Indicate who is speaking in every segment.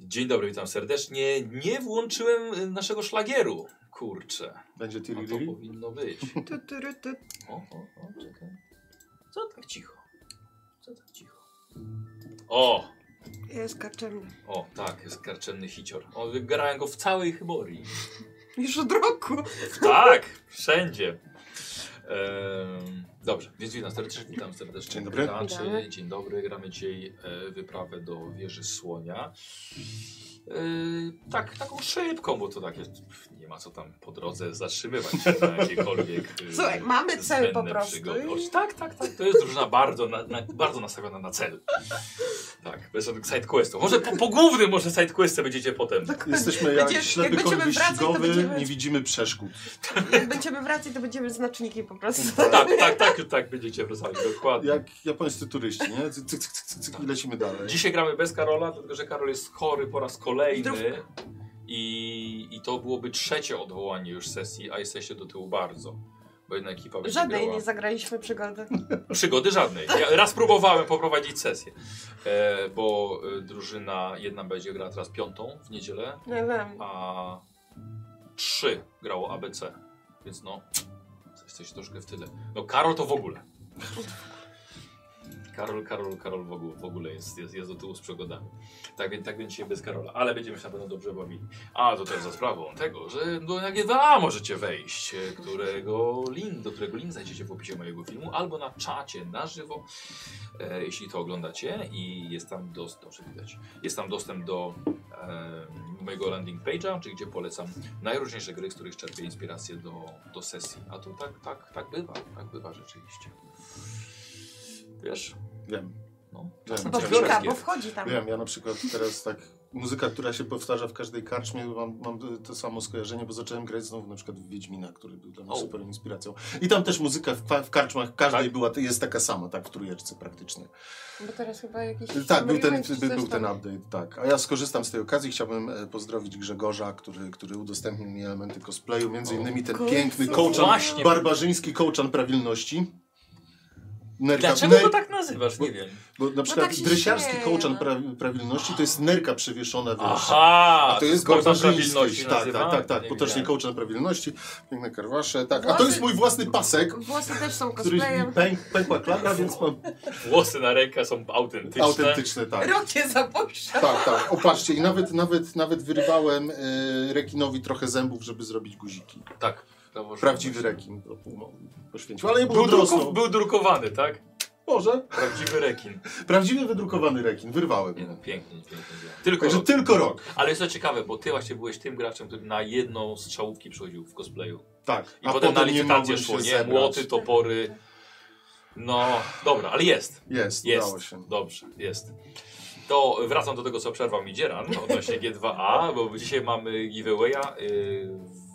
Speaker 1: Dzień dobry, witam serdecznie. Nie włączyłem y, naszego szlagieru. Kurczę,
Speaker 2: Będzie
Speaker 1: a No to
Speaker 2: tiririri?
Speaker 1: powinno być.
Speaker 3: Tu, tu, ru, tu.
Speaker 1: O, o, o, czekaj. Co tak cicho? Co tak cicho? O,
Speaker 3: Jest karczemny.
Speaker 1: o, tak, jest karczenny hicior. O, grają go w całej chyborii.
Speaker 3: Już od roku.
Speaker 1: Tak, wszędzie. Ehm, dobrze, więc witam serdecznie, witam serdecznie.
Speaker 2: Dzień dobry.
Speaker 1: Graczy.
Speaker 3: Witamy.
Speaker 1: Dzień dobry, gramy dzisiaj e, wyprawę do wieży Słonia. E, tak, taką szybką, bo to takie, pff, nie ma co tam po drodze zatrzymywać się na jakiekolwiek e,
Speaker 3: Słuchaj, mamy cel po
Speaker 1: zbędne
Speaker 3: prostu.
Speaker 1: przygody. O, Tak, tak, tak, to jest drużyna bardzo, na, na, bardzo nastawiona na cel. Tak, bez żadnych sidequestów. Może po, po głównym może sidequesty będziecie potem.
Speaker 3: Dokładnie.
Speaker 2: Jesteśmy jak
Speaker 3: Będziesz-
Speaker 2: ślepy
Speaker 3: jak
Speaker 2: koń
Speaker 3: będziemy wracać, to
Speaker 2: wyścigowy,
Speaker 3: będziemy-
Speaker 2: nie widzimy przeszkód.
Speaker 3: Jak będziemy wracać, to będziemy znacznikiem po prostu.
Speaker 1: Tak, tak, tak, tak będziecie wracali, dokładnie.
Speaker 2: Jak japońscy turyści, nie? Cyk, cyk, cyk, cyk, cyk i lecimy dalej.
Speaker 1: Dzisiaj gramy bez Karola, dlatego że Karol jest chory po raz kolejny.
Speaker 3: Zdrówka.
Speaker 1: I, I to byłoby trzecie odwołanie już sesji, a jesteście do tyłu bardzo. Bo jedna ekipa będzie
Speaker 3: Żadnej
Speaker 1: grała.
Speaker 3: nie zagraliśmy przygody.
Speaker 1: Przygody żadnej. Ja raz próbowałem poprowadzić sesję, e, bo e, drużyna jedna będzie grała teraz piątą w niedzielę,
Speaker 3: No wiem.
Speaker 1: a trzy grało ABC. Więc no, jesteś troszkę w tyle. No Karol to w ogóle. Karol, Karol, Karol w ogóle, w ogóle jest, jest, jest do tyłu z przygodami. Tak więc, tak więc dzisiaj bez Karola, ale będziemy się na pewno dobrze bawili. A to też za sprawą tego, że no, do GWA możecie wejść, e, którego link, do którego link znajdziecie w opisie mojego filmu albo na czacie na żywo, e, jeśli to oglądacie i jest tam dostęp, dobrze widać, jest tam dostęp do e, mojego landing page'a, czyli gdzie polecam najróżniejsze gry, z których czerpię inspirację do, do sesji. A to tak, tak, tak bywa, tak bywa rzeczywiście. Wiesz?
Speaker 2: Wiem,
Speaker 1: No,
Speaker 2: wiem.
Speaker 3: Bo
Speaker 1: Ciężkie.
Speaker 3: klika, bo wchodzi tam.
Speaker 2: Wiem, ja na przykład teraz tak, muzyka, która się powtarza w każdej karczmie, mam, mam to samo skojarzenie, bo zacząłem grać znowu na przykład w Wiedźmina, który był dla mnie
Speaker 1: O.
Speaker 2: super inspiracją. I tam też muzyka w, pa- w karczmach każdej
Speaker 1: Tak?
Speaker 2: była, jest taka sama, tak, w trójeczce praktycznie.
Speaker 3: Bo teraz chyba jakiś.
Speaker 2: Tak, był ten,
Speaker 3: Maryland czy
Speaker 2: by,
Speaker 3: coś
Speaker 2: był ten
Speaker 3: tam.
Speaker 2: update, tak. A ja skorzystam z tej okazji, chciałbym e, pozdrowić Grzegorza, który, który udostępnił mi elementy cosplayu, między
Speaker 1: O. no
Speaker 2: innymi ten
Speaker 3: Kurczę.
Speaker 2: piękny kołczan,
Speaker 1: Właśnie.
Speaker 2: barbarzyński kołczan prawilności. Nerka,
Speaker 1: Dlaczego
Speaker 2: ner-
Speaker 1: go tak no nazywasz? Nie wiem.
Speaker 2: Bo na przykład
Speaker 3: tak się
Speaker 2: dresiarski
Speaker 3: śmieje,
Speaker 2: kołczan
Speaker 3: no.
Speaker 2: pra- prawilności to jest nerka przewieszona, wiesz,
Speaker 1: Aha!
Speaker 2: a to jest
Speaker 1: Kołczan
Speaker 2: barbarzyński.
Speaker 1: Prabilności
Speaker 2: Tak, tak,
Speaker 1: nazywany.
Speaker 2: tak, tak.
Speaker 1: Nie
Speaker 2: Potocznie
Speaker 1: wiedziałem.
Speaker 2: kołczan prawilności. Piękne karwasze, tak. A
Speaker 3: Włosy-
Speaker 2: to jest mój własny pasek,
Speaker 3: Włosy też są
Speaker 2: który mi
Speaker 3: cosplayem.
Speaker 2: pęk, pękła klara, więc mam
Speaker 1: Włosy na rękach są autentyczne.
Speaker 2: autentyczne, tak.
Speaker 3: Rok cię zapuszcza.
Speaker 2: Tak, tak. Opatrzcie, i nawet, nawet, nawet wyrywałem e, rekinowi trochę zębów, żeby zrobić guziki.
Speaker 1: Tak. to może
Speaker 2: Prawdziwy
Speaker 1: być.
Speaker 2: rekin to pół- poświęcił, ale nie
Speaker 1: Był,
Speaker 2: był
Speaker 1: druku,
Speaker 2: dorosły.
Speaker 1: był drukowany, tak?
Speaker 2: Może?
Speaker 1: Prawdziwy rekin.
Speaker 2: Prawdziwy wydrukowany rekin, wyrwałem.
Speaker 1: Nie, no,
Speaker 2: go.
Speaker 1: pięknie, pięknie. działa. Tylko,
Speaker 2: Także tylko rok.
Speaker 1: Ale jest to ciekawe, bo ty właśnie byłeś tym graczem, który na jedną strzałówki przychodził w cosplayu.
Speaker 2: Tak.
Speaker 1: I potem na
Speaker 2: nie
Speaker 1: licytację
Speaker 2: mogłem
Speaker 1: szło,
Speaker 2: się
Speaker 1: nie?
Speaker 2: zebrać.
Speaker 1: Młoty, topory. No, dobra, ale jest.
Speaker 2: Jest,
Speaker 1: Jest.
Speaker 2: udało się.
Speaker 1: Dobrze, jest. To wracam do tego, co przerwał mi Dzieran odnośnie G2A, bo dzisiaj mamy giveawaya, y,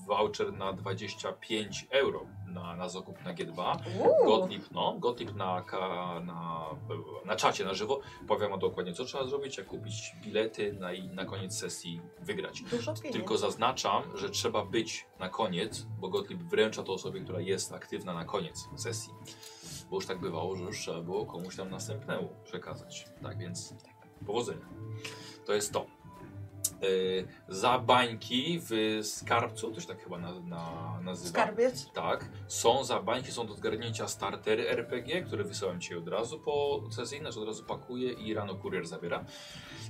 Speaker 1: voucher na 25 euro na, na zakup na G2.
Speaker 3: Uuu.
Speaker 1: Gotlib, no, Gotlib na, ka- na, na czacie na żywo powiem wam dokładnie, co trzeba zrobić, jak kupić bilety na, i na koniec sesji wygrać.
Speaker 3: Dużo pieniędzy.
Speaker 1: Tylko zaznaczam, że trzeba być na koniec, bo Gotlib wręcza to osobie, która jest aktywna na koniec sesji. Bo już tak bywało, że już trzeba było komuś tam następnemu przekazać. Tak więc powodzenia. To jest to. Yy, za bańki w skarbcu, to się tak chyba na, na, nazywa.
Speaker 3: Skarbiec.
Speaker 1: Tak, są zabańki, są do zgarnięcia startery RPG, które wysyłam Ci od razu po sesji, znaczy od razu pakuję i rano kurier zabiera.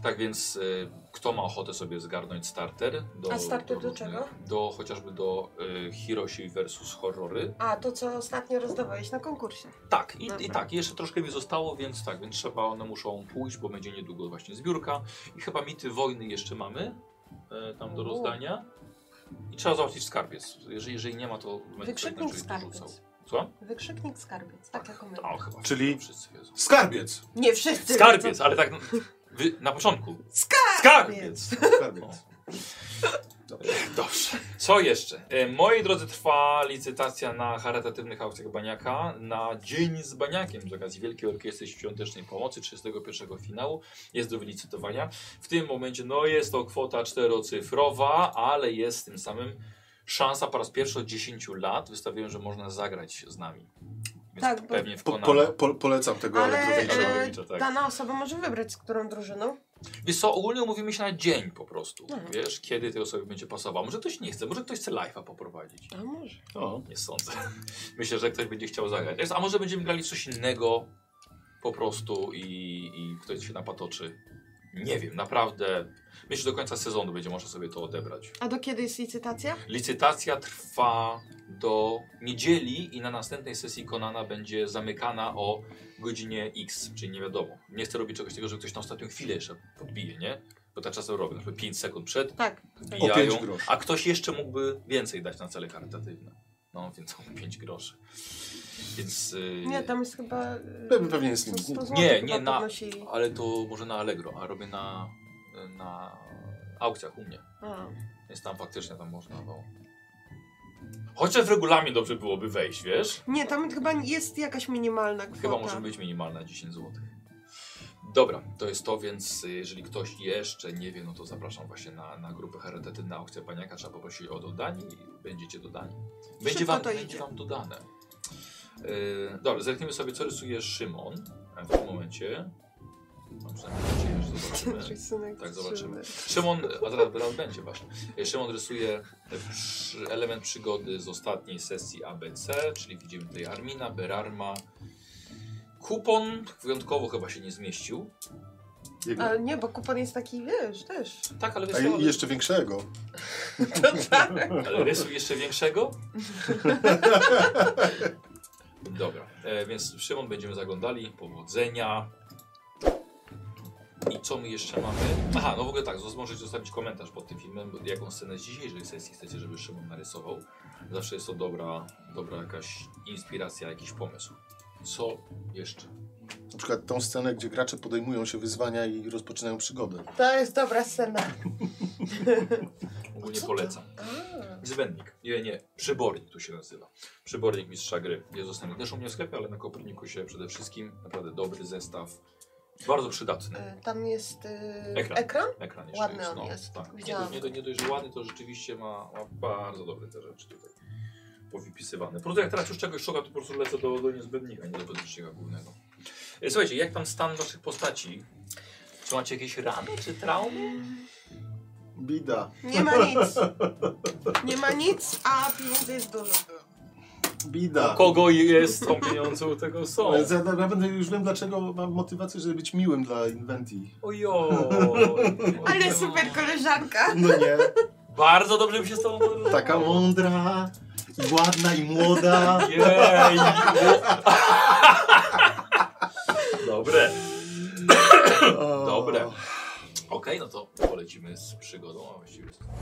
Speaker 1: Tak więc y, kto ma ochotę sobie zgarnąć starter? Do,
Speaker 3: A starter do
Speaker 1: różnych-
Speaker 3: czego?
Speaker 1: Do chociażby do y, Hiroshi versus Horrory.
Speaker 3: A to, co ostatnio rozdawałeś na konkursie.
Speaker 1: Tak, i, i
Speaker 3: Dobra.
Speaker 1: tak, jeszcze troszkę mi zostało, więc tak, więc trzeba, one muszą pójść, bo będzie niedługo właśnie zbiórka. I chyba mity wojny jeszcze mamy y, tam do
Speaker 3: O.
Speaker 1: rozdania. I trzeba załatwić skarbiec. Jeżeli, jeżeli nie ma, to będę
Speaker 3: Wykrzyknik
Speaker 1: ktoś będzie rzucał.
Speaker 3: skarbiec.
Speaker 1: Co?
Speaker 3: Wykrzyknik skarbiec. Tak jak my.
Speaker 1: O, No, chyba
Speaker 2: Czyli-
Speaker 1: wszyscy wiedzą.
Speaker 2: Skarbiec!
Speaker 3: Nie wszyscy.
Speaker 1: Skarbiec, ale tak no, wy, na początku. Skarbiec!
Speaker 2: Skarbiec.
Speaker 1: Dobrze. Co jeszcze? E, moi drodzy, trwa licytacja na charytatywnych aukcjach Baniaka na Dzień z Baniakiem z okazji Wielkiej Orkiestry Świątecznej Pomocy 31 finału. Jest do wylicytowania. W tym momencie no, jest to kwota czterocyfrowa, ale jest tym samym szansa po raz pierwszy od 10 lat. Wystawiłem, że można zagrać z nami. Więc
Speaker 3: Tak, bo-
Speaker 1: pewnie w
Speaker 2: Po, pole, po, polecam tego
Speaker 3: Ale
Speaker 2: elektrowicza.
Speaker 1: Elektrowicza,
Speaker 3: e,
Speaker 1: Elektrowicza, tak.
Speaker 3: dana osoba może wybrać, z którą drużyną.
Speaker 1: Wiesz co, ogólnie umówimy się na dzień po prostu.
Speaker 4: Mhm.
Speaker 1: Wiesz, kiedy tej osobie będzie pasował. Może ktoś nie chce, może ktoś chce live'a poprowadzić.
Speaker 4: A może.
Speaker 2: O,
Speaker 1: Nie sądzę. Myślę, że ktoś będzie chciał zagrać. Jest- A może będziemy grali w coś innego po prostu i, i ktoś się napatoczy. Nie wiem, naprawdę. Myślę, że do końca sezonu będzie można sobie to odebrać.
Speaker 3: A do kiedy jest licytacja?
Speaker 1: Licytacja trwa do niedzieli i na następnej sesji Konana będzie zamykana o godzinie X, czyli nie wiadomo. Nie chcę robić czegoś takiego, że ktoś na ostatnią chwilę jeszcze podbije, nie? Bo tak czasem robię, na przykład 5 sekund przed,
Speaker 3: Tak.
Speaker 2: o
Speaker 1: wbijają,
Speaker 2: 5 groszy.
Speaker 1: a ktoś jeszcze mógłby więcej dać na cele charytatywne. No, więc o 5 groszy. Więc... Yy,
Speaker 3: Nie, tam jest chyba... y,
Speaker 2: Pewnie- pewnie jest
Speaker 3: sto-
Speaker 2: limit.
Speaker 3: sto
Speaker 2: Nie,
Speaker 3: złotych
Speaker 1: nie,
Speaker 3: chyba
Speaker 1: na-
Speaker 3: podnosili.
Speaker 1: Ale to może na Allegro, a robię na, na aukcjach u mnie.
Speaker 3: A.
Speaker 1: Więc tam faktycznie tam można było. Chociaż w regulamin dobrze byłoby wejść, wiesz?
Speaker 3: Nie, tam chyba jest jakaś minimalna kwota.
Speaker 1: Tak, Chyba może być minimalna 10 zł. Dobra, to jest to, więc y, jeżeli ktoś jeszcze nie wie, no to zapraszam właśnie na, na grupę charytatywna Aukcja Paniaka. Trzeba poprosić o dodanie i będziecie dodani. Będzie,
Speaker 3: Szybko
Speaker 1: wam,
Speaker 3: to
Speaker 1: będzie
Speaker 3: idzie.
Speaker 1: wam dodane. Yy, dobra, zerknijmy sobie, co rysuje Szymon w tym momencie. Mam przynajmniej nadzieję, że to zobaczymy.
Speaker 3: Rysunek
Speaker 1: Tak,
Speaker 3: z szyby.
Speaker 1: zobaczymy. Szymon, a teraz teraz będzie właśnie. Szymon rysuje przy- element przygody z ostatniej sesji ABC, czyli widzimy tutaj Armina, Berarma. Kupon wyjątkowo chyba się nie zmieścił.
Speaker 2: Jego-
Speaker 3: Ale nie, bo kupon jest taki, wiesz, też.
Speaker 1: Tak, ale
Speaker 2: A
Speaker 1: rysuje,
Speaker 2: i jeszcze większego.
Speaker 3: To tak.
Speaker 1: ale rysuj jeszcze większego. Dobra, e, więc Szymon będziemy zaglądali. Powodzenia. I co my jeszcze mamy? Aha, no w ogóle tak, zos- możecie zostawić komentarz pod tym filmem, bo jaką scenę z dzisiejszej sesji chcecie, żeby Szymon narysował. Zawsze jest to dobra, dobra jakaś inspiracja, jakiś pomysł. Co jeszcze?
Speaker 2: Na przykład tą scenę, gdzie gracze podejmują się wyzwania i rozpoczynają przygodę.
Speaker 4: To jest dobra scena.
Speaker 1: Ogólnie
Speaker 3: Co to?
Speaker 1: polecam.
Speaker 3: A.
Speaker 1: Zbędnik. Nie, nie, przybornik tu się nazywa. Przybornik mistrza gry. Jest dostępny też u mnie w sklepie, ale na Koperniku się przede wszystkim. Naprawdę dobry zestaw. Bardzo przydatny.
Speaker 3: Y, Tam jest y,
Speaker 1: Ekran.
Speaker 3: ekran.
Speaker 1: Ekran jeszcze
Speaker 3: Ładny
Speaker 1: jest.
Speaker 3: on jest.
Speaker 1: Tak. Nie,
Speaker 3: Widziałam.
Speaker 1: do- nie, do- nie dość, że ładny, to rzeczywiście ma, ma bardzo dobre te rzeczy tutaj powypisywane. Po prostu jak teraz już czegoś szuka, to po prostu lecę do, do niezbędnika, nie do podręcznika głównego. E, Słuchajcie, jak tam stan waszych postaci? Czy macie jakieś rany czy traumy?
Speaker 2: Bida,
Speaker 3: Nie ma nic. Nie ma nic, a pieniędzy jest dużo.
Speaker 2: bida.
Speaker 1: Kogo jest tą pieniądze u tego są?
Speaker 2: Ja, ja nawet już wiem, dlaczego mam motywację, żeby być miłym dla Inventi.
Speaker 1: Ojoj.
Speaker 3: Ale super koleżanka.
Speaker 2: No nie?
Speaker 1: Bardzo dobrze mi się z tobą podoba.
Speaker 2: Taka mądra, i ładna i młoda.
Speaker 1: Jej. Dobre.
Speaker 2: O.
Speaker 1: Dobre. Okej, no to polecimy z przygodą, a właściwie z tą przygodą.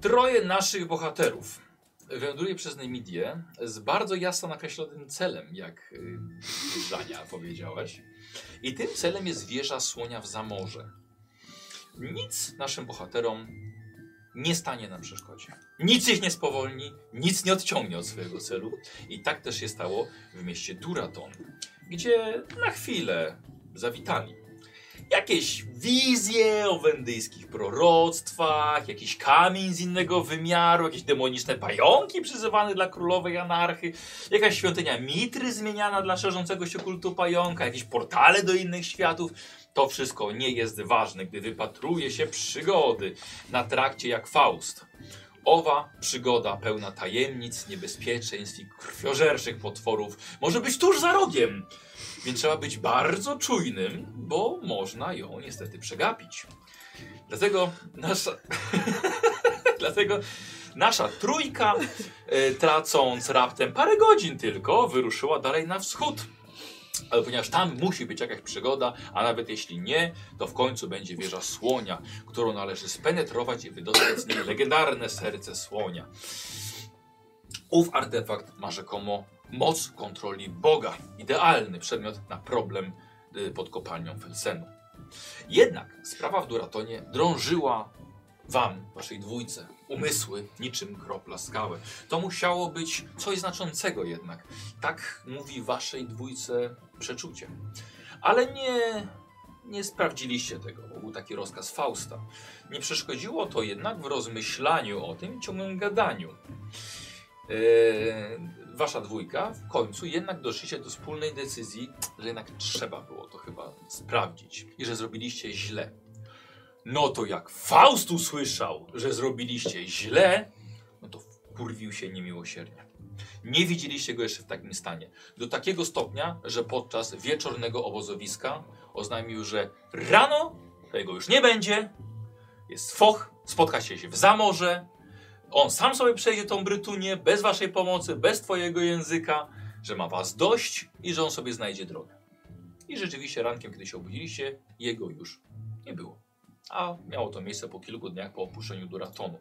Speaker 1: Troje naszych bohaterów wędruje przez Nemidię z bardzo jasno nakreślonym celem, jak y, Zania powiedziałaś. I tym celem jest wieża słonia w zamorze. Nic naszym bohaterom nie stanie na przeszkodzie. Nic ich nie spowolni, nic nie odciągnie od swojego celu. I tak też się stało w mieście Duraton, gdzie na chwilę zawitali. Jakieś wizje o wendyjskich proroctwach, jakiś kamień z innego wymiaru, jakieś demoniczne pająki przyzywane dla królowej anarchy, jakaś świątynia mitry zmieniana dla szerzącego się kultu pająka, jakieś portale do innych światów. To wszystko nie jest ważne, gdy wypatruje się przygody na trakcie jak Faust. Owa przygoda pełna tajemnic, niebezpieczeństw i krwiożerszych potworów może być tuż za rogiem. Więc trzeba być bardzo czujnym, bo można ją niestety przegapić. Dlatego nasza, Dlatego nasza trójka, e, tracąc raptem parę godzin tylko, wyruszyła dalej na wschód. Ale ponieważ tam musi być jakaś przygoda, a nawet jeśli nie, to w końcu będzie wieża słonia, którą należy spenetrować i wydostać z niej legendarne serce słonia. Ów artefakt ma rzekomo moc kontroli Boga. Idealny przedmiot na problem y, pod kopalnią Felsenu. Jednak sprawa w Duratonie drążyła wam, waszej dwójce, umysły niczym kropla skały. To musiało być coś znaczącego jednak. Tak mówi waszej dwójce przeczucie. Ale nie, nie sprawdziliście tego, bo był taki rozkaz Fausta. Nie przeszkodziło to jednak w rozmyślaniu o tym i ciągłym gadaniu. Eee, wasza dwójka w końcu jednak doszliście do wspólnej decyzji, że jednak trzeba było to chyba sprawdzić i że zrobiliście źle. No to jak Faust usłyszał, że zrobiliście źle, no to kurwił się niemiłosiernie. Nie widzieliście go jeszcze w takim stanie. Do takiego stopnia, że podczas wieczornego obozowiska oznajmił, że rano tego już nie będzie, jest foch, spotkacie się w zamorze, on sam sobie przejdzie tą Brytunię bez waszej pomocy, bez twojego języka, że ma was dość i że on sobie znajdzie drogę. I rzeczywiście rankiem, kiedy się obudziliście, jego już nie było. A miało to miejsce po kilku dniach po opuszczeniu Duratonu.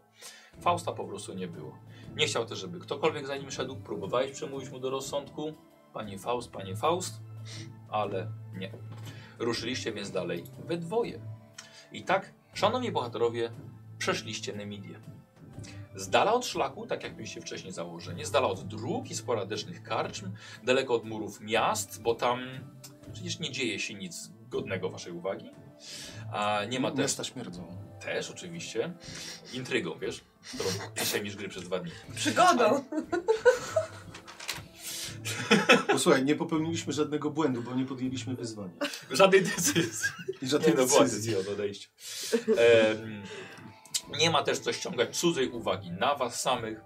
Speaker 1: Fausta po prostu nie było. Nie chciał też, żeby ktokolwiek za nim szedł. Próbowałeś przemówić mu do rozsądku. Panie Faust, panie Faust, ale nie. Ruszyliście więc dalej we dwoje. I tak, szanowni bohaterowie, przeszliście Nemidię. Z dala od szlaku, tak jak mieliście wcześniej założenie, z dala od dróg i sporadecznych karczm, daleko od murów miast, bo tam przecież nie dzieje się nic godnego waszej uwagi. A nie ma też,
Speaker 2: Miasta śmierdzą.
Speaker 1: też oczywiście intrygą, wiesz, którą przejmiesz gry przez dwa dni.
Speaker 3: Przygodą.
Speaker 2: Posłuchaj, No nie popełniliśmy żadnego błędu, bo nie podjęliśmy wyzwania.
Speaker 1: Żadnej decyzji.
Speaker 2: I
Speaker 1: Nie,
Speaker 2: żadnej
Speaker 1: no była
Speaker 2: decyzji.
Speaker 1: decyzja od odejścia. Em, nie ma też co ściągać cudzej uwagi na was samych.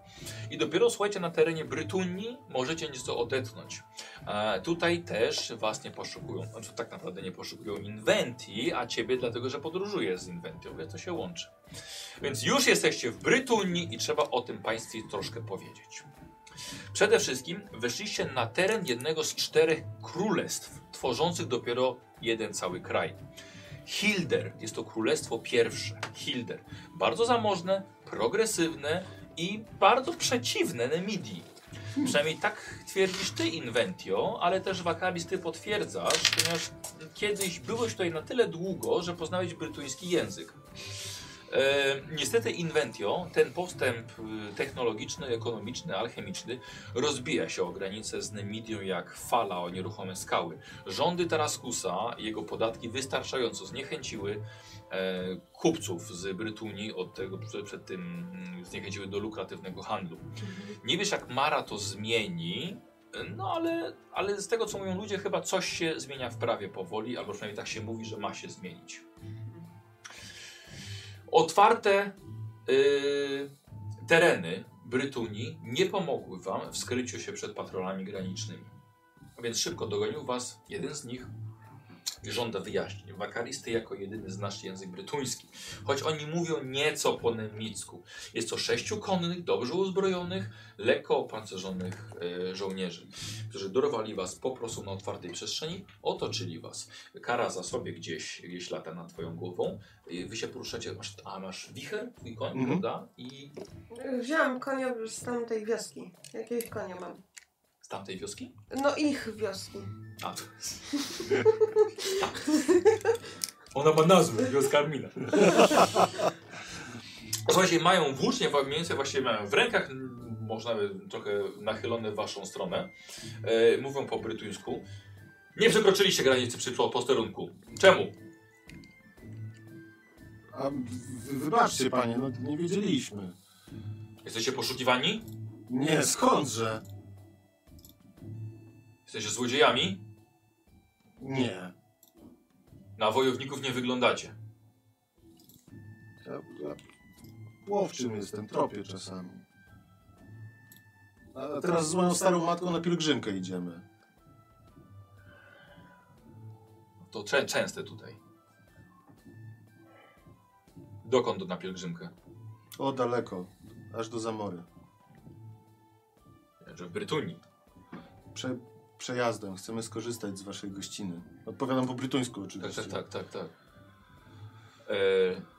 Speaker 1: I dopiero słuchajcie, na terenie Brytunii możecie nieco odetchnąć. E, tutaj też was nie poszukują, znaczy tak naprawdę nie poszukują Inventi, a ciebie dlatego, że podróżujesz z Inventią, więc to się łączy. Więc już jesteście w Brytunii i trzeba o tym państwie troszkę powiedzieć. Przede wszystkim weszliście na teren jednego z czterech królestw, tworzących dopiero jeden cały kraj. Hilder jest to królestwo pierwsze. Hilder. Bardzo zamożne, progresywne i bardzo przeciwne Nemidii. Przynajmniej tak twierdzisz ty, Inventio, ale też Wakaris ty potwierdzasz, ponieważ kiedyś byłeś tutaj na tyle długo, że poznałeś brytyjski język. E, niestety Inventio, ten postęp y, technologiczny, ekonomiczny, alchemiczny rozbija się o granice z Nemidią jak fala o nieruchome skały. Rządy Taraskusa i jego podatki wystarczająco zniechęciły e, kupców z Brytunii od tego, przed, przed tym mm, zniechęciły do lukratywnego handlu. Nie wiesz jak Mara to zmieni, no ale, ale z tego co mówią ludzie chyba coś się zmienia w prawie powoli, albo przynajmniej tak się mówi, że ma się zmienić. Otwarte y, tereny Brytunii nie pomogły wam w skryciu się przed patrolami granicznymi. Więc szybko dogonił was jeden z nich, żąda wyjaśnień. Wakalisty jako jedyny znasz język brytuński, choć oni mówią nieco po niemiecku. Jest to sześciu konnych, dobrze uzbrojonych, lekko opancerzonych e, żołnierzy, którzy dorwali was po prostu na otwartej przestrzeni, otoczyli was. Kara za sobie gdzieś, gdzieś lata nad twoją głową. E, Wy się poruszacie, masz, a masz wicher, twój koń,
Speaker 2: Mhm.
Speaker 1: prawda? I
Speaker 3: Wziąłem konia z tamtej wioski. Jakieś konie mam?
Speaker 1: z tamtej wioski?
Speaker 3: No ich wioski.
Speaker 1: A. Tak. Ona ma nazwę, wioska Armina. Słuchajcie, mają włócznie, wa- mniej więcej właśnie mają w rękach, m, można by trochę nachylone w waszą stronę. E, mówią po brytyjsku. Nie przekroczyliście granicy przy przy posterunku. Czemu?
Speaker 2: A w- wybaczcie panie, no nie wiedzieliśmy.
Speaker 1: Jesteście poszukiwani?
Speaker 2: Nie, skądże?
Speaker 1: Jesteście złodziejami?
Speaker 2: Nie.
Speaker 1: Na wojowników nie wyglądacie.
Speaker 2: Ja, ja łowczym jestem, tropię czasami. A teraz z moją starą matką na pielgrzymkę idziemy.
Speaker 1: To czę- częste tutaj. Dokąd na pielgrzymkę?
Speaker 2: O, daleko. Aż do Zamory.
Speaker 1: Że w Brytunii.
Speaker 2: Prze, przejazdem. Chcemy skorzystać z waszej gościny. Odpowiadam po brytuńsku
Speaker 1: Tak,
Speaker 2: oczywiście.
Speaker 1: tak, tak, tak, tak. E,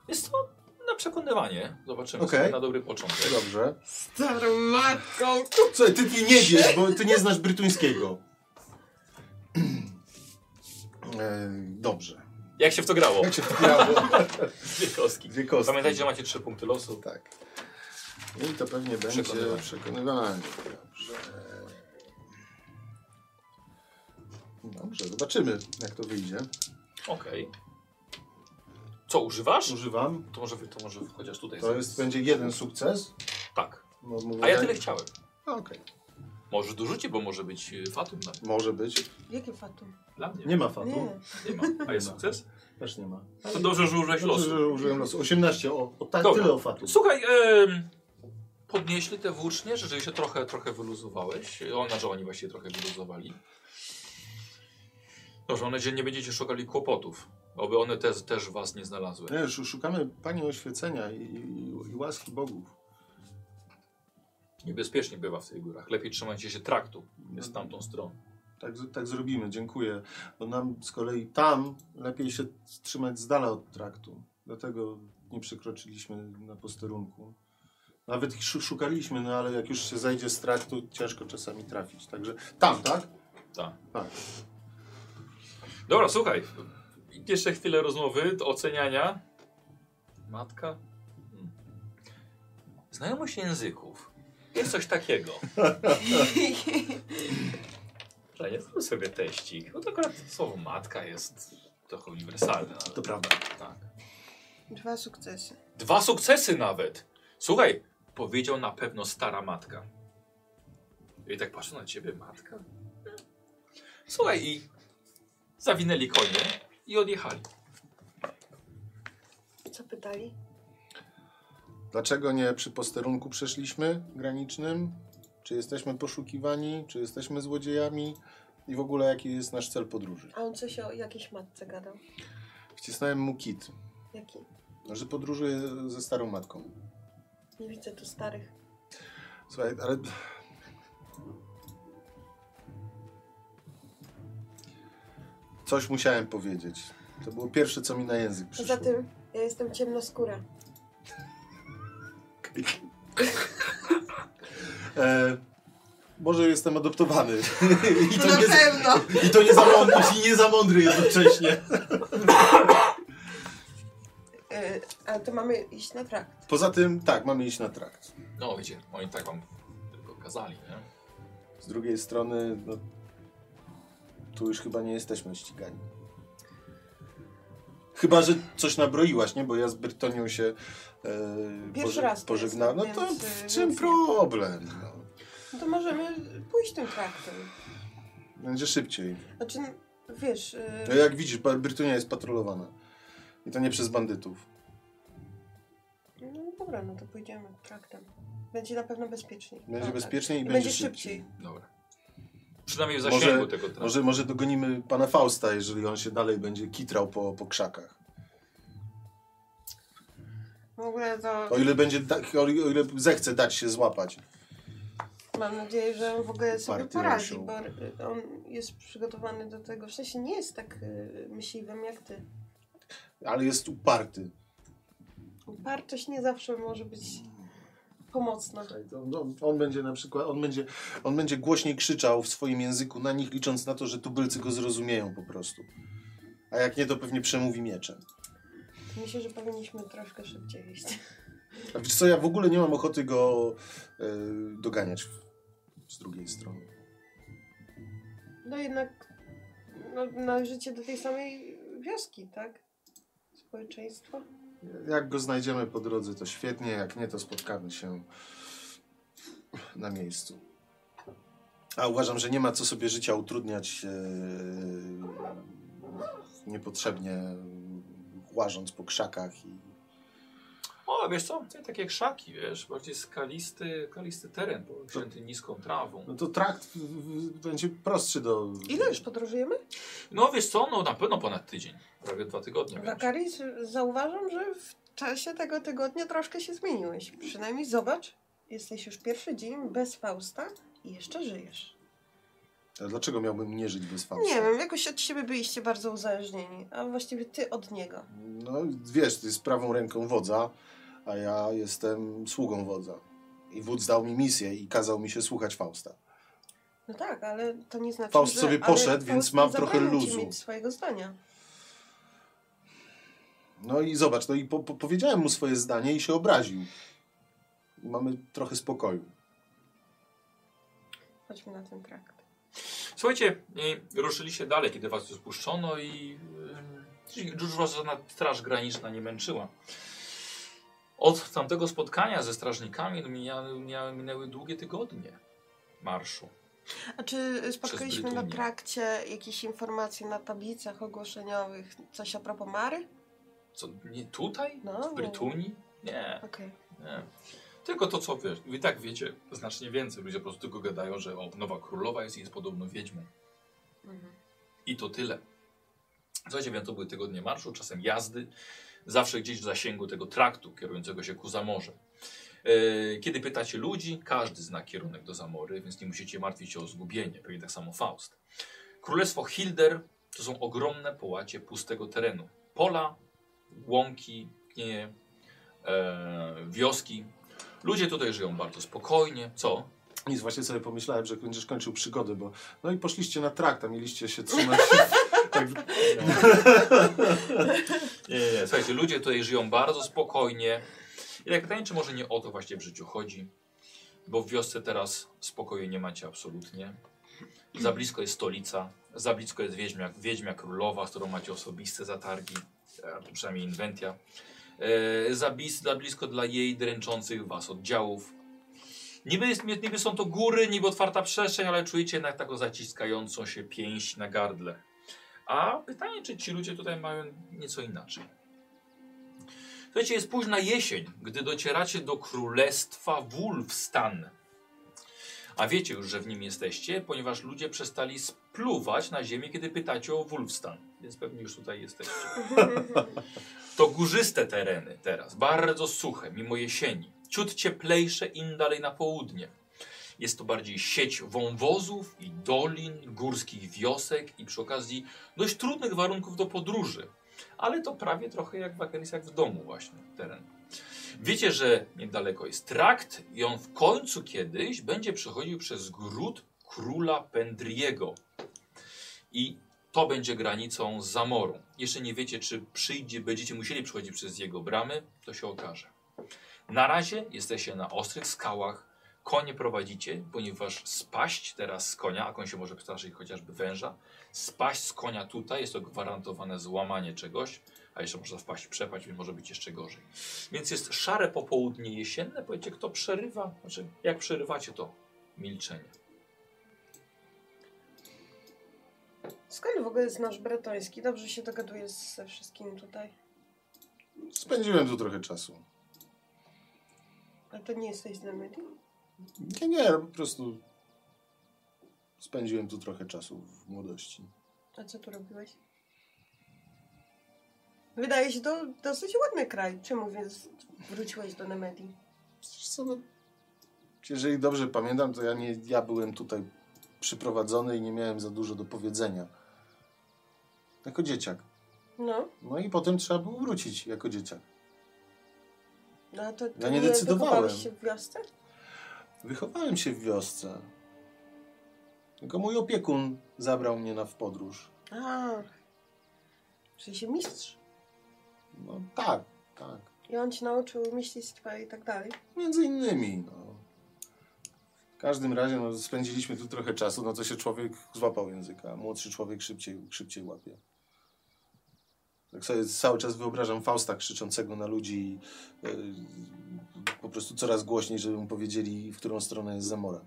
Speaker 1: jest to na przekonywanie. Zobaczymy
Speaker 2: Okej.
Speaker 1: sobie na dobry początek.
Speaker 2: Dobrze.
Speaker 3: Starą matką!
Speaker 2: Słuchaj, tak. No ty, ty nie wiesz, bo ty nie znasz brytuńskiego. E, dobrze.
Speaker 1: Jak się w to grało?
Speaker 2: Jak się wpijało?
Speaker 1: Dwie kostki.
Speaker 2: Dwie kostki.
Speaker 1: Pamiętajcie, że macie trzy punkty losu.
Speaker 2: Tak. No i to pewnie będzie
Speaker 1: Przekonywanie.
Speaker 2: przekonywanie. Dobrze. Dobrze, zobaczymy jak to wyjdzie.
Speaker 1: Okej. Co, używasz?
Speaker 2: Używam.
Speaker 1: To może, wy- to może chociaż tutaj.
Speaker 2: To jest, będzie jeden sukces.
Speaker 1: Tak.
Speaker 2: No, mówię
Speaker 1: A ja
Speaker 2: tak.
Speaker 1: tyle chciałem.
Speaker 2: A, Okej.
Speaker 1: Może dorzucie, bo może być y, fatum nawet.
Speaker 2: Może być.
Speaker 3: Jakie fatum?
Speaker 1: Dla mnie.
Speaker 2: Nie ma fatu.
Speaker 3: Nie.
Speaker 1: Nie ma. A jest sukces?
Speaker 2: Też nie ma.
Speaker 1: To dobrze, że użyłeś
Speaker 2: Dobrze,
Speaker 1: losu.
Speaker 2: Znaczy, że użyłem losu. 18. O, o tak,
Speaker 1: Dobra.
Speaker 2: tyle o fatu.
Speaker 1: Słuchaj, em, podnieśli te włócznie, rzeczywiście trochę, trochę wyluzowałeś. Ona, że oni właściwie trochę wyluzowali. Dobrze, mam nadzieję, że nie będziecie szukali kłopotów. Oby one też, też was nie znalazły.
Speaker 2: Nie, sz- szukamy Pani oświecenia i, i, i łaski bogów.
Speaker 1: Niebezpiecznie bywa w tych górach. Lepiej trzymajcie się traktu. Jest tamtą stroną.
Speaker 2: Tak, z- tak zrobimy, dziękuję. Bo nam z kolei tam lepiej się trzymać z dala od traktu. Dlatego nie przekroczyliśmy na posterunku. Nawet ich szu- szukaliśmy, no ale jak już się zajdzie z traktu, ciężko czasami trafić. Także tam, tak?
Speaker 1: Tak.
Speaker 2: Tak.
Speaker 1: Dobra, słuchaj. Jeszcze chwilę rozmowy, do oceniania. Matka. Hmm. Znajomość języków. Jest coś takiego. Że ja zrobię sobie teścik. No to akurat słowo matka jest trochę uniwersalne. Ale...
Speaker 2: To prawda.
Speaker 1: Tak.
Speaker 3: Dwa sukcesy.
Speaker 1: Dwa sukcesy nawet. Słuchaj, powiedział na pewno stara matka. I tak patrzę na ciebie, matka. Słuchaj, i zawinęli konie i odjechali.
Speaker 3: Co pytali?
Speaker 2: Dlaczego nie przy posterunku przeszliśmy granicznym? Czy jesteśmy poszukiwani? Czy jesteśmy złodziejami? I w ogóle jaki jest nasz cel podróży?
Speaker 3: A on coś o jakiejś matce gadał.
Speaker 2: Wcisnąłem mu kit,
Speaker 3: Jaki?
Speaker 2: że podróżuję ze starą matką.
Speaker 3: Nie widzę tu starych.
Speaker 2: Słuchaj, ale... Coś musiałem powiedzieć. To było pierwsze, co mi na język przyszło.
Speaker 3: Poza tym ja jestem ciemnoskóra.
Speaker 2: E, może jestem adoptowany. I to, nie,
Speaker 3: No pewno!
Speaker 2: I to nie za mądry, i nie za mądry jednocześnie.
Speaker 3: Y, ale to mamy iść na trakt.
Speaker 2: Poza tym, tak, mamy iść na trakt.
Speaker 1: No wiecie, oni tak wam tylko kazali, nie?
Speaker 2: Z drugiej strony, no, tu już chyba nie jesteśmy ścigani. Chyba, że coś nabroiłaś, nie? Bo ja z Brytonią się e,
Speaker 3: Pierwszy raz to
Speaker 2: pożegnałem. No
Speaker 3: jest,
Speaker 2: to
Speaker 3: więc,
Speaker 2: w
Speaker 3: y,
Speaker 2: czym
Speaker 3: więc-
Speaker 2: problem? No.
Speaker 3: No to możemy pójść tym traktem.
Speaker 2: Będzie szybciej.
Speaker 3: Znaczy, wiesz... y,
Speaker 2: No, jak widzisz, Ba- Brytonia jest patrolowana. I to nie przez bandytów.
Speaker 3: No dobra, no to pójdziemy traktem. Będzie na pewno bezpieczniej.
Speaker 2: Będzie
Speaker 3: Tak, tak.
Speaker 2: bezpieczniej i,
Speaker 3: I będzie szybciej.
Speaker 1: Dobra. przynajmniej w
Speaker 2: Może-
Speaker 1: zasięgu tego traktu.
Speaker 2: Może, może dogonimy pana Fausta, jeżeli on się dalej będzie kitrał po, po krzakach.
Speaker 3: W ogóle to
Speaker 2: O ile będzie, da, o ile o ile zechce dać się złapać.
Speaker 3: mam nadzieję, że on w ogóle sobie
Speaker 2: Party
Speaker 3: poradzi,
Speaker 2: ruszył.
Speaker 3: bo y, on jest przygotowany do tego. W sensie nie jest tak y, myśliwym jak ty.
Speaker 2: Ale jest uparty.
Speaker 3: Uparczość nie zawsze może być pomocna.
Speaker 2: On, on- No, on będzie na przykład, on będzie, on będzie głośniej krzyczał w swoim języku na nich, licząc na to, że tubylcy go zrozumieją po prostu. A jak nie, to pewnie przemówi mieczem.
Speaker 3: Myślę, że powinniśmy troszkę szybciej iść.
Speaker 2: A wiesz co, ja w ogóle nie mam ochoty go e, doganiać w, z drugiej strony.
Speaker 3: No jednak no, należycie do tej samej wioski, tak? Społeczeństwo.
Speaker 2: Jak go znajdziemy po drodze, to świetnie, jak nie, to spotkamy się na miejscu. A uważam, że nie ma co sobie życia utrudniać e, niepotrzebnie łażąc po krzakach i
Speaker 1: O, wiesz co, te takie krzaki, wiesz, bardziej skalisty, skalisty teren, pokrzęty niską trawą.
Speaker 2: No to trakt w- w- będzie prostszy do.
Speaker 3: Ile już podróżujemy?
Speaker 1: No wiesz co, no na pewno ponad tydzień, prawie dwa tygodnie. wręcz.
Speaker 3: Wakaris, zauważam, że w czasie tego tygodnia troszkę się zmieniłeś. Przynajmniej zobacz, jesteś już pierwszy dzień bez Fausta i jeszcze żyjesz.
Speaker 2: A dlaczego miałbym nie żyć bez Fausta?
Speaker 3: Nie wiem, jakoś od siebie byliście bardzo uzależnieni, a właściwie ty od niego.
Speaker 2: No wiesz, ty jest prawą ręką wodza, a ja jestem sługą wodza. I wódz dał mi misję i kazał mi się słuchać Fausta.
Speaker 3: No tak, ale to nie znaczy,
Speaker 2: Faust
Speaker 3: że...
Speaker 2: sobie
Speaker 3: ale
Speaker 2: poszedł, więc
Speaker 3: Faust
Speaker 2: mam
Speaker 3: zabronił
Speaker 2: trochę
Speaker 3: ci
Speaker 2: luzu.
Speaker 3: mieć swojego zdania.
Speaker 2: No i zobacz, no i po, po, powiedziałem mu swoje zdanie i się obraził. I mamy trochę spokoju.
Speaker 3: Chodźmy na ten trakt.
Speaker 1: Słuchajcie, y, ruszyliście dalej, kiedy was tu spuszczono i y, już was żadna straż graniczna nie męczyła. Od tamtego spotkania ze strażnikami minęły, minęły, minęły długie tygodnie marszu.
Speaker 3: A czy spotkaliśmy na
Speaker 1: Brytunię.
Speaker 3: trakcie jakieś informacje na tablicach ogłoszeniowych? Coś a propos Mary?
Speaker 1: Co, nie tutaj?
Speaker 3: No.
Speaker 1: W Brytunii? Nie.
Speaker 3: Okej.
Speaker 1: Nie. Tylko to, co wiesz. Wy i tak wiecie znacznie więcej. Ludzie po prostu tylko gadają, że o, nowa królowa jest i jest podobno wiedźmą.
Speaker 3: Mhm.
Speaker 1: I to tyle. Słuchajcie, więc to były tygodnie marszu, czasem jazdy, zawsze gdzieś w zasięgu tego traktu kierującego się ku zamorze. E, Kiedy pytacie ludzi, każdy zna kierunek do zamory, więc nie musicie martwić się o zgubienie, pewnie tak samo Faust. Królestwo Hilder to są ogromne połacie pustego terenu. Pola, łąki, nie, e, wioski. Ludzie tutaj żyją bardzo spokojnie. Co?
Speaker 2: Nic, właśnie sobie pomyślałem, że będziesz kończył przygodę, bo... No i poszliście na trakt, a mieliście się trzymać... tak,
Speaker 1: Nie, nie, nie. E, Słuchajcie, ludzie tutaj żyją bardzo spokojnie. I tak pytanie, czy może nie o to właśnie w życiu chodzi? Bo w wiosce teraz spokoju nie macie absolutnie. Za blisko jest stolica, za blisko jest Wiedźmia, Wiedźmia Królowa, z którą macie osobiste zatargi, e, to przynajmniej inwentja. E, za, bis, za blisko dla jej dręczących was oddziałów. Niby, jest, niby są to góry, niby otwarta przestrzeń, ale czujecie jednak taką zaciskającą się pięść na gardle. A pytanie, czy ci ludzie tutaj mają nieco inaczej. Słuchajcie, jest późna jesień, gdy docieracie do królestwa Wulfstan. A wiecie już, że w nim jesteście, ponieważ ludzie przestali spluwać na ziemię, kiedy pytacie o Wulfstan. Więc pewnie już tutaj jesteście. To górzyste tereny teraz, bardzo suche, mimo jesieni. Ciut cieplejsze im dalej na południe. Jest to bardziej sieć wąwozów i dolin, górskich wiosek i przy okazji dość trudnych warunków do podróży. Ale to prawie trochę jak w wakacjach jak w domu właśnie teren. Wiecie, że niedaleko jest trakt i on w końcu kiedyś będzie przechodził przez gród króla Pendriego. I to będzie granicą z Zamorą. Jeszcze nie wiecie, czy przyjdzie, będziecie musieli przechodzić przez jego bramy, to się okaże. Na razie jesteście na ostrych skałach, konie prowadzicie, ponieważ spaść teraz z konia, a koń się może przestraszyć chociażby węża, spaść z konia tutaj, jest to gwarantowane złamanie czegoś, a jeszcze można wpaść w przepaść, więc może być jeszcze gorzej. Więc jest szare popołudnie jesienne, powiecie, kto przerywa, znaczy jak przerywacie to milczenie.
Speaker 3: Skąd w ogóle znasz bretoński? Dobrze się dogadujesz ze wszystkim tutaj.
Speaker 2: spędziłem tu trochę czasu.
Speaker 3: Ale to nie jesteś z Nemedii?
Speaker 2: Nie, nie, po prostu Spędziłem tu trochę czasu w młodości.
Speaker 3: A co tu robiłeś? Wydaje się to dosyć ładny kraj. Czemu więc wróciłeś do Nemedii?
Speaker 2: Wiesz co, no, jeżeli dobrze pamiętam, to ja, nie, ja byłem tutaj przyprowadzony i nie miałem za dużo do powiedzenia. Jako dzieciak.
Speaker 3: No,
Speaker 2: No i potem trzeba było wrócić jako dzieciak.
Speaker 3: no a to ty
Speaker 2: Ja nie decydowałem.
Speaker 3: wychowałeś się w wiosce?
Speaker 2: Wychowałem się w wiosce. Tylko mój opiekun zabrał mnie na w podróż.
Speaker 3: A, czyli się mistrz.
Speaker 2: No tak, tak.
Speaker 3: I on ci nauczył myślistwa i tak dalej.
Speaker 2: Między innymi, no. W każdym razie, no, spędziliśmy tu trochę czasu, no to się człowiek złapał języka. Młodszy człowiek szybciej, szybciej łapie. Tak sobie cały czas wyobrażam Fausta krzyczącego na ludzi yy, po prostu coraz głośniej, żeby mu powiedzieli, w którą stronę jest zamora.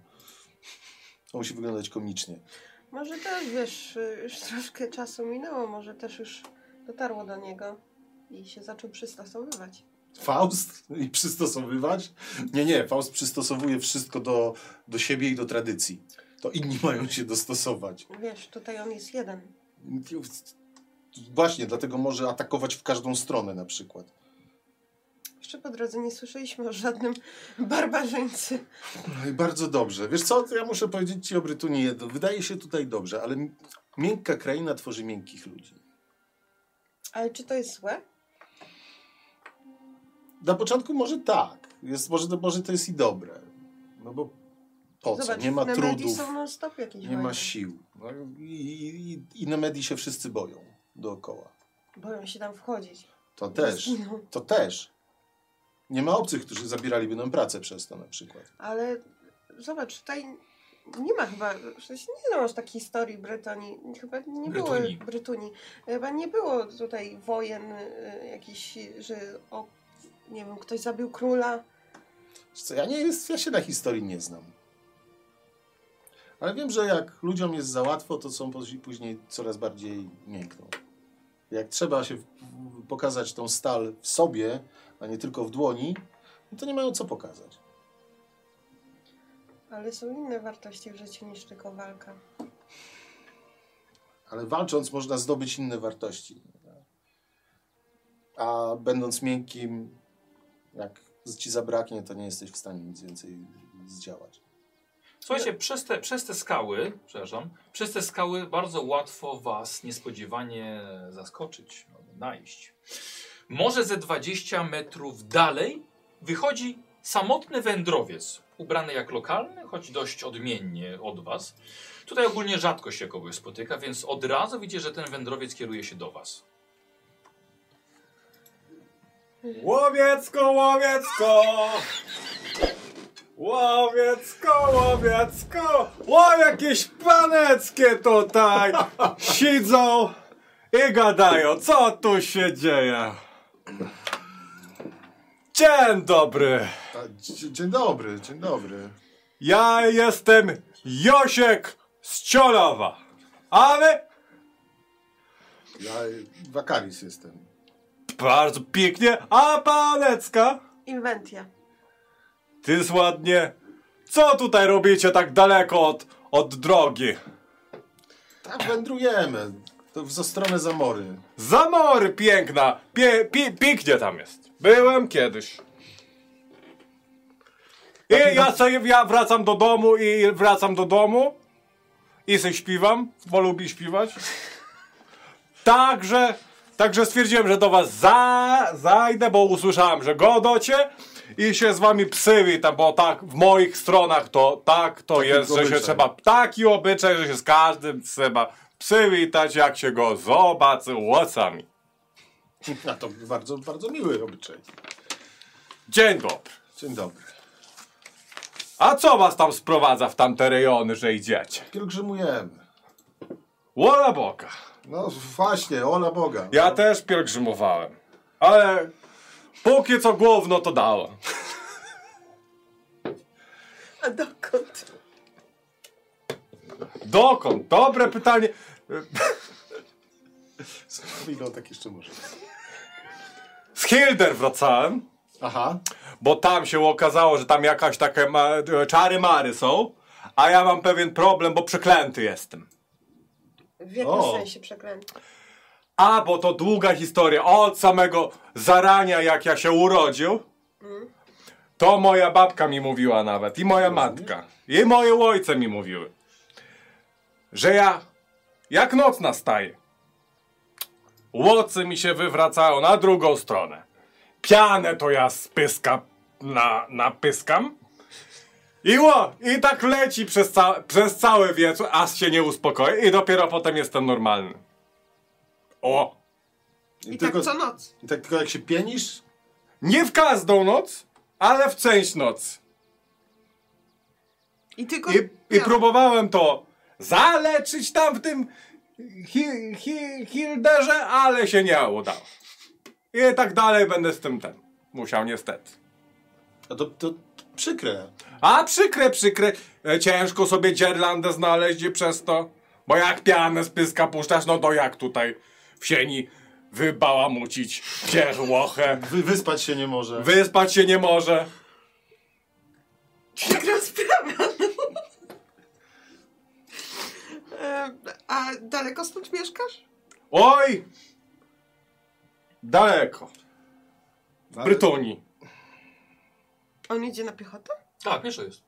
Speaker 2: On musi wyglądać komicznie.
Speaker 3: Może też, wiesz, y, już troszkę czasu minęło, może też już dotarło do niego i się zaczął przystosowywać.
Speaker 2: Faust i przystosowywać? Nie, nie, Faust przystosowuje wszystko do, do siebie i do tradycji. To inni mają się dostosować.
Speaker 3: Wiesz, tutaj on jest jeden.
Speaker 2: Właśnie, dlatego może atakować w każdą stronę na przykład.
Speaker 3: Jeszcze po drodze nie słyszeliśmy o żadnym barbarzyńcy.
Speaker 2: No i bardzo dobrze. Wiesz co, to ja muszę powiedzieć ci o Brytunii jedno. Wydaje się tutaj dobrze, ale mi- miękka kraina tworzy miękkich ludzi.
Speaker 3: Ale czy to jest złe?
Speaker 2: Na początku może tak. Jest, może, to- może to jest i dobre. No bo po co?
Speaker 3: Zobacz,
Speaker 2: nie ma
Speaker 3: na Medii
Speaker 2: trudów.
Speaker 3: są non stop jakieś
Speaker 2: Nie
Speaker 3: wojny.
Speaker 2: ma sił. No, i, i, i- I na medii się wszyscy boją dookoła.
Speaker 3: Boją się tam wchodzić.
Speaker 2: To też.
Speaker 3: Zginą.
Speaker 2: To też. Nie ma obcych, którzy zabieraliby nam pracę przez to na przykład.
Speaker 3: Ale zobacz, tutaj nie ma chyba, w sensie nie znam aż takiej historii Brytonii. Chyba nie
Speaker 1: Brytunii.
Speaker 3: było Brytunii. Chyba nie było tutaj wojen y, jakichś, że o, nie wiem, ktoś zabił króla.
Speaker 2: Wiesz Co, ja, nie jest, ja się na historii nie znam. Ale wiem, że jak ludziom jest za łatwo, to są później- później coraz bardziej miękną. Jak trzeba się w- w- pokazać tą stal w sobie, a nie tylko w dłoni, no to nie mają co pokazać.
Speaker 3: Ale są inne wartości w życiu niż tylko walka.
Speaker 2: Ale walcząc można zdobyć inne wartości. A będąc miękkim, jak ci zabraknie, to nie jesteś w stanie nic więcej zdziałać.
Speaker 1: Słuchajcie, przez te, przez te skały, przepraszam, przez te skały bardzo łatwo was niespodziewanie zaskoczyć, albo najść. Może ze 20 metrów dalej wychodzi samotny wędrowiec, ubrany jak lokalny, choć dość odmiennie od was. Tutaj ogólnie rzadko się kogoś spotyka, więc od razu widzicie, że ten wędrowiec kieruje się do was.
Speaker 4: Łowiecko, łowiecko! Łowiecko, łowiecko! O, jakieś paneckie tutaj siedzą i gadają, co tu się dzieje? Dzień dobry,
Speaker 2: A, dzie- dzień dobry, dzień dobry.
Speaker 4: ja jestem Josiek z Ciorowa, a wy
Speaker 2: Ja wakaris jestem.
Speaker 4: bardzo pięknie, a panecka
Speaker 3: Inwentia.
Speaker 4: Ty jest ładnie. Co tutaj robicie tak daleko od, od drogi?
Speaker 2: Tak wędrujemy. To w za stronę zamory.
Speaker 4: Zamory piękna! Pie, pie, pięknie tam jest. Byłem kiedyś. I ja, sobie, ja wracam do domu i wracam do domu i se śpiwam, bo lubi śpiewać. Także, także stwierdziłem, że do was za, zajdę, bo usłyszałem, że godocie i się z wami przywitam, bo tak w moich stronach to tak to jest, że się
Speaker 2: obyczaj.
Speaker 4: trzeba, taki obyczaj, że się z każdym trzeba przywitać, jak się go zobaczy łocami.
Speaker 2: A to bardzo, bardzo miły obyczaj.
Speaker 4: Dzień dobry.
Speaker 2: Dzień dobry.
Speaker 4: A co was tam sprowadza w tamte rejony, że idziecie?
Speaker 2: Pielgrzymujemy.
Speaker 4: Wola Boga.
Speaker 2: No właśnie, ola Boga.
Speaker 4: Ja też pielgrzymowałem. Ale póki co główno to dało.
Speaker 3: A dokąd?
Speaker 4: Dokąd? Dobre pytanie.
Speaker 2: Ile tak jeszcze może?
Speaker 4: Z Hilder wracałem,
Speaker 2: Aha.
Speaker 4: bo tam się okazało, że tam jakaś takie ma... czary mary są. a ja mam pewien problem, bo przeklęty jestem.
Speaker 3: W jakim
Speaker 2: O.
Speaker 3: sensie przeklęty?
Speaker 4: A, bo to długa historia. Od samego zarania, jak ja się urodził, to moja babka mi mówiła nawet, i moja matka, i moje ojce mi mówiły, że ja, jak noc nastaje, łocy mi się wywracają na drugą stronę. Pianę to ja spyska, na, napyskam. I ło, i tak leci przez, ca- przez cały wieczór, aż się nie uspokoi i dopiero potem jestem normalny. O!
Speaker 3: I tak co noc.
Speaker 2: I tak tylko jak się pienisz,
Speaker 4: Nie w każdą noc, ale w część noc.
Speaker 3: I tylko...
Speaker 4: I, i
Speaker 3: Ja.
Speaker 4: próbowałem to zaleczyć tam w tym hi, hi, Hilderze, ale się nie udało. I tak dalej będę z tym ten. Musiał niestety.
Speaker 2: a to, to przykre.
Speaker 4: A przykre, przykre. E, Ciężko sobie dzierlandę znaleźć i przez to. Bo jak pianę z pyska puszczasz, no to jak tutaj w sieni wybałamucić cierłochę.
Speaker 2: Wy, wyspać się nie może.
Speaker 4: Wyspać się nie może.
Speaker 3: Przykra sprawa. E, A daleko stąd mieszkasz?
Speaker 4: Oj! Daleko. W
Speaker 2: Ale-
Speaker 4: Brytonii.
Speaker 3: On idzie na piechotę?
Speaker 1: Tak, jeszcze jest.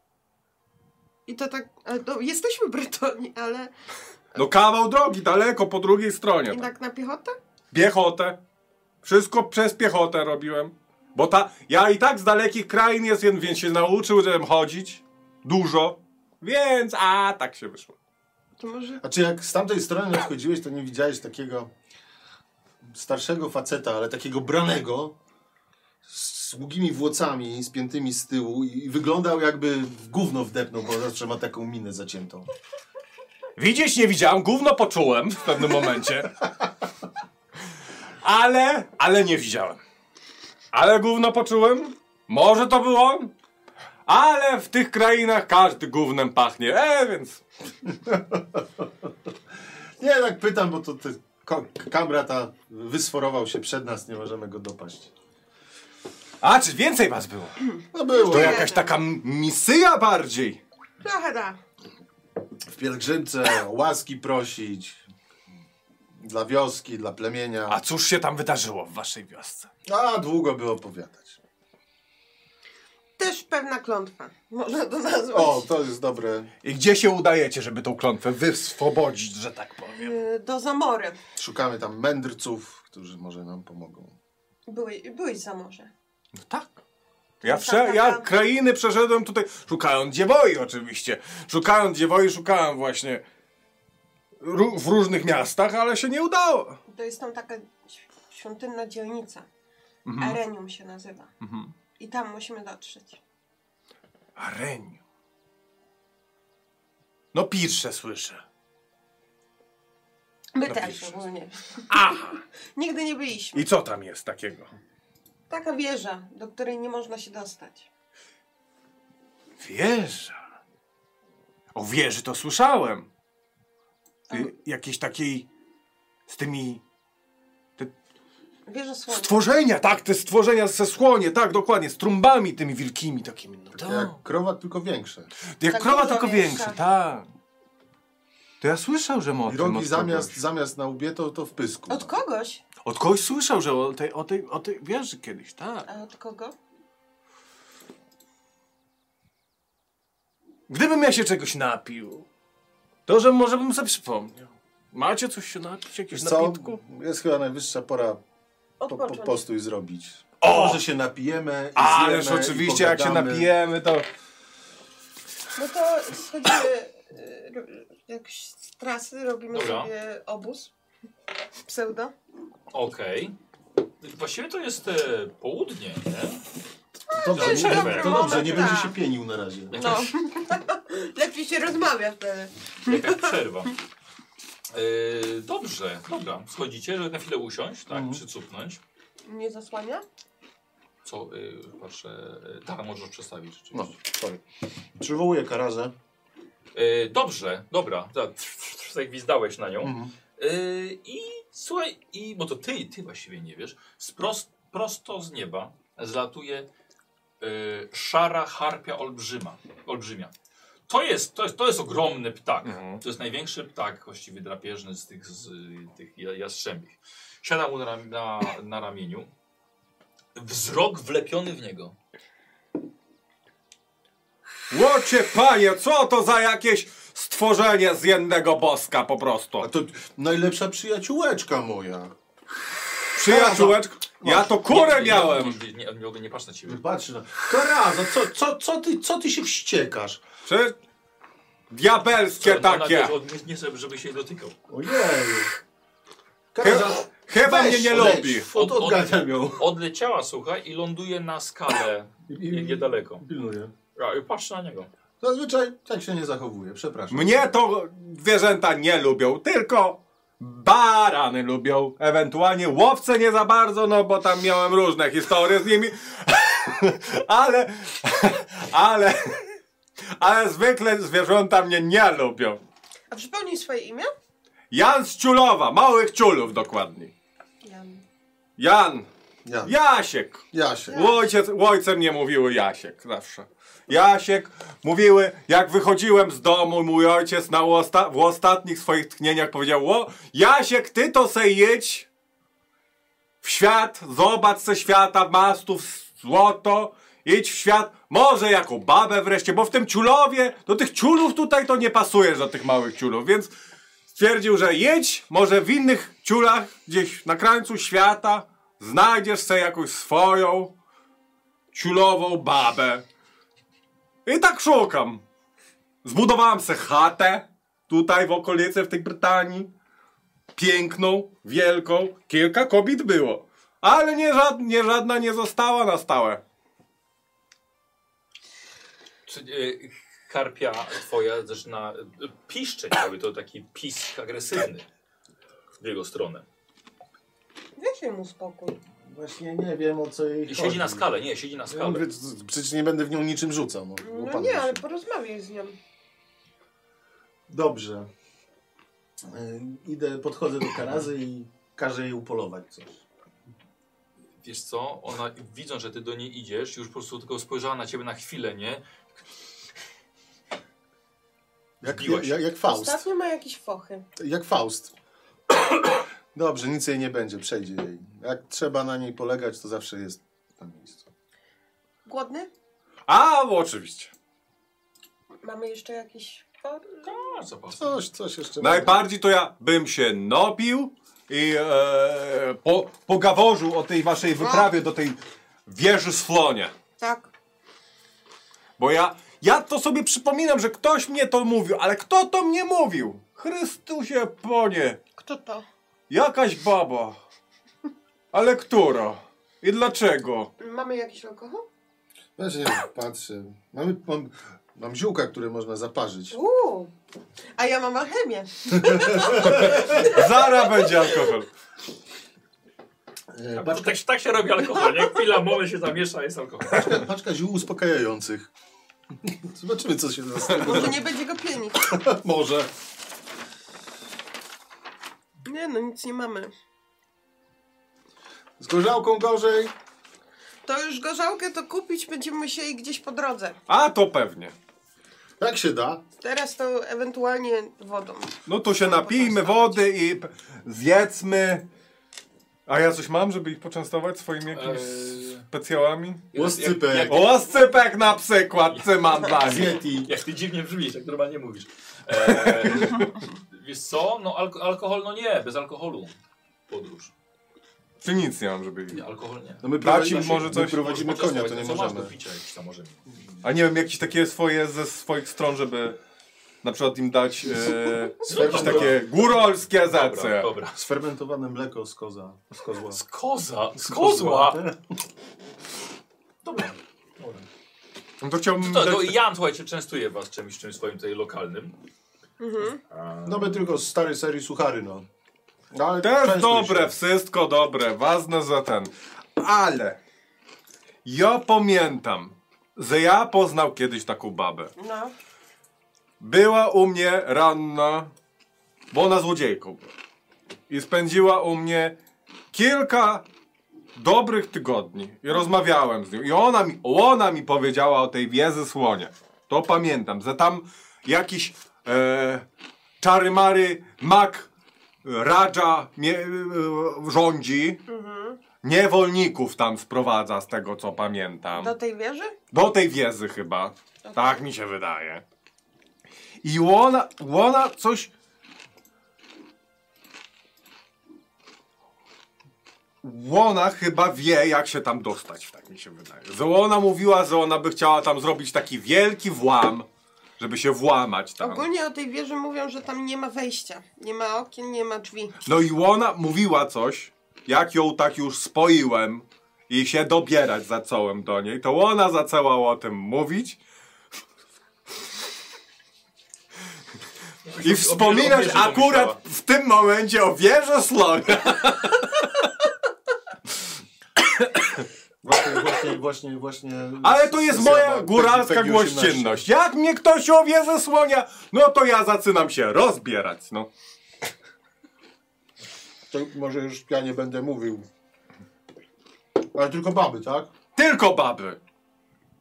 Speaker 3: I to tak... e, No, jesteśmy w Brytonii, ale...
Speaker 4: No kawał drogi, daleko, po drugiej stronie.
Speaker 3: I tak na piechotę?
Speaker 4: Piechotę. Wszystko przez piechotę robiłem. Bo ta, ja i tak z dalekich krain jestem, więc się nauczył, żebym chodzić. Dużo. Więc, a tak się wyszło.
Speaker 3: To może...
Speaker 2: A czy jak z tamtej strony nadchodziłeś, to nie widziałeś takiego starszego faceta, ale takiego branego, z długimi włocami, spiętymi z tyłu i wyglądał jakby w gówno wdepnął, bo zawsze ma taką minę zaciętą.
Speaker 4: Widzieć nie widziałem, gówno poczułem w pewnym momencie. Ale, ale nie widziałem. Ale gówno poczułem? Może to był on? Ale w tych krainach każdy gównem pachnie, e, więc...
Speaker 2: Nie, tak pytam, bo to te, ko- kamra ta wysforował się przed nas, nie możemy go dopaść.
Speaker 4: A, czy więcej was było?
Speaker 2: No było.
Speaker 4: To jakaś taka m- misja bardziej.
Speaker 3: Trochę da.
Speaker 2: W pielgrzymce łaski prosić. Dla wioski, dla plemienia.
Speaker 4: A cóż się tam wydarzyło w waszej wiosce?
Speaker 2: A długo by opowiadać.
Speaker 3: Też pewna klątwa. Można to nazwać.
Speaker 2: O, to jest dobre.
Speaker 4: I gdzie się udajecie, żeby tą klątwę wyswobodzić, że tak powiem?
Speaker 3: E, Do zamory.
Speaker 2: Szukamy tam mędrców, którzy może nam pomogą.
Speaker 3: Były, byłeś za morze.
Speaker 4: No tak. Ja, prze, ja krainy przeszedłem tutaj, szukając dziewoi oczywiście. Szukając dziewoi, szukałem właśnie ró- w różnych miastach, ale się nie udało.
Speaker 3: To jest tam taka ś- świątynna dzielnica.
Speaker 4: Mhm,
Speaker 2: Mhm.
Speaker 3: Arenium się nazywa. I tam musimy dotrzeć.
Speaker 4: Areniu. No pierwsze słyszę.
Speaker 3: My
Speaker 4: No
Speaker 3: też
Speaker 4: wiesz.
Speaker 3: ogólnie.
Speaker 4: Aha.
Speaker 3: Nigdy nie byliśmy.
Speaker 4: I co tam jest takiego?
Speaker 3: Taka wieża, do której nie można się dostać.
Speaker 4: Wieża. O wieży to słyszałem. Y, jakiejś takiej z tymi
Speaker 3: Wieża słońca.
Speaker 4: stworzenia, tak, te stworzenia ze słonie, tak, dokładnie, z trąbami tymi wielkimi takimi. No
Speaker 2: Takie jak krowa, tylko większe.
Speaker 4: Jak
Speaker 3: Tak
Speaker 4: krowa
Speaker 3: dużo
Speaker 4: tylko
Speaker 3: większa.
Speaker 4: większa, tak. To ja słyszał, że ma
Speaker 2: I
Speaker 4: o tym
Speaker 2: rogi
Speaker 4: od
Speaker 2: zamiast,
Speaker 4: kogoś.
Speaker 2: zamiast na łbie, to, to w pysku.
Speaker 3: Od kogoś?
Speaker 4: Od kogoś słyszał, że o tej, o tej, o tej wieży kiedyś, tak.
Speaker 3: A od kogo?
Speaker 4: Gdybym ja się czegoś napił, to że może bym sobie przypomniał. Macie coś się napić, jakieś
Speaker 2: Wiesz co?
Speaker 4: napitku?
Speaker 2: Jest chyba najwyższa pora po, po,
Speaker 3: Odpocząć.
Speaker 2: postój zrobić.
Speaker 4: O!
Speaker 2: Może się napijemy i
Speaker 4: Ależ
Speaker 2: zjemy, i
Speaker 4: oczywiście, jak się
Speaker 2: pogadamy.
Speaker 4: napijemy, to...
Speaker 3: No to schodzimy y, ro- jakś z trasy, robimy
Speaker 1: Dobra.
Speaker 3: sobie obóz. Pseudo.
Speaker 1: Okej. Właściwie to jest e, południe, nie?
Speaker 2: To dobrze,
Speaker 1: jest
Speaker 2: nie,
Speaker 1: dobry
Speaker 2: to dobrze nie
Speaker 3: moment,
Speaker 2: będzie
Speaker 3: tak.
Speaker 2: się pienił na razie.
Speaker 3: No. Lepiej się rozmawia wtedy.
Speaker 1: Jaka przerwa. tak E, dobrze, dobra. Schodzicie, żeby na chwilę usiąść, tak,
Speaker 2: Mhm.
Speaker 1: przycupnąć.
Speaker 3: Nie zasłania?
Speaker 1: Co, e, patrzę, e, tak, możesz przestawić rzeczywiście.
Speaker 2: No, sorry. Przywołuję kararzę.
Speaker 1: E, dobrze, dobra, tak, zagwizdałeś na nią. E, I słuchaj, i, bo to ty, ty właściwie nie wiesz, z prost, prosto z nieba zlatuje e, szara harpia olbrzyma, olbrzymia. To jest, to jest, to jest ogromny ptak.
Speaker 4: Mhm.
Speaker 1: To jest największy ptak właściwie drapieżny z tych, z, y, tych ja- jastrzębich. Siada mu na, ram- na, na ramieniu. Wzrok wlepiony w niego.
Speaker 4: Łocie panie, co to za jakieś stworzenie z jednego boska po prostu?
Speaker 2: A to najlepsza przyjaciółeczka moja.
Speaker 4: Przyjaciółeczka. Ja to kurę
Speaker 1: Nie,
Speaker 4: miałem.
Speaker 1: nie, nie, nie, nie, nie patrz na ciebie.
Speaker 2: Patrzy na... Karaza, co, co, co, ty, co ty się wściekasz?
Speaker 4: Czy diabelskie
Speaker 1: Ona
Speaker 4: takie.
Speaker 1: też od- Nie chcę, żeby się jej dotykał.
Speaker 2: Ojej.
Speaker 4: Chyba,
Speaker 2: Karaza,
Speaker 4: chyba mnie nie
Speaker 2: leć.
Speaker 4: lubi.
Speaker 2: Od, odganiam ją.
Speaker 1: Odleciała, słuchaj, i ląduje na skalę
Speaker 2: I- i-
Speaker 1: niedaleko.
Speaker 2: Pilnuję.
Speaker 1: A, i patrz na niego.
Speaker 2: Zazwyczaj tak się nie zachowuje, przepraszam.
Speaker 4: Mnie to zwierzęta nie lubią, tylko barany lubią. Ewentualnie łowce nie za bardzo, no bo tam miałem różne historie z nimi. ale, ale, ale zwykle zwierzęta mnie nie lubią.
Speaker 3: A przypomnij swoje imię?
Speaker 4: Jan z Ciulowa, małych ciulów dokładnie.
Speaker 3: Jan.
Speaker 4: Jan,
Speaker 2: Ja, ja.
Speaker 4: Jasiek.
Speaker 2: Jasiek.
Speaker 4: Ojciec, ojcem nie mówiły Jasiek zawsze. Jasiek mówiły, jak wychodziłem z domu, mój ojciec na osta- w ostatnich swoich tchnieniach powiedział: o, Jasiek, ty to se jedź w świat, zobacz se świata, mastów, złoto, idź w świat, może jako babę wreszcie, bo w tym ciulowie, do tych ciulów tutaj to nie pasujesz, do tych małych ciulów, więc stwierdził, że jedź, może w innych ciulach, gdzieś na krańcu świata, znajdziesz sobie jakąś swoją ciulową babę. I tak szukam. Zbudowałem sobie chatę tutaj w okolicy, w tej Brytanii. Piękną, wielką. Kilka kobiet było. Ale nie, żad, nie żadna nie została na stałe.
Speaker 1: Czy, e, karpia twoja zaczyna e, piszczeć cały, to taki pisk agresywny w jego stronę.
Speaker 3: Wiecie mu spokój.
Speaker 2: Właśnie nie wiem o co jej
Speaker 1: I siedzi na skale, nie, siedzi na
Speaker 2: Ja
Speaker 1: skale.
Speaker 2: mówię, c- c- przecież nie będę w nią niczym rzucał. No,
Speaker 3: No
Speaker 2: Upadnę
Speaker 3: nie,
Speaker 2: się.
Speaker 3: ale porozmawiaj z nią.
Speaker 2: Dobrze. Y, idę, podchodzę do karazy i każę jej upolować coś.
Speaker 1: Wiesz co, ona widząc, że ty do niej idziesz, już po prostu tylko spojrzała na ciebie na chwilę, nie?
Speaker 2: Jak, jak,
Speaker 1: Wbiłaś.
Speaker 2: jak, jak Faust.
Speaker 3: Ostatnio ma jakieś fochy.
Speaker 2: Jak Faust. Dobrze, nic jej nie będzie, przejdzie jej. Jak trzeba na niej polegać, to zawsze jest na miejscu.
Speaker 3: Głodny?
Speaker 4: A, bo oczywiście.
Speaker 3: Mamy jeszcze jakiś por...
Speaker 1: A, zapas.
Speaker 2: Coś, coś jeszcze.
Speaker 4: Najbardziej to ja bym się napił i e, po, pogaworzył o tej waszej wyprawie do tej wieży z Flonie.
Speaker 3: Tak.
Speaker 4: Bo ja, ja to sobie przypominam, że ktoś mnie to mówił, ale kto to mnie mówił? Chrystusie Panie,
Speaker 3: Kto to?
Speaker 4: jakaś baba. Ale która? I dlaczego?
Speaker 3: Mamy jakiś alkohol?
Speaker 2: Znaczy, nie wiem, patrzę. Mamy, mam, mam ziółka, które można zaparzyć.
Speaker 3: Uuu. A ja mam alchemię.
Speaker 4: Zara będzie alkohol.
Speaker 2: E,
Speaker 1: To
Speaker 2: paczka,
Speaker 1: tak, tak się robi alkohol, nie? Chwila, moment się zamiesza, jest alkohol.
Speaker 2: paczka, paczka ziół uspokajających. Zobaczymy, co się następnie.
Speaker 3: Może nie będzie go pienić.
Speaker 2: Może.
Speaker 3: Nie no, nic nie mamy.
Speaker 2: Z gorzałką gorzej.
Speaker 3: To już gorzałkę to kupić będziemy musieli gdzieś po drodze.
Speaker 4: A to pewnie.
Speaker 2: Jak się da?
Speaker 3: Teraz to ewentualnie wodą.
Speaker 4: No to się napijmy wody i p- zjedzmy. A ja coś mam, żeby ich poczęstować swoimi jakimiś
Speaker 1: Eee.
Speaker 4: specjałami?
Speaker 2: Łoscypek.
Speaker 1: Jak, jak,
Speaker 4: O, sypek na przykład, czy mam dla niej.
Speaker 2: Yeti.
Speaker 1: jak ty dziwnie brzmisz, jak normalnie mówisz. Eee, wiesz co, no alko alkohol, no nie, bez alkoholu podróż.
Speaker 4: Czy nic nie mam, żeby ich...
Speaker 1: Nie, alkohol nie.
Speaker 2: No my
Speaker 4: Dać im
Speaker 2: prowadzi-
Speaker 4: może coś?
Speaker 2: My prowadzimy
Speaker 1: Chociaż
Speaker 2: konia, to
Speaker 1: powiedz,
Speaker 2: nie
Speaker 1: co masz
Speaker 2: możemy.
Speaker 1: do picia jakieś tam możemy.
Speaker 4: A nie wiem, jakieś takie swoje ze swoich stron, żeby na przykład im dać e, jakieś
Speaker 1: Dobra.
Speaker 4: takie górolskie
Speaker 1: Dobra,
Speaker 4: zace.
Speaker 1: dobra.
Speaker 2: Sfermentowane mleko z koza. Z kozła.
Speaker 1: Z koza, z kozła. Dobra. Dobra.
Speaker 4: No to chciałbym
Speaker 1: To,
Speaker 4: dać...
Speaker 1: to Jan, słuchajcie, częstuje was czymś, czymś swoim tutaj lokalnym.
Speaker 2: No by tylko z starej serii suchary, no. Ale
Speaker 4: To jest
Speaker 2: częstuj się.
Speaker 4: dobre, wszystko dobre, ważne za ten. Ale ja pamiętam, że ja poznał kiedyś taką babę.
Speaker 3: No.
Speaker 4: Była u mnie ranna, bo ona złodziejką była. I spędziła u mnie kilka dobrych tygodni. I rozmawiałem z nią. I ona mi, ona mi powiedziała o tej wiezy słonie. To pamiętam, że tam jakiś e, czary-mary mak Radża mie, e, rządzi. Niewolników tam sprowadza, z tego co pamiętam.
Speaker 3: Do tej wieży?
Speaker 4: Do tej wiezy chyba. Tak mi się wydaje. I łona, łona coś... Łona chyba wie, jak się tam dostać, tak mi się wydaje. Że ona mówiła, że ona by chciała tam zrobić taki wielki włam, żeby się włamać tam.
Speaker 3: Ogólnie o tej wieży mówią, że tam nie ma wejścia. Nie ma okien, nie ma drzwi.
Speaker 4: No i ona mówiła coś, jak ją tak już spoiłem i się dobierać zacząłem do niej, to ona zaczęła o tym mówić. I
Speaker 1: o
Speaker 4: wspominać
Speaker 1: wieży
Speaker 4: akurat
Speaker 1: pomyślała.
Speaker 4: w tym momencie o wieży Slonia.
Speaker 2: Właśnie, właśnie, właśnie, właśnie.
Speaker 4: Ale to jest
Speaker 2: sesja
Speaker 4: moja
Speaker 2: ma-
Speaker 4: góralska
Speaker 2: PG-18.
Speaker 4: głościnność. Jak mnie ktoś o wieżę słonia, no to ja zaczynam się rozbierać. No.
Speaker 2: To może już ja nie będę mówił. Ale tylko baby, tak?
Speaker 4: Tylko baby.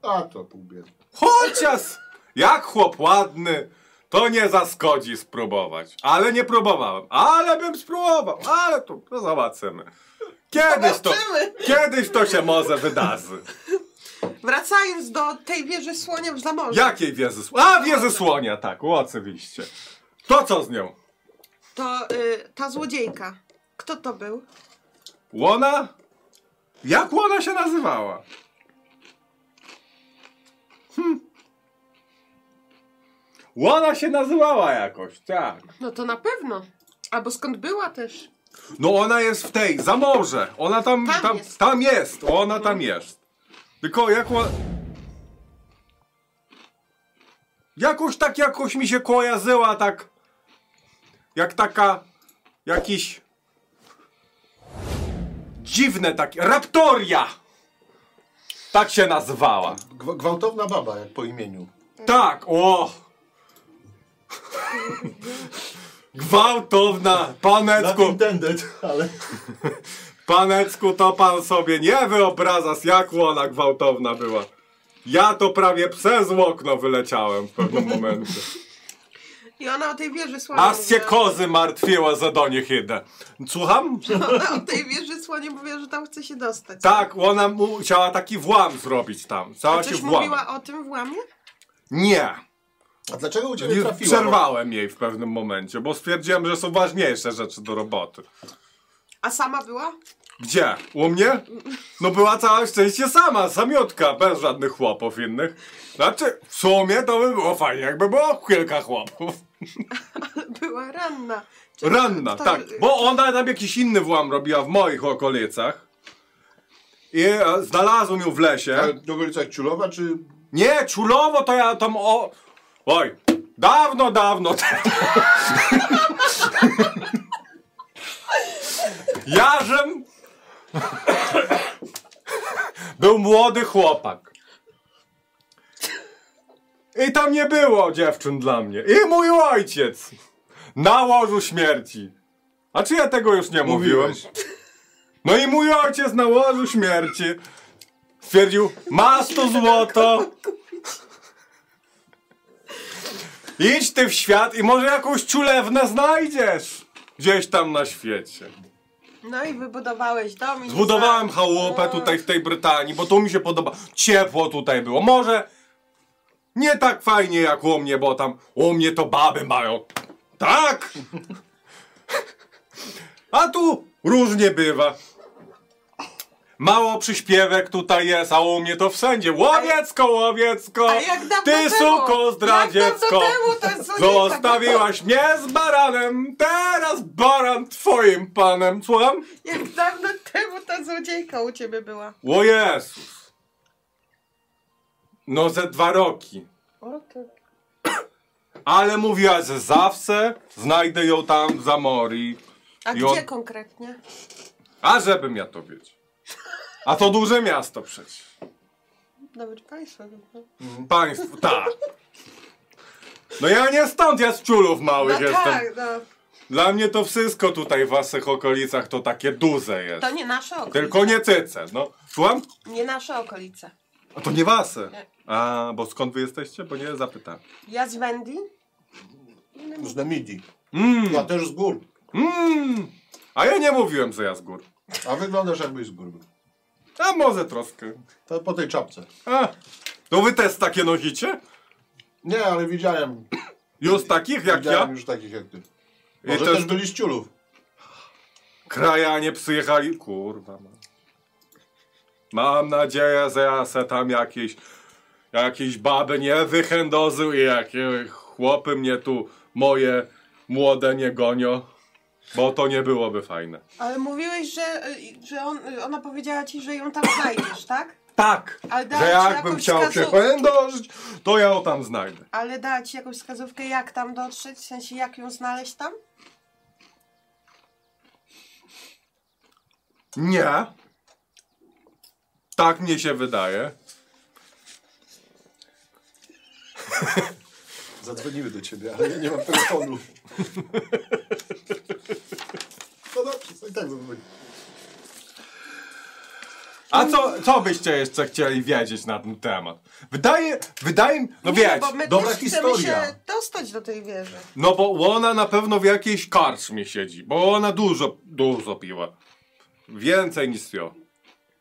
Speaker 2: A to pół biedy.
Speaker 4: Chociaż jak chłop ładny, to nie zaskodzi spróbować. Ale nie próbowałem. Ale bym spróbował. Ale to, to zobaczymy. Kiedyś to,
Speaker 3: Zobaczymy.
Speaker 4: kiedyś to się może wydarzy.
Speaker 3: Wracając do tej wieży słonia w zamorzu.
Speaker 4: Jakiej wiezy słonia? A, wiezy słonia, tak, o, oczywiście. To co z nią?
Speaker 3: To y, ta złodziejka. Kto to był?
Speaker 4: Łona? Jak łona się nazywała? Hm. Łona się nazywała jakoś, tak.
Speaker 3: No to na pewno. Albo skąd była też.
Speaker 4: No ona jest w tej, za morze. Ona tam, tam,
Speaker 3: Tam
Speaker 4: tam, jest. No.
Speaker 3: jest.
Speaker 4: Ona tam jest. Tylko jak ona... Jakoś tak, jakoś mi się kojarzyła tak... Jak taka... Jakiś... Dziwne takie... Raptoria! Tak się nazywała.
Speaker 2: Gw- Gwałtowna baba, jak po imieniu.
Speaker 4: Tak, o! Gwałtowna, panecku,
Speaker 2: intended, ale...
Speaker 4: Panecku, to pan sobie nie wyobrażasz, jak łona gwałtowna była. Ja to prawie przez okno wyleciałem w pewnym momencie.
Speaker 3: I ona o tej wieży słonia
Speaker 4: Aż się
Speaker 3: mówiła.
Speaker 4: kozy martwiła, za do nich idę. Słucham?
Speaker 3: Ona o tej wieży słonia mówiła, że tam chce się dostać.
Speaker 4: Tak, ona mu chciała taki włam zrobić tam. Chciała
Speaker 3: A
Speaker 4: się
Speaker 3: coś
Speaker 4: włam.
Speaker 3: mówiła o tym włamie?
Speaker 4: Nie.
Speaker 2: A dlaczego u ciebie
Speaker 4: Nie
Speaker 2: trafiło?
Speaker 4: przerwałem jej w pewnym momencie, bo stwierdziłem, że są ważniejsze rzeczy do roboty.
Speaker 3: A sama była?
Speaker 4: Gdzie? U mnie? No była całe szczęście sama, samiotka, bez żadnych chłopów innych. Znaczy, w sumie to by było fajnie, jakby było kilka chłopów.
Speaker 3: Była ranna. Czy
Speaker 4: Ranna,
Speaker 3: kto-
Speaker 4: tak. Bo ona tam jakiś inny włam robiła w moich okolicach. I e, znalazłem ją w lesie.
Speaker 2: Ale do okolicach Ciulowa, czy...
Speaker 4: Nie, czulowo to ja tam o... Oj, dawno, dawno. Jarzem był młody chłopak. I tam nie było dziewczyn dla mnie. I mój ojciec na łożu śmierci. A czy ja tego już nie mówiłem? No i mój ojciec na łożu śmierci stwierdził, masz to złoto. Idź ty w świat i może jakąś ciulewnę znajdziesz. Gdzieś tam na świecie.
Speaker 3: No i wybudowałeś dom. i
Speaker 4: Zbudowałem
Speaker 3: nie znam.
Speaker 4: chałupę tutaj w tej Brytanii, bo tu mi się podoba. Ciepło tutaj było. Może nie tak fajnie jak u mnie, bo tam u mnie to baby mają. Tak! A tu różnie bywa. Mało przyśpiewek tutaj jest, a u mnie to wszędzie. Łowiecko, łowiecko!
Speaker 3: A jak dawno
Speaker 4: Ty
Speaker 3: temu?
Speaker 4: suko zdradziecko!
Speaker 3: Jak dawno temu to jest
Speaker 4: Zostawiłaś mnie z baranem, teraz baran twoim panem. Słucham?
Speaker 3: Jak dawno temu ta złodziejka u ciebie była.
Speaker 4: O Jezus! No ze dwa roki.
Speaker 3: tak.
Speaker 4: Ale mówiła, że zawsze znajdę ją tam za mori.
Speaker 3: A
Speaker 4: I
Speaker 3: gdzie
Speaker 4: on-
Speaker 3: konkretnie?
Speaker 4: A żebym ja to wiedział. A to duże miasto przecież.
Speaker 3: Nawet państwo. no.
Speaker 4: Państwo, tak. No ja nie stąd, ja z ciulów małych
Speaker 3: No
Speaker 4: jestem.
Speaker 3: tak, no.
Speaker 4: Dla mnie to wszystko tutaj w waszych okolicach to takie duże jest.
Speaker 3: To nie nasze okolice.
Speaker 4: Tylko nie cyce, no. Słucham?
Speaker 3: Nie nasze okolice.
Speaker 4: A to nie wasze.
Speaker 3: Nie.
Speaker 4: A, bo skąd wy jesteście? Bo nie zapytałem.
Speaker 3: Ja z Wendy?
Speaker 5: Z Namidii. Ja
Speaker 4: Mmm,
Speaker 5: też z gór.
Speaker 4: mmm. A ja nie mówiłem, że ja z gór.
Speaker 5: A wyglądasz jakbyś z gór był.
Speaker 4: A może troszkę.
Speaker 5: To po tej czapce.
Speaker 4: A, to wy też takie nosicie?
Speaker 5: Nie, ale widziałem.
Speaker 4: Już takich jak
Speaker 5: widziałem
Speaker 4: ja?
Speaker 5: już takich jak ty.
Speaker 4: I
Speaker 5: Może
Speaker 4: też
Speaker 5: też byli z ciulów.
Speaker 4: krajanie przyjechali. Kurwa. ma. Mam nadzieję, że ja se tam jakieś, jakieś baby nie wychędozył i jakie chłopy mnie tu moje młode nie gonią. Bo to nie byłoby fajne.
Speaker 3: Ale mówiłeś, że, y, że on, y, ona powiedziała ci, że ją tam znajdziesz, tak?
Speaker 4: Tak!
Speaker 3: Ale dała
Speaker 4: Że
Speaker 3: ci
Speaker 4: jakbym
Speaker 3: jakąś
Speaker 4: chciał się
Speaker 3: wskazu-
Speaker 4: chędożyć, to ja ją tam znajdę.
Speaker 3: Ale dała ci jakąś wskazówkę, jak tam dotrzeć, w sensie jak ją znaleźć tam?
Speaker 4: Nie. Tak mnie się wydaje.
Speaker 5: Zadzwoniły do ciebie, ale ja nie mam telefonu. No dobrze, to i tak zadzwoni.
Speaker 4: A co, co byście jeszcze chcieli wiedzieć na ten temat? Wydaje, wydaje, no
Speaker 3: Nie,
Speaker 4: wiecie,
Speaker 3: bo my
Speaker 5: dobra
Speaker 3: też
Speaker 5: historia.
Speaker 3: chcemy się dostać do tej wieży.
Speaker 4: no bo ona na pewno w jakiejś karczmie siedzi, bo ona dużo, dużo piła. Więcej niż ja.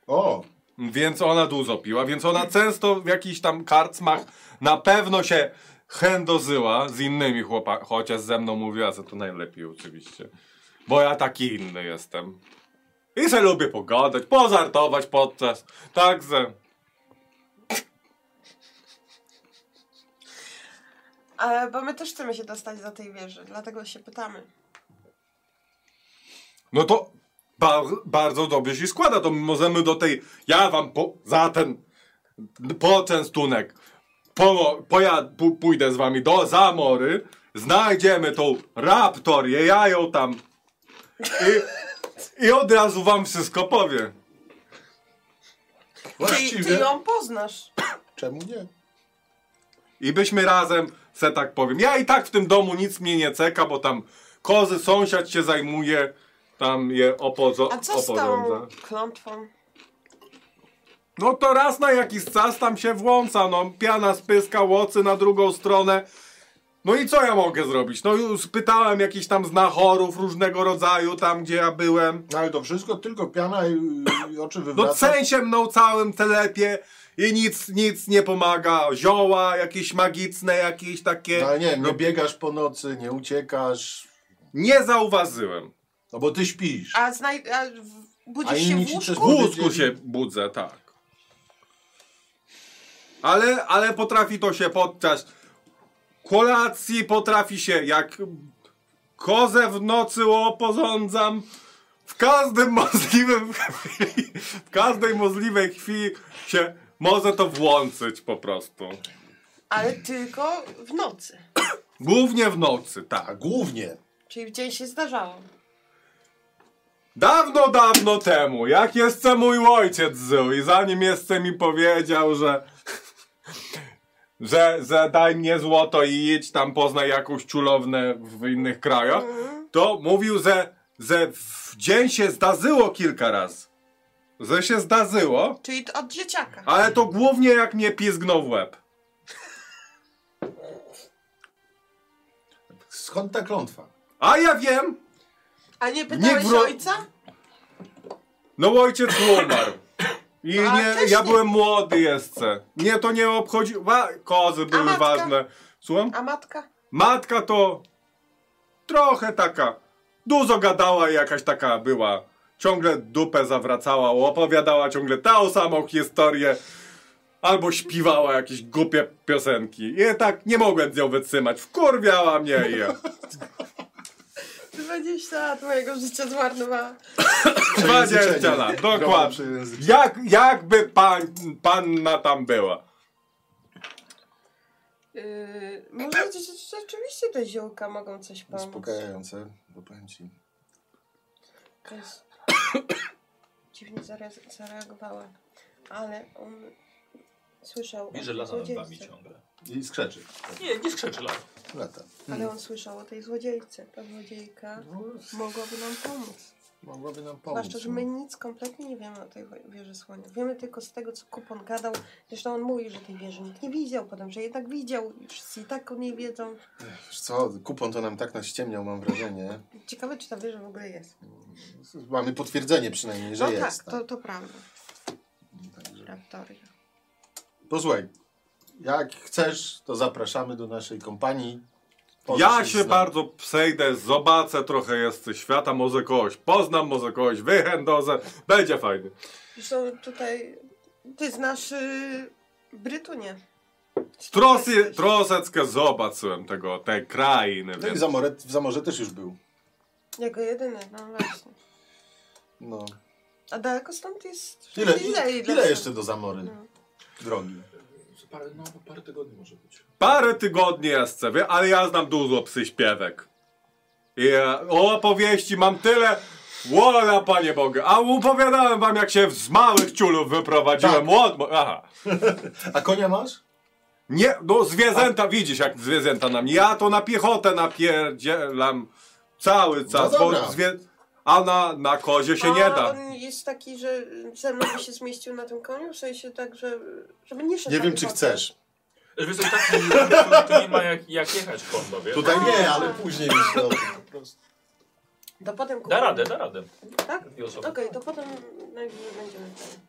Speaker 5: O,
Speaker 4: Więc ona dużo piła, więc ona często w jakichś tam karczmach na pewno się chędozyła z innymi chłopakami, chociaż ze mną mówiła, że to najlepiej oczywiście. Bo ja taki inny jestem. I se lubię pogadać, pozartować podczas, także...
Speaker 3: Ale bo my też chcemy się dostać do tej wieży, dlatego się pytamy.
Speaker 4: No to bar bardzo dobrze się składa. To możemy do tej. Ja wam po, za ten poczęstunek po, poja- pu- pójdę z wami do zamory. Znajdziemy tą raptorię, ja ją tam. I, i od razu wam wszystko powiem.
Speaker 3: Ty, ty
Speaker 5: właściwie.
Speaker 3: ją poznasz.
Speaker 5: Czemu nie?
Speaker 4: I byśmy razem, se tak powiem. Ja i tak w tym domu nic mnie nie czeka, bo tam kozy sąsiad się zajmuje, tam je opozo-
Speaker 3: A co z tą
Speaker 4: oporządza.
Speaker 5: tak.
Speaker 3: klątwą?
Speaker 4: No to raz na jakiś czas tam się włąca, no piana spyska łocy na drugą stronę. No i co ja mogę zrobić? No już pytałem jakichś tam znachorów różnego rodzaju tam, gdzie ja byłem.
Speaker 5: No ale to wszystko tylko piana i, i oczy
Speaker 4: No
Speaker 5: wywraca.
Speaker 4: cęsie mną całym telepie i nic, nic nie pomaga. Zioła jakieś magiczne, jakieś takie.
Speaker 5: No, ale nie, nie
Speaker 4: no,
Speaker 5: biegasz po nocy, nie uciekasz,
Speaker 4: nie zauważyłem.
Speaker 5: no bo ty śpisz.
Speaker 3: A, znaj- a w-
Speaker 5: A
Speaker 3: budzisz się
Speaker 5: inni
Speaker 3: w
Speaker 5: ci
Speaker 3: łóżku?
Speaker 5: też
Speaker 4: W łóżku się budzę, tak. Ale, ale potrafi to się podczas kolacji, potrafi się jak kozę w nocy oporządzam. W każdym możliwym chwili, w każdej możliwej chwili się może to włączyć po prostu.
Speaker 3: Ale tylko w nocy.
Speaker 4: Głównie w nocy, tak.
Speaker 5: A głównie.
Speaker 3: Czyli w dzień się zdarzało.
Speaker 4: Dawno, dawno temu, jak jeszcze mój ojciec żył i zanim jeszcze mi powiedział, że, że, że daj mnie złoto i idź tam poznaj jakąś ciulownę w innych krajach,
Speaker 3: Mhm.
Speaker 4: to mówił, że, że w dzień się zdarzyło kilka razy. Że się zdarzyło,
Speaker 3: Czyli to od dzieciaka.
Speaker 4: ale to głównie jak mnie pizgnął w łeb.
Speaker 5: Skąd ta klątwa?
Speaker 4: A ja wiem,
Speaker 3: A nie pytałeś
Speaker 4: wro-
Speaker 3: ojca?
Speaker 4: No ojciec umarł. I
Speaker 3: A,
Speaker 4: nie,
Speaker 3: też
Speaker 4: ja
Speaker 3: nie-
Speaker 4: byłem młody jeszcze. Mnie to nie obchodzi. Wa- kozy były
Speaker 3: matka?
Speaker 4: ważne. Słucham?
Speaker 3: A matka?
Speaker 4: Matka to trochę taka. Dużo gadała i jakaś taka była. Ciągle dupę zawracała, opowiadała ciągle tą samą historię. Albo śpiewała jakieś głupie piosenki. I tak nie mogłem z nią wytrzymać. Wkurwiała mnie je.
Speaker 3: 20 lat mojego życia zmarnowała.
Speaker 4: 20 lat,
Speaker 5: Przejęzyczenie. Dobra,
Speaker 4: dokładnie.
Speaker 5: przejęzyczenie.
Speaker 4: Jak, jakby pan, panna tam była.
Speaker 3: Yy, może rze- rzeczywiście te ziółka mogą coś pomóc.
Speaker 5: Uspokajające, bo powiem ci.
Speaker 3: To jest- Dziwnie zare- zareagowała. Ale on słyszał.
Speaker 1: I
Speaker 3: o
Speaker 1: żelazo nad wami
Speaker 3: złodziejce.
Speaker 1: ciągle.
Speaker 5: I skrzeczy.
Speaker 1: Nie, nie skrzeczy lat.
Speaker 5: Lata.
Speaker 3: Ale on słyszał o tej złodziejce. Ta złodziejka mogłaby nam pomóc.
Speaker 2: No, Mogłaby nam pomóc. no.
Speaker 3: Zwłaszcza, że my nic kompletnie nie wiemy o tej wo- wieży słonia. Wiemy tylko z tego, co kupon gadał. Zresztą on mówi, że tej wieży nikt nie widział, potem, że jednak widział. i Wszyscy i tak o niej wiedzą.
Speaker 2: Wiesz co, kupon to nam tak nas ściemniał, mam wrażenie.
Speaker 3: Ciekawe, czy ta wieża w ogóle jest.
Speaker 2: Mamy potwierdzenie przynajmniej, że
Speaker 3: no
Speaker 2: jest. No tak,
Speaker 3: tak, to, to prawda.
Speaker 2: Także-
Speaker 3: Raptoria.
Speaker 2: Posłuchaj, jak chcesz, to zapraszamy do naszej kompanii.
Speaker 4: Ja
Speaker 2: Możesz
Speaker 4: się
Speaker 2: z nami.
Speaker 4: bardzo przejdę, zobaczę trochę jest świata, może kogoś poznam, może kogoś wychędozę, będzie fajnie.
Speaker 3: Zresztą tutaj ty znasz yy, Brytunię.
Speaker 4: Trosy, troszeczkę zobaczyłem tego, tej krainy,
Speaker 2: No i
Speaker 4: więc
Speaker 2: Zamore, w Zamorze też już był.
Speaker 3: Jako jedyny, no właśnie.
Speaker 2: No.
Speaker 3: A daleko stąd jest...
Speaker 2: Ile, ile, ile
Speaker 3: stąd?
Speaker 2: jeszcze do Zamory
Speaker 3: No.
Speaker 2: drogi?
Speaker 1: Parę, no, parę tygodni może być.
Speaker 4: parę tygodni jeszcze, wie- ale ja znam dużo psy śpiewek. I e, o opowieści mam tyle, wola panie Boga, a opowiadałem wam jak się z małych ciulów wyprowadziłem, tak. aha.
Speaker 2: A konia masz?
Speaker 4: Nie, no zwierzęta,
Speaker 2: Tak.
Speaker 4: widzisz jak zwierzęta nam. Ja to na piechotę napierdzielam cały czas,
Speaker 2: No dobra.
Speaker 4: bo zwie... A na, na kozie się
Speaker 3: A
Speaker 4: nie da.
Speaker 3: on jest taki, że ze mną by się zmieścił na tym koniu? W sensie tak, że... Żeby nie szedł
Speaker 2: Nie wiem,
Speaker 3: tak
Speaker 2: czy
Speaker 3: mocno.
Speaker 2: chcesz.
Speaker 1: Wiesz, to tak, tu, tu nie ma jak, jak jechać kombo, wiesz?
Speaker 2: Tutaj nie, ale później myślę o tym po prostu.
Speaker 3: To potem
Speaker 1: Da radę, da radę.
Speaker 3: Tak?
Speaker 1: Dwie osoby.
Speaker 3: Okej, to potem najwyżej będziemy ten.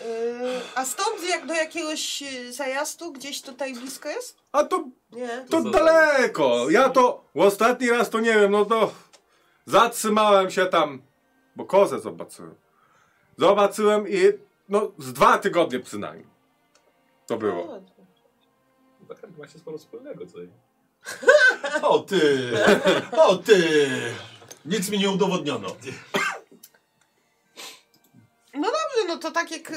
Speaker 3: Yy, a stąd jak do jakiegoś yy, zajastu gdzieś tutaj blisko jest?
Speaker 4: A to,
Speaker 3: Nie.
Speaker 4: to
Speaker 1: za-
Speaker 4: daleko. Ja to ostatni raz to nie wiem, no to zatrzymałem się tam, bo kozę zobaczyłem. Zobaczyłem i no z dwa tygodnie przynajmniej. To było.
Speaker 3: O,
Speaker 1: Tak, ma się sporo wspólnego tutaj.
Speaker 2: O ty! O ty! Nic mi nie udowodniono.
Speaker 3: Dobrze, no to tak jak yy,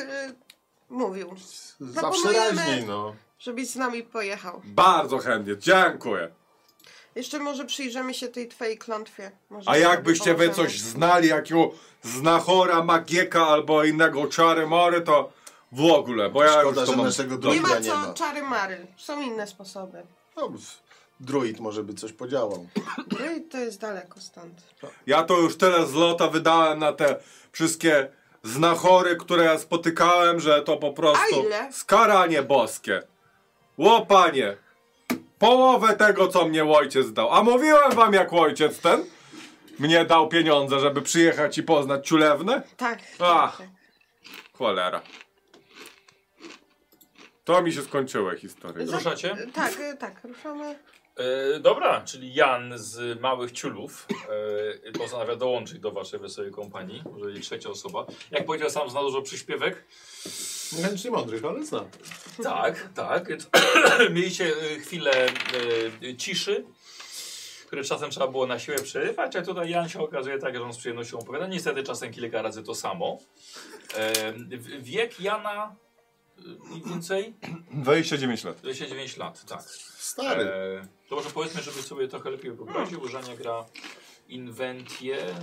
Speaker 3: mówił,
Speaker 2: Zawsze
Speaker 3: Proponujemy-
Speaker 2: raźniej, no.
Speaker 3: żebyś z nami pojechał.
Speaker 4: Bardzo chętnie, dziękuję.
Speaker 3: Jeszcze może przyjrzymy się tej twojej klątwie. Może
Speaker 4: A
Speaker 3: sobie
Speaker 4: jakbyście wy
Speaker 3: pomożemy.
Speaker 4: coś znali, jakiego znachora, magieka albo innego czary mory, to w ogóle, bo ja
Speaker 2: Szkoda,
Speaker 4: już to
Speaker 2: że
Speaker 4: mam...
Speaker 2: naszego
Speaker 3: Nie
Speaker 2: druida
Speaker 3: ma
Speaker 2: nie ma.
Speaker 3: co czary mary. Są inne sposoby.
Speaker 2: No, pff, druid może by coś podziałał.
Speaker 3: Gry No to jest daleko stąd.
Speaker 4: Ja to już tyle zlota wydałem na te wszystkie znachory, które ja spotykałem, że to po prostu
Speaker 3: A ile?
Speaker 4: skaranie boskie. Łopanie! Połowę tego, co mnie ojciec dał. A mówiłem wam, jak ojciec ten mnie dał pieniądze, żeby przyjechać i poznać ciulewne?
Speaker 3: Tak.
Speaker 4: Ach.
Speaker 3: tak.
Speaker 4: Cholera. To mi się skończyły historie.
Speaker 1: Ruszacie?
Speaker 3: Tak, y, tak, ruszamy.
Speaker 1: E, dobra, czyli Jan z Małych Ciulów e, postanawia dołączyć do waszej wesołej kompanii, może i trzecia osoba. Jak powiedział, sam zna dużo przyśpiewek.
Speaker 2: Chętnie mądrych, ale znam.
Speaker 1: Tak, tak. Mieliście e, chwilę e, ciszy, które czasem trzeba było na siłę przerywać, a tutaj Jan się okazuje tak, że on z przyjemnością opowiada. Niestety czasem kilka razy to samo. E, w- wiek Jana e, mniej więcej
Speaker 4: 29 lat.
Speaker 1: 29 lat, tak.
Speaker 2: Stary.
Speaker 1: E, to może powiedzmy, żeby sobie trochę lepiej wyobraził, bo Żania gra Inventie. E,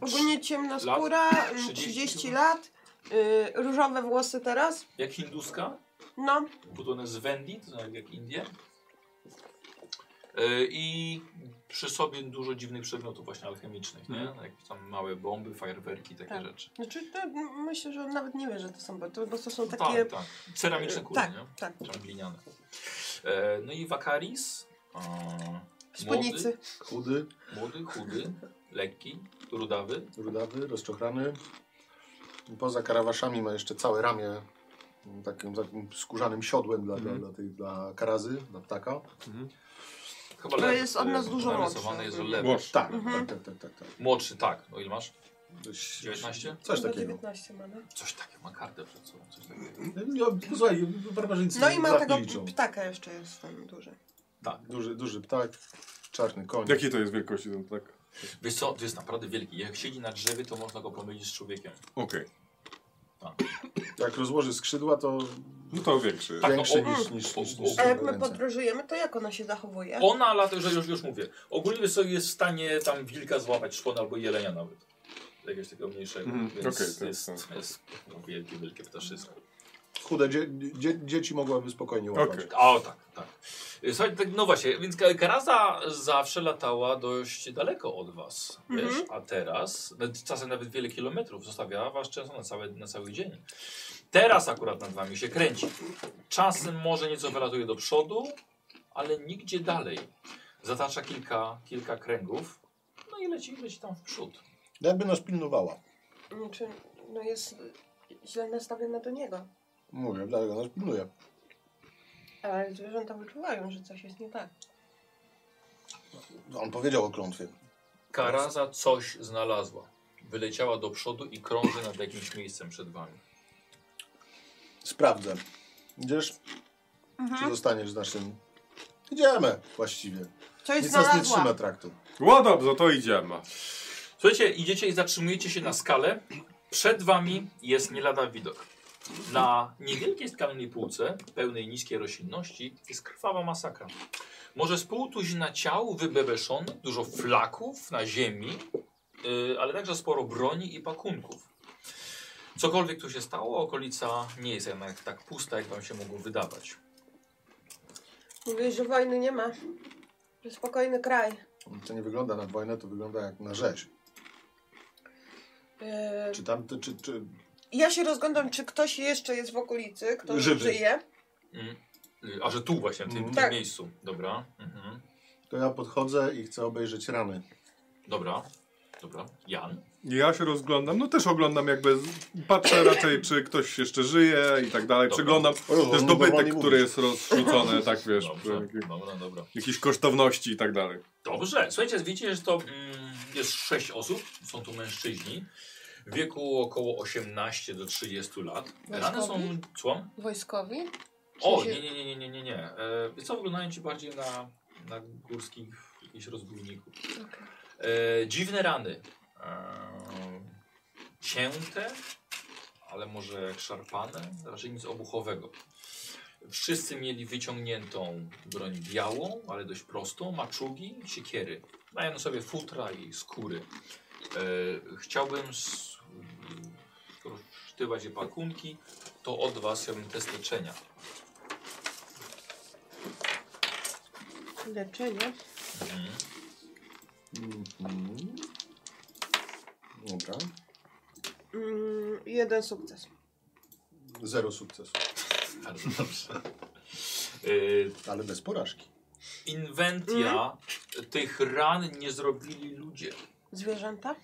Speaker 3: Ogólnie ciemna
Speaker 1: Lat?
Speaker 3: skóra, y,
Speaker 1: 30
Speaker 3: 30, lat, y, różowe włosy teraz.
Speaker 1: jak hinduska,
Speaker 3: No,
Speaker 1: budowane z Wendi, to znaczy jak Indie. E, I przy sobie dużo dziwnych przedmiotów właśnie alchemicznych, nie? Jakieś tam małe bomby, fajerwerki, takie
Speaker 3: Tak.
Speaker 1: rzeczy.
Speaker 3: znaczy to, m- myślę, że on nawet nie wie, że to są, bo to, bo to są takie...
Speaker 1: Tak, tak. Ceramiczne
Speaker 3: y,
Speaker 1: kule,
Speaker 3: tak,
Speaker 1: nie?
Speaker 3: tak.
Speaker 1: Tam gliniane. E, no i Wakaris. E,
Speaker 3: Spódnicy.
Speaker 2: Chudy,
Speaker 1: Młody, młody, chudy, lekki, rudawy.
Speaker 2: rudawy, rozczochrany. Poza karawaszami ma jeszcze całe ramię mm, takim, takim skórzanym siodłem dla,
Speaker 4: Mhm.
Speaker 2: dla, dla, tej, dla karazy, dla ptaka.
Speaker 1: Chyba
Speaker 3: Ale
Speaker 1: lew,
Speaker 3: jest od nas
Speaker 1: e,
Speaker 3: dużo
Speaker 1: narysowany
Speaker 3: mocny.
Speaker 1: jest lewy.
Speaker 4: Łoż.
Speaker 2: Tak,
Speaker 3: Mhm.
Speaker 2: tak, tak, tak, tak, tak.
Speaker 1: Młodszy, tak. O ile masz?
Speaker 2: Coś-
Speaker 1: 19?
Speaker 2: Coś
Speaker 3: Chyba no.
Speaker 2: takiego.
Speaker 3: 19 mamy.
Speaker 1: Coś takiego, ma kartę przed sobą. Coś takiego.
Speaker 2: No, Słuchaj, barbarzyńcy
Speaker 3: No i ma
Speaker 2: lat
Speaker 3: tego
Speaker 2: nie liczą.
Speaker 3: ptaka jeszcze jest tam duży.
Speaker 2: Duży, duży ptak, czarny koń.
Speaker 4: Jaki to jest wielkości ten ptak?
Speaker 1: Wiesz co, to jest naprawdę wielki. Jak siedzi na drzewie, to można go pomylić z człowiekiem.
Speaker 4: Okej.
Speaker 2: Jak rozłoży skrzydła, to
Speaker 4: No to większy.
Speaker 1: Tak, no,
Speaker 2: większy
Speaker 1: o-
Speaker 2: niż, niż, niż, niż
Speaker 1: o-
Speaker 3: A jak E, my
Speaker 2: ręce.
Speaker 3: podróżujemy, to jak ona się zachowuje?
Speaker 1: Ona lata, że już, już mówię. Ogólnie wiesz co, jest w stanie tam wilka złapać, szpona albo jelenia nawet. Jakiegoś takiego mniejszego.
Speaker 4: Mhm,
Speaker 1: Więc
Speaker 4: okej,
Speaker 1: jest,
Speaker 4: tak,
Speaker 1: jest,
Speaker 4: tak.
Speaker 1: no, wielkie, wielkie ptaszysko.
Speaker 2: Chude dzie, dzie, dzieci mogłaby spokojnie łapać.
Speaker 4: Okej.
Speaker 1: A, O tak, tak. Słuchajcie, tak, no właśnie, więc Ka- Karaza zawsze latała dość daleko od was,
Speaker 3: Mhm.
Speaker 1: wiesz, a teraz, nawet czasem nawet wiele kilometrów, zostawiała was często na cały, na cały dzień. Teraz akurat nad wami się kręci. Czasem może nieco wylatuje do przodu, ale nigdzie dalej. Zatacza kilka, kilka kręgów, no i leci, leci tam w przód.
Speaker 5: Jakby nas pilnowała.
Speaker 3: Czy, no jest źle nastawiona do niego.
Speaker 5: Mówię, dlatego nas pilnuje.
Speaker 3: Ale zwierzęta wyczuwają, że coś jest nie tak.
Speaker 5: On powiedział o klątwie.
Speaker 1: Karaza coś znalazła. Wyleciała do przodu i krąży nad jakimś miejscem przed wami.
Speaker 5: Sprawdzę. Idziesz?
Speaker 3: Mhm.
Speaker 5: Czy zostaniesz z naszym... Idziemy właściwie.
Speaker 3: Coś
Speaker 5: Nic nas nie trzyma
Speaker 3: znalazłam.
Speaker 5: traktu.
Speaker 4: No dobrze, to idziemy.
Speaker 1: Słuchajcie, idziecie i zatrzymujecie się na skale. Przed wami jest nie lada widok. Na niewielkiej skalnej półce, pełnej niskiej roślinności, jest krwawa masakra. Może z pół tuzina ciał wybebeszonych, dużo flaków na ziemi, yy, ale także sporo broni i pakunków. Cokolwiek tu się stało, okolica nie jest jednak tak pusta, jak wam się mogło wydawać.
Speaker 3: Mówię, że wojny nie ma. Że spokojny kraj.
Speaker 5: To nie wygląda na wojnę, to wygląda jak na rzeź.
Speaker 3: Yy,
Speaker 2: Czy tam, to- czy, czy...
Speaker 3: ja się rozglądam, czy ktoś jeszcze jest w okolicy, kto
Speaker 2: Żywy.
Speaker 3: żyje.
Speaker 1: Mm. Y, A że tu właśnie, w tym,
Speaker 2: Mm.
Speaker 1: tym
Speaker 3: Tak.
Speaker 1: miejscu. Dobra. Mhm.
Speaker 2: To ja podchodzę i chcę obejrzeć rany.
Speaker 1: Dobra. Dobra. Jan.
Speaker 4: Ja się rozglądam, no też oglądam jakby, z- patrzę raczej czy ktoś jeszcze żyje i tak dalej,
Speaker 1: Dobra.
Speaker 4: przeglądam
Speaker 5: Jezu,
Speaker 4: też
Speaker 5: on normalnie
Speaker 4: dobytek,
Speaker 5: mówi.
Speaker 4: który jest rozrzucony, tak wiesz,
Speaker 1: Dobrze.
Speaker 4: jakie-
Speaker 1: Dobra, dobra.
Speaker 4: jakieś kosztowności i tak dalej.
Speaker 1: Dobrze. Słuchajcie, widzicie, że to mm, jest sześć osób. Są tu mężczyźni. W wieku około 18 do 30 lat. Rany są...
Speaker 3: Wojskowi?
Speaker 1: Słucham?
Speaker 3: Wojskowi?
Speaker 1: O,
Speaker 3: Czy się-
Speaker 1: nie, nie, nie, nie, nie, nie. nie. E, wiesz co, wyglądają ci bardziej na, na górskich jakichś rozbójników.
Speaker 3: Okej.
Speaker 1: E, dziwne rany. E, cięte, ale może szarpane, raczej nic obuchowego. Wszyscy mieli wyciągniętą broń białą, ale dość prostą, maczugi, siekiery. Mają na sobie futra i skóry. E, chciałbym s- skoro sztywać je pakunki, to od was chciałbym test leczenia.
Speaker 3: Leczenie.
Speaker 1: Mhm.
Speaker 5: Mhm. Dobra.
Speaker 3: Mm, jeden sukces.
Speaker 5: Zero sukcesu,
Speaker 1: Bardzo dobrze. E,
Speaker 5: ale bez porażki.
Speaker 1: Inwentia tych ran nie zrobili ludzie.
Speaker 3: Zwierzęta?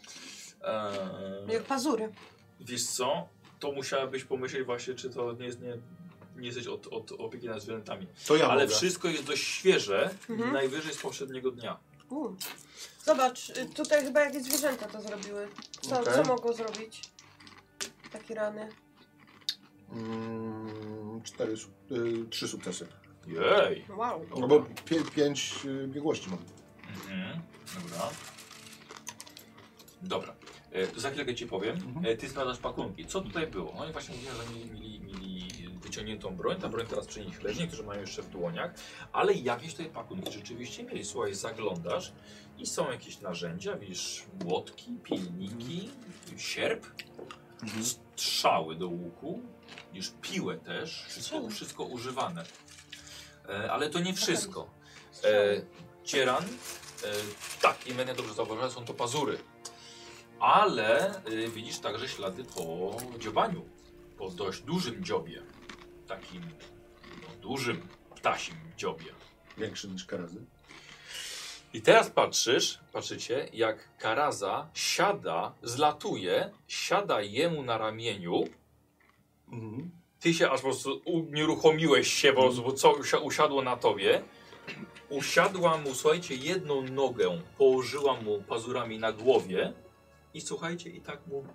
Speaker 1: Eee,
Speaker 3: Jak pazury.
Speaker 1: wiesz co? To musiałabyś pomyśleć właśnie, czy to nie jest nie, nie jesteś od, od opieki nad zwierzętami.
Speaker 2: To ja
Speaker 1: Ale
Speaker 2: mogę.
Speaker 1: wszystko jest dość świeże,
Speaker 3: Mhm.
Speaker 1: najwyżej z poprzedniego dnia.
Speaker 3: U. Zobacz, y, tutaj chyba jakieś zwierzęta to zrobiły. Co,
Speaker 5: Okej.
Speaker 3: co mogło zrobić? Takie rany.
Speaker 5: Mm, cztery, su- y, trzy sukcesy.
Speaker 1: Jej!
Speaker 3: Wow.
Speaker 5: No bo pie, pięć y, biegłości mam.
Speaker 1: Mhm. Dobra. Dobra. E, to za chwilkę ci powiem. E, ty sprawdzasz pakunki. Co tutaj było? Oni właśnie mówili, że mieli, mieli, mieli wyciągniętą broń. Ta broń teraz przy nich leży, niektórzy mają jeszcze w dłoniach, ale jakieś tutaj pakunki rzeczywiście mieli. Słuchaj, zaglądasz i są jakieś narzędzia, widzisz łotki, pilniki, sierp, Mhm. strzały do łuku, widzisz piłę też, wszystko,
Speaker 3: Strzały.
Speaker 1: wszystko używane. E, ale to nie
Speaker 3: Aha.
Speaker 1: wszystko. E, Cieran. E, tak, i Menia dobrze zauważyła, są to pazury. Ale e, widzisz także ślady po dziobaniu. Po dość dużym dziobie. Takim no, dużym, ptasim dziobie.
Speaker 5: Większy niż karazy.
Speaker 1: I teraz patrzysz, patrzycie, jak Karaza siada, zlatuje, siada jemu na ramieniu.
Speaker 2: Mhm.
Speaker 1: Ty się aż po prostu u- nieruchomiłeś się, po
Speaker 5: Mhm.
Speaker 1: prostu, bo co usia- usiadło na tobie. Usiadła mu, słuchajcie, jedną nogę, położyła mu pazurami na głowie i słuchajcie, i tak mu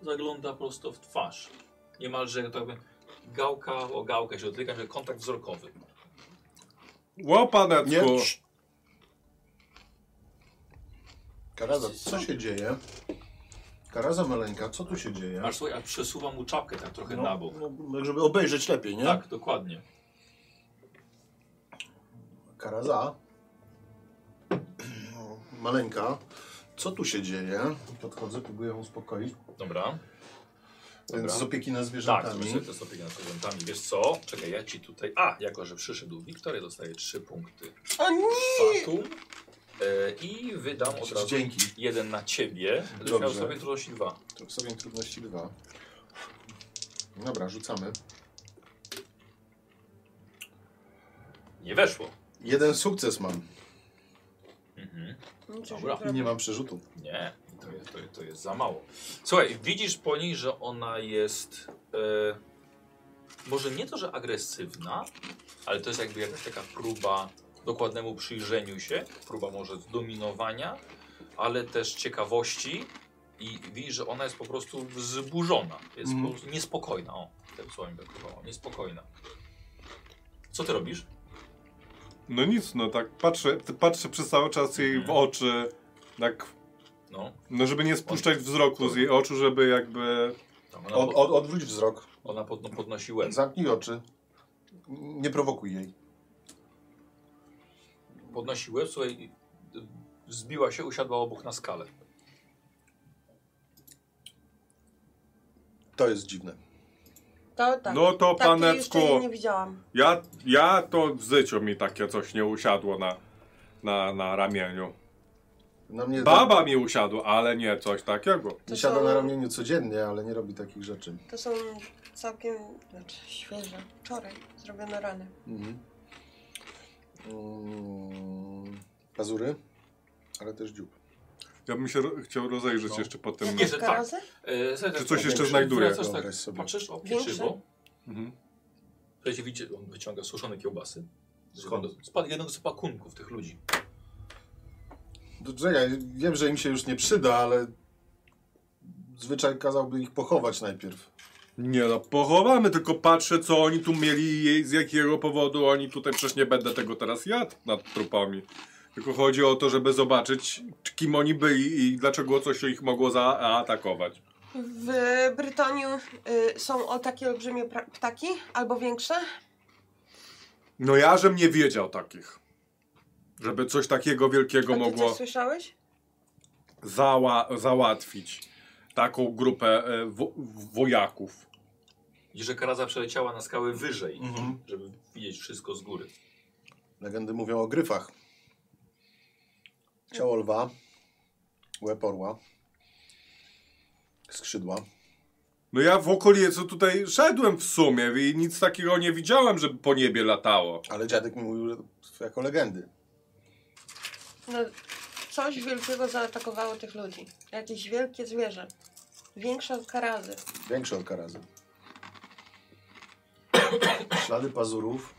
Speaker 1: zagląda prosto w twarz. Niemalże tak jakby gałka o gałkę się dotyka, że kontakt wzrokowy.
Speaker 5: Nie?
Speaker 4: Łopanecku,
Speaker 5: Karaza, co się dzieje? Karaza maleńka, co tu się dzieje?
Speaker 1: Aż słuchaj, aż przesuwa mu czapkę tak trochę
Speaker 5: No,
Speaker 1: na bok.
Speaker 5: no, żeby obejrzeć lepiej, nie?
Speaker 1: Tak, dokładnie.
Speaker 5: Karaza. Maleńka. Co tu się dzieje? Podchodzę, próbuję ją uspokoić.
Speaker 1: Dobra.
Speaker 2: Więc z opieki nad
Speaker 1: Tak,
Speaker 2: zwierzętami.
Speaker 1: myślę, że to jest opinia nad zwierzętami. Wiesz co? Czekaj, ja ci tutaj... A, jako że przyszedł Wiktor, ja dostaję trzy punkty
Speaker 3: O nie!
Speaker 1: fatum e, i wydam od razu
Speaker 2: Dzięki.
Speaker 1: jeden na ciebie, będziesz miał
Speaker 5: Dobrze.
Speaker 1: sobie trudności dwa.
Speaker 5: Tru- Stopień trudności 2. Dobra, rzucamy.
Speaker 1: Nie weszło.
Speaker 5: Jeden sukces mam.
Speaker 1: Mhm.
Speaker 3: Niczego
Speaker 1: Dobra.
Speaker 5: I
Speaker 3: nie
Speaker 5: nie
Speaker 3: ma.
Speaker 5: mam przerzutu.
Speaker 1: Nie, to jest, to, jest, to jest za mało. Słuchaj, widzisz po niej, że ona jest e, może nie to, że agresywna, ale to jest jakby jakaś taka próba dokładnemu przyjrzeniu się, próba może zdominowania, ale też ciekawości i widzisz, że ona jest po prostu wzburzona, jest
Speaker 2: Mhm.
Speaker 1: po prostu niespokojna. O, tym słowem brakowało, niespokojna. Co ty robisz?
Speaker 4: No nic, no tak patrzę, t- patrzę przez cały czas jej w
Speaker 1: Mhm.
Speaker 4: oczy, tak,
Speaker 1: No,
Speaker 4: no żeby nie spuszczać wzroku z jej oczu, żeby jakby...
Speaker 1: tam ona,
Speaker 5: Od,
Speaker 1: pod,
Speaker 5: od, odwróć wzrok.
Speaker 1: ona pod, podnosi No. łeb.
Speaker 5: Zamknij oczy. Nie prowokuj jej.
Speaker 1: Podnosi łeb, słuchaj, i- y, zbiła się, usiadła obok na skalę.
Speaker 5: To jest dziwne.
Speaker 3: To tak.
Speaker 4: No to
Speaker 3: tak, to jeszcze jej
Speaker 4: paneczku,
Speaker 3: nie widziałam.
Speaker 4: ja, ja to w życiu mi takie coś nie usiadło na, na, na ramieniu.
Speaker 5: Na mnie
Speaker 4: Baba mi usiadło, ale nie coś takiego.
Speaker 5: Nie
Speaker 3: To
Speaker 5: siada
Speaker 3: są-
Speaker 5: na ramieniu codziennie, ale nie robi takich rzeczy.
Speaker 3: To są całkiem, znaczy świeże, wczoraj zrobione rany.
Speaker 5: Mhm. Mm, pazury, ale też dziób.
Speaker 4: Ja bym się ro- chciał rozejrzeć
Speaker 1: No.
Speaker 4: jeszcze po tym.
Speaker 1: Nie, że
Speaker 3: Kilka
Speaker 1: tak.
Speaker 3: razy?
Speaker 1: E, słuchaj,
Speaker 4: Czy
Speaker 1: tak,
Speaker 4: coś
Speaker 1: o,
Speaker 4: jeszcze
Speaker 1: wiesz,
Speaker 4: znajduje?
Speaker 1: Coś tak,
Speaker 5: Wyobraź sobie.
Speaker 1: patrzysz o
Speaker 3: Większe?
Speaker 1: pieczywo.
Speaker 4: Mhm.
Speaker 1: Słuchajcie, widzicie, on wyciąga suszone kiełbasy. Z
Speaker 2: Skąd?
Speaker 1: jednego, z pa- jednego z pakunków tych ludzi.
Speaker 5: To Czekaj, wiem, że im się już nie przyda, ale zwyczaj kazałby ich pochować najpierw.
Speaker 4: Nie no, pochowamy, tylko patrzę co oni tu mieli i z jakiego powodu oni tutaj przecież nie będę tego teraz jadł nad trupami. Tylko chodzi o to, żeby zobaczyć kim oni byli i dlaczego coś ich mogło zaatakować.
Speaker 3: W Brytanii y, są o takie olbrzymie pra- ptaki, albo większe.
Speaker 4: No ja żem nie wiedział takich. Żeby coś takiego wielkiego
Speaker 3: A ty coś
Speaker 4: mogło
Speaker 3: słyszałeś?
Speaker 4: zała załatwić taką grupę e, wo wojaków.
Speaker 1: I że karaza przeleciała na skałę wyżej,
Speaker 2: Mhm.
Speaker 1: żeby widzieć wszystko z góry.
Speaker 5: Legendy mówią o gryfach. Ciało lwa, łeb orła, skrzydła.
Speaker 4: No ja w okolicy tutaj szedłem w sumie i nic takiego nie widziałem, żeby po niebie latało.
Speaker 5: Ale dziadek mi mówił że to jako legendy.
Speaker 3: No, coś wielkiego zaatakowało tych ludzi. Jakieś wielkie zwierzę. Większe od karazy.
Speaker 5: Większe od karazy.
Speaker 2: Ślady pazurów.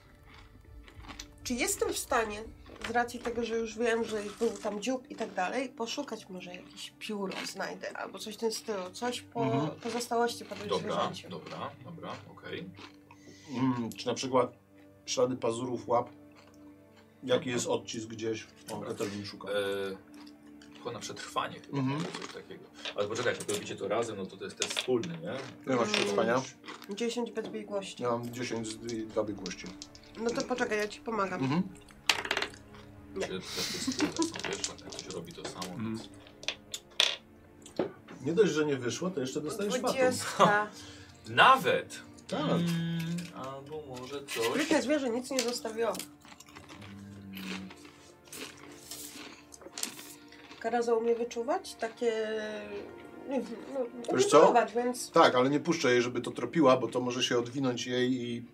Speaker 3: Czy jestem w stanie, z racji tego, że już wiem, że był tam dziób i tak dalej, poszukać może jakieś pióro znajdę, albo coś w tym stylu, coś po
Speaker 2: Mhm.
Speaker 3: pozostałości po tym
Speaker 1: Dobra,
Speaker 3: zwierzęciu.
Speaker 1: dobra, dobra, okej.
Speaker 2: Mm, czy na przykład ślady pazurów łap? Jaki jest odcisk gdzieś? O,
Speaker 1: Dobra.
Speaker 2: ja też bym szukał.
Speaker 1: E, Tylko na przetrwanie chyba,
Speaker 2: Mhm.
Speaker 1: albo coś takiego. Ale poczekajcie, jak robicie to razem, no to to jest test wspólny, nie?
Speaker 5: Ile masz przetrwania?
Speaker 3: 10 bez biegłości.
Speaker 5: Ja mam 10 z i dwa biegłości.
Speaker 3: No to poczekaj, ja ci pomagam.
Speaker 1: Mhm. Czy testy wspólne są, wiesz, jak ktoś robi to samo.
Speaker 4: Mhm.
Speaker 1: więc-
Speaker 2: Nie dość, że nie wyszło, to jeszcze dostajesz fatum.
Speaker 3: 20.
Speaker 1: Nawet!
Speaker 5: Tak.
Speaker 1: Mm, albo może coś...
Speaker 3: Wielkie zwierzę nic nie zostawiło. Karaza umie wyczuwać takie... nie wiem, No, umie
Speaker 5: Wiesz co?
Speaker 3: wyczuwać, więc...
Speaker 5: Tak, ale nie puszczę jej, żeby to tropiła, bo to może się odwinąć jej i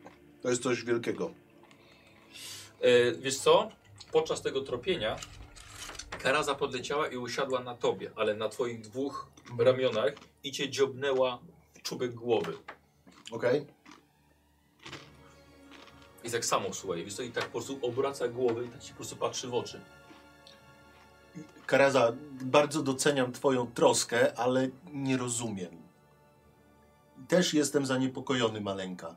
Speaker 5: to jest coś wielkiego.
Speaker 1: E, wiesz co? Podczas tego tropienia karaza podleciała i usiadła na tobie, ale na twoich dwóch ramionach i cię dziobnęła w czubek głowy.
Speaker 5: Okej?
Speaker 1: I tak samo słuchaj, wiesz co? I tak po prostu obraca głowę i tak ci po prostu patrzy w oczy.
Speaker 2: Karaza, bardzo doceniam twoją troskę, ale nie rozumiem. Też jestem zaniepokojony maleńka.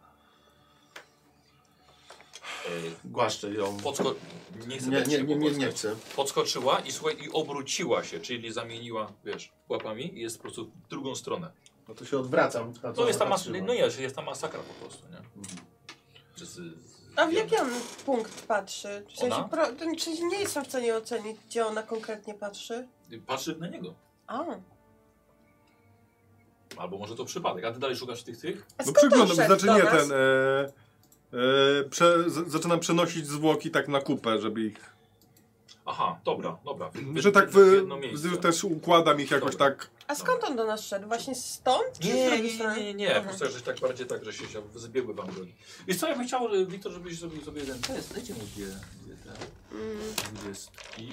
Speaker 1: E,
Speaker 2: Głaszczę ją.
Speaker 1: podsko... Nie chcę
Speaker 5: Nie,
Speaker 1: dać
Speaker 5: nie,
Speaker 1: się
Speaker 5: nie, nie, nie
Speaker 1: pogłaskać.
Speaker 5: chcę.
Speaker 1: Podskoczyła i słuchaj, i obróciła się, czyli zamieniła, wiesz, łapami i jest po prostu w drugą stronę.
Speaker 2: No to się odwracam. Na co
Speaker 1: No jest ta, mas...
Speaker 2: patrzyła.
Speaker 1: no jest, jest ta masakra po prostu, nie? Że z- z-
Speaker 3: A w jaki on punkt patrzy? W sensie,
Speaker 1: Ona?
Speaker 3: pro, to- czy nie jestem w stanie ocenić, gdzie ona konkretnie patrzy?
Speaker 1: Patrzy na niego.
Speaker 3: A,
Speaker 1: Albo może to przypadek. A ty dalej szukasz tych tych?
Speaker 3: A skąd
Speaker 4: No
Speaker 3: on
Speaker 4: przyglądam,
Speaker 3: wszedł
Speaker 4: znaczy
Speaker 3: do
Speaker 4: nie
Speaker 3: nas?
Speaker 4: ten. E, e, prze, z, zaczynam przenosić zwłoki tak na kupę, żeby ich.
Speaker 1: Aha, dobra, dobra. W-
Speaker 4: Że tak
Speaker 1: w
Speaker 4: w,
Speaker 1: jedno miejsce.
Speaker 4: w, też układam ich jakoś
Speaker 1: Dobra.
Speaker 4: tak.
Speaker 3: A skąd on do nas szedł? Właśnie stąd? Czy z
Speaker 1: Nie,
Speaker 3: drugiej
Speaker 1: nie, nie,
Speaker 3: strony?
Speaker 1: nie, nie. Po
Speaker 3: Aha.
Speaker 1: prostu, że tak bardziej tak, że się, się zbiegły wam drogi. I co, ja bym chciał, że Wiktor, żebyś zrobił sobie jeden test. Dajcie mu dwie, dwie te
Speaker 3: Mm,
Speaker 1: dwudziestki.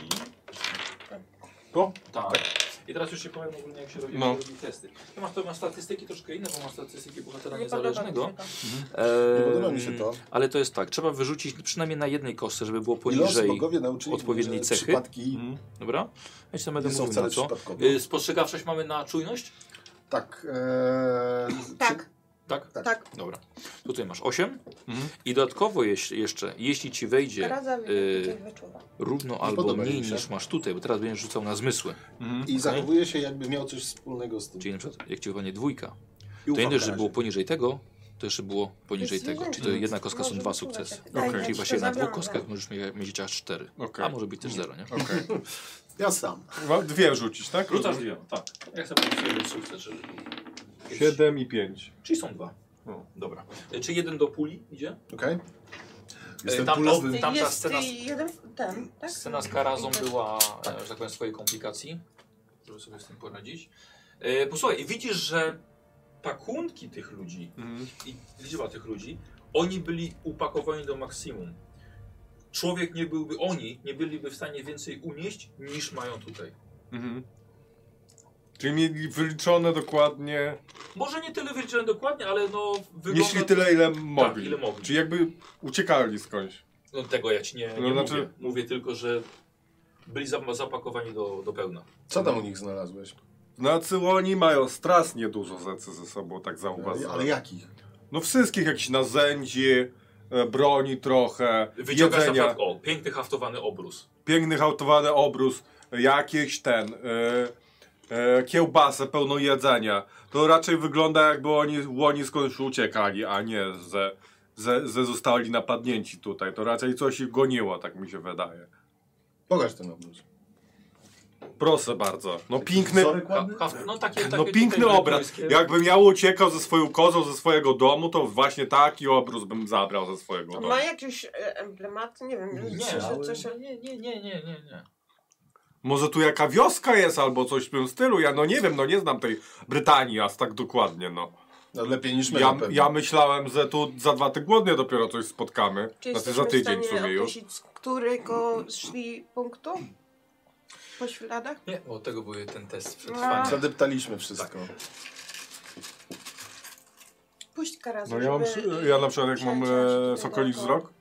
Speaker 4: Po?
Speaker 1: Tak. I teraz już się powiem ogólnie, jak się robi,
Speaker 4: No.
Speaker 1: jak się robi testy. Ty masz, to masz statystyki troszkę inne, bo masz statystyki bohatera
Speaker 3: nie podoba mi
Speaker 1: niezależnego.
Speaker 3: się to.
Speaker 5: Nie podoba mi się to.
Speaker 1: Ale to jest tak, trzeba wyrzucić przynajmniej na jednej kostce, żeby było
Speaker 5: I Los
Speaker 1: poniżej.
Speaker 5: bogowie nauczyli
Speaker 1: odpowiedniej
Speaker 5: mnie, że
Speaker 1: cechy.
Speaker 5: przypadki
Speaker 4: Mhm,
Speaker 1: Dobra? Ja ci tam będę
Speaker 5: nie są
Speaker 1: mówił na
Speaker 5: wcale
Speaker 1: co.
Speaker 5: przypadkowe.
Speaker 1: Y, Spostrzegawczość mamy na czujność?
Speaker 5: Tak. Eee,
Speaker 3: Tak,
Speaker 1: Tak?
Speaker 5: Tak.
Speaker 3: tak.
Speaker 1: Dobra. Tutaj masz 8.
Speaker 4: Mhm.
Speaker 1: I dodatkowo jeśli, jeszcze, jeśli ci wejdzie
Speaker 3: Rada
Speaker 1: y,
Speaker 3: yy, wyczuwa.
Speaker 1: równo albo
Speaker 5: podoba mi
Speaker 1: mniej
Speaker 5: się.
Speaker 1: niż masz tutaj, bo teraz będziesz rzucał na zmysły.
Speaker 4: Mhm.
Speaker 5: I zachowuje się jakby miał coś wspólnego z tym.
Speaker 1: Czyli na przykład jak ci wypadnie dwójka,
Speaker 5: I
Speaker 1: to
Speaker 5: ufam
Speaker 1: nie dość, że
Speaker 5: na
Speaker 1: było
Speaker 5: razie.
Speaker 1: poniżej tego, to jeszcze było poniżej
Speaker 3: Jest
Speaker 1: tego.
Speaker 3: zwierzę.
Speaker 1: Czyli to jedna kostka są
Speaker 3: Może
Speaker 1: dwa
Speaker 3: wyczuwać,
Speaker 1: sukcesy.
Speaker 3: jak- Okej.
Speaker 1: Czyli
Speaker 3: jak
Speaker 1: właśnie
Speaker 3: się
Speaker 1: na dwóch
Speaker 3: zawiąże.
Speaker 1: kostkach możesz mieć, mieć aż cztery.
Speaker 4: Okej.
Speaker 1: A może być też zero, nie?
Speaker 4: Okej.
Speaker 5: Ja sam.
Speaker 4: No, Dwie wrzucić, tak?
Speaker 1: Rzucasz dwie, tak. Jak sobie jeden sukces, znaczy, żeby...
Speaker 4: Siedem i pięć.
Speaker 1: Czyli są dwa. Dobra. E, Czy jeden do puli idzie?
Speaker 5: Okej? Jestem
Speaker 1: E, tam
Speaker 5: pulowy.
Speaker 1: Tamta
Speaker 3: jest
Speaker 1: scena-
Speaker 3: y, jeden ten, tak?
Speaker 1: Scena z Karazą była, e, że tak powiem, swojej komplikacji, żeby sobie z tym poradzić. E, posłuchaj, i widzisz, że pakunki tych ludzi
Speaker 4: Mhm.
Speaker 1: i liczba tych ludzi, oni byli upakowani do maksimum. Człowiek nie byłby, oni nie byliby w stanie więcej unieść niż mają tutaj.
Speaker 4: Mhm. Czyli mieli wyliczone dokładnie,
Speaker 1: Może nie tyle wyliczyłem dokładnie, ale no wygląda... Tak,
Speaker 4: jeśli tyle, ile mogli.
Speaker 1: ile mogli.
Speaker 4: Czyli jakby uciekali skądś.
Speaker 1: No, tego ja ci nie, nie
Speaker 4: No, znaczy-
Speaker 1: mówię. Mówię tylko, że byli zap- zapakowani do, do pełna.
Speaker 5: Co tam u nich znalazłeś?
Speaker 4: Znaczy oni mają strasznie dużo rzeczy ze sobą, tak zauważyłem.
Speaker 5: Ale jakich?
Speaker 4: No wszystkich, jakichś narzędzi, e, broni trochę,
Speaker 1: Wyciągasz na
Speaker 4: jedzenia,
Speaker 1: przykład, o, piękny haftowany obrus.
Speaker 4: piękny hałtowany obrus, e, jakiś ten, e, e, kiełbasę pełną jedzenia. To raczej wygląda jakby oni, łoni skądś uciekali, a nie, że, że, że zostali napadnięci tutaj. To raczej coś ich goniło, tak mi się wydaje.
Speaker 5: Pokaż ten obróz.
Speaker 4: Proszę bardzo. No piękny,
Speaker 5: Wzory
Speaker 1: Ha,
Speaker 5: kładny?
Speaker 1: ha, no takie, takie
Speaker 4: no piękny
Speaker 1: tutaj
Speaker 4: obraz.
Speaker 1: brytyjskie.
Speaker 4: Jakbym ja uciekał ze swoją kozą, ze swojego domu, to właśnie taki obraz bym zabrał ze swojego domu.
Speaker 3: Ma jakiś e, emblemat? Nie wiem,
Speaker 5: Nie,
Speaker 3: coś,
Speaker 5: ale-
Speaker 3: coś, coś,
Speaker 1: Nie, nie, nie, nie, nie, nie.
Speaker 4: Może tu jaka wioska jest albo coś w tym stylu? Ja no nie wiem, no nie znam tej Brytanii aż tak dokładnie, no.
Speaker 5: No lepiej niż my
Speaker 4: Ja,
Speaker 5: na pewno.
Speaker 4: ja myślałem, że tu za dwa tygodnie dopiero coś spotkamy.
Speaker 3: Czy
Speaker 4: znaczy
Speaker 3: jesteśmy
Speaker 4: za tydzień
Speaker 3: w
Speaker 4: w
Speaker 3: stanie
Speaker 4: sumie już.
Speaker 3: określić, z którego szli punktu? Po śladach?
Speaker 1: Nie, bo od tego był ten test
Speaker 3: A.
Speaker 1: przetrwania.
Speaker 5: Zadeptaliśmy wszystko.
Speaker 6: Tak.
Speaker 3: Puść karazu,
Speaker 4: No ja, mam,
Speaker 3: żeby...
Speaker 4: ja na przykład jak mam e, sokoli wzrok,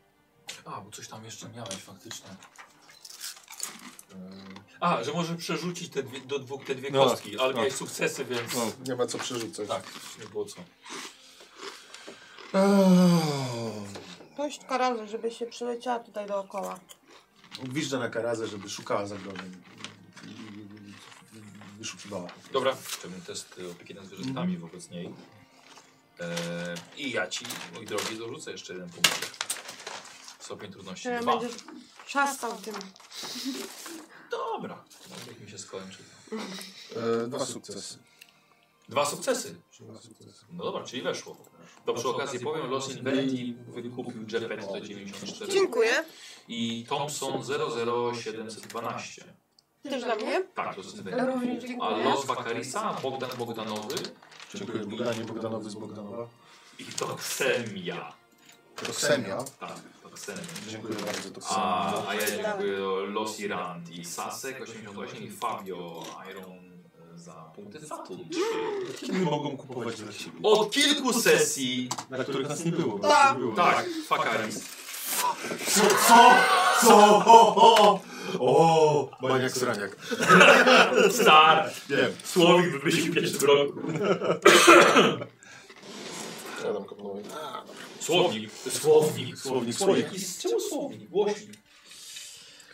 Speaker 1: A, bo coś tam jeszcze miałeś faktycznie. Ym, Yy, A, że może przerzucić te dwie, do dwóch te dwie
Speaker 4: No,
Speaker 1: kostki, ale
Speaker 4: no.
Speaker 1: miałeś sukcesy, więc...
Speaker 4: No.
Speaker 5: Nie ma co przerzucać.
Speaker 1: Tak, nie było co.
Speaker 5: Eee.
Speaker 3: Puść karazu, żeby się przyleciała tutaj dookoła.
Speaker 5: Gwiżdża na karazę, żeby szukała zagrożeń. I- i- i- i Wyszukiwała.
Speaker 1: Dobra, ten test y, opieki nad zwierzętami wobec niej. E, I ja ci, mój drogi, dorzucę jeszcze jeden punkt. Stopień trudności
Speaker 3: Teraz
Speaker 1: dwa.
Speaker 3: będziesz szastał tym.
Speaker 1: Dobra, jak mi się skończy.
Speaker 5: E,
Speaker 6: Eee,
Speaker 5: dwa sukcesy.
Speaker 1: Dwa sukcesy. No dobra, czyli weszło. To przy okazji powiem, Los Inventi wykupił Jeppet 194
Speaker 3: Dziękuję.
Speaker 1: i Thompson 00712.
Speaker 3: Też dla mnie?
Speaker 1: Tak, to jest ten.
Speaker 7: Również
Speaker 1: A
Speaker 7: dziękuję.
Speaker 1: Los Wakarisa, Bogdan Bogdanowy
Speaker 5: Dziękuję. Bogdanie Bogdanowy z Bogdanowa.
Speaker 1: i Toksemia.
Speaker 5: Ksemia.
Speaker 1: Tak, Toksemia.
Speaker 5: Dziękuję
Speaker 6: Eee.
Speaker 5: bardzo. To
Speaker 1: A,
Speaker 5: Ksemia.
Speaker 1: a ja dziękuję Los Irand i Sasek 88 i Fabio Iron e, za punkty Fatum.
Speaker 6: Kiedy mogą kupować leki?
Speaker 1: Od kilku sesji.
Speaker 6: Na których nas nie było.
Speaker 3: Tak.
Speaker 6: Nie było.
Speaker 1: Tak, Fakaris.
Speaker 6: Co? Co? Co? Ho, ho. O!
Speaker 5: Maniak Sraniak.
Speaker 1: Star.
Speaker 5: Wiem.
Speaker 1: Słowik wymyślił pierwszy rok.
Speaker 5: Ja tam kopnąłem.
Speaker 1: Słownik. Słownik.
Speaker 6: Słownik,
Speaker 1: Słownik. I z czemu słownik? Głośnik.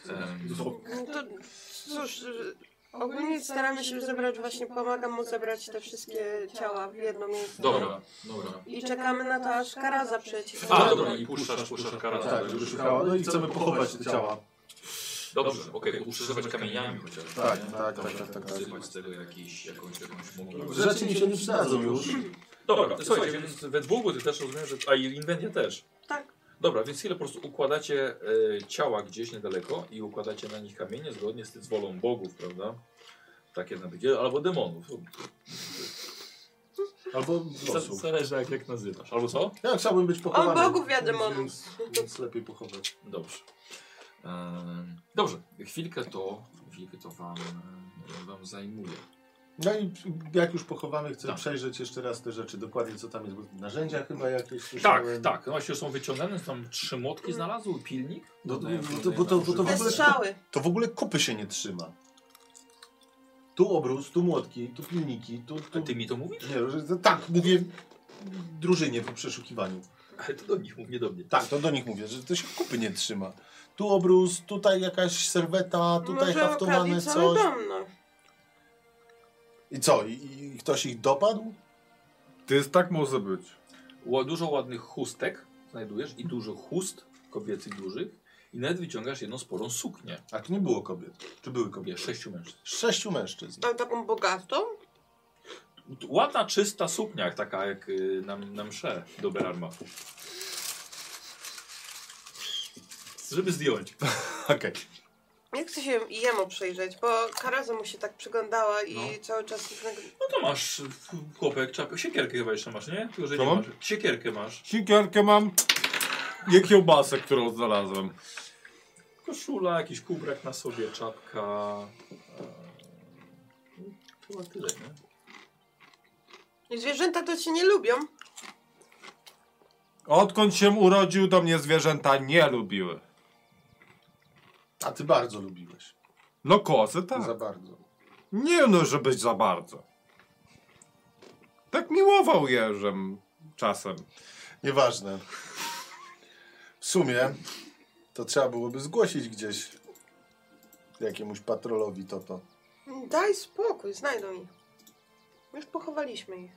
Speaker 1: Em,
Speaker 3: No To, cóż, y, ogólnie staramy się zebrać, właśnie pomagam mu zebrać te wszystkie ciała w jedno miejsce.
Speaker 1: Dobra, dobra.
Speaker 3: I czekamy na to, aż karaza przyjdzie.
Speaker 2: Tak,
Speaker 1: A, dobra, i puszczasz, puszczasz karata.
Speaker 6: Tak, żeby szukała. No i chcemy pochować te ciała.
Speaker 1: Dobrze, okej, okay, ukrzyżować kamieniami chociaż.
Speaker 5: Tak,
Speaker 1: nie?
Speaker 5: tak, tak, tak, tak, tak.
Speaker 1: Zrywać z tego jakiś, jakąś, jakąś mąkę.
Speaker 6: Rzeczy mi się nie przydadzą już.
Speaker 1: Dobra, słuchajcie, więc we dwóch ty też rozumiem, że. A i inwentia też.
Speaker 3: Tak.
Speaker 1: Dobra, więc chwilę po prostu układacie e, ciała gdzieś niedaleko i układacie na nich kamienie zgodnie z, z wolą bogów, prawda? Takie na będzie, albo demonów.
Speaker 5: Albo
Speaker 1: Za-
Speaker 5: losów.
Speaker 1: Zależy jak, jak nazywasz. Albo co?
Speaker 5: Ja chciałbym być
Speaker 3: On
Speaker 5: pochowany.
Speaker 3: bogów wiadomo.
Speaker 5: Więc, więc lepiej pochować.
Speaker 1: Dobrze. Em, dobrze, chwilkę to, chwilkę to wam, e, wam zajmuje.
Speaker 5: No i
Speaker 2: Jak już pochowamy, chcę
Speaker 1: Tak.
Speaker 2: przejrzeć jeszcze raz te rzeczy, dokładnie co tam jest, bo narzędzia chyba jakieś
Speaker 1: Tak,
Speaker 2: słyszałem.
Speaker 1: tak. No właśnie są wyciągane, tam trzy młotki znalazł, pilnik.
Speaker 2: No,
Speaker 1: Dodaję,
Speaker 2: bo to-
Speaker 1: dodaję
Speaker 2: bo to-
Speaker 1: na
Speaker 2: bo to
Speaker 1: używanie.
Speaker 3: Te
Speaker 2: ogóle-
Speaker 3: strzały.
Speaker 2: To w ogóle kupy się nie trzyma. Tu obrus, tu młotki, tu pilniki, tu... tu...
Speaker 1: A ty mi to mówisz?
Speaker 2: Nie, że, tak, mówię drużynie po przeszukiwaniu.
Speaker 1: Ale to do nich mów, nie do mnie.
Speaker 2: Tak, to do nich mówię, że to się kupy nie trzyma. Tu obrus, tutaj jakaś serweta, tutaj
Speaker 3: Może
Speaker 2: haftowane
Speaker 3: okradli cały
Speaker 2: coś.
Speaker 3: dom, no.
Speaker 2: I co, i, i ktoś ich dopadł?
Speaker 4: To jest tak może być.
Speaker 1: Ła- Dużo ładnych chustek znajdujesz i dużo chust kobiecych dużych i nawet wyciągasz jedną sporą suknię.
Speaker 2: A tu nie było kobiet. Czy były
Speaker 1: Kobiet,
Speaker 2: kobiety?
Speaker 1: sześciu mężczyzn.
Speaker 2: Sześciu mężczyzn.
Speaker 3: Ale taką bogatą?
Speaker 1: Ładna, czysta suknia, taka jak y, na, na msze do Berarma. Żeby zdjąć.
Speaker 2: Okej.
Speaker 3: Nie chcę się jemu przyjrzeć, bo Karaza mu się tak przyglądała i
Speaker 1: No.
Speaker 3: cały czas... jest tak, nag-
Speaker 1: No to masz, y, chłopek, czapkę, siekierkę chyba jeszcze masz, nie? Tylko, że
Speaker 4: Co
Speaker 1: nie
Speaker 4: mam?
Speaker 1: masz. Siekierkę masz.
Speaker 4: Sikierkę mam i kiełbasę, którą znalazłem.
Speaker 1: Koszula, jakiś kubrak na sobie, czapka. e, Chyba tyle, nie?
Speaker 3: I "No, zwierzęta to cię nie lubią.
Speaker 4: Odkąd się urodził, to mnie zwierzęta nie lubiły.
Speaker 5: A ty bardzo lubiłeś.
Speaker 4: No kozy tak.
Speaker 5: Za bardzo.
Speaker 4: Nie no, żebyś za bardzo. Tak miłował jeżem czasem.
Speaker 5: Nieważne. W sumie to trzeba byłoby zgłosić gdzieś jakiemuś patrolowi to to.
Speaker 3: Daj spokój, znajdą ich. Już pochowaliśmy ich.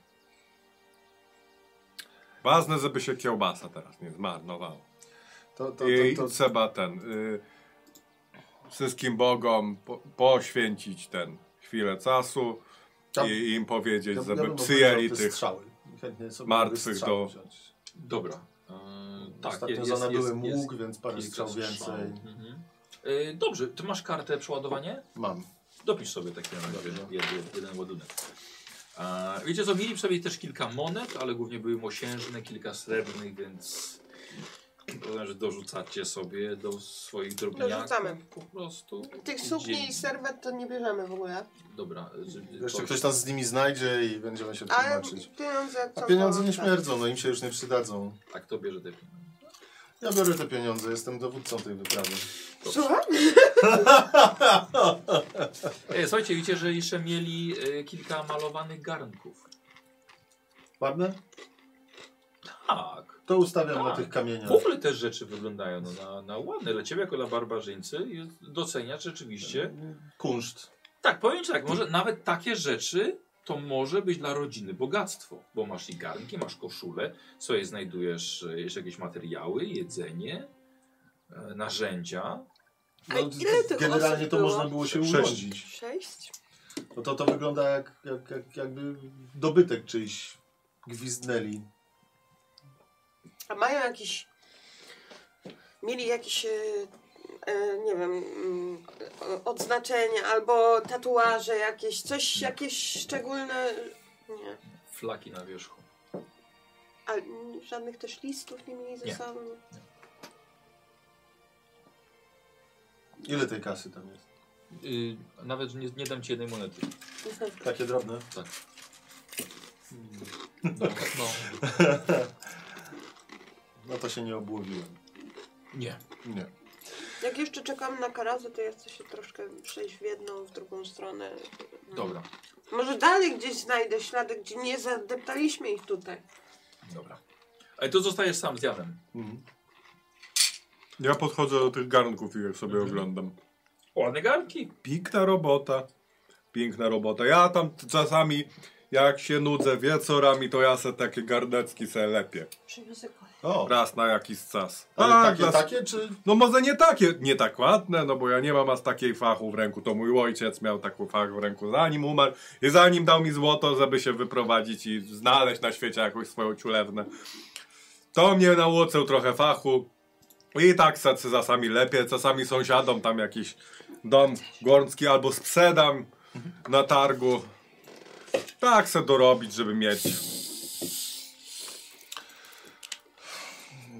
Speaker 4: Ważne, żeby się kiełbasa teraz nie zmarnowała.
Speaker 5: To, to, to,
Speaker 4: I
Speaker 5: to,
Speaker 4: trzeba ten. Y, wszystkim bogom po, poświęcić ten chwilę czasu
Speaker 5: Tam-
Speaker 4: i im powiedzieć,
Speaker 5: ja- ja
Speaker 4: żeby
Speaker 5: bym
Speaker 4: przyjęli
Speaker 5: obejrzał te
Speaker 4: tych.
Speaker 5: strzały.
Speaker 2: Chętnie sobie
Speaker 4: Martwych
Speaker 2: mogę strzał
Speaker 4: do-
Speaker 2: wziąć.
Speaker 1: Dobra. E, tak,
Speaker 5: Ostatnio
Speaker 1: jest- jest-
Speaker 5: zanabyłem
Speaker 1: jest-
Speaker 5: łuk, więc parę
Speaker 1: jest
Speaker 5: strzał
Speaker 1: strzał.
Speaker 5: więcej.
Speaker 1: Mhm. E, dobrze, ty masz kartę przeładowanie?
Speaker 5: Mam.
Speaker 1: Dopisz sobie taki na razie
Speaker 5: Dobrze.
Speaker 1: jeden, jeden ładunek. E, wiecie co, mieli przy sobie też kilka monet, ale głównie były mosiężne, kilka srebrnych, więc rozumiem, że dorzucacie sobie do swoich drobniaków.
Speaker 3: Dorzucamy.
Speaker 1: Po prostu.
Speaker 3: Tych sukni i serwet to nie bierzemy w ogóle.
Speaker 1: Dobra.
Speaker 5: Jeszcze ktoś nas z nimi znajdzie i będziemy się
Speaker 3: Ale
Speaker 5: tłumaczyć.
Speaker 3: pieniądze jak
Speaker 5: A
Speaker 3: są,
Speaker 5: pieniądze
Speaker 3: to-
Speaker 5: nie
Speaker 3: tak.
Speaker 5: śmierdzą, no im się już nie przydadzą.
Speaker 1: Tak, to bierze te pieniądze.
Speaker 5: Ja biorę te pieniądze, jestem dowódcą tej wyprawy.
Speaker 3: tak. Słucham?
Speaker 1: E, słuchajcie, widzicie, że jeszcze mieli e, kilka malowanych garnków.
Speaker 2: Ładne?
Speaker 1: Tak.
Speaker 2: To ustawiam na
Speaker 1: Tak.
Speaker 2: tych kamieniach.
Speaker 1: W ogóle też rzeczy wyglądają no, na, na ładne. Dla ciebie jako dla barbarzyńcy jest- doceniasz rzeczywiście.
Speaker 2: Kunszt.
Speaker 1: Tak, powiem ci tak, może nawet takie rzeczy to może być dla rodziny bogactwo, bo masz i garnki, masz koszulę, sobie znajdujesz e, jeszcze jakieś materiały, jedzenie, e, narzędzia.
Speaker 3: A ile tych
Speaker 2: No, generalnie
Speaker 3: osób
Speaker 2: to
Speaker 3: było?
Speaker 2: można było się
Speaker 5: Sześć.
Speaker 2: urządzić.
Speaker 3: Sześć?
Speaker 2: No to to wygląda jak, jak, jak jakby dobytek czyjś gwizdnęli.
Speaker 3: A mają jakiś... Mieli jakieś... e, e, Nie wiem, mm, o- odznaczenia albo tatuaże jakieś, coś, jakieś szczególne. Nie.
Speaker 1: Flaki na wierzchu.
Speaker 3: A n- żadnych też listów nie mieli ze
Speaker 1: Nie.
Speaker 3: sobą?
Speaker 2: Ile tej kasy tam jest?
Speaker 1: Y, nawet nie, nie dam ci jednej monety.
Speaker 2: Takie drobne?
Speaker 1: Tak. No, no.
Speaker 2: No to się nie obłowiłem.
Speaker 1: Nie.
Speaker 5: Nie.
Speaker 3: Jak jeszcze czekam na karazę, to ja chcę się troszkę przejść w jedną, w drugą stronę.
Speaker 1: Dobra,
Speaker 3: Może dalej gdzieś znajdę ślady, gdzie nie zadeptaliśmy ich tutaj.
Speaker 1: dobra. Ale to zostajesz sam z Janem.
Speaker 2: Mhm.
Speaker 4: Ja podchodzę do tych garnków i je sobie
Speaker 1: Mhm.
Speaker 4: oglądam.
Speaker 1: Ładne garnki.
Speaker 4: Piękna robota. Piękna robota. Ja tam t- czasami, jak się nudzę wieczorami, to ja se takie garnecki se lepię.
Speaker 3: Przywiozę kolej.
Speaker 5: O,
Speaker 4: Raz na jakiś czas.
Speaker 5: ale
Speaker 4: Tak,
Speaker 5: takie,
Speaker 4: raz-
Speaker 5: takie czy...
Speaker 4: No może nie takie, nie tak ładne, no bo ja nie mam aż takiej fachu w ręku. To mój ojciec miał taką fach w ręku zanim umarł i zanim dał mi złoto, żeby się wyprowadzić i znaleźć na świecie jakąś swoją ciulewnę. To mnie nauczył trochę fachu. I tak se czasami lepiej, czasami sąsiadom tam jakiś dom górski albo sprzedam na targu. Tak se dorobić, żeby mieć.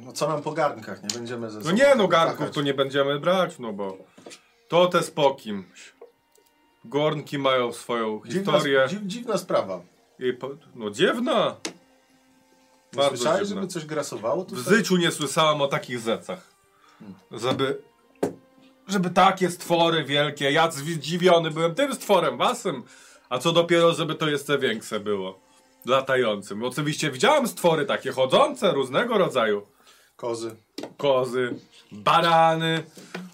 Speaker 2: No co nam po garnkach, nie będziemy ze
Speaker 4: No
Speaker 2: sobą
Speaker 4: nie no,
Speaker 2: skakać.
Speaker 4: garnków tu nie będziemy brać, no bo to te z po kimś. Gornki mają swoją
Speaker 5: Dziwna,
Speaker 4: historię.
Speaker 5: dziw, dziwna sprawa.
Speaker 4: I po, no dziwna.
Speaker 5: Nie
Speaker 4: Bardzo
Speaker 5: słyszałeś,
Speaker 4: dziwna.
Speaker 5: żeby coś grasowało
Speaker 4: W
Speaker 5: tutaj?
Speaker 4: życiu nie słyszałam o takich rzecach. Żeby, żeby takie stwory wielkie, ja zdziwiony byłem tym stworem waszym, a co dopiero, żeby to jeszcze większe było. Latającym. Oczywiście widziałem stwory takie chodzące, różnego rodzaju.
Speaker 5: Kozy.
Speaker 4: kozy, barany,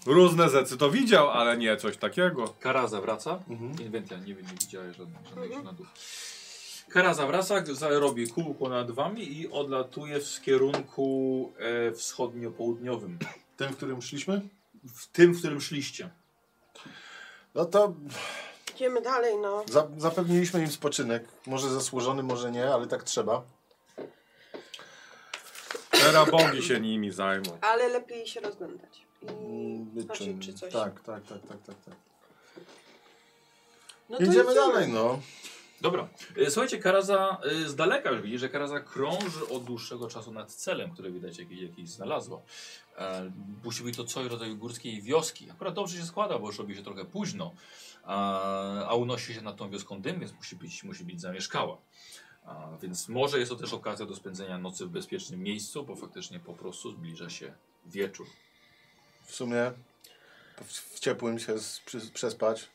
Speaker 4: różne rzeczy. To widział, ale nie coś takiego.
Speaker 1: Kara zawraca. Inwentia, nie wiem, nie widziałeś żadnych, żadnych śladów. Kara zawraca, g- za- robi kółko nad wami i odlatuje w kierunku e, wschodnio-południowym.
Speaker 5: Ten, w którym szliśmy?
Speaker 1: W tym, w którym szliście.
Speaker 5: No to
Speaker 3: Idziemy dalej, no.
Speaker 5: za, zapewniliśmy im spoczynek. Może zasłużony, może nie, ale tak trzeba.
Speaker 4: Teraz bogi się nimi zajmą.
Speaker 3: Ale lepiej się rozglądać.
Speaker 5: Mm,
Speaker 3: I patrzeć, czy coś.
Speaker 5: Tak, tak, tak, tak, tak. tak.
Speaker 3: No to
Speaker 5: Jedziemy, dalej, no.
Speaker 1: Dobra. E, Słuchajcie, Karaza e, z daleka już widzi, że Karaza krąży od dłuższego czasu nad celem, który widać jakiś, jakiś znalazła. E, musi być to coś rodzaju górskiej wioski. Akurat dobrze się składa, bo już robi się trochę późno, a, a unosi się nad tą wioską dym, więc musi być, musi być zamieszkała. A, więc może jest to też okazja do spędzenia nocy w bezpiecznym miejscu, bo faktycznie po prostu zbliża się wieczór.
Speaker 5: W sumie w, w ciepłym się z, przy, przespać,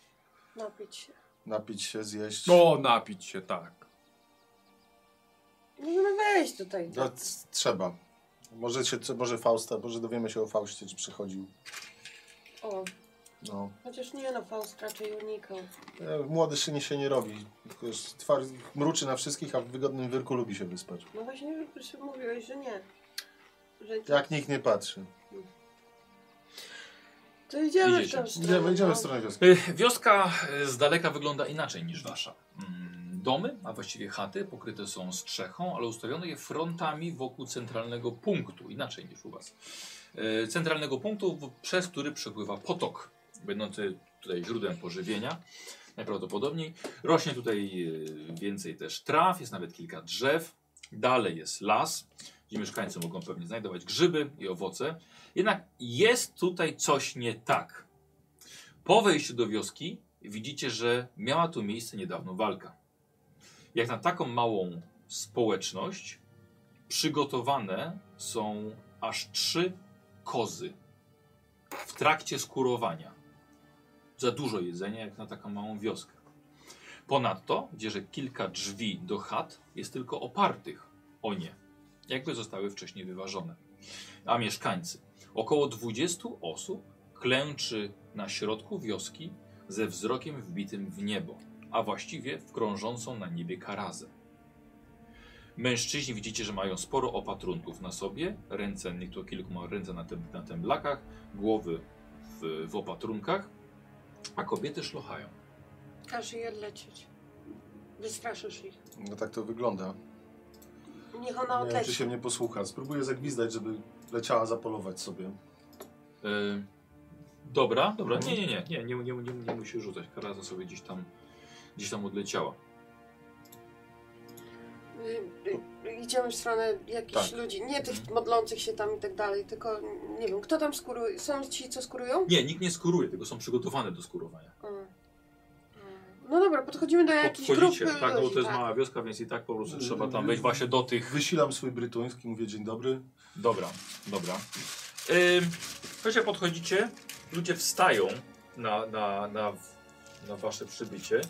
Speaker 3: Napić się.
Speaker 5: napić się, zjeść.
Speaker 4: No, napić się, tak.
Speaker 3: No weź tutaj.
Speaker 5: No, c- trzeba. Może, się, co- może Fausta, może dowiemy się o Faustie, czy przychodził.
Speaker 3: O,
Speaker 5: No.
Speaker 3: chociaż nie no, Faust raczej unikał.
Speaker 5: E, Młody szyni się nie robi. Wiesz, Twar, mruczy na wszystkich, a w wygodnym wyrku lubi się wyspać.
Speaker 3: No właśnie już mówiłeś, że nie. Że
Speaker 5: Jak nikt nie patrzy.
Speaker 3: To idziemy w
Speaker 1: Idziecie.
Speaker 3: tą stronę.
Speaker 5: Idziemy, idziemy
Speaker 3: no.
Speaker 5: w stronę wioski.
Speaker 1: Y, Wioska y, z daleka wygląda inaczej niż wasza. Mm, Domy, a właściwie chaty, pokryte są strzechą, ale ustawione je frontami wokół centralnego punktu, inaczej niż u was. Y, Centralnego punktu, w- przez który przepływa potok, będący tutaj źródłem pożywienia. Najprawdopodobniej rośnie tutaj y, więcej też traw, jest nawet kilka drzew. Dalej jest las, gdzie mieszkańcy mogą pewnie znajdować grzyby i owoce. Jednak jest tutaj coś nie tak. Po wejściu do wioski widzicie, że miała tu miejsce niedawno walka. Jak na taką małą społeczność przygotowane są aż trzy kozy w trakcie skurowania. Za dużo jedzenia jak na taką małą wioskę. Ponadto, gdzie że kilka drzwi do chat jest tylko opartych o nie, jakby zostały wcześniej wyważone. A mieszkańcy, około 20 osób klęczy na środku wioski ze wzrokiem wbitym w niebo, a właściwie w krążącą na niebie karazę. Mężczyźni widzicie, że mają sporo opatrunków na sobie, ręce, niektórzy kilku ma ręce na, tem, na temblakach, głowy w, w opatrunkach, a kobiety szlochają.
Speaker 3: Każ je lecieć. Wystraszysz ich.
Speaker 5: No tak to wygląda.
Speaker 3: Niech ona
Speaker 5: Nie wiem, czy
Speaker 3: odleci.
Speaker 5: się mnie posłucha. Spróbuję zagwizdać, żeby leciała zapolować sobie.
Speaker 1: Yy, dobra, dobra, nie, nie, nie, nie, nie, nie, nie, nie musisz rzucać, karaza sobie gdzieś tam, gdzieś tam odleciała.
Speaker 3: Y, y, Idziemy w stronę jakichś
Speaker 5: Tak.
Speaker 3: ludzi, nie tych
Speaker 1: Mhm.
Speaker 3: modlących się tam i tak dalej, tylko nie wiem, kto tam skuruje? Są ci, co skurują?
Speaker 1: Nie, nikt nie skuruje, tylko są przygotowane do skurowania.
Speaker 3: A. A. No dobra, podchodzimy do jakiejś grupy
Speaker 1: Podchodzicie, tak, no bo
Speaker 3: ludzi,
Speaker 1: to jest
Speaker 3: tak.
Speaker 1: mała wioska, więc i tak po prostu
Speaker 5: Yy,
Speaker 1: trzeba tam wejść właśnie do tych.
Speaker 5: Wysilam swój brytuński, mówię dzień dobry.
Speaker 1: Dobra, dobra. Ym, Słuchajcie, podchodzicie, ludzie wstają na, na, na, na wasze przybycie.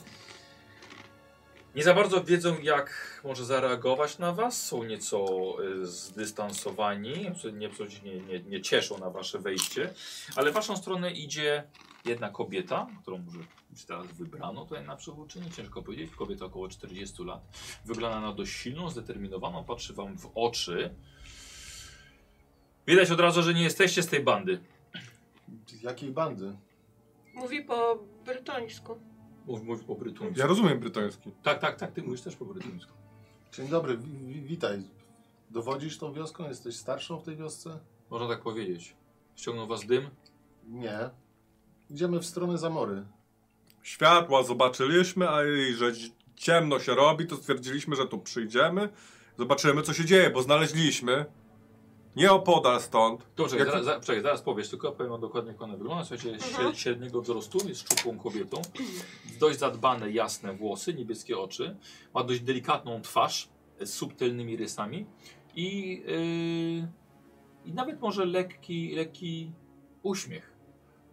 Speaker 1: Nie za bardzo wiedzą, jak może zareagować na was. Są nieco y, zdystansowani, absolutnie- nie, absolutnie nie, nie, nie cieszą na wasze wejście. Ale w waszą stronę idzie jedna kobieta, którą może czy teraz wybrano tutaj na przywódczyni, ciężko powiedzieć. Kobieta około 40 lat. Wygląda na dość silną, zdeterminowaną, patrzy wam w oczy. Widać od razu, że nie jesteście z tej bandy.
Speaker 2: Jakiej bandy?
Speaker 7: Mówi po brytońsku.
Speaker 1: Mów, mów po brytuńsku.
Speaker 4: Ja rozumiem brytoński.
Speaker 1: Tak, tak, tak, ty mówisz też po brytuńsku.
Speaker 2: Dzień dobry, wi wi witaj. Dowodzisz tą wioską? Jesteś starszą w tej wiosce?
Speaker 1: Można tak powiedzieć. Ściągnął was dym.
Speaker 2: Nie. Idziemy w stronę zamory.
Speaker 4: Światła zobaczyliśmy, a i że ciemno się robi, to stwierdziliśmy, że tu przyjdziemy. Zobaczymy, co się dzieje, bo znaleźliśmy. Nie opodal stąd.
Speaker 1: Dobrze,
Speaker 4: Jak-
Speaker 1: zaraz, za, czekaj, zaraz powiesz, tylko ja powiem wam dokładnie jak ona wygląda. Słuchajcie, jest śred- średniego wzrostu, jest szczupłą kobietą, dość zadbane jasne włosy, niebieskie oczy, ma dość delikatną twarz z subtelnymi rysami i, yy, i nawet może lekki, lekki uśmiech.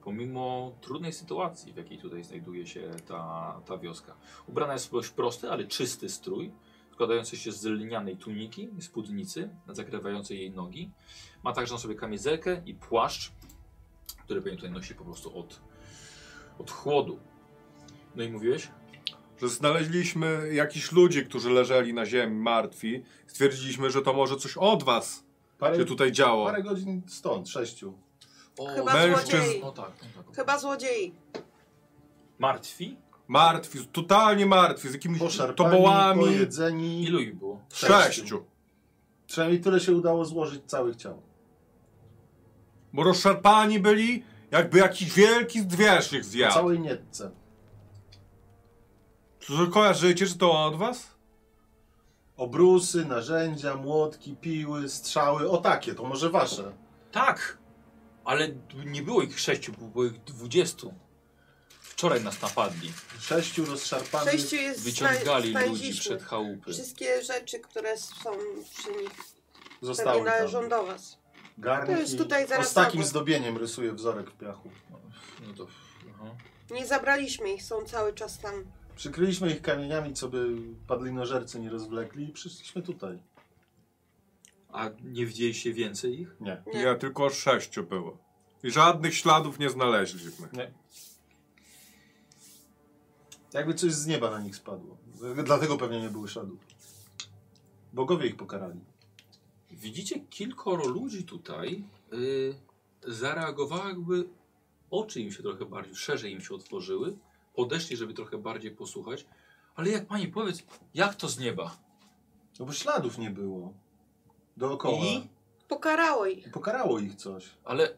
Speaker 1: Pomimo trudnej sytuacji, w jakiej tutaj znajduje się ta, ta wioska. Ubrana jest w dość prosty, ale czysty strój, składający się z lnianej tuniki, i spódnicy, zakrywającej jej nogi. Ma także na sobie kamizelkę i płaszcz, który pewnie tutaj nosi po prostu od, od chłodu. No i mówiłeś?
Speaker 4: Że znaleźliśmy jakichś ludzi, którzy leżeli na ziemi martwi. Stwierdziliśmy, że to może coś od was
Speaker 2: Parę,
Speaker 4: się tutaj działo.
Speaker 2: parę godzin stąd, sześciu.
Speaker 1: O,
Speaker 3: Chyba
Speaker 4: mężczyzn-
Speaker 3: złodziei.
Speaker 1: No tak, no tak.
Speaker 3: Chyba złodziei.
Speaker 1: Martwi?
Speaker 4: Martwi, totalnie martwi, z jakimiś
Speaker 2: Poszarpani,
Speaker 4: tobołami.
Speaker 2: pojedzeni.
Speaker 1: Ilu ich było?
Speaker 4: Sześciu.
Speaker 2: Przynajmniej tyle się udało złożyć całych ciał.
Speaker 4: Bo rozszarpani byli, jakby jakiś wielki zwierzchnik
Speaker 2: W
Speaker 4: zjadł.
Speaker 2: całej nietce.
Speaker 4: Czy kojarzycie, że to od was?
Speaker 2: Obrusy, narzędzia, młotki, piły, strzały. O takie, to może wasze.
Speaker 1: Tak, ale nie było ich sześciu, było ich dwudziestu. Wczoraj nas napadli.
Speaker 2: Sześciu rozszarpanych.
Speaker 3: Przejściu jest
Speaker 1: Wyciągali
Speaker 3: zna-
Speaker 1: ludzi
Speaker 3: znaleźliśmy.
Speaker 1: przed chałupy.
Speaker 3: Wszystkie rzeczy, które są przy nich, pewnie
Speaker 2: Zostały
Speaker 3: należą
Speaker 2: tam.
Speaker 3: do was.
Speaker 2: Garnki.
Speaker 3: To jest tutaj zaraz
Speaker 2: o, z takim
Speaker 3: obok.
Speaker 2: zdobieniem rysuje wzorek w piachu.
Speaker 1: No to... aha.
Speaker 3: Nie zabraliśmy ich, są cały czas tam.
Speaker 2: Przykryliśmy ich kamieniami, co by padlinożercy nie rozwlekli i przyszliśmy tutaj.
Speaker 1: A nie widzieliście więcej ich?
Speaker 3: Nie.
Speaker 4: Nie, tylko sześciu było. I żadnych śladów nie znaleźliśmy.
Speaker 2: Jakby coś z nieba na nich spadło. Dlatego pewnie nie były śladów. Bogowie ich pokarali.
Speaker 1: Widzicie, kilkoro ludzi tutaj y, zareagowało jakby oczy im się trochę bardziej, szerzej im się otworzyły, podeszli, żeby trochę bardziej posłuchać. Ale jak pani powiedz, jak to z nieba?
Speaker 2: No bo śladów nie było. Dookoła.
Speaker 1: I?
Speaker 3: Pokarało ich.
Speaker 2: Pokarało ich coś.
Speaker 1: Ale,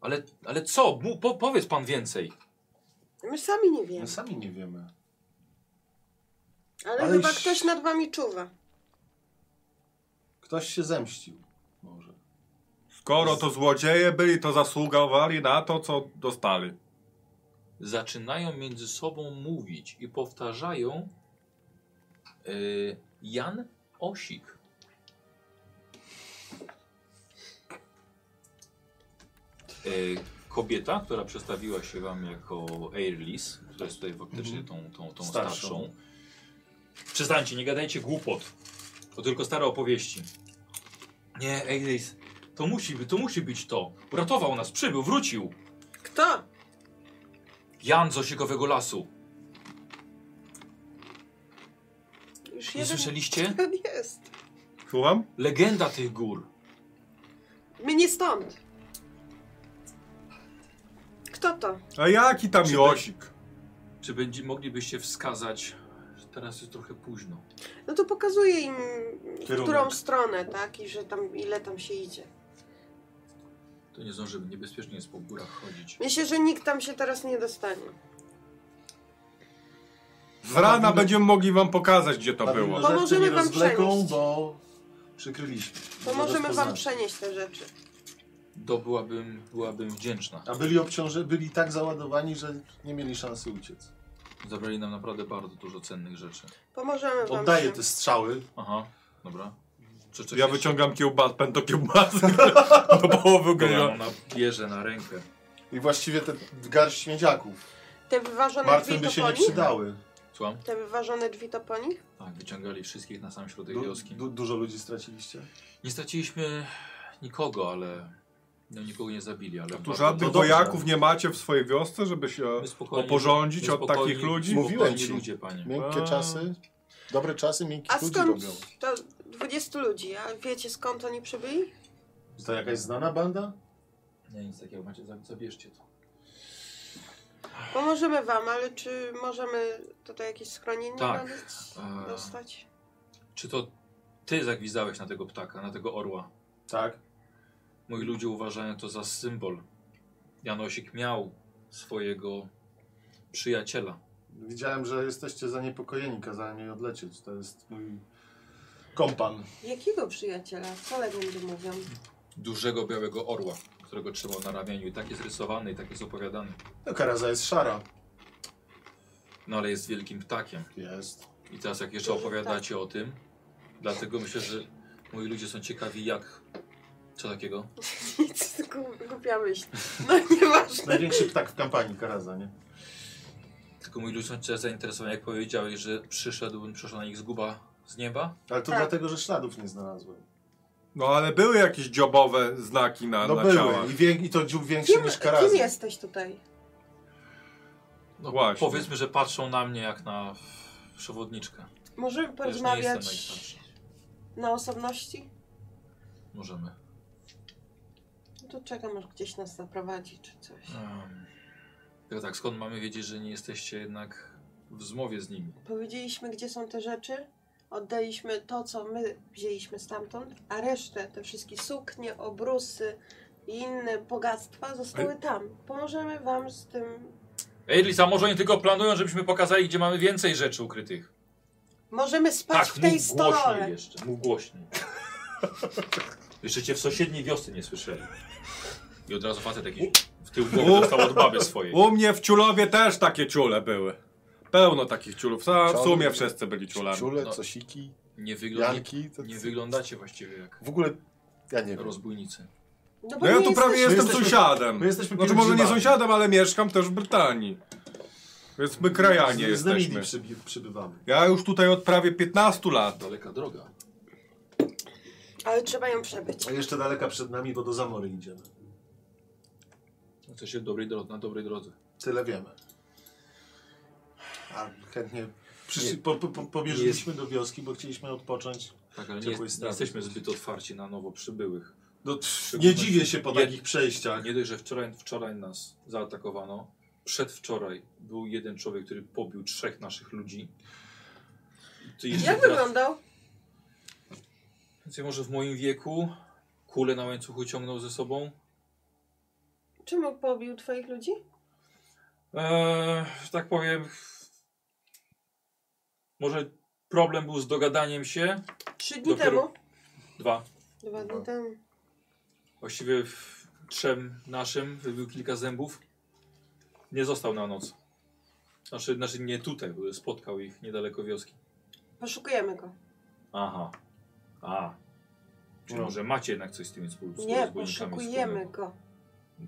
Speaker 1: ale, ale co? Mu- Po, powiedz pan więcej.
Speaker 3: My sami nie
Speaker 2: My
Speaker 3: wiemy.
Speaker 2: sami nie wiemy.
Speaker 3: Ale,
Speaker 2: Ale
Speaker 3: chyba
Speaker 2: ś-
Speaker 3: ktoś nad wami czuwa.
Speaker 2: Ktoś się zemścił. Może.
Speaker 4: Skoro to złodzieje byli, to zasługowali na to, co dostali.
Speaker 1: Zaczynają między sobą mówić i powtarzają y, Jan Osik. Y, kobieta, która przedstawiła się wam jako Airlis, która jest tutaj faktycznie tą, tą, tą starszą.
Speaker 2: Starszą.
Speaker 1: Przestańcie, nie gadajcie głupot. To tylko stare opowieści. Nie, Airlis, to musi, by- to musi być to. Uratował nas, przybył, wrócił.
Speaker 3: Kto?
Speaker 1: Jan z Osikowego Lasu.
Speaker 3: Już
Speaker 1: Nie
Speaker 3: jeden
Speaker 1: słyszeliście?
Speaker 3: ten jest.
Speaker 4: Słucham?
Speaker 1: Legenda tych gór.
Speaker 3: My nie stąd. Kto to?
Speaker 4: A jaki tam
Speaker 1: Czy
Speaker 4: Josik?
Speaker 1: Czy będzie, moglibyście wskazać, że teraz jest trochę późno?
Speaker 3: No to pokazuje im, w
Speaker 2: Kierunek.
Speaker 3: którą stronę, tak? I że tam, ile tam się idzie.
Speaker 1: To nie zdążymy, niebezpiecznie jest po górach chodzić.
Speaker 3: Myślę, że nikt tam się teraz nie dostanie.
Speaker 4: Z rana będziemy mogli wam pokazać, gdzie to było.
Speaker 2: Padlinożercy
Speaker 3: Pomożemy
Speaker 2: nie
Speaker 3: wam
Speaker 2: rozwleką,
Speaker 3: przenieść.
Speaker 2: bo przykryliśmy.
Speaker 3: To
Speaker 2: Nie
Speaker 3: możemy wam
Speaker 2: rozpoznali.
Speaker 3: przenieść te rzeczy.
Speaker 1: To byłabym, byłabym wdzięczna.
Speaker 2: A byli obciąże, byli tak załadowani, że nie mieli szansy uciec.
Speaker 1: Zabrali nam naprawdę bardzo dużo cennych rzeczy.
Speaker 3: Pomożemy wam.
Speaker 2: Oddaję
Speaker 3: się.
Speaker 2: te strzały.
Speaker 1: Aha, dobra. Czy coś
Speaker 4: Ja
Speaker 1: jeszcze?
Speaker 4: wyciągam kiełbas, pęto kiełbas. Do połowy
Speaker 1: Dobra,
Speaker 4: go.
Speaker 1: ona bierze na rękę.
Speaker 2: I właściwie te garść śmiedziaków.
Speaker 3: Te wyważone drzwi
Speaker 2: Martwym by
Speaker 3: to
Speaker 2: się
Speaker 3: po
Speaker 2: nie
Speaker 3: nich?
Speaker 2: przydały.
Speaker 1: Słucham?
Speaker 3: Te wyważone drzwi to po nich?
Speaker 1: Tak, wyciągali wszystkich na sam środek
Speaker 2: Du,
Speaker 1: wioski.
Speaker 2: du, dużo ludzi straciliście?
Speaker 1: Nie straciliśmy nikogo, ale... No, nikogo nie zabili, ale...
Speaker 4: Tu
Speaker 1: bardzo-
Speaker 4: żadnych
Speaker 2: No dobrze.
Speaker 4: wojaków nie macie w swojej wiosce, żeby się
Speaker 1: My spokojni-
Speaker 4: oporządzić
Speaker 1: my
Speaker 4: od takich
Speaker 1: spokojni-
Speaker 4: ludzi?
Speaker 1: spokojni
Speaker 5: Mówiłem ci.
Speaker 1: ludzie, panie.
Speaker 5: Miękkie
Speaker 4: A.
Speaker 5: czasy, dobre czasy,
Speaker 3: A
Speaker 5: miękkich ludzi
Speaker 3: skąd
Speaker 5: robią.
Speaker 3: to 20 ludzi? A wiecie skąd oni przybyli?
Speaker 2: To jakaś znana banda?
Speaker 1: Nie, nic takiego macie, za- zabierzcie to.
Speaker 3: Pomożemy wam, ale czy możemy tutaj jakieś schronienie
Speaker 1: Tak.
Speaker 3: dla nas
Speaker 1: Eee.
Speaker 3: dostać?
Speaker 1: Czy to ty zagwizdałeś na tego ptaka, na tego orła?
Speaker 2: Tak.
Speaker 1: Moi ludzie uważają to za symbol. Janosik miał swojego przyjaciela.
Speaker 2: Widziałem, że jesteście zaniepokojeni, kazałem jej odlecieć. To jest mój kompan.
Speaker 3: Jakiego przyjaciela? Co legendy mówią?
Speaker 1: Dużego białego orła, którego trzymał na ramieniu. I tak jest rysowany, i tak jest opowiadany.
Speaker 2: No, karaza jest szara.
Speaker 1: No ale jest wielkim ptakiem.
Speaker 2: Jest.
Speaker 1: I teraz jak jeszcze
Speaker 3: Duży
Speaker 1: opowiadacie o tym, dlatego myślę, że moi ludzie są ciekawi jak... Co takiego?
Speaker 3: Nic, gu- głupia myśl. No nieważne.
Speaker 2: Największy ptak w kampanii, karaza, nie?
Speaker 1: Tylko moi ludzie są cię zainteresowani, jak powiedziałeś, że przyszedł, przyszła na nich zguba z nieba.
Speaker 2: Ale to
Speaker 3: Tak.
Speaker 2: dlatego, że śladów nie znalazłem.
Speaker 4: No ale były jakieś dziobowe znaki na,
Speaker 2: No
Speaker 4: na ciałach.
Speaker 2: były. I, wie, I to dziób większy
Speaker 3: Kim,
Speaker 2: niż
Speaker 3: kim
Speaker 2: karaza.
Speaker 3: jesteś tutaj?
Speaker 1: No
Speaker 4: Właśnie.
Speaker 1: Powiedzmy, że patrzą na mnie jak na przewodniczkę.
Speaker 3: Możemy
Speaker 1: Też nie jestem
Speaker 3: porozmawiać
Speaker 1: najstarszy.
Speaker 3: na osobności?
Speaker 1: Możemy.
Speaker 3: No To czekam, aż gdzieś nas zaprowadzi czy coś.
Speaker 1: Um, tylko tak, skąd mamy wiedzieć, że nie jesteście jednak w zmowie z nimi?
Speaker 3: Powiedzieliśmy, gdzie są te rzeczy. Oddaliśmy to, co my wzięliśmy stamtąd, a resztę, te wszystkie suknie, obrusy i inne bogactwa zostały tam. Pomożemy wam z tym.
Speaker 1: Ej, Lisa, może oni tylko planują, żebyśmy pokazali, gdzie mamy więcej rzeczy ukrytych. Tak,
Speaker 3: Możemy spać w tej
Speaker 1: mów głośniej
Speaker 3: stole.
Speaker 1: jeszcze, mów głośniej. jeszcze cię w sąsiedniej wiosce nie słyszeli. I od razu facet jakiś w tył głowy dostał od baby swojej.
Speaker 4: U mnie w ciulowie też takie ciule były. Pełno takich ciulów. Sa- W
Speaker 5: Ciule.
Speaker 4: sumie wszyscy byli ciulami.
Speaker 5: Ciule,
Speaker 1: No.
Speaker 5: cosiki,
Speaker 1: Nie, wygląda,
Speaker 5: janki. To...
Speaker 1: nie wyglądacie właściwie jak
Speaker 5: W ogóle ja nie wiem.
Speaker 1: rozbójnicy.
Speaker 3: No bo
Speaker 4: No ja
Speaker 3: nie
Speaker 4: tu prawie
Speaker 3: jesteśmy-
Speaker 4: jestem
Speaker 2: jesteśmy-
Speaker 4: sąsiadem.
Speaker 2: my jesteśmy
Speaker 4: Znaczy może nie
Speaker 2: pielgrzymami.
Speaker 4: sąsiadem, ale mieszkam też w Brytanii. Więc my
Speaker 2: z,
Speaker 4: krajanie
Speaker 2: z Nemidii
Speaker 4: jesteśmy.
Speaker 2: przybi- przybywamy.
Speaker 4: Ja już tutaj od prawie 15 lat.
Speaker 1: Daleka droga.
Speaker 3: Ale trzeba ją przebyć.
Speaker 2: A jeszcze daleka przed nami, bo do zamory idziemy.
Speaker 1: Jesteście Znaczy w dobrej drodze, na dobrej drodze.
Speaker 2: Tyle wiemy. A chętnie przyszli,
Speaker 1: Nie.
Speaker 2: po, po, po, pobieżliśmy do wioski, bo chcieliśmy odpocząć.
Speaker 1: Tak, ale nie,
Speaker 2: Ciepłej
Speaker 1: jest, nie
Speaker 2: strawy.
Speaker 1: jesteśmy zbyt otwarci na nowo przybyłych.
Speaker 2: No, pff, nie dziwię się po
Speaker 1: Nie.
Speaker 2: takich przejściach.
Speaker 1: Nie dość, że wczoraj, wczoraj nas zaatakowano. Przedwczoraj był jeden człowiek, który pobił trzech naszych ludzi. Ty jeszcze
Speaker 3: Jak
Speaker 1: teraz-
Speaker 3: wyglądał?
Speaker 1: Więc ja może w moim wieku kulę na łańcuchu ciągnął ze sobą.
Speaker 3: Czemu pobił twoich ludzi?
Speaker 1: Eee, że tak powiem. Może problem był z dogadaniem się.
Speaker 3: Trzy dni
Speaker 1: Dopiero-
Speaker 3: temu.
Speaker 1: Dwa.
Speaker 3: Dwa
Speaker 2: No.
Speaker 3: dni temu.
Speaker 1: Właściwie w trzem naszym wybił kilka zębów. Nie został na noc. Znaczy, znaczy nie tutaj, bo spotkał ich niedaleko wioski.
Speaker 3: Poszukujemy go.
Speaker 1: Aha. A. Czy
Speaker 2: No.
Speaker 1: może macie jednak coś z tymi spół-
Speaker 3: Nie,
Speaker 1: wspólnikami
Speaker 3: poszukujemy
Speaker 1: wspólnego?
Speaker 3: go.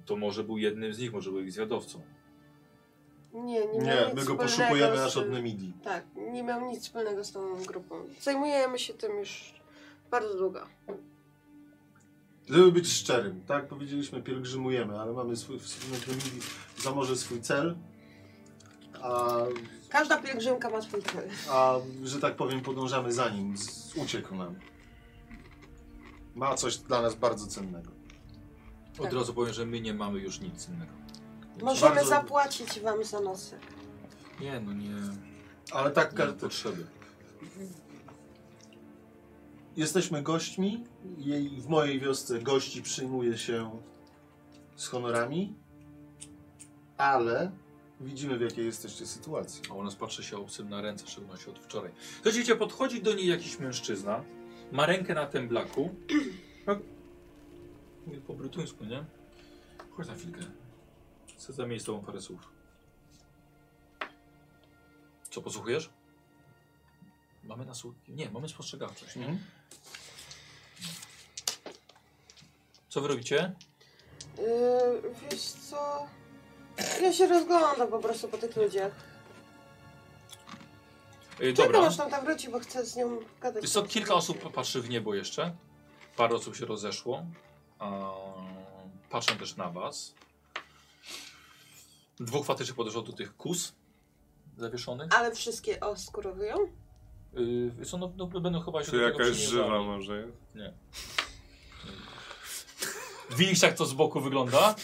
Speaker 1: To może był jednym z nich, może był ich zwiadowcą.
Speaker 3: Nie, nie, miał
Speaker 2: Nie,
Speaker 3: nic
Speaker 2: my go
Speaker 3: wspólnego
Speaker 2: poszukujemy
Speaker 3: z-
Speaker 2: aż od Nemidii.
Speaker 3: Tak, nie miał nic wspólnego z tą grupą. Zajmujemy się tym już bardzo długo.
Speaker 2: Żeby być szczerym, tak powiedzieliśmy, pielgrzymujemy, ale mamy swój, w stosunku do Nemidii za morze swój cel. A,
Speaker 3: Każda pielgrzymka ma swój cel.
Speaker 2: a, że tak powiem, podążamy za nim. Z, uciekł nam. Ma coś dla nas bardzo cennego.
Speaker 1: Od
Speaker 3: Tak.
Speaker 1: razu powiem, że my nie mamy już nic innego. Więc
Speaker 3: Możemy
Speaker 2: bardzo-
Speaker 3: zapłacić wam za nosy.
Speaker 1: Nie, no nie.
Speaker 2: Ale tak,
Speaker 1: Nie ma
Speaker 2: każdy,
Speaker 1: potrzeby.
Speaker 2: jesteśmy gośćmi. Jej, w mojej wiosce gości przyjmuje się z honorami, ale widzimy w jakiej jesteście sytuacji.
Speaker 1: A u nas patrzy się obcym na ręce, w szczególności od wczoraj. Słuchajcie, podchodzi do niej jakiś mężczyzna, ma rękę na tym blaku. Mówi po brytuńsku, nie? Chodź na chwilkę. Chcę zamienić z tobą parę słów. Co, posłuchujesz? Mamy nasługi? Nie, mamy spostrzegawczość, nie? Co wy robicie?
Speaker 3: Yy, wiesz co? Ja się rozglądam po prostu po tych ludziach.
Speaker 1: Yy,
Speaker 3: Czego
Speaker 1: dobra.
Speaker 3: masz tam wróci, bo chcę z nią gadać.
Speaker 1: Jest to kilka osób patrzy w niebo jeszcze. Parę osób się rozeszło. A, Patrzę też na was. Dwóch faktycznie podeszło do tych kus zawieszonych.
Speaker 3: Ale wszystkie oskurowują?
Speaker 1: Yy, są, no, no, będą chyba się
Speaker 4: Czy
Speaker 1: do tego
Speaker 4: jakaś
Speaker 1: przyniosły.
Speaker 4: żywa może jest?
Speaker 1: Widzisz jak to z boku wygląda?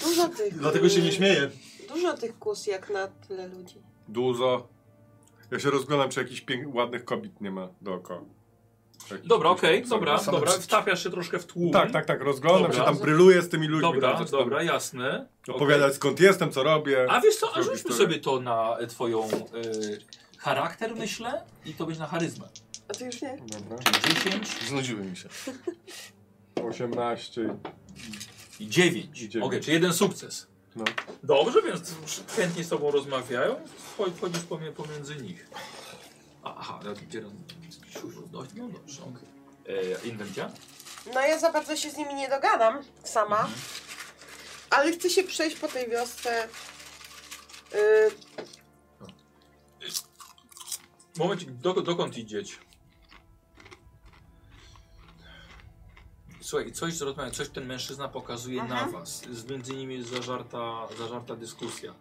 Speaker 3: Dużo tych.
Speaker 2: Dlatego się nie śmieję.
Speaker 3: Dużo tych kus jak na tyle ludzi.
Speaker 4: Dużo. Ja się rozglądam, czy jakichś pięk- ładnych kobiet nie ma dookoła. Jakichś-
Speaker 1: Dobra, okej,
Speaker 4: jakichś-
Speaker 1: dobra,
Speaker 4: Same-
Speaker 1: dobra. Wtapiasz się troszkę w tłum.
Speaker 4: Tak, tak, tak, rozglądam
Speaker 1: Dobra.
Speaker 4: się, tam bryluję z tymi ludźmi. tam
Speaker 1: Dobra,
Speaker 4: zaczynam
Speaker 1: dobra, jasne.
Speaker 4: Opowiadać skąd jestem, co robię.
Speaker 1: A wiesz co, a
Speaker 4: Zrobię
Speaker 1: rzućmy
Speaker 4: historię.
Speaker 1: sobie to na e, twoją y, charakter, myślę, i to będzie na charyzmę.
Speaker 3: A ty już nie?
Speaker 4: Dobra.
Speaker 1: 10
Speaker 5: Znudziły mi się.
Speaker 4: 18.
Speaker 1: i 9.
Speaker 4: I
Speaker 1: Okej,
Speaker 4: dziewięć.
Speaker 1: czyli jeden sukces.
Speaker 4: No.
Speaker 1: Dobrze, więc chętnie z tobą rozmawiają, wcho- wchodzisz pomie- pomiędzy nich. Aha, no, gdzie on- no, no dobrze, okej. E, Inwencja?
Speaker 3: No ja za bardzo się z nimi nie dogadam sama, ale chcę się przejść po tej wiosce. Yy,
Speaker 1: Moment, do, dokąd idzieć? Słuchaj, coś, zrozumiałem, coś ten mężczyzna pokazuje
Speaker 3: Mhm.
Speaker 1: na was. Z między nimi jest zażarta, zażarta dyskusja.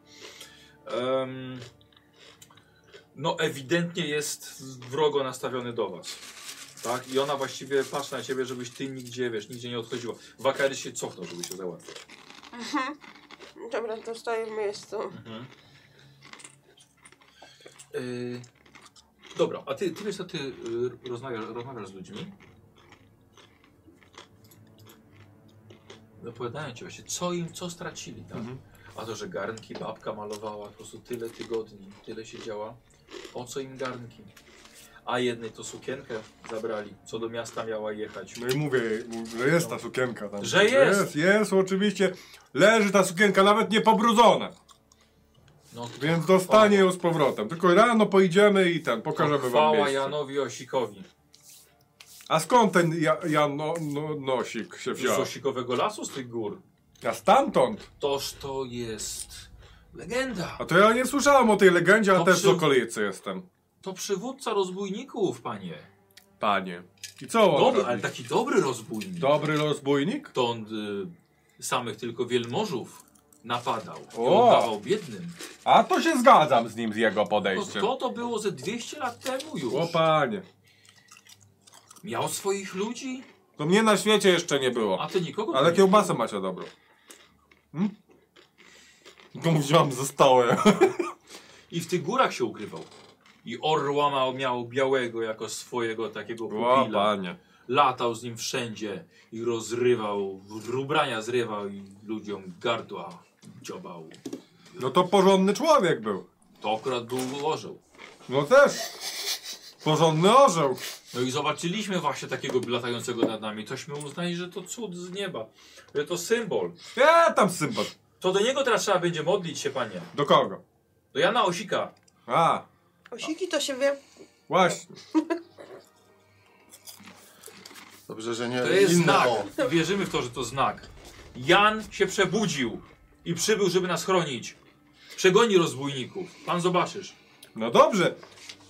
Speaker 1: Em, no ewidentnie jest wrogo nastawiony do was. Tak? I ona właściwie patrzy na ciebie, żebyś ty nigdzie, wiesz, nigdzie nie odchodziła. Wakary się cofnął, żeby się załatwić.
Speaker 3: dobra, to stoję w miejscu.
Speaker 1: Mhm. Y, dobra, a ty, ty wiesz co, ty y, rozmawiasz, rozmawiasz z ludźmi? Opowiadają ci właśnie, co im, co stracili, tak?
Speaker 4: Mhm.
Speaker 1: A to, że garnki babka malowała po prostu tyle tygodni, tyle się działa. Po co im garnki? A jednej to sukienkę zabrali, co do miasta miała jechać.
Speaker 4: No i mówię, jej, mów- że jest ta sukienka tam.
Speaker 1: Że jest.
Speaker 4: Jest, jest, oczywiście. Leży ta sukienka, nawet nie pobrudzona.
Speaker 1: No to
Speaker 4: Więc dostanie ją z powrotem. Tylko rano pojedziemy i ten, pokażemy wam
Speaker 1: chwała
Speaker 4: miejsce.
Speaker 1: Janowi Osikowi.
Speaker 4: A skąd ten ja, ja no, no, nosik się
Speaker 1: Z
Speaker 4: wziął?
Speaker 1: Osikowego lasu z tych gór.
Speaker 4: A stamtąd?
Speaker 1: Toż to jest legenda.
Speaker 4: A to ja nie słyszałam o tej legendzie,
Speaker 1: To
Speaker 4: a też
Speaker 1: przy-
Speaker 4: z okolicy jestem.
Speaker 1: To przywódca rozbójników, panie.
Speaker 4: Panie. I co on
Speaker 1: Dobry,
Speaker 4: robi?
Speaker 1: ale tak- taki dobry rozbójnik.
Speaker 4: Dobry rozbójnik?
Speaker 1: To on y, samych tylko wielmożów napadał. I
Speaker 4: O!
Speaker 1: oddawał biednym.
Speaker 4: A to się zgadzam z nim, z jego
Speaker 1: To,
Speaker 4: podejściem.
Speaker 1: to to było ze 200 lat temu już.
Speaker 4: O panie.
Speaker 1: Miał swoich ludzi,
Speaker 4: To mnie na świecie jeszcze nie było.
Speaker 1: a ty nikogo
Speaker 4: Ale
Speaker 1: nie-
Speaker 4: kiełbasę macie dobrą. Hmm? To wziąłem ze stołem.
Speaker 1: I w tych górach się ukrywał. I orła ma- miał białego jako swojego takiego
Speaker 4: O
Speaker 1: pupila.
Speaker 4: panie.
Speaker 1: Latał z nim wszędzie i rozrywał, rubrania zrywał i ludziom gardła dziobał.
Speaker 4: No to porządny człowiek był.
Speaker 1: To akurat był orzeł.
Speaker 4: No też. Porządny orzeł.
Speaker 1: No i zobaczyliśmy właśnie takiego latającego nad nami. Tośmy uznali, że to cud z nieba, że to symbol.
Speaker 4: Ja E, tam symbol.
Speaker 1: To do niego teraz trzeba będzie modlić się, panie.
Speaker 4: Do kogo?
Speaker 1: Do Jana Osika.
Speaker 4: A,
Speaker 3: Osiki to się wie.
Speaker 4: właśnie.
Speaker 5: Dobrze, że nie
Speaker 1: To jest
Speaker 5: inne
Speaker 1: znak.
Speaker 5: o.
Speaker 1: Wierzymy w to, że to znak. Jan się przebudził i przybył, żeby nas chronić. Przegoni rozbójników. Pan zobaczysz.
Speaker 4: No dobrze.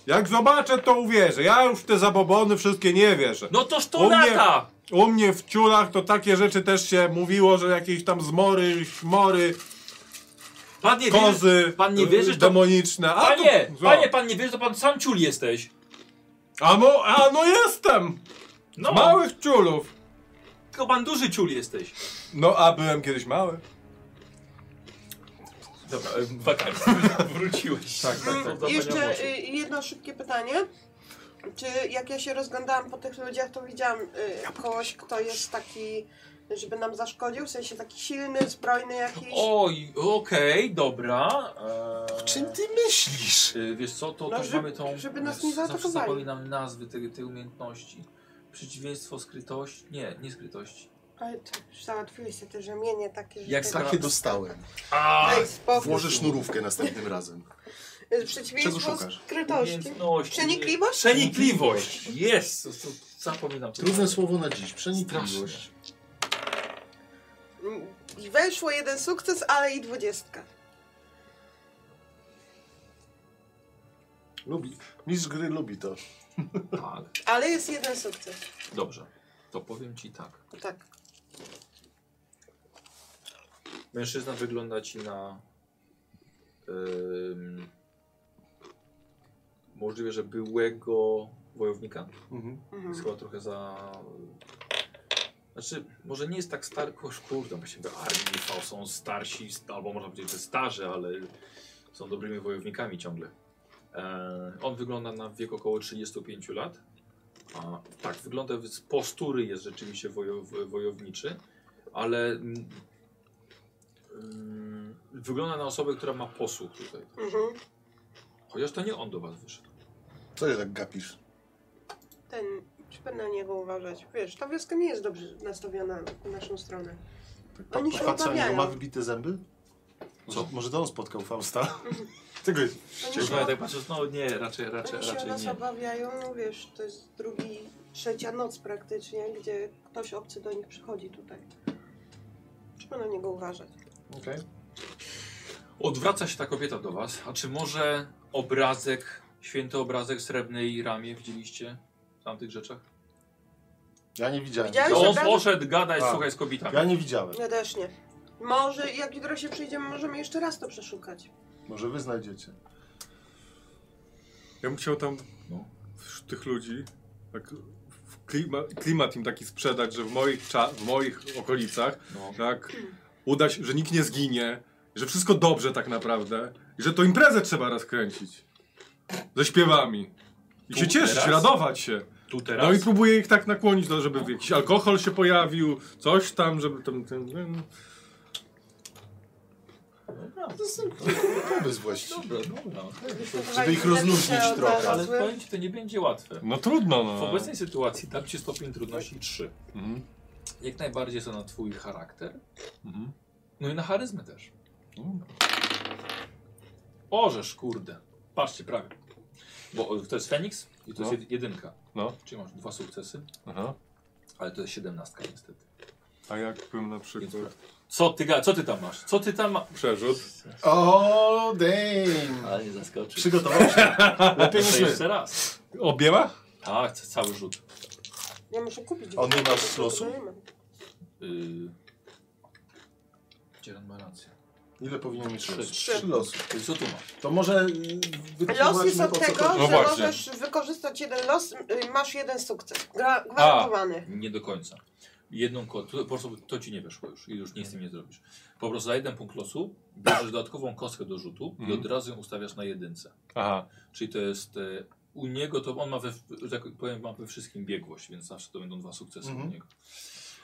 Speaker 4: Jak zobaczę, to uwierzę. Ja już w te zabobony wszystkie nie wierzę.
Speaker 1: No toż to
Speaker 4: U mnie-
Speaker 1: lata!
Speaker 4: U mnie w ciulach to takie rzeczy też się mówiło, że jakieś tam zmory, śmory,
Speaker 1: Pan nie wierzy.
Speaker 4: kozy
Speaker 1: pan nie wierzy,
Speaker 4: y,
Speaker 1: to-
Speaker 4: demoniczne. A, tu-
Speaker 1: Panie,
Speaker 4: zło.
Speaker 1: panie, pan nie wierzy, to pan sam ciul jesteś.
Speaker 4: a, mo, a no jestem!
Speaker 1: No,
Speaker 4: Małych ciulów.
Speaker 1: tylko pan duży ciul jesteś.
Speaker 4: No a byłem kiedyś mały.
Speaker 1: Dobra, e, wakacje. Wróciłeś.
Speaker 4: Tak, tak,
Speaker 1: Do
Speaker 4: tak.
Speaker 1: zadania
Speaker 3: Jeszcze
Speaker 1: moczu.
Speaker 3: y, jedno szybkie pytanie. Czy jak ja się rozglądałam po tych ludziach, to widziałam y, kogoś, kto jest taki, żeby nam zaszkodził, w sensie taki silny, zbrojny jakiś.
Speaker 1: Oj, okej, dobra. Eee,
Speaker 5: Czym ty myślisz?
Speaker 1: e, Wiesz co, to
Speaker 3: No,
Speaker 1: też
Speaker 3: żeby-
Speaker 1: mamy tą...
Speaker 3: żeby nas nie
Speaker 1: zawsze
Speaker 3: zaatakowali.
Speaker 1: zapominam nazwy tej, tej umiejętności. Przeciwieństwo skrytości... Nie, nie skrytości.
Speaker 3: Ale to już załatwiłeś sobie te rzemienie takie, że
Speaker 1: Jak
Speaker 3: tego-
Speaker 5: Takie dostałem.
Speaker 1: A,
Speaker 3: Ej, spokój.
Speaker 5: Włożę sznurówkę następnym razem.
Speaker 3: Y, Przeciwieństwo
Speaker 5: Czego szukasz?
Speaker 3: skrytości. Przenikliwość?
Speaker 1: Przenikliwość, jest! To- to Zapominam. to
Speaker 5: Trudne
Speaker 1: nazwę.
Speaker 5: słowo na dziś. Przenikliwość.
Speaker 1: Straszne.
Speaker 3: Mm, I weszło jeden sukces, ale i dwudziestka.
Speaker 5: Lubi. Mistrz gry lubi to.
Speaker 1: Tak,
Speaker 3: Ale jest jeden sukces.
Speaker 1: dobrze. To powiem ci tak.
Speaker 3: Tak.
Speaker 1: Mężczyzna wygląda ci na. Ym, możliwe, że byłego wojownika.
Speaker 2: Mhm.
Speaker 1: Jest chyba trochę za... Znaczy, może nie jest tak stary, kurz, kurde, bo się do armii V są starsi, st- albo można powiedzieć, że starzy, ale są dobrymi wojownikami ciągle. E, on wygląda na wiek około 35 lat. A, tak, wygląda, z postury jest rzeczywiście wojow, wojowniczy, ale mm, ym, wygląda na osobę, która ma posłuch tutaj.
Speaker 3: Mhm.
Speaker 1: Chociaż to nie on do was wyszedł.
Speaker 5: Co się tak gapisz?
Speaker 3: Ten, trzeba na niego uważać. Wiesz, ta wioska nie jest dobrze nastawiona na naszą stronę.
Speaker 2: Pa-
Speaker 3: Oni się
Speaker 2: patrzę na niego,
Speaker 3: obawiają.
Speaker 2: ma wybite zęby? Co? Może to on spotkał Fausta? Tego jest
Speaker 3: Oni
Speaker 1: Ciekawe,
Speaker 3: się,
Speaker 1: tak patrzysz, no nie, raczej, raczej,
Speaker 3: oni się o
Speaker 1: raczej
Speaker 3: nas
Speaker 1: nie.
Speaker 3: obawiają, no wiesz, to jest drugi, trzecia noc praktycznie, gdzie ktoś obcy do nich przychodzi tutaj. Trzeba na niego uważać.
Speaker 1: Odwraca się ta kobieta do was, a czy może obrazek, święty obrazek srebrnej ramię widzieliście w tamtych rzeczach?
Speaker 5: Ja nie widziałem.
Speaker 3: Widziałeś?
Speaker 1: No on
Speaker 3: obrazek?
Speaker 1: poszedł gadać,
Speaker 2: A.
Speaker 1: słuchaj, z kobietami.
Speaker 2: Ja nie widziałem.
Speaker 3: Ja też nie. Może, jak jutro się przyjdziemy, możemy jeszcze raz to przeszukać.
Speaker 2: Może wy znajdziecie.
Speaker 4: Ja bym chciał tam
Speaker 1: No.
Speaker 4: wśród tych ludzi tak w klima, klimat im taki sprzedać, że w moich, cza, w moich okolicach
Speaker 1: No.
Speaker 4: tak uda się, że nikt nie zginie, że wszystko dobrze tak naprawdę i że to imprezę trzeba rozkręcić ze śpiewami i
Speaker 1: Tu,
Speaker 4: się cieszyć,
Speaker 1: teraz?
Speaker 4: radować się.
Speaker 1: Tu
Speaker 4: No i
Speaker 1: teraz.
Speaker 4: próbuję ich tak nakłonić, no, żeby jakiś alkohol się pojawił, coś tam, żeby tam... ten- ten-
Speaker 5: Pomysł właściwie.
Speaker 1: Dobra, dobra.
Speaker 4: No,
Speaker 1: okej.
Speaker 5: Żeby ich rozluźnić
Speaker 3: Lepiej się
Speaker 5: trochę, ale
Speaker 1: No, Ale
Speaker 3: odnalazły.
Speaker 1: powiem ci, to nie będzie łatwe.
Speaker 4: No trudno,
Speaker 1: W
Speaker 4: no.
Speaker 1: obecnej sytuacji dam ci stopień trudności 3.
Speaker 4: Mhm.
Speaker 1: Jak najbardziej są na twój charakter,
Speaker 4: Mhm.
Speaker 1: no i na charyzmę też.
Speaker 4: Mm.
Speaker 1: Orzesz, kurde. Patrzcie, prawie. Bo e, to jest Feniks i to
Speaker 4: No.
Speaker 1: jest jed- jedynka.
Speaker 4: No.
Speaker 1: Czyli masz dwa sukcesy,
Speaker 4: Aha.
Speaker 1: ale to jest siedemnastka niestety.
Speaker 4: A jakbym na
Speaker 1: Więc
Speaker 4: przykład
Speaker 1: Co ty, ga- co ty tam masz? Co ty tam masz?
Speaker 4: przerzut?
Speaker 5: O, damn!
Speaker 1: Ale nie zaskoczy.
Speaker 5: Przygotował się.
Speaker 1: To
Speaker 5: Lepiej niż my.
Speaker 1: jeszcze raz.
Speaker 4: Objęła?
Speaker 1: Tak, ca- cały rzut.
Speaker 3: Ja muszę kupić.
Speaker 2: On nie ma z losu?
Speaker 3: Nie ma.
Speaker 1: Yy... Dzieran ma rację.
Speaker 5: Ile powinien mieć
Speaker 1: Trzy.
Speaker 5: los?
Speaker 3: Trzy.
Speaker 5: Trzy losy.
Speaker 1: To jest co tu masz?
Speaker 2: To może
Speaker 3: Los jest od tego,
Speaker 4: No
Speaker 3: że
Speaker 4: właśnie.
Speaker 3: możesz wykorzystać jeden los, y, masz jeden sukces. Gra- Gwarantowany.
Speaker 1: Nie do końca. Jedną ko- tu, po prostu to ci nie weszło już i już nic z tym nie zrobisz. Po prostu za jeden punkt losu bierzesz dodatkową kostkę do rzutu i
Speaker 4: Mhm.
Speaker 1: od razu ją ustawiasz na jedynce.
Speaker 4: Aha.
Speaker 1: Czyli to jest e, u niego to on ma we, że tak powiem, ma we wszystkim biegłość, więc zawsze to będą dwa sukcesy
Speaker 2: Mhm.
Speaker 1: u niego.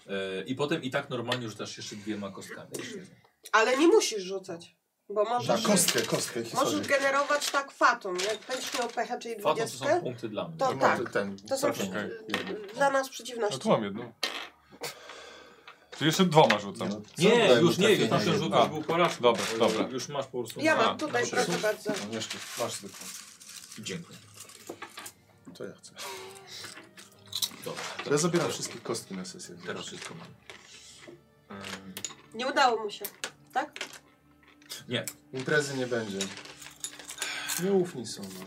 Speaker 1: E, I potem i tak normalnie rzucasz jeszcze dwiema kostkami. Jeszcze jedną.
Speaker 3: Ale nie musisz rzucać, bo
Speaker 5: Na
Speaker 3: możesz,
Speaker 5: kostkę, kostkę.
Speaker 3: możesz
Speaker 5: historię.
Speaker 3: generować tak fatą. Jak będziesz miał pecha, czyli
Speaker 1: Fatum to są
Speaker 3: dwudziestkę,
Speaker 1: punkty dla mnie.
Speaker 3: To
Speaker 5: No,
Speaker 3: tak.
Speaker 5: Ten,
Speaker 3: to są
Speaker 5: trafienie.
Speaker 4: Okej.
Speaker 3: przy- dla nas
Speaker 4: No
Speaker 3: przeciwności.
Speaker 4: tu mam jedną. Czyli jeszcze dwoma rzucam.
Speaker 5: No, co
Speaker 1: Nie,
Speaker 5: daje mu
Speaker 1: już nie,
Speaker 5: trafienie
Speaker 1: już tam się
Speaker 5: jedno?
Speaker 1: rzut
Speaker 4: A.
Speaker 1: już był porażką.
Speaker 4: Dobra,
Speaker 1: E,
Speaker 4: dobra.
Speaker 1: Już masz po prostu.
Speaker 3: Ja
Speaker 1: A,
Speaker 3: mam tutaj,
Speaker 1: dobrze.
Speaker 3: proszę bardzo.
Speaker 5: No, jeszcze, masz zwykłą.
Speaker 1: Dziękuję.
Speaker 5: To ja chcę.
Speaker 1: Dobra,
Speaker 5: Ja zabieram wszystkie kostki na sesję.
Speaker 1: teraz wszystko mam. Ym,
Speaker 3: Nie udało mu się, tak?
Speaker 5: Imprezy nie będzie. Nie ufni są. No.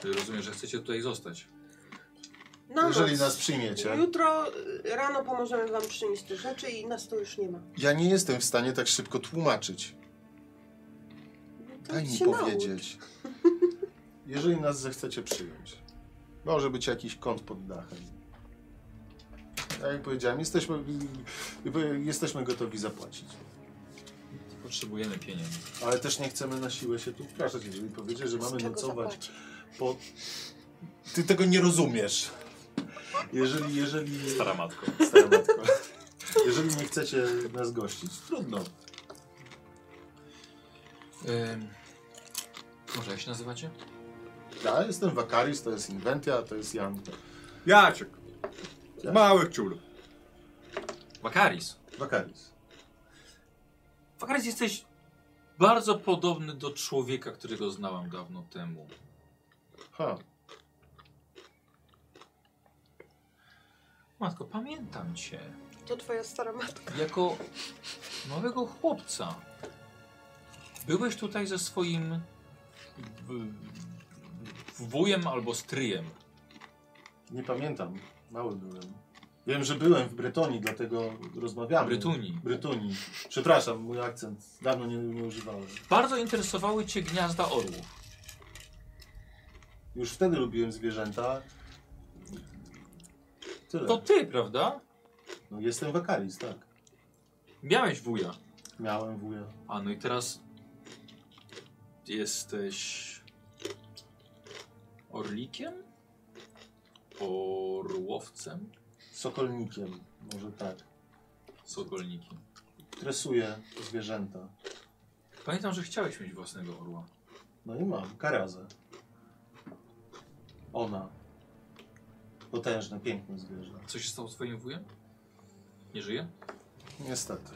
Speaker 1: Ty rozumiesz, że chcecie tutaj zostać.
Speaker 3: No,
Speaker 5: Jeżeli
Speaker 3: no.
Speaker 5: nas przyjmiecie.
Speaker 3: Jutro y, rano pomożemy wam przynieść te rzeczy i nas tu już nie ma.
Speaker 5: Ja nie jestem w stanie tak szybko tłumaczyć.
Speaker 3: No To
Speaker 5: Daj mi
Speaker 3: się naucz.
Speaker 5: powiedzieć.
Speaker 2: jeżeli nas zechcecie przyjąć.
Speaker 5: Może być jakiś kąt pod dachem.
Speaker 2: Tak jak powiedziałem, jesteśmy, jesteśmy gotowi zapłacić.
Speaker 1: Potrzebujemy pieniędzy.
Speaker 2: Ale też nie chcemy na siłę się tu wpraszać, jeżeli powiedzieć, że
Speaker 3: Z
Speaker 2: mamy
Speaker 3: czego
Speaker 2: nocować
Speaker 3: zapłacić?
Speaker 2: po... Ty tego nie rozumiesz. Jeżeli, jeżeli...
Speaker 1: Stara matko.
Speaker 2: Stara matko. Jeżeli nie chcecie nas gościć, trudno.
Speaker 1: Ym, może jak się nazywacie?
Speaker 5: Ja jestem Wakaris, to jest Inventia, a to jest Jan.
Speaker 4: Jaciek. Mały ciul.
Speaker 1: Wakaris.
Speaker 2: Wakaris.
Speaker 1: Wakaris jesteś bardzo podobny do człowieka, którego znałam dawno temu.
Speaker 5: Ha,
Speaker 1: Matko, pamiętam cię.
Speaker 3: To twoja stara matka.
Speaker 1: Jako małego chłopca byłeś tutaj ze swoim w- wujem albo stryjem.
Speaker 2: Nie pamiętam. Mały byłem. Wiem, że byłem w Bretonii, dlatego rozmawiamy.
Speaker 1: Brytunii.
Speaker 2: Brytunii. Przepraszam, mój akcent. Dawno nie, nie używałem.
Speaker 1: Bardzo interesowały cię gniazda orłów.
Speaker 2: Już wtedy lubiłem zwierzęta. Tyle.
Speaker 1: To ty, prawda?
Speaker 2: No, jestem wakalist, tak.
Speaker 1: Miałeś wuja.
Speaker 2: Miałem wuja.
Speaker 1: A no i teraz jesteś orlikiem? Orłowcem?
Speaker 2: Sokolnikiem, może tak.
Speaker 1: Sokolnikiem.
Speaker 2: Tresuję zwierzęta.
Speaker 1: Pamiętam, że chciałeś mieć własnego orła.
Speaker 2: No i mam karazę. Ona. Potężne, piękne zwierzę.
Speaker 1: Co się stało z twoim wujem? Nie żyje?
Speaker 2: Niestety.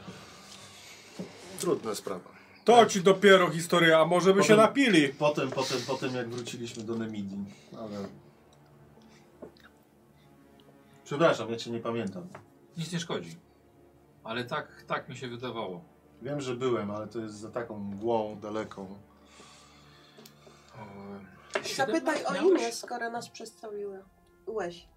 Speaker 5: Trudna sprawa.
Speaker 4: To ci dopiero historia, a może by się
Speaker 2: Powiem-
Speaker 4: napili.
Speaker 2: Potem, potem, potem jak wróciliśmy do Nemidii, ale... Przepraszam, ja cię nie pamiętam.
Speaker 1: Nic nie szkodzi. Ale tak, tak mi się wydawało.
Speaker 2: Wiem, że byłem, ale to jest za taką mgłą daleką.
Speaker 1: E, siedem
Speaker 3: Zapytaj
Speaker 1: lat
Speaker 3: o
Speaker 1: miałeś?
Speaker 3: imię, skoro nas przedstawiłeś.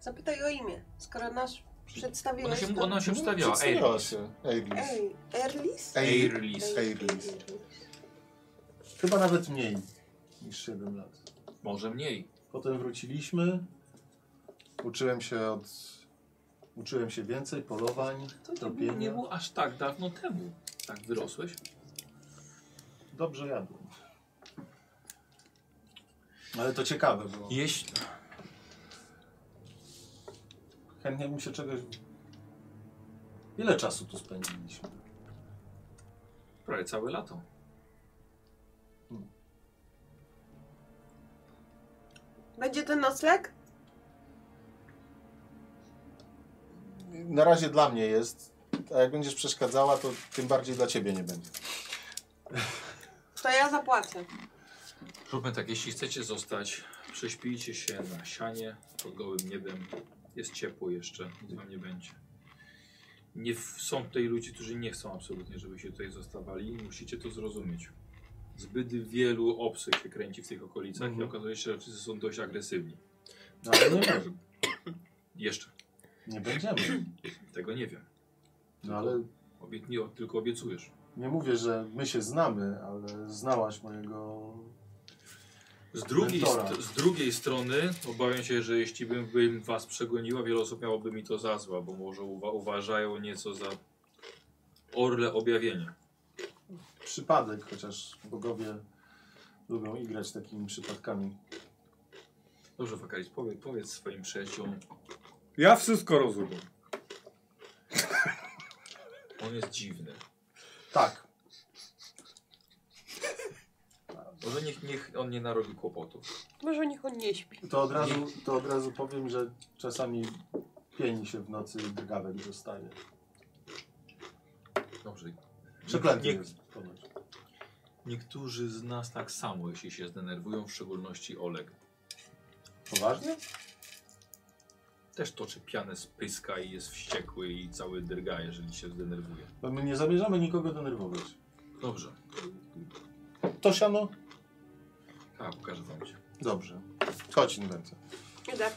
Speaker 3: Zapytaj o imię, skoro nas
Speaker 1: Ona
Speaker 3: przedstawiłeś.
Speaker 1: się,
Speaker 3: to-
Speaker 1: ona się przedstawiała. Ej,
Speaker 5: Przedstawiała się. Airlis.
Speaker 3: Ej, Erlis?
Speaker 1: Airlis.
Speaker 5: Airlis.
Speaker 2: Chyba nawet mniej niż 7 lat.
Speaker 1: Może mniej.
Speaker 2: Potem wróciliśmy,
Speaker 5: Uczyłem się od...
Speaker 2: uczyłem się więcej polowań,
Speaker 1: To nie, było- nie
Speaker 2: topienia.
Speaker 1: było aż tak dawno temu. Tak wyrosłeś.
Speaker 2: Dobrze jadłem. Ale to ciekawe było.
Speaker 1: Jeśli...
Speaker 2: Chętnie bym się czegoś... Ile czasu tu spędziliśmy?
Speaker 1: Prawie całe lato.
Speaker 3: Będzie ten nocleg?
Speaker 5: Na razie dla mnie jest. A jak będziesz przeszkadzała, to tym bardziej dla ciebie nie będzie.
Speaker 3: To ja zapłacę.
Speaker 1: Zróbmy tak, jeśli chcecie zostać, prześpijcie się na sianie pod gołym niebem. Jest ciepło jeszcze, nic wam nie będzie. Nie w, są tutaj ludzie, którzy nie chcą absolutnie, żeby się tutaj zostawali. Musicie to zrozumieć. Zbyt wielu obcych się kręci w tych okolicach i okazuje się, że wszyscy są dość agresywni.
Speaker 2: No, ale nie wiem.
Speaker 1: Jeszcze.
Speaker 2: Nie będziemy.
Speaker 1: Tego nie wiem.
Speaker 2: No ale
Speaker 1: Obietni, o- tylko obiecujesz.
Speaker 2: nie mówię, że my się znamy, ale znałaś mojego...
Speaker 1: Z drugiej,
Speaker 2: Mentora.
Speaker 1: st- z drugiej strony obawiam się, że jeśli bym, bym was przegoniła, wiele osób miałoby mi to za zła, bo może uwa uważają nieco za orle objawienie.
Speaker 2: Przypadek, chociaż bogowie lubią igrać takimi przypadkami.
Speaker 1: Dobrze, Wakaris, powiedz, powiedz swoim przyjaciołom,
Speaker 4: Ja wszystko rozumiem.
Speaker 1: on jest dziwny.
Speaker 2: Tak,
Speaker 1: Może niech, niech on nie narobi kłopotów.
Speaker 3: Może niech on nie śpi.
Speaker 2: to od razu, to od razu powiem, że czasami pieni się w nocy i drgawek dostaje.
Speaker 1: Dobrze.
Speaker 2: Przeklęty
Speaker 1: Nie-
Speaker 2: jest. ponoć.
Speaker 1: Niektórzy z nas tak samo, jeśli się zdenerwują, w szczególności Oleg.
Speaker 2: Poważnie?
Speaker 1: Też toczy pianę z pyska i jest wściekły i cały drga, jeżeli się zdenerwuje.
Speaker 2: Bo my nie zamierzamy nikogo denerwować.
Speaker 1: Dobrze,
Speaker 5: To siano?
Speaker 1: a pokażę wam się.
Speaker 5: Dobrze. Chodź, Inwencja.
Speaker 3: Idę.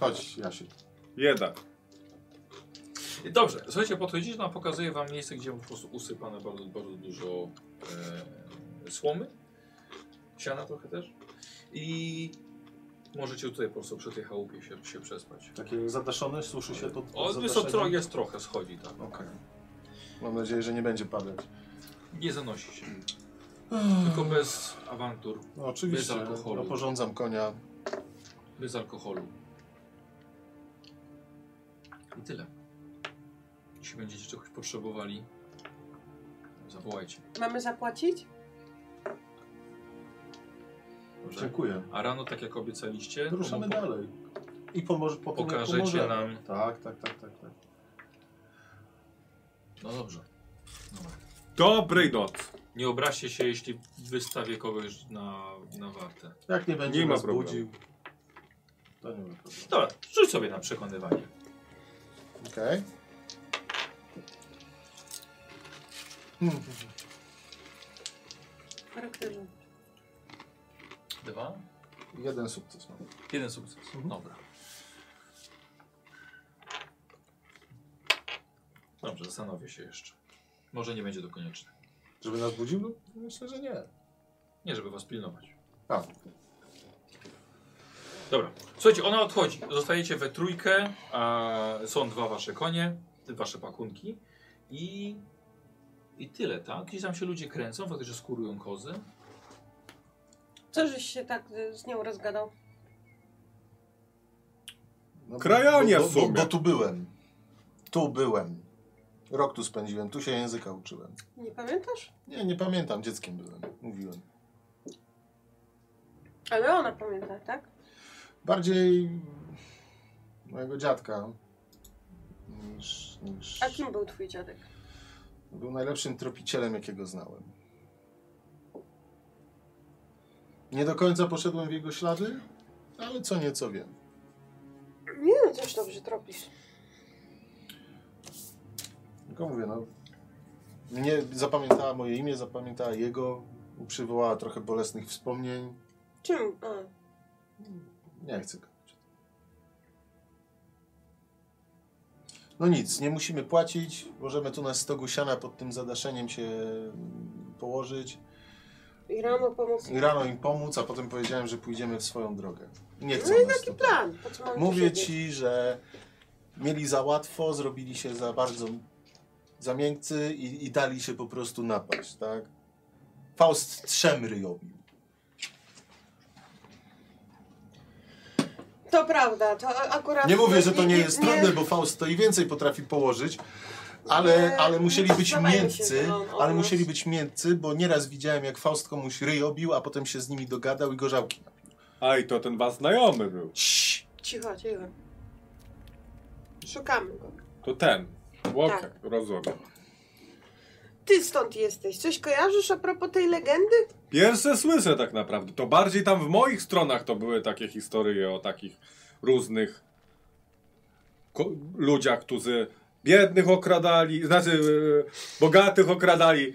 Speaker 5: Chodź, Jasiek.
Speaker 4: Jeden.
Speaker 1: Dobrze, słuchajcie, podchodzicie, no pokazuję wam miejsce, gdzie po prostu usypane bardzo, bardzo dużo e, słomy, siana trochę też i możecie tutaj po prostu przy tej chałupie się, się przespać.
Speaker 2: Takie zadaszone, suszy się pod,
Speaker 1: O,
Speaker 2: pod
Speaker 1: jest, tro,
Speaker 2: zadaszeniem.
Speaker 1: jest trochę, schodzi tam.
Speaker 2: Okej.
Speaker 5: Mam nadzieję, że nie będzie padać.
Speaker 1: Nie zanosi się. Tylko bez awantur,
Speaker 5: No oczywiście,
Speaker 1: Bez alkoholu.
Speaker 5: oporządzam konia.
Speaker 1: bez alkoholu. I tyle. Jeśli będziecie czegoś potrzebowali, zawołajcie.
Speaker 3: Mamy zapłacić?
Speaker 1: Dobrze?
Speaker 2: Dziękuję.
Speaker 1: A rano, tak jak obiecaliście,
Speaker 2: Ruszamy
Speaker 1: po-
Speaker 2: dalej. I pomoże, po,
Speaker 1: pokażecie nam
Speaker 2: Tak, tak, tak, tak, tak.
Speaker 1: No dobrze. Dobra.
Speaker 4: Dobrej nocy.
Speaker 1: Nie obraźcie się, jeśli wystawię kogoś na, na wartę.
Speaker 2: Jak nie będzie
Speaker 4: Nie ma
Speaker 2: nas
Speaker 4: problemu.
Speaker 2: budził, to nie ma problemu.
Speaker 1: Dobra, rzuć sobie na przekonywanie.
Speaker 5: Okej.
Speaker 3: Charakteru.
Speaker 1: Dwa.
Speaker 5: Jeden sukces mam.
Speaker 1: Jeden sukces. Dobra. Dobrze, zastanowię się jeszcze. Może nie będzie to konieczne.
Speaker 5: Żeby nas budził? No, Myślę, że nie.
Speaker 1: Nie, żeby was pilnować.
Speaker 5: A,
Speaker 1: Dobra. Słuchajcie, ona odchodzi. Zostajecie we trójkę. A są dwa wasze konie, wasze pakunki i, i tyle, tak? Gdzieś tam się ludzie kręcą, faktycznie skurują kozy.
Speaker 3: Co żeś się tak y, z nią rozgadał?
Speaker 5: No,
Speaker 4: Krajonie
Speaker 5: bo,
Speaker 4: w
Speaker 5: bo, bo,
Speaker 4: sumie.
Speaker 5: bo tu byłem. Tu byłem. Rok tu spędziłem, tu się języka uczyłem.
Speaker 3: Nie pamiętasz?
Speaker 5: Nie, nie pamiętam, dzieckiem byłem, mówiłem.
Speaker 3: Ale ona pamięta, tak?
Speaker 5: Bardziej mojego dziadka niż... niż...
Speaker 3: A kim był twój dziadek?
Speaker 5: Był najlepszym tropicielem, jakiego znałem. Nie do końca poszedłem w jego ślady, ale co nieco wiem.
Speaker 3: Nie no, też dobrze tropisz.
Speaker 5: Tylko mówię, no. Mnie zapamiętała moje imię, zapamiętała jego, przywołała trochę bolesnych wspomnień.
Speaker 3: Czym? A,
Speaker 5: Nie chcę. go. No nic, nie musimy płacić. Możemy tu na stogu siana pod tym zadaszeniem się mm, położyć.
Speaker 3: I rano pomóc.
Speaker 5: I rano im pomóc, a potem powiedziałem, że pójdziemy w swoją drogę. Nie chcę.
Speaker 3: No i
Speaker 5: nas
Speaker 3: taki
Speaker 5: tutaj.
Speaker 3: plan. Po co mamy tu
Speaker 5: Mówię
Speaker 3: siedzieć?
Speaker 5: ci, że mieli za łatwo, zrobili się za bardzo za miękcy i, i dali się po prostu napaść, tak? Faust trzem ryjobił.
Speaker 3: To prawda, to a- akurat...
Speaker 5: Nie mówię, że to nie jest trudne, bo Faust to i więcej potrafi położyć, ale,
Speaker 3: Nie,
Speaker 5: ale musieli
Speaker 3: nie
Speaker 5: być
Speaker 3: wstawają się
Speaker 5: miękcy,
Speaker 3: za mną od
Speaker 5: ale
Speaker 3: nas.
Speaker 5: musieli być miękcy, bo nieraz widziałem, jak Faust komuś ryjobił, a potem się z nimi dogadał i gorzałki napił.
Speaker 4: A i to ten was znajomy był.
Speaker 5: Ciii.
Speaker 3: Cicho, cicho. Szukamy go.
Speaker 4: To ten. Łokiek,
Speaker 3: Tak.
Speaker 4: rozumiem.
Speaker 3: Ty stąd jesteś. Coś kojarzysz a propos tej legendy?
Speaker 4: Pierwsze słyszę tak naprawdę. To bardziej tam w moich stronach to były takie historie o takich różnych ko- ludziach, którzy biednych okradali, znaczy e, bogatych okradali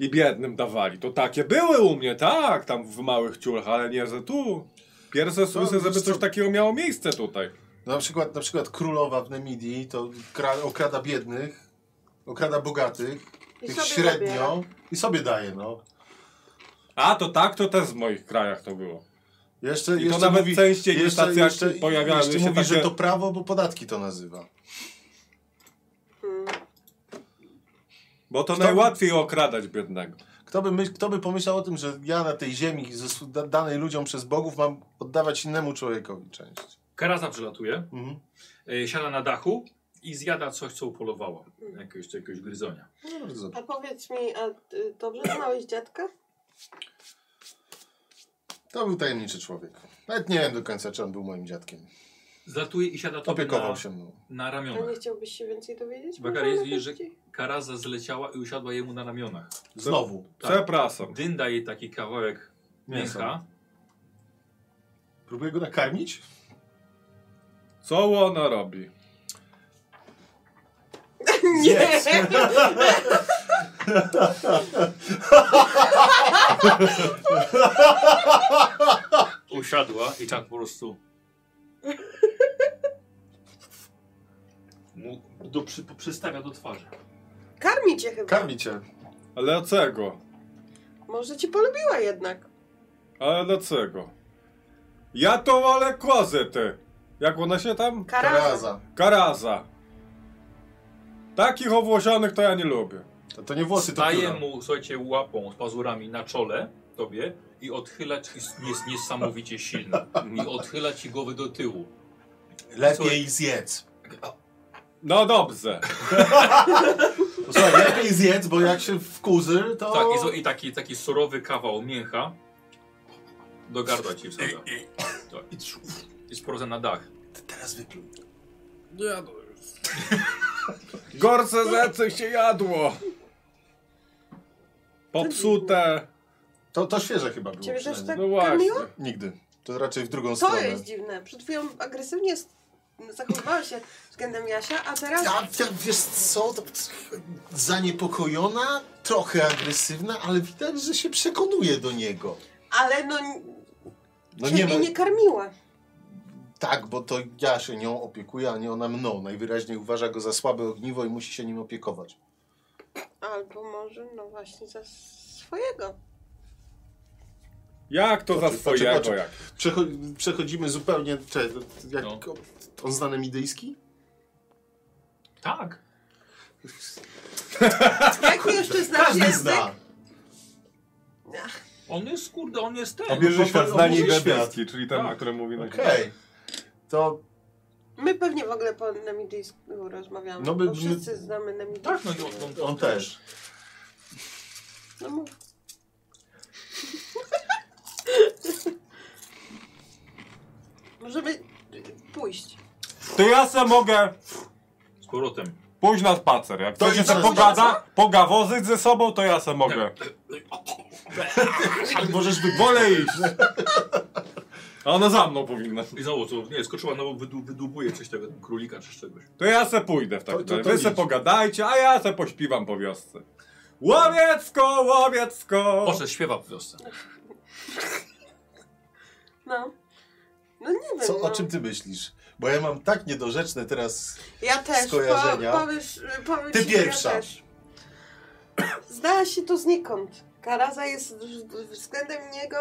Speaker 4: i biednym dawali. To takie były u mnie, tak, tam w małych ciulach, ale nie, że tu.
Speaker 5: No,
Speaker 4: Pierwsze słyszę,
Speaker 5: wiesz
Speaker 4: żeby
Speaker 5: co?
Speaker 4: coś takiego miało miejsce tutaj.
Speaker 5: No na przykład, na przykład królowa w Nemidii to kra- okrada biednych, okrada bogatych,
Speaker 3: I
Speaker 5: tych
Speaker 3: sobie
Speaker 5: średnio
Speaker 3: zabiera.
Speaker 5: i sobie daje, no.
Speaker 4: A to tak, to też w moich krajach to było.
Speaker 5: Jeszcze,
Speaker 4: to
Speaker 5: jeszcze
Speaker 4: nawet
Speaker 5: mówi,
Speaker 4: częściej niż
Speaker 5: jeszcze,
Speaker 4: tacy, jak pojawiały
Speaker 5: jeszcze
Speaker 4: się
Speaker 5: mówi, że
Speaker 4: takie-
Speaker 5: to prawo, bo podatki to nazywa.
Speaker 3: Hmm,
Speaker 4: Bo to
Speaker 5: Kto-
Speaker 4: najłatwiej okradać biednego.
Speaker 5: Kto by, myśl, kto by pomyślał o tym, że ja na tej ziemi zas- da- danej ludziom przez bogów mam oddawać innemu człowiekowi część.
Speaker 1: Karaza przelatuje.
Speaker 5: Mhm.
Speaker 1: E, siada na dachu i zjada coś, co upolowała. Jakiegoś, jakiegoś gryzonia.
Speaker 5: No, bardzo dobrze.
Speaker 3: A powiedz mi, a ty dobrze znałeś dziadka?
Speaker 5: To był tajemniczy człowiek. Nawet nie wiem do końca, czy on był moim dziadkiem.
Speaker 1: Zlatuje i siada tobie
Speaker 5: Opiekował
Speaker 1: na,
Speaker 5: się mną.
Speaker 1: na
Speaker 3: A nie
Speaker 1: ramionach.
Speaker 3: chciałbyś się więcej dowiedzieć?
Speaker 1: Bakary,
Speaker 3: Może
Speaker 1: jest
Speaker 3: nawet
Speaker 1: widzisz, że-
Speaker 3: bardziej?
Speaker 1: Karaza zleciała i usiadła jemu na ramionach.
Speaker 5: Znowu.
Speaker 1: Tak.
Speaker 4: Przepraszam.
Speaker 1: Dyn daje taki kawałek
Speaker 5: Mięsa.
Speaker 1: mięcha.
Speaker 5: Próbuję go nakarmić?
Speaker 4: Co ona robi?
Speaker 3: Nie!
Speaker 1: Usiadła i tak po prostu. Mu do, przy, przystawia do twarzy.
Speaker 3: Karmi cię chyba.
Speaker 5: Karmi cię.
Speaker 4: Ale dlaczego?
Speaker 3: Może cię polubiła jednak.
Speaker 4: Ale dlaczego? Ja to wolę kozy, ty! Jak ona się tam?
Speaker 3: Karaza.
Speaker 5: Karaza.
Speaker 4: Karaza. Takich owłosionych to ja nie lubię.
Speaker 5: To, to nie włosy, to
Speaker 1: Staje
Speaker 5: pióra.
Speaker 1: mu, słuchajcie, łapą z pazurami na czole tobie i odchyla ci, jest niesamowicie silny. I odchyla ci głowę do tyłu.
Speaker 5: Lepiej zjedz.
Speaker 4: No dobrze.
Speaker 5: Słuchaj, lepiej zjedz, bo jak się wkurzy, to...
Speaker 1: Tak, i, zo- i taki, taki surowy kawał mięcha do gardła ci wsadza. To, i, trz- I z powrotem na dach.
Speaker 5: Teraz wypluj.
Speaker 4: Nie no już. Gorsze rzeczy się jadło. Popsute.
Speaker 5: To, to świeże chyba było
Speaker 3: Ciebie też
Speaker 5: przynajmniej.
Speaker 3: tak
Speaker 4: No właśnie.
Speaker 3: karmiła?
Speaker 5: Nigdy. To raczej w drugą
Speaker 3: To
Speaker 5: stronę.
Speaker 3: jest dziwne. Przed chwilą agresywnie s- zachowywała się względem Jasia, a teraz...
Speaker 5: A ja, wiesz co, to zaniepokojona, trochę agresywna, ale widać, że się przekonuje do niego.
Speaker 3: Ale no... n-
Speaker 5: No
Speaker 3: ciebie
Speaker 5: nie ma...
Speaker 3: nie karmiła.
Speaker 5: Tak, bo to ja się nią opiekuję, a nie ona mną. Najwyraźniej uważa go za słabe ogniwo i musi się nim opiekować.
Speaker 3: Albo może, no właśnie, za swojego.
Speaker 4: Jak to za
Speaker 2: Patrzę, patrzę,
Speaker 4: swojego
Speaker 2: patrzę.
Speaker 4: jak?
Speaker 2: Przecho- przechodzimy zupełnie... Cze, jak,
Speaker 1: No.
Speaker 2: On zna namidyjski?
Speaker 1: Tak.
Speaker 3: Jaki jeszcze znasz
Speaker 5: Każdy
Speaker 3: język?
Speaker 5: zna.
Speaker 1: On jest, kurde, on jest ten.
Speaker 4: Obieży świat Tak.
Speaker 2: obieży
Speaker 4: znani
Speaker 2: świat.
Speaker 4: wedyjski, czyli ten, o którym mówi na
Speaker 5: Okej.
Speaker 2: To
Speaker 3: My pewnie w ogóle po namidyjsku rozmawiamy,
Speaker 2: No
Speaker 3: no
Speaker 2: by-
Speaker 3: bo wszyscy znamy
Speaker 1: Tak,
Speaker 3: namidyjski.
Speaker 1: no i on, on,
Speaker 5: On też.
Speaker 3: No mów. Możemy pójść.
Speaker 4: To ja se mogę
Speaker 1: Z powrotem.
Speaker 4: pójść na spacer. Jak
Speaker 5: To
Speaker 4: ktoś się
Speaker 5: idź na
Speaker 4: pogada, pogawozyć ze sobą, to ja se mogę.
Speaker 2: Tak,
Speaker 5: Możesz by...
Speaker 4: Wolę iść. A ona za mną powinna.
Speaker 1: I znowu, to nie, skoczyła, no wydu, wydubuje coś tego królika czy czegoś.
Speaker 4: To ja se pójdę w
Speaker 2: To-
Speaker 4: takim
Speaker 2: to-
Speaker 4: razie.
Speaker 2: to
Speaker 4: Wy se
Speaker 2: idź.
Speaker 4: pogadajcie, a ja se pośpiwam po wiosce. Łowiecko, łowiecko!
Speaker 1: Może śpiewa w wiosce.
Speaker 3: No. No nie wiem.
Speaker 5: Co,
Speaker 3: no.
Speaker 5: o czym ty myślisz? Bo ja mam tak niedorzeczne teraz...
Speaker 3: Ja też.
Speaker 5: skojarzenia?
Speaker 3: Po, powiesz, powiesz,
Speaker 5: Ty
Speaker 3: ci,
Speaker 5: pierwsza.
Speaker 3: Ja też. Zdała się to znikąd. Karaza jest w- względem niego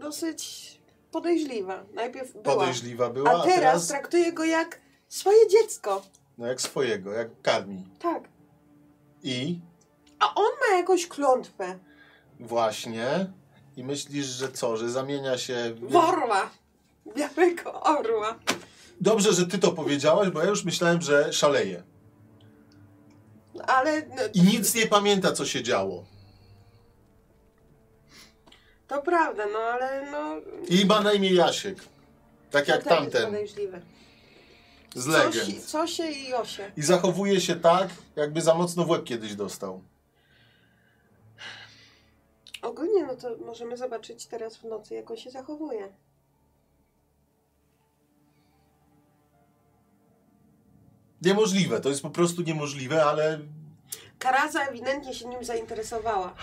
Speaker 3: dosyć podejrzliwa. Najpierw była.
Speaker 5: Podejrzliwa była,
Speaker 3: a teraz traktuje go jak swoje dziecko.
Speaker 5: No jak swojego, jak karmi.
Speaker 3: Tak.
Speaker 5: I
Speaker 3: A on ma jakąś klątwę.
Speaker 5: właśnie... I myślisz, że co, że zamienia się... w-
Speaker 3: W orła. Białego orła.
Speaker 5: Dobrze, że ty to powiedziałaś, bo ja już myślałem, że szaleje.
Speaker 3: Ale no,
Speaker 5: I nic nie pamięta, co się działo.
Speaker 3: to prawda, no ale no...
Speaker 5: I ma na imię Jasiek. Tak jak
Speaker 3: to też Jest
Speaker 5: tamten
Speaker 3: podejrzliwy.
Speaker 5: z
Speaker 3: Co
Speaker 5: legend.
Speaker 3: się, co się i osie.
Speaker 5: I zachowuje się tak, jakby za mocno w łeb kiedyś dostał.
Speaker 3: Ogólnie no to możemy zobaczyć teraz w nocy, jak on się zachowuje.
Speaker 5: Niemożliwe, to jest po prostu niemożliwe, ale
Speaker 3: Karaza ewidentnie się nim zainteresowała.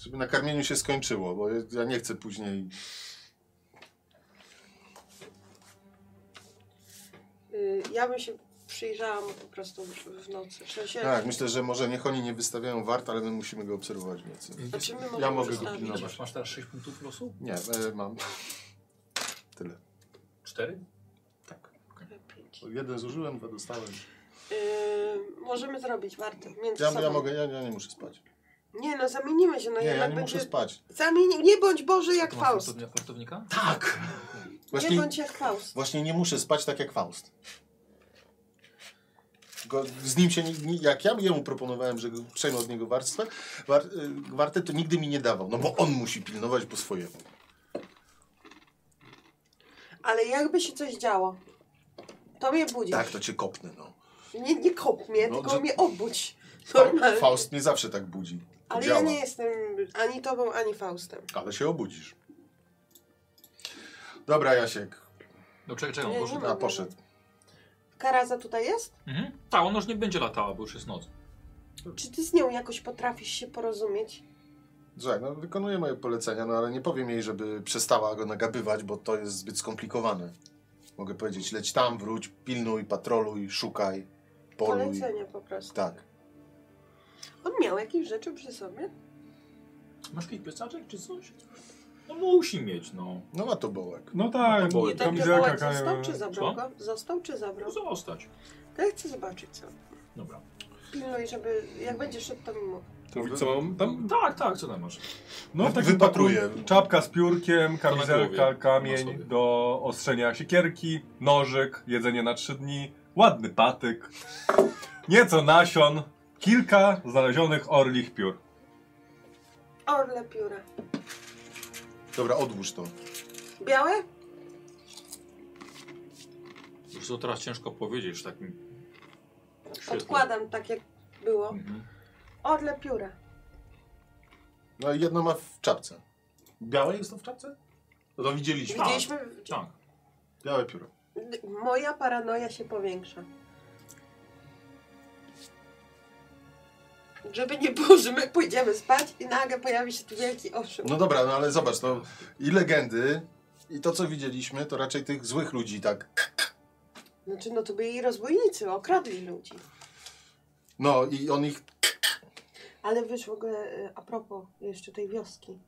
Speaker 5: żeby na karmieniu się skończyło, bo ja nie chcę później.
Speaker 3: Y, Ja bym się przyjrzała mu po prostu w- w nocy. W sensie,
Speaker 5: Tak, myślę, że może niech oni nie wystawiają wart, ale my musimy go obserwować w nocy.
Speaker 3: znaczy my możemy
Speaker 5: Ja mogę go
Speaker 3: zostawić.
Speaker 5: pilnować.
Speaker 1: Masz, masz teraz 6 punktów losu?
Speaker 5: Nie, e, mam. Tyle. Tak.
Speaker 1: 4?
Speaker 3: Pięć.
Speaker 5: Jeden zużyłem, dwa dostałem.
Speaker 3: Y, możemy zrobić warto między
Speaker 5: Ja,
Speaker 3: sobą.
Speaker 5: ja mogę, ja, ja nie muszę spać.
Speaker 3: Nie no, zamienimy się, no
Speaker 5: Nie, ja
Speaker 3: jednak
Speaker 5: nie muszę
Speaker 3: będzie...
Speaker 5: spać.
Speaker 3: Zamieni... Nie bądź Boże jak Faust.
Speaker 1: Wartownika?
Speaker 5: Tak!
Speaker 3: Nie
Speaker 5: Właśnie,
Speaker 3: bądź jak Faust.
Speaker 5: właśnie nie muszę spać tak jak Faust. Go, z nim się, nie- nie- jak ja jemu proponowałem, że go- przejmę od niego warstwę, war, y, wartę, to nigdy mi nie dawał, no bo on musi pilnować po swojemu.
Speaker 3: Ale jakby się coś działo, to mnie budzi.
Speaker 5: Tak, to cię kopnę, no.
Speaker 3: Nie, nie kop mnie,
Speaker 5: No,
Speaker 3: tylko
Speaker 5: że-
Speaker 3: mnie obudź.
Speaker 5: Fa-
Speaker 3: Normalnie.
Speaker 5: Faust mnie zawsze tak budzi. To
Speaker 3: Ale
Speaker 5: działa.
Speaker 3: ja nie jestem ani tobą, ani Faustem.
Speaker 5: Ale się obudzisz. Dobra, Jasiek.
Speaker 1: No czekaj, czekaj,
Speaker 3: Nie,
Speaker 1: on poszedł.
Speaker 3: nie ma.
Speaker 5: tak. A, poszedł.
Speaker 3: Karaza tutaj jest?
Speaker 1: Mhm. Tak, ona już nie będzie latała, bo już jest noc.
Speaker 3: Czy ty z nią jakoś potrafisz się porozumieć?
Speaker 5: Słuchaj, no wykonuje moje polecenia, no ale nie powiem jej, żeby przestała go nagabywać, bo to jest zbyt skomplikowane. Mogę powiedzieć, leć tam, wróć, pilnuj, patroluj, szukaj, poluj.
Speaker 3: Polecenia po prostu.
Speaker 5: Tak.
Speaker 3: On miał jakieś rzeczy przy sobie?
Speaker 1: Masz jakiś piesaczek czy coś? No musi mieć, no.
Speaker 5: No ma to bołek.
Speaker 4: No tak,
Speaker 1: Bo-
Speaker 3: Nie, ten
Speaker 4: kamizelka,
Speaker 3: piołek
Speaker 4: kamizelka.
Speaker 3: został czy zabrał
Speaker 1: Co?
Speaker 3: go? Został czy zabrał?
Speaker 1: No zostać.
Speaker 3: To ja chcę zobaczyć co.
Speaker 1: Dobra.
Speaker 3: Pilnuj, żeby... Jak będziesz szedł, to mi mów.
Speaker 4: Mówi, co mam tam?
Speaker 1: Tak, tak, co tam masz?
Speaker 4: No
Speaker 5: Wy-
Speaker 4: tak
Speaker 5: wypatruję.
Speaker 4: Czapka z piórkiem, kamizelka,
Speaker 1: głowie, na
Speaker 4: kamień
Speaker 1: sobie.
Speaker 4: do ostrzenia siekierki, nożyk, jedzenie na trzy dni, ładny patyk, nieco nasion, kilka znalezionych orlich piór.
Speaker 3: Orle pióra.
Speaker 5: Dobra, odłóż to.
Speaker 3: Białe?
Speaker 1: Już to teraz ciężko powiedzieć w takim... świetle.
Speaker 3: Odkładam tak jak było.
Speaker 1: Mhm.
Speaker 3: Orle pióra.
Speaker 5: No i jedno ma w czapce.
Speaker 2: białe jest to w czapce?
Speaker 5: No to widzieliśmy.
Speaker 3: Widzieliśmy...
Speaker 1: Tak.
Speaker 5: Białe pióro.
Speaker 3: Moja paranoja się powiększa. Żeby nie było, że my pójdziemy spać i nagle pojawi się tu wielki owszem.
Speaker 5: No dobra, no ale zobacz, no i legendy, i to co widzieliśmy, to raczej tych złych ludzi, tak.
Speaker 3: Znaczy, no to byli rozbójnicy, okradli ludzi.
Speaker 5: No i on ich
Speaker 3: e, Ale wiesz w ogóle, y, a propos jeszcze tej wioski.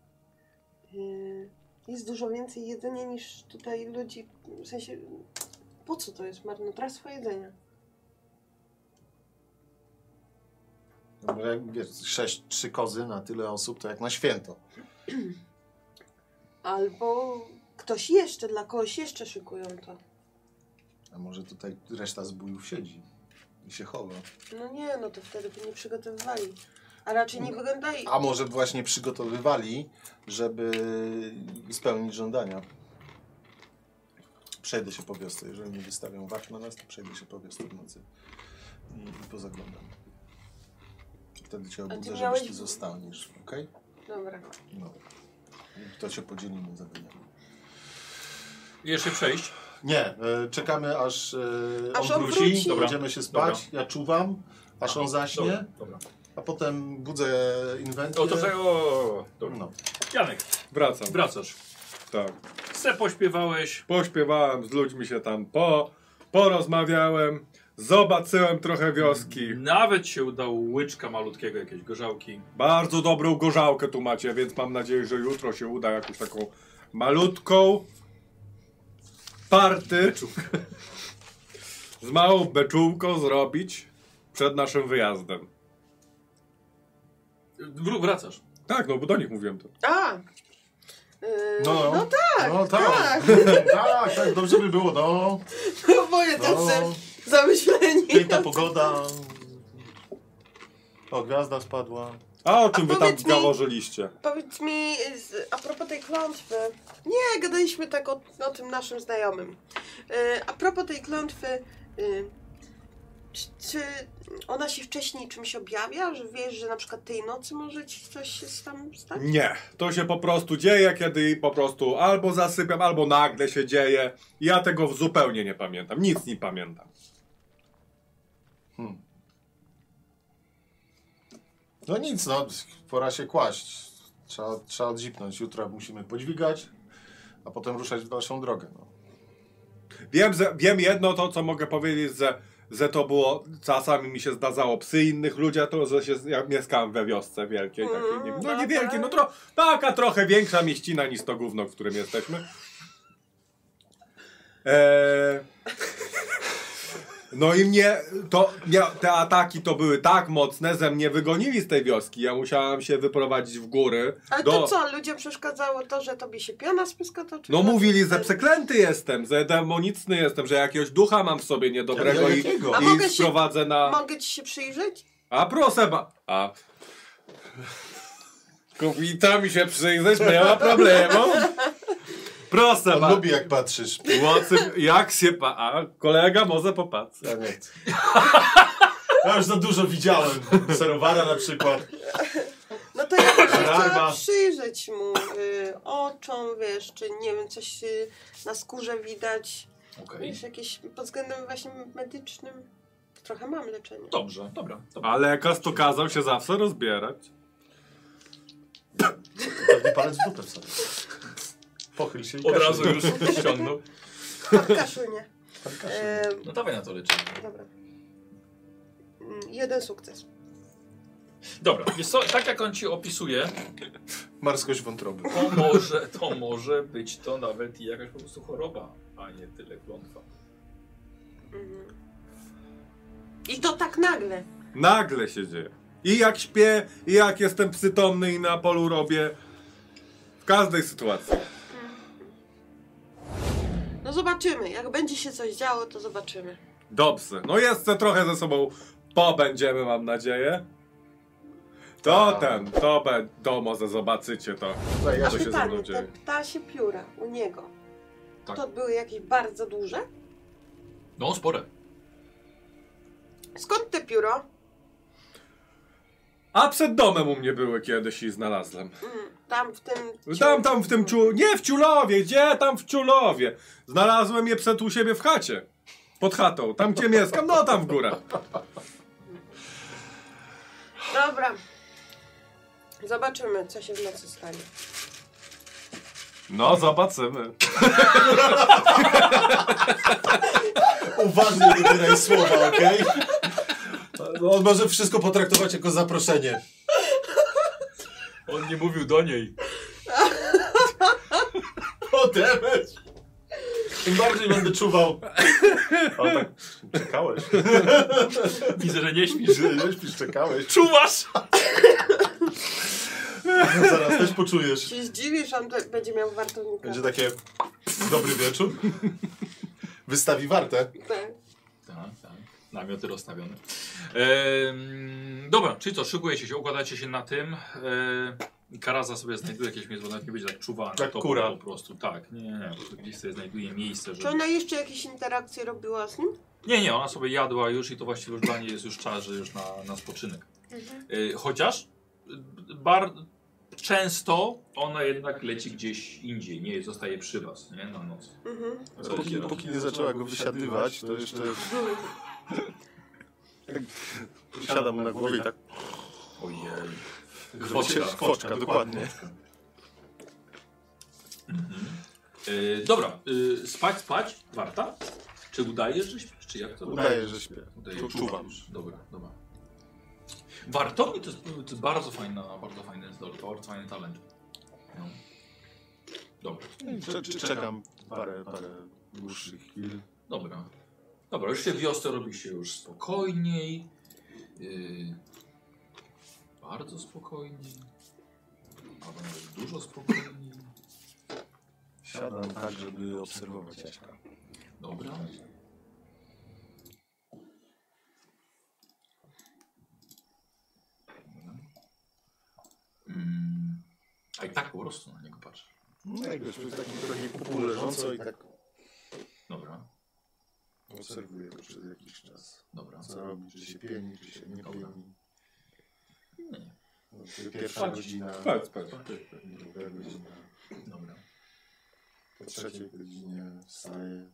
Speaker 3: Y, y, jest dużo więcej jedzenia niż tutaj ludzi. W sensie, po co to jest marnotrawstwo jedzenia?
Speaker 2: No, bo jak wiesz, sześć, trzy kozy na tyle osób, to jak na święto.
Speaker 3: Albo ktoś jeszcze, dla kogoś jeszcze szykują to.
Speaker 2: A może tutaj reszta zbójów siedzi i się chowa.
Speaker 3: No nie, no to wtedy by nie przygotowywali. A raczej nie wyglądali.
Speaker 2: A może właśnie przygotowywali, żeby spełnić żądania. Przejdę się po wiosce. Jeżeli nie wystawią warg na nas, to przejdę się po wiosce w nocy. I, i pozaglądam. Wtedy cię
Speaker 3: ty
Speaker 2: obudzę,
Speaker 3: miałeś-
Speaker 2: żebyś tu zostaniesz, okej?
Speaker 3: Dobra.
Speaker 2: No. I to się podzielimy za dnia.
Speaker 1: Jeszcze przejść.
Speaker 2: Nie, e, czekamy aż, e,
Speaker 3: Aż
Speaker 2: on
Speaker 3: on
Speaker 2: wróci,
Speaker 3: wróci.
Speaker 2: Dobra. będziemy się spać, ja czuwam, aż on zaśnie,
Speaker 1: Dobra, dobra.
Speaker 2: a potem budzę inwentję.
Speaker 1: O, to że... O, dobra.
Speaker 2: No.
Speaker 1: Janek,
Speaker 4: Wracam.
Speaker 1: wracasz.
Speaker 4: tak.
Speaker 1: Se pośpiewałeś.
Speaker 4: Pośpiewałem z ludźmi się tam, po, porozmawiałem, zobaczyłem trochę wioski.
Speaker 1: Nawet się udało łyczka malutkiego, jakieś gorzałki.
Speaker 4: Bardzo dobrą gorzałkę tu macie, więc mam nadzieję, że jutro się uda jakąś taką malutką party z małą beczułką zrobić przed naszym wyjazdem.
Speaker 1: Wr- wracasz.
Speaker 4: Tak, no bo do nich mówiłem to.
Speaker 3: A! Yy,
Speaker 2: No.
Speaker 3: no. tak,
Speaker 2: no tak, tak, tak, dobrze by było, no.
Speaker 3: to moje
Speaker 2: no.
Speaker 3: tacy zamyślenie.
Speaker 2: Piękna pogoda. O, gwiazda spadła.
Speaker 4: A o czym
Speaker 3: A
Speaker 4: wy tam
Speaker 3: powiedz mi-
Speaker 4: gaworzyliście?
Speaker 3: Powiedz mi, z- a propos tej klątwy. Nie, gadaliśmy tak o, o tym naszym znajomym. Yy, a propos tej klątwy, yy, czy, czy ona się wcześniej czymś objawia? Że wiesz, że na przykład tej nocy może ci coś się tam stać?
Speaker 4: Nie, to się po prostu dzieje, kiedy po prostu albo zasypiam, albo nagle się dzieje. Ja tego zupełnie nie pamiętam, nic nie pamiętam.
Speaker 2: No nic, no, pora się kłaść. Trzeba, trzeba odzipnąć. Jutro musimy podźwigać, a potem ruszać w dalszą drogę. No.
Speaker 4: Wiem, że, wiem jedno to, co mogę powiedzieć, że, że to było, czasami mi się zdarzało psy innych ludzi, a to, że się, ja mieszkałem we wiosce wielkiej, takiej, nie, no
Speaker 3: no
Speaker 4: niewielkiej,
Speaker 3: tak.
Speaker 4: no tro, taka trochę większa mieścina niż to gówno, w którym jesteśmy. Eee, no i mnie, to, ja, te ataki to były tak mocne, że mnie wygonili z tej wioski, ja musiałem się wyprowadzić w góry.
Speaker 3: Ale
Speaker 4: do-
Speaker 3: to co, ludziom przeszkadzało to, że tobie się piana z pyska toczy?
Speaker 4: no mówili, że przeklęty jestem, że demoniczny jestem, że jakiegoś ducha mam w sobie niedobrego
Speaker 2: Ja-
Speaker 4: i,
Speaker 2: jakiego?
Speaker 3: A mogę
Speaker 4: i
Speaker 3: się-
Speaker 4: sprowadzę na...
Speaker 3: Mogę ci się przyjrzeć?
Speaker 4: A proszę ba... A... Kobita mi się przyjrzeć, nie ma problemu. Proszę
Speaker 2: On
Speaker 4: ba...
Speaker 2: lubi, jak patrzysz.
Speaker 4: Łocy, jak się pa... A kolega może popatrzy.
Speaker 2: Ja nie chcę. Ja już za dużo widziałem. Serowara na przykład.
Speaker 3: No to ja bym się
Speaker 2: Rarba.
Speaker 3: chciała przyjrzeć mu y, oczom, wiesz, czy nie wiem, coś y, na skórze widać.
Speaker 1: Okej.
Speaker 3: Wiesz, jakieś pod względem właśnie medycznym. Trochę mam leczenie.
Speaker 1: Dobrze, dobra. dobra.
Speaker 4: A lekarz to kazał się zawsze rozbierać.
Speaker 2: Pewnie palec w dupę wsadzi. Pochyl się i
Speaker 1: Od
Speaker 2: kaszlij.
Speaker 1: razu już ściągnął.
Speaker 3: Kaszu nie. E,
Speaker 1: No dawaj na to leczenie.
Speaker 3: dobra. Mm, Jeden sukces.
Speaker 1: Dobra, wiesz co, tak jak on ci opisuje,
Speaker 2: Marskość wątroby.
Speaker 1: to może, to może być to nawet i jakaś po prostu choroba, a nie tyle klątwa.
Speaker 3: Mhm. I to tak nagle.
Speaker 4: Nagle się dzieje. I jak śpię, i jak jestem przytomny i na polu robię. W każdej sytuacji.
Speaker 3: No zobaczymy. Jak będzie się coś działo, to zobaczymy.
Speaker 4: Dobrze. No jeszcze trochę ze sobą pobędziemy, mam nadzieję. To
Speaker 2: Tak.
Speaker 4: ten, to, be, to może zobaczycie to.
Speaker 2: Słuchaj, ja
Speaker 3: A
Speaker 4: Co się ze mną
Speaker 3: pytanie, te
Speaker 4: dzieje?
Speaker 3: ptasie pióra u niego,
Speaker 1: Tak.
Speaker 3: to były jakieś bardzo duże?
Speaker 1: No, spore.
Speaker 3: Skąd te pióro?
Speaker 4: A przed domem u mnie były kiedyś i znalazłem.
Speaker 3: Mm, tam w tym...
Speaker 4: Tam, tam w tym ciu... Nie, w ciulowie! Gdzie tam w ciulowie? Znalazłem je przed u siebie w chacie. Pod chatą. Tam gdzie mieszkam, no tam w górę.
Speaker 3: Dobra. Zobaczymy, co się w nocy stanie.
Speaker 4: No, zobaczymy.
Speaker 2: Uważnie wybieraj słowa, okej? No, On może wszystko potraktować jako zaproszenie.
Speaker 1: On nie mówił do niej. damage.
Speaker 2: Im bardziej będę czuwał. O, tak czekałeś.
Speaker 1: Widzę, że nie śpisz.
Speaker 2: Nie śpisz, czekałeś.
Speaker 1: Czuwasz!
Speaker 2: Zaraz też poczujesz.
Speaker 3: Się zdziwisz, on be- będzie miał wartownika.
Speaker 2: Będzie takie dobry wieczór.
Speaker 5: Wystawi wartę.
Speaker 3: Tak.
Speaker 1: Tak, tak. Namioty rozstawione. Ehm, dobra, czyli co, szykujecie się, układacie się na tym. Ehm, Karaza sobie znajduje jakieś miejsce, bo nawet nie będzie tak czuwała na
Speaker 2: Jak
Speaker 1: topu
Speaker 2: kura.
Speaker 1: po prostu. Tak, nie, nie, po prostu gdzieś sobie znajduje miejsce,
Speaker 3: Czy
Speaker 1: żeby...
Speaker 3: ona jeszcze jakieś interakcje robiła z nim?
Speaker 1: Nie, nie, ona sobie jadła już i to właściwie już dla niej jest już czas, że już na, na spoczynek. E, chociaż e, bar... często ona jednak leci gdzieś indziej, nie zostaje przy was, nie, na noc.
Speaker 3: Mhm.
Speaker 2: Póki, póki nie zaczęła go wysiadywać, to jeszcze... Siada mu na głowie i tak...
Speaker 1: Ojej.
Speaker 2: Foczka, foczka, dokładnie.
Speaker 1: E, dobra, e, spać, spać, warta? Czy udajesz, że śpisz, czy jak to
Speaker 2: Udaje, że śpię.
Speaker 1: Udaje,
Speaker 2: Czu- czuwam.
Speaker 1: Dobra, dobra. Wartowni to jest, to jest bardzo fajna, bardzo fajny zdolność, bardzo fajny talent. No. Dobra,
Speaker 2: Cze- cze- No Czekam parę, parę dłuższych chwil.
Speaker 1: dobra. Dobra, już się wiosce robi się już spokojniej. Yy, bardzo spokojniej. Albo nawet dużo spokojniej.
Speaker 2: Siadam tak, żeby obserwować Jaśka.
Speaker 1: Dobra. Mm. A i tak po prostu na niego patrzę.
Speaker 2: No jak wiesz, w takim trochę pół leżąco i tak
Speaker 1: Dobra,
Speaker 2: obserwuję go przez jakiś czas.
Speaker 1: dobra.
Speaker 2: Co robi, czy się pieni, czy się nie pieni.
Speaker 1: Nie.
Speaker 2: No, to Pierwsza godzina,
Speaker 4: Spać, spać.
Speaker 2: druga godzina,
Speaker 1: Dobra.
Speaker 2: po trzeciej godzinie wstaję,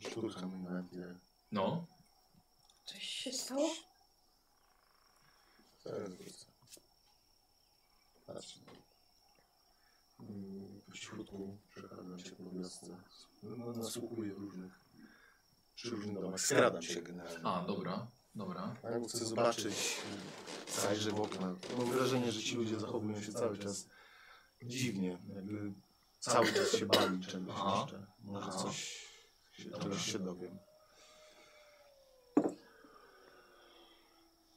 Speaker 2: szturcham energię.
Speaker 1: No,
Speaker 7: Coś się stało?
Speaker 2: Zaraz wrócę. Patrz. Mm, Po cichutku przechadzam się po wiosce. No, nasłuchuję różnych. Przy różnych domach. Skradam się generalnie.
Speaker 1: a dobra, dobra.
Speaker 2: A jak Tak, chcę zobaczyć, e, zajrzę w okna. Mam wrażenie, że ci ludzie zachowują się cały czas dziwnie. Jakby cały czas się bali czegoś
Speaker 1: Aha.
Speaker 2: jeszcze. Może
Speaker 1: Aha.
Speaker 2: coś się, czegoś się dowiem.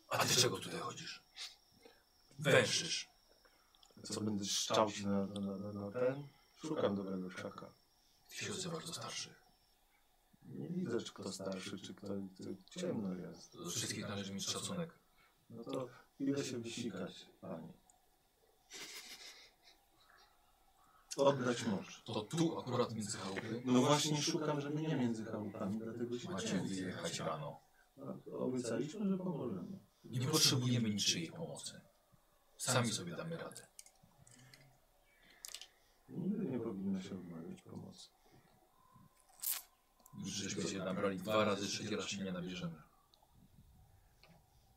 Speaker 1: A ty czego tutaj chodzisz? Wężysz.
Speaker 2: Co będę szczałć na, na, na, na ten? Szukam dobrego krzaka.
Speaker 1: Ty się odzywasz do starszych.
Speaker 2: Nie widzę, czy kto starszy, czy kto... czy- Ciemno jest.
Speaker 1: Do wszystkich należy mieć szacunek.
Speaker 2: No to ile się wysikać, pani? Oddać mąż.
Speaker 1: To tu akurat między chałupy
Speaker 2: No właśnie szukam, żeby nie między chałupami, dlatego się
Speaker 1: macie
Speaker 2: cięli.
Speaker 1: wyjechać rano.
Speaker 2: A Obiecaliśmy, że pomożemy.
Speaker 1: Nie potrzebujemy niczyjej pomocy. Sami sobie damy radę.
Speaker 2: Nigdy nie powinno się odmawiać pomocy.
Speaker 1: Żeśmy się nabrali dwa razy, trzeci raz się nie nabierzemy.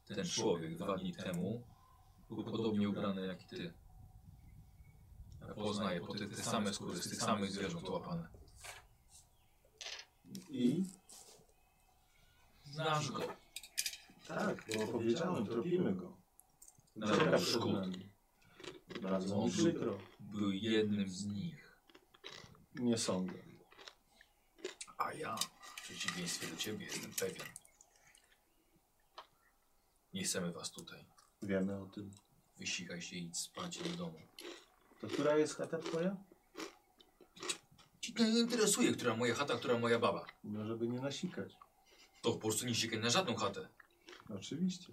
Speaker 1: Ten człowiek dwa dni temu był podobnie ubrany jak i ty. Ja Poznaję po te, te same skóry, z tych samych zwierząt łapane.
Speaker 2: I?
Speaker 1: Znasz go.
Speaker 2: Tak, bo powiedziałem, tropimy go. No,
Speaker 1: Nabrał szkód.
Speaker 2: Bardzo mi przykro.
Speaker 1: Był jednym z nich.
Speaker 2: Nie sądzę.
Speaker 1: A ja, w przeciwieństwie do ciebie, jestem pewien. Nie chcemy was tutaj.
Speaker 2: Wiemy o tym.
Speaker 1: Wysikaj się i idź spać do domu.
Speaker 2: To która jest chata twoja?
Speaker 1: Ci to nie interesuje, która moja chata, która moja baba.
Speaker 2: No, żeby nie nasikać.
Speaker 1: To po prostu nie sikaj na żadną chatę.
Speaker 2: Oczywiście.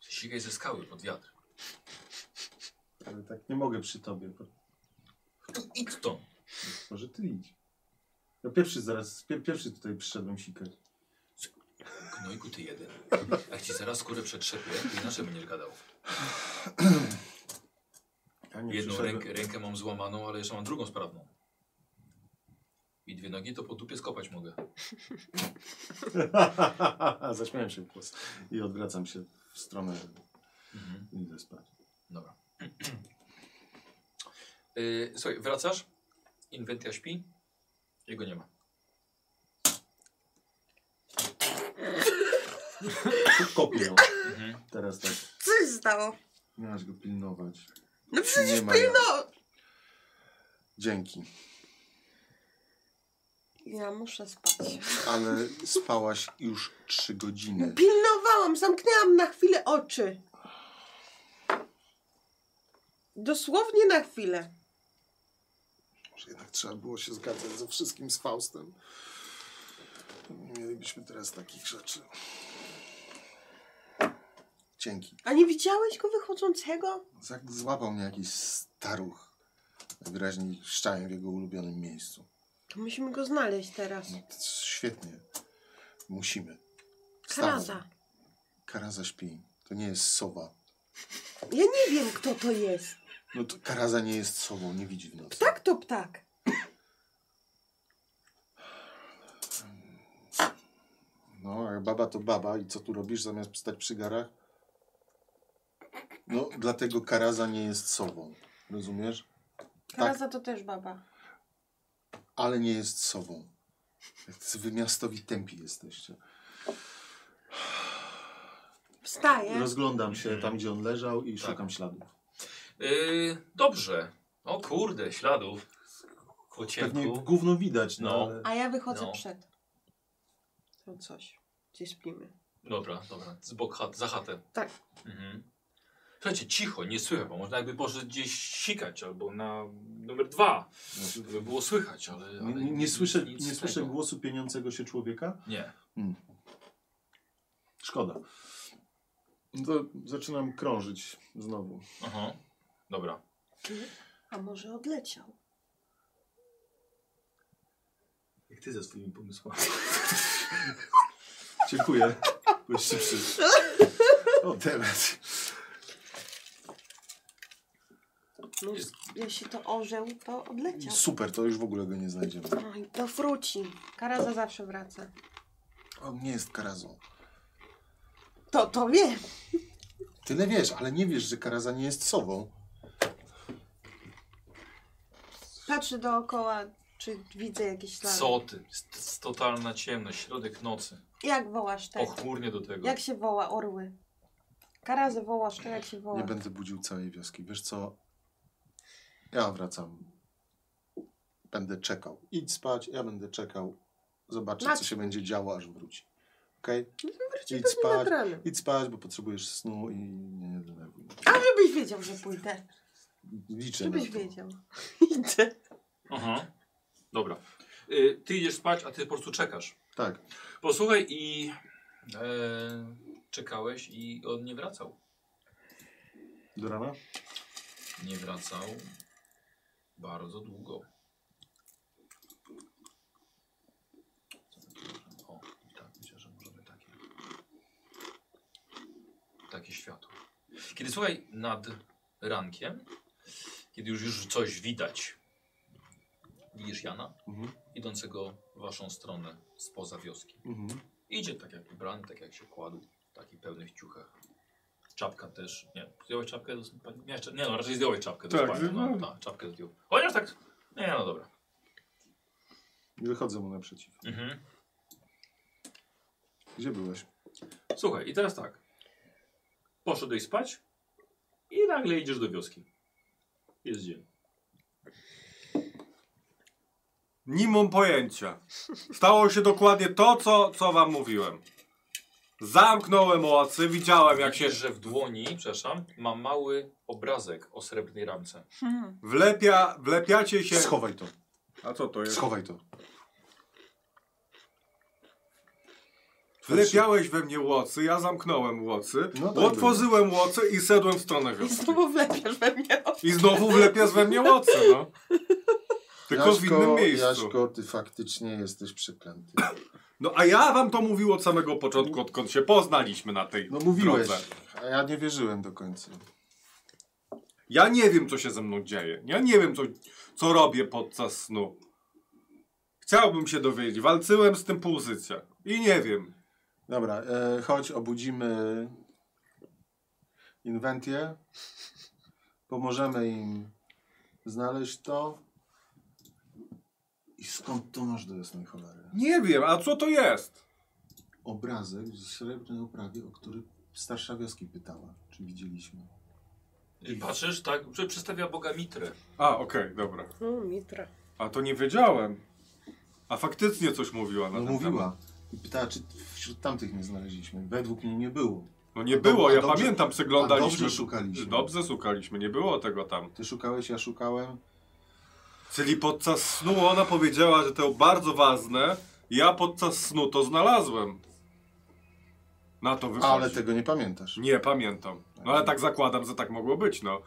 Speaker 1: Sikaj ze skały pod wiatr.
Speaker 2: Ale tak nie mogę przy tobie, bo
Speaker 1: To idź to.
Speaker 2: może ty idź. Ja pierwszy zaraz, pier, pierwszy tutaj przyszedłem sikać.
Speaker 1: Gnojku ty jeden. Jak ci zaraz skórę przetrzepię, to inaczej będziesz gadał.
Speaker 2: Ja nie
Speaker 1: Jedną
Speaker 2: przyszedłem.
Speaker 1: rękę, rękę mam złamaną, ale jeszcze mam drugą sprawną. I dwie nogi to po dupie skopać mogę.
Speaker 2: Zaśmiałem się w głos. I odwracam się w stronę
Speaker 1: Mhm.
Speaker 2: i idę spać.
Speaker 1: Dobra. yy, słuchaj, wracasz. Inwentia śpi. Jego nie ma.
Speaker 2: Tu Kopię ją.
Speaker 1: Mhm.
Speaker 2: Teraz tak.
Speaker 3: Co się stało?
Speaker 2: Miałaś go pilnować.
Speaker 3: No
Speaker 5: Nie
Speaker 3: przecież
Speaker 5: ma jak.
Speaker 3: pilno!
Speaker 5: Dzięki.
Speaker 3: Ja muszę spać.
Speaker 5: Ale spałaś już trzy godziny.
Speaker 3: Pilnowałam, zamknęłam na chwilę oczy. Dosłownie na chwilę.
Speaker 5: Może jednak trzeba było się zgadzać ze wszystkim z Faustem. Nie mielibyśmy teraz takich rzeczy. Dzięki.
Speaker 3: A nie widziałeś go wychodzącego?
Speaker 5: Zak- Tak Złapał mnie jakiś staruch. Najwyraźniej szczajem w jego ulubionym miejscu.
Speaker 3: To musimy go znaleźć teraz.
Speaker 5: No, to jest świetnie. Musimy. Wstawaj.
Speaker 3: Karaza.
Speaker 5: Karaza śpi. To nie jest sowa.
Speaker 3: Ja nie wiem, kto to jest.
Speaker 5: No to Karaza nie jest sobą, nie widzi w nocy.
Speaker 3: Ptak to ptak.
Speaker 5: No, a baba to baba i co tu robisz zamiast stać przy garach? No, dlatego Karaza nie jest sobą. Rozumiesz? Tak.
Speaker 3: Karaza to też baba.
Speaker 5: Ale nie jest sobą. Jak Wy miastowi tempi jesteście.
Speaker 3: Wstaje.
Speaker 2: Rozglądam się
Speaker 1: Mhm.
Speaker 2: tam, gdzie on leżał i
Speaker 1: Tak.
Speaker 2: szukam śladów.
Speaker 1: Yy, dobrze. O kurde, śladów. Po
Speaker 2: Pewnie
Speaker 1: ciemku.
Speaker 2: gówno widać, Tak, no.
Speaker 1: No.
Speaker 2: Ale...
Speaker 3: A ja wychodzę
Speaker 1: No.
Speaker 3: przed. To coś. Gdzie śpimy.
Speaker 1: Dobra, dobra. Z bok chat, za chatę.
Speaker 3: Tak.
Speaker 1: Mhm. Słuchajcie, cicho, nie słychać, bo można jakby poszedł gdzieś sikać albo na numer dwa,
Speaker 5: No,
Speaker 1: żeby było słychać, ale... ale
Speaker 2: Nie, nie, nie słyszę,
Speaker 1: nic
Speaker 2: nie
Speaker 1: z
Speaker 2: słyszę
Speaker 1: tego.
Speaker 2: głosu pieniącego się człowieka?
Speaker 1: Nie.
Speaker 2: Szkoda. No to zaczynam krążyć znowu.
Speaker 1: Aha. Dobra.
Speaker 3: A może odleciał?
Speaker 1: Jak ty ze swoimi pomysłami.
Speaker 2: Dziękuję. Byłeś szybszy.
Speaker 5: o, teraz.
Speaker 3: No, jeśli to orzeł, to odleciał.
Speaker 5: Super, to już w ogóle go nie znajdziemy.
Speaker 3: Oj, to wróci. Karaza zawsze wraca.
Speaker 5: On nie jest Karazą.
Speaker 3: To, to wiem.
Speaker 5: Tyle wiesz, ale nie wiesz, że Karaza nie jest sobą.
Speaker 3: Patrzę dookoła, czy widzę jakieś ślady.
Speaker 1: Co ty? Jest, jest totalna ciemność, środek nocy.
Speaker 3: Jak wołasz tak?
Speaker 1: Pochmurnie do tego.
Speaker 3: Jak się woła orły? Karazy wołasz to, jak się
Speaker 5: Nie
Speaker 3: woła?
Speaker 5: będę budził całej wioski. Wiesz co? Ja wracam. Będę czekał. Idź spać, ja będę czekał. Zobaczę,
Speaker 3: Na-
Speaker 5: co się będzie działo, aż wróci. Okej?
Speaker 3: Wróci
Speaker 5: Idź
Speaker 3: pewnie
Speaker 5: spać.
Speaker 3: nad ranem.
Speaker 5: Idź spać, bo potrzebujesz snu i nie, nie denerwuj. mnie.
Speaker 3: A żebyś wiedział, że pójdę.
Speaker 5: Liczę
Speaker 3: Żebyś
Speaker 5: na to.
Speaker 3: wiedział. Idę.
Speaker 1: Aha. Dobra. Y, ty idziesz spać, a ty po prostu czekasz.
Speaker 5: Tak.
Speaker 1: Posłuchaj i... E, czekałeś i on nie wracał.
Speaker 2: Do rana?
Speaker 1: Nie wracał bardzo długo. O, tak, myślę, że możemy takie. Takie światło. Kiedy słuchaj, nad rankiem, kiedy już, już coś widać, widzisz Jana
Speaker 2: Mhm.
Speaker 1: idącego w waszą stronę spoza wioski.
Speaker 2: Mhm.
Speaker 1: Idzie tak jak ubrany, tak jak się kładł, w takich pełnych ciuchach. Czapka też. Nie, zdjąłeś czapkę? do sp- Nie, jeszcze- nie no, raczej zdjąłeś czapkę do
Speaker 4: Tak,
Speaker 1: spania. No,
Speaker 4: zdjąłem.
Speaker 1: tak, czapkę zdjął. Chociaż tak. Nie, no dobra.
Speaker 2: I Wychodzę mu naprzeciw.
Speaker 1: Mhm.
Speaker 2: Gdzie byłeś?
Speaker 1: Słuchaj, i teraz tak. Poszedłeś spać i nagle idziesz do wioski. Jest dzień.
Speaker 4: Nie mam pojęcia. Stało się dokładnie to, co, co wam mówiłem. Zamknąłem oczy, widziałem jak się
Speaker 1: Widzisz, że w dłoni, przepraszam, ma mały obrazek o srebrnej ramce.
Speaker 4: wlepia, wlepiacie się...
Speaker 5: Schowaj to.
Speaker 4: A co to jest?
Speaker 5: Schowaj to.
Speaker 4: Wlepiałeś we mnie łocy, ja zamknąłem łocy,
Speaker 5: No tak
Speaker 4: otworzyłem łocy i szedłem w stronę
Speaker 3: I
Speaker 4: wioski.
Speaker 3: znowu wlepiasz we mnie.
Speaker 4: I znowu wlepiasz we mnie łocy, no. Tylko w innym miejscu.
Speaker 5: Jaśko, ty faktycznie jesteś przeklęty.
Speaker 4: No a ja wam to mówił od samego początku, odkąd się poznaliśmy na tej
Speaker 5: No mówiłeś,
Speaker 4: drodze.
Speaker 5: a ja nie wierzyłem do końca.
Speaker 4: Ja nie wiem, co się ze mną dzieje. Ja nie wiem, co, co robię podczas snu. Chciałbym się dowiedzieć. Walczyłem z tym pół życia. I nie wiem.
Speaker 5: Dobra, e, chodź, obudzimy inwentję. Pomożemy im znaleźć to. I skąd to masz do jasnej cholery?
Speaker 4: Nie wiem, a co to jest?
Speaker 5: Obrazek w srebrnej oprawie, o który starsza wioski pytała, czy widzieliśmy.
Speaker 1: I patrzysz, tak, że przedstawia Boga Mitrę.
Speaker 4: A, okej, dobra.
Speaker 7: No, Mitra.
Speaker 4: A to nie wiedziałem. A faktycznie coś mówiła na
Speaker 5: No,
Speaker 4: ten temat.
Speaker 5: mówiła. I pytała, czy wśród tamtych nie znaleźliśmy. Według mnie nie było.
Speaker 4: No nie
Speaker 5: A
Speaker 4: było,
Speaker 5: dob- a
Speaker 4: ja
Speaker 5: dobrze-
Speaker 4: pamiętam,
Speaker 5: A
Speaker 4: przeglądaliśmy.
Speaker 5: dobrze szukaliśmy.
Speaker 4: Dobrze szukaliśmy, nie było tego tam.
Speaker 5: Ty szukałeś, ja szukałem.
Speaker 4: Czyli podczas snu ona powiedziała, że to bardzo ważne. Ja podczas snu to znalazłem. Na to wychodzi.
Speaker 5: Ale tego nie pamiętasz.
Speaker 4: Nie pamiętam. No ale tak zakładam, że tak mogło być, no.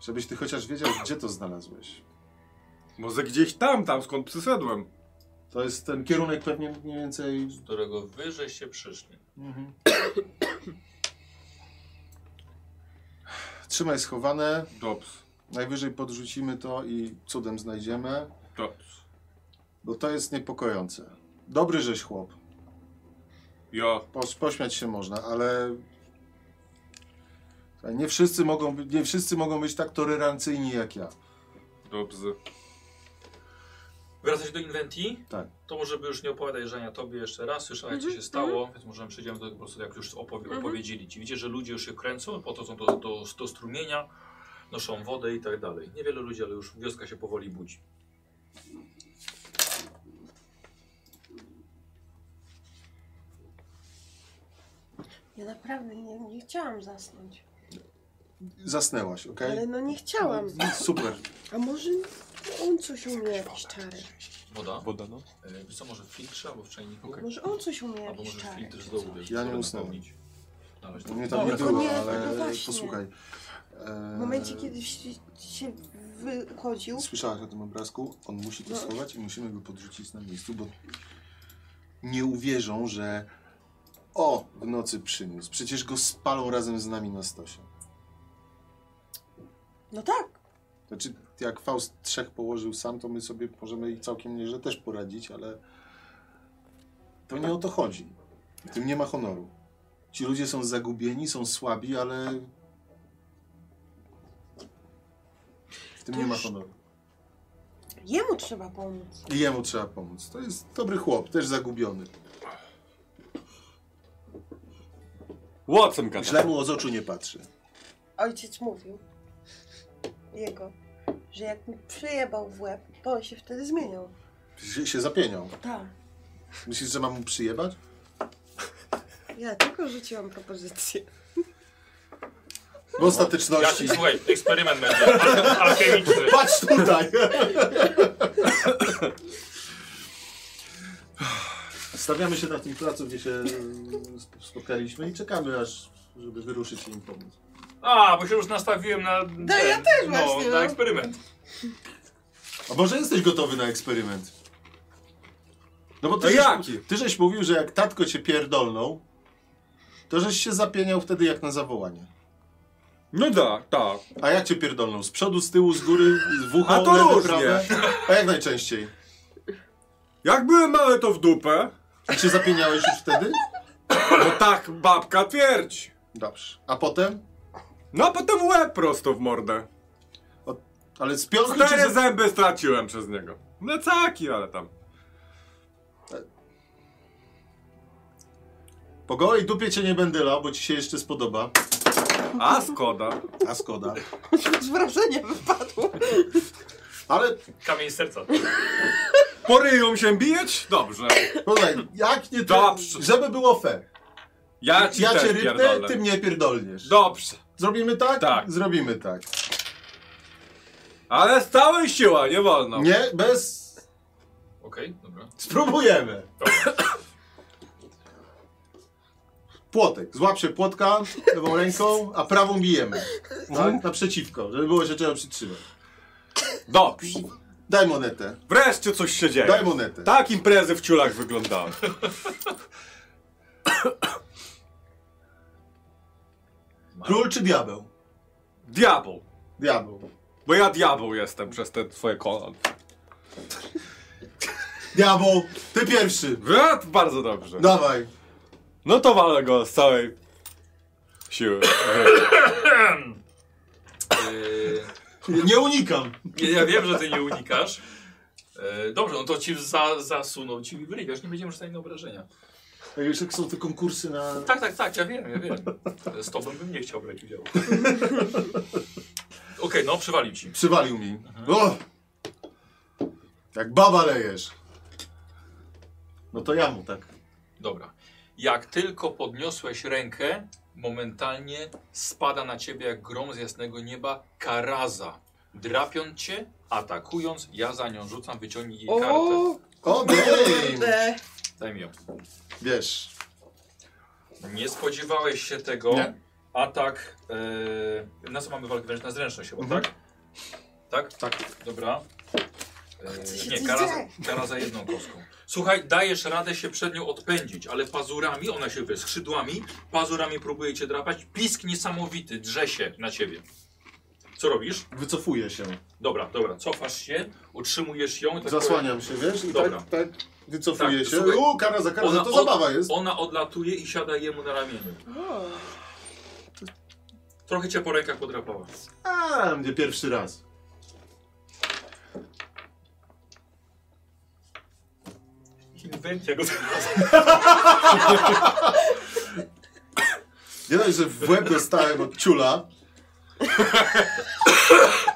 Speaker 5: Żebyś ty chociaż wiedział, gdzie to znalazłeś.
Speaker 4: Może gdzieś tam, tam skąd przyszedłem.
Speaker 5: To jest ten kierunek pewnie mniej więcej...
Speaker 1: z którego wyżej się przyszli.
Speaker 5: Trzymaj schowane,
Speaker 4: Dobrze,
Speaker 5: najwyżej podrzucimy to i cudem znajdziemy,
Speaker 4: dobrze.
Speaker 5: bo to jest niepokojące. Dobry żeś chłop.
Speaker 4: Ja,
Speaker 5: Poś- pośmiać się można, ale Słuchaj, Tak, nie wszyscy, mogą, by- nie wszyscy mogą być tak tolerancyjni jak ja.
Speaker 4: dobrze.
Speaker 1: Wracać do Inventi?
Speaker 5: Tak.
Speaker 1: To może by już nie opowiadaj Żania tobie jeszcze raz, słyszałeś co
Speaker 3: Mhm,
Speaker 1: się stało, więc możemy przejdziemy do tego po prostu jak już opowie opowiedzieli ci. Widzicie, że ludzie już się kręcą, po to są do, do, do strumienia, noszą wodę i tak dalej. Niewielu ludzi, ale już wioska się powoli budzi.
Speaker 3: Ja naprawdę nie, nie chciałam zasnąć.
Speaker 5: Zasnęłaś, okej?
Speaker 3: Ale no nie chciałam.
Speaker 5: Super.
Speaker 7: A może on coś umie jakieś czary?
Speaker 1: Woda?
Speaker 4: Woda, no.
Speaker 1: E, wiesz co, może w filtrze albo w czajniku?
Speaker 7: Może on coś umie
Speaker 1: Albo
Speaker 7: jakieś
Speaker 1: może w
Speaker 7: czary?
Speaker 1: filtr z dołu wiesz,
Speaker 5: Ja nie
Speaker 1: żeby
Speaker 5: usnąłem.
Speaker 1: napełnić. Naleźć do-
Speaker 5: Mnie tam nie
Speaker 3: Tylko
Speaker 5: było,
Speaker 3: nie, no
Speaker 5: ale
Speaker 3: właśnie.
Speaker 5: posłuchaj.
Speaker 3: W
Speaker 5: Eee,
Speaker 3: momencie, kiedy się, się wychodził,
Speaker 5: Słyszałaś o tym obrazku? On musi to
Speaker 3: No.
Speaker 5: schować i musimy go podrzucić na miejscu, bo nie uwierzą, że o, w nocy przyniósł. Przecież go spalą razem z nami na stosie.
Speaker 3: no tak,
Speaker 5: Znaczy, jak Faust trzech położył sam, to my sobie możemy i całkiem nieźle też poradzić, ale to nie o to chodzi. W tym nie ma honoru. Ci ludzie są zagubieni, są słabi, ale w tym nie ma honoru.
Speaker 3: jemu trzeba pomóc.
Speaker 5: I jemu trzeba pomóc. To jest dobry chłop, też zagubiony.
Speaker 4: Watson gada.
Speaker 5: Źle mu z oczu nie patrzy.
Speaker 3: Ojciec mówił jego, że jak mu przyjebał w łeb, to on się wtedy zmieniał.
Speaker 5: Się, się zapieniał.
Speaker 3: Tak.
Speaker 5: Myślisz, że mam mu przyjebać?
Speaker 3: Ja tylko rzuciłam propozycję.
Speaker 5: W
Speaker 1: Ja,
Speaker 5: ostateczności.
Speaker 1: słuchaj, eksperyment będzie, al- alchemiczny.
Speaker 5: Patrz tutaj!
Speaker 2: Stawiamy się na tym placu, gdzie się mm, sp- spotkaliśmy i czekamy aż, żeby wyruszyć i im pomóc.
Speaker 1: A, bo się już nastawiłem na. No
Speaker 3: Tak, ja też
Speaker 1: no,
Speaker 3: właśnie,
Speaker 1: Na
Speaker 3: no.
Speaker 1: eksperyment.
Speaker 2: A może jesteś gotowy na eksperyment? No bo ty,
Speaker 4: No
Speaker 2: żeś,
Speaker 4: jaki?
Speaker 2: ty żeś mówił, że jak tatko cię pierdolnął,
Speaker 5: To żeś się zapieniał wtedy jak na zawołanie.
Speaker 4: No tak, tak.
Speaker 5: A jak cię pierdolną? Z przodu, z tyłu, z góry, z w ucho,
Speaker 4: A to
Speaker 2: E
Speaker 5: lewe,
Speaker 4: różnie.
Speaker 5: prawe? A jak najczęściej?
Speaker 4: Jak byłem mały, to w dupę.
Speaker 5: I się zapieniałeś już wtedy?
Speaker 4: No tak, babka twierdzi.
Speaker 5: Dobrze. A potem?
Speaker 4: No a potem łeb prosto w mordę.
Speaker 5: Ale z piątki czy
Speaker 4: Cztery
Speaker 5: z...
Speaker 4: zęby straciłem przez niego. Plecaki, ale tam.
Speaker 5: Po gołej dupie cię nie będę lał, bo ci się jeszcze spodoba.
Speaker 4: A szkoda.
Speaker 5: A skoda.
Speaker 3: Z wrażenia wypadło.
Speaker 5: Ale
Speaker 1: Kamień z serca.
Speaker 4: Poryją się bijeć? Dobrze.
Speaker 5: podaj, jak nie to,
Speaker 4: Dobrze.
Speaker 5: żeby było fair.
Speaker 4: Ja ci
Speaker 5: Ja
Speaker 4: też
Speaker 5: cię rypnę,
Speaker 4: pierdolę.
Speaker 5: ty mnie pierdolniesz.
Speaker 4: Dobrze.
Speaker 5: Zrobimy tak?
Speaker 4: Tak.
Speaker 5: Zrobimy tak.
Speaker 4: Ale z całej siła, nie wolno.
Speaker 5: Nie, bez...
Speaker 1: Okej, dobra.
Speaker 5: Spróbujemy. Płotek. Złap się płotka lewą ręką, a prawą bijemy.
Speaker 4: Mhm.
Speaker 5: Tak? Naprzeciwko, żeby było się czego przytrzymać.
Speaker 4: Dobrze.
Speaker 5: Daj monetę.
Speaker 4: Wreszcie coś się dzieje.
Speaker 5: Daj monetę.
Speaker 4: Tak imprezy w ciulach wyglądały.
Speaker 5: Król czy diabeł?
Speaker 4: Diabeł.
Speaker 5: Diabeł.
Speaker 4: Bo ja diabeł jestem przez te twoje kolon.
Speaker 5: Diabeł, ty pierwszy.
Speaker 4: Wrat, Bardzo dobrze.
Speaker 5: Dawaj.
Speaker 4: No to walę go z całej siły.
Speaker 1: Yy,
Speaker 5: Nie unikam.
Speaker 1: ja- ja wiem, że ty nie unikasz. Yy, dobrze, no to ci za, zasunął ci wybrygasz, nie będziemy stać na obrażenia.
Speaker 2: jak już jak są te konkursy na...
Speaker 1: Tak, tak, tak, ja wiem, ja wiem. Z tobą bym nie chciał brać udziału. Okej, no przywalił ci.
Speaker 5: Przywalił mi. O! Jak baba lejesz.
Speaker 2: No to ja mu tak.
Speaker 1: Dobra. Jak tylko podniosłeś rękę, momentalnie spada na ciebie jak grom z jasnego nieba karaza. Drapiąc cię, atakując, ja za nią rzucam, wyciągnij jej kartę.
Speaker 5: O, damn!
Speaker 3: Kurde.
Speaker 1: Daj mi ją.
Speaker 5: Wiesz,
Speaker 1: Nie spodziewałeś się tego.
Speaker 5: Nie.
Speaker 1: Atak. e, na co mamy walkę wręcz? Na zręczność chyba, tak? Tak? Tak. Dobra. E, nie, kara, za- kara za jedną kostką. Słuchaj, dajesz radę się przed nią odpędzić, ale pazurami, ona się wie, skrzydłami, pazurami próbuje cię drapać. Pisk niesamowity, drze się na ciebie. Co robisz?
Speaker 2: Wycofuję się.
Speaker 1: Dobra, dobra, cofasz się, utrzymujesz ją. i tak
Speaker 2: Zasłaniam się, wiesz? I
Speaker 1: Dobra.
Speaker 2: tak, tak wycofuję
Speaker 1: Tak,
Speaker 2: się.
Speaker 1: słuchaj.
Speaker 2: U, kara za karę,
Speaker 1: Ona
Speaker 2: to
Speaker 1: od-
Speaker 2: zabawa jest.
Speaker 1: Ona odlatuje i siada jemu na ramieniu. Trochę cię po rękach podrapała.
Speaker 2: A, mnie pierwszy raz.
Speaker 1: Inwencja go
Speaker 5: nie dość, że w łeb dostałem od ciula.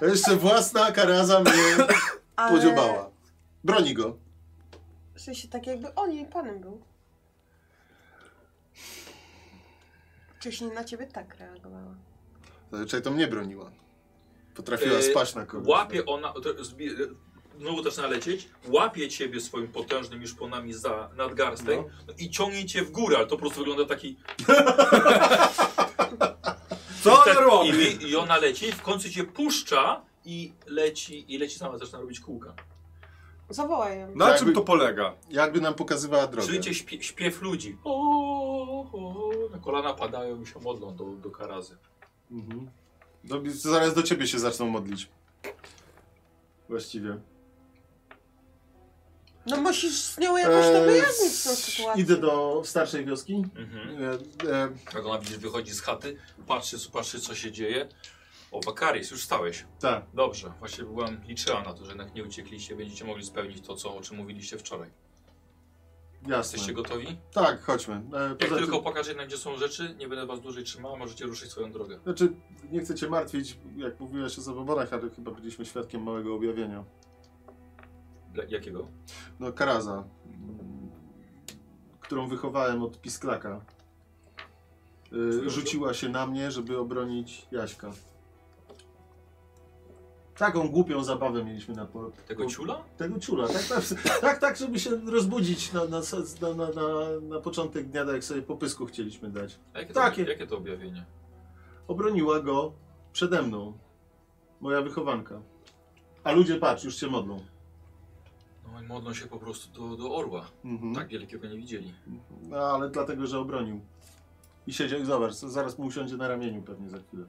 Speaker 5: To Jeszcze własna karaza mnie
Speaker 3: Ale...
Speaker 5: podziobała. Broni go.
Speaker 3: W sensie tak jakby on jej panem był. Wcześniej na ciebie tak reagowała.
Speaker 5: Zazwyczaj to mnie broniła. Potrafiła
Speaker 1: Y,
Speaker 5: spaść na kogoś.
Speaker 1: Łapie ona, to zbi- znowu zaczyna lecieć, łapie ciebie swoim potężnym już ponami za nadgarstek no. i ciągnie cię w górę, ale to po prostu wygląda taki...
Speaker 4: Co
Speaker 1: ten-
Speaker 4: on robi?
Speaker 1: i, I ona leci, w końcu cię puszcza i leci, i leci sama, zaczyna robić kółka.
Speaker 3: Zawołaj ją.
Speaker 2: Tak
Speaker 4: Na
Speaker 5: Jakby-
Speaker 4: czym to polega?
Speaker 5: Jakby nam pokazywała drogę.
Speaker 1: Czujecie śpie- śpiew ludzi. O, o, na kolana padają i się modlą do, do karazy.
Speaker 2: Mhm.
Speaker 5: Do, zaraz do ciebie się zaczną modlić.
Speaker 2: Właściwie.
Speaker 3: No musisz z nią jakoś to
Speaker 2: Eee,
Speaker 3: wyjaśnić tą
Speaker 2: s-
Speaker 3: sytuację.
Speaker 2: Idę do starszej wioski.
Speaker 1: Mhm.
Speaker 2: E, e,
Speaker 1: Jak ona widzisz, wychodzi z chaty, patrzy, patrzy co się dzieje. O, Bakaris, już stałeś.
Speaker 2: tak.
Speaker 1: Dobrze, właśnie byłam liczyła na to, że jednak nie uciekliście, będziecie mogli spełnić to, co, o czym mówiliście wczoraj.
Speaker 2: Jasne.
Speaker 1: Jesteście gotowi?
Speaker 5: Tak, chodźmy. E,
Speaker 1: Jak
Speaker 5: poza
Speaker 2: znaczy-
Speaker 1: tylko
Speaker 5: tym,
Speaker 1: pokażę jednak, gdzie są rzeczy, nie będę was dłużej trzymała, możecie ruszyć swoją drogę.
Speaker 2: Znaczy, nie chcę cię martwić, jak mówiłeś o zaboborach, ale chyba byliśmy świadkiem małego objawienia.
Speaker 1: Dla, jakiego?
Speaker 5: no, karaza.
Speaker 2: mm, którą wychowałem od pisklaka. Y, rzuciła się na mnie, żeby obronić Jaśka. Taką głupią zabawę mieliśmy na po,
Speaker 1: Tego
Speaker 2: po-
Speaker 1: ciula?
Speaker 2: tego ciula. Tak, tak, tak, tak żeby się rozbudzić na, na, na, na, na, na początek dnia, tak jak sobie popysku chcieliśmy dać.
Speaker 1: A Jakie to,
Speaker 2: Takie.
Speaker 1: jakie to objawienie?
Speaker 2: Obroniła go przede mną. Moja wychowanka. A ludzie, patrz, już się modlą.
Speaker 1: No i modlą się po prostu do, do orła.
Speaker 2: Mhm.
Speaker 1: Tak wielkiego nie widzieli.
Speaker 2: No, ale dlatego, że obronił. I siedział, zobacz, zaraz mu usiądzie na ramieniu pewnie za chwilę.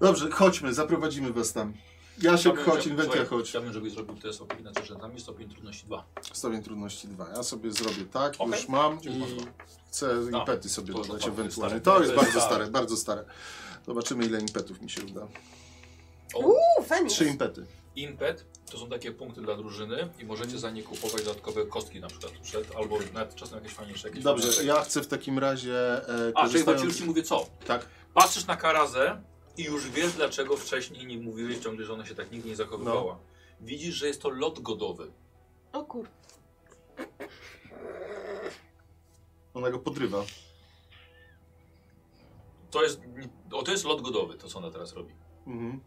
Speaker 5: Dobrze, chodźmy, zaprowadzimy was tam.
Speaker 2: Jasiek,
Speaker 1: Chciałbym,
Speaker 2: chodź,
Speaker 1: żeby-
Speaker 2: inwentia,
Speaker 1: słuchaj,
Speaker 2: chodź.
Speaker 1: Chciałbym, żebyś zrobił test opieki nad zwierzętami, stopień trudności 2.
Speaker 5: Stopień trudności dwa. Ja sobie zrobię tak,
Speaker 1: Okej.
Speaker 5: już mam
Speaker 1: Czyli
Speaker 5: i
Speaker 1: można.
Speaker 5: chcę
Speaker 1: A,
Speaker 5: impety sobie
Speaker 1: No. to
Speaker 5: dodać
Speaker 1: to
Speaker 5: ewentualnie.
Speaker 1: stare.
Speaker 5: To jest
Speaker 1: To jest
Speaker 5: bardzo
Speaker 1: stare.
Speaker 5: stare, bardzo stare. Zobaczymy ile impetów mi się uda.
Speaker 3: U, Feniks.
Speaker 2: Trzy impety.
Speaker 1: Impet to są takie punkty dla drużyny i możecie za nie kupować dodatkowe kostki na przykład przed, albo nawet czasem jakieś fajniejsze. Jakieś
Speaker 5: Dobrze,
Speaker 1: fajniejsze.
Speaker 5: ja chcę w takim razie
Speaker 1: A,
Speaker 5: e,
Speaker 1: czyli
Speaker 5: korzystając...
Speaker 1: chodzi, już ci mówię co?
Speaker 5: Tak.
Speaker 1: Patrzysz na karazę i już wiesz dlaczego wcześniej nie mówiłeś ciągle, że ona się tak nigdy nie zachowywała.
Speaker 5: No.
Speaker 1: Widzisz, że jest to lot godowy.
Speaker 3: O kur...
Speaker 5: Ona go podrywa.
Speaker 1: To jest, o, to jest lot godowy, to co ona teraz robi.
Speaker 5: Mhm.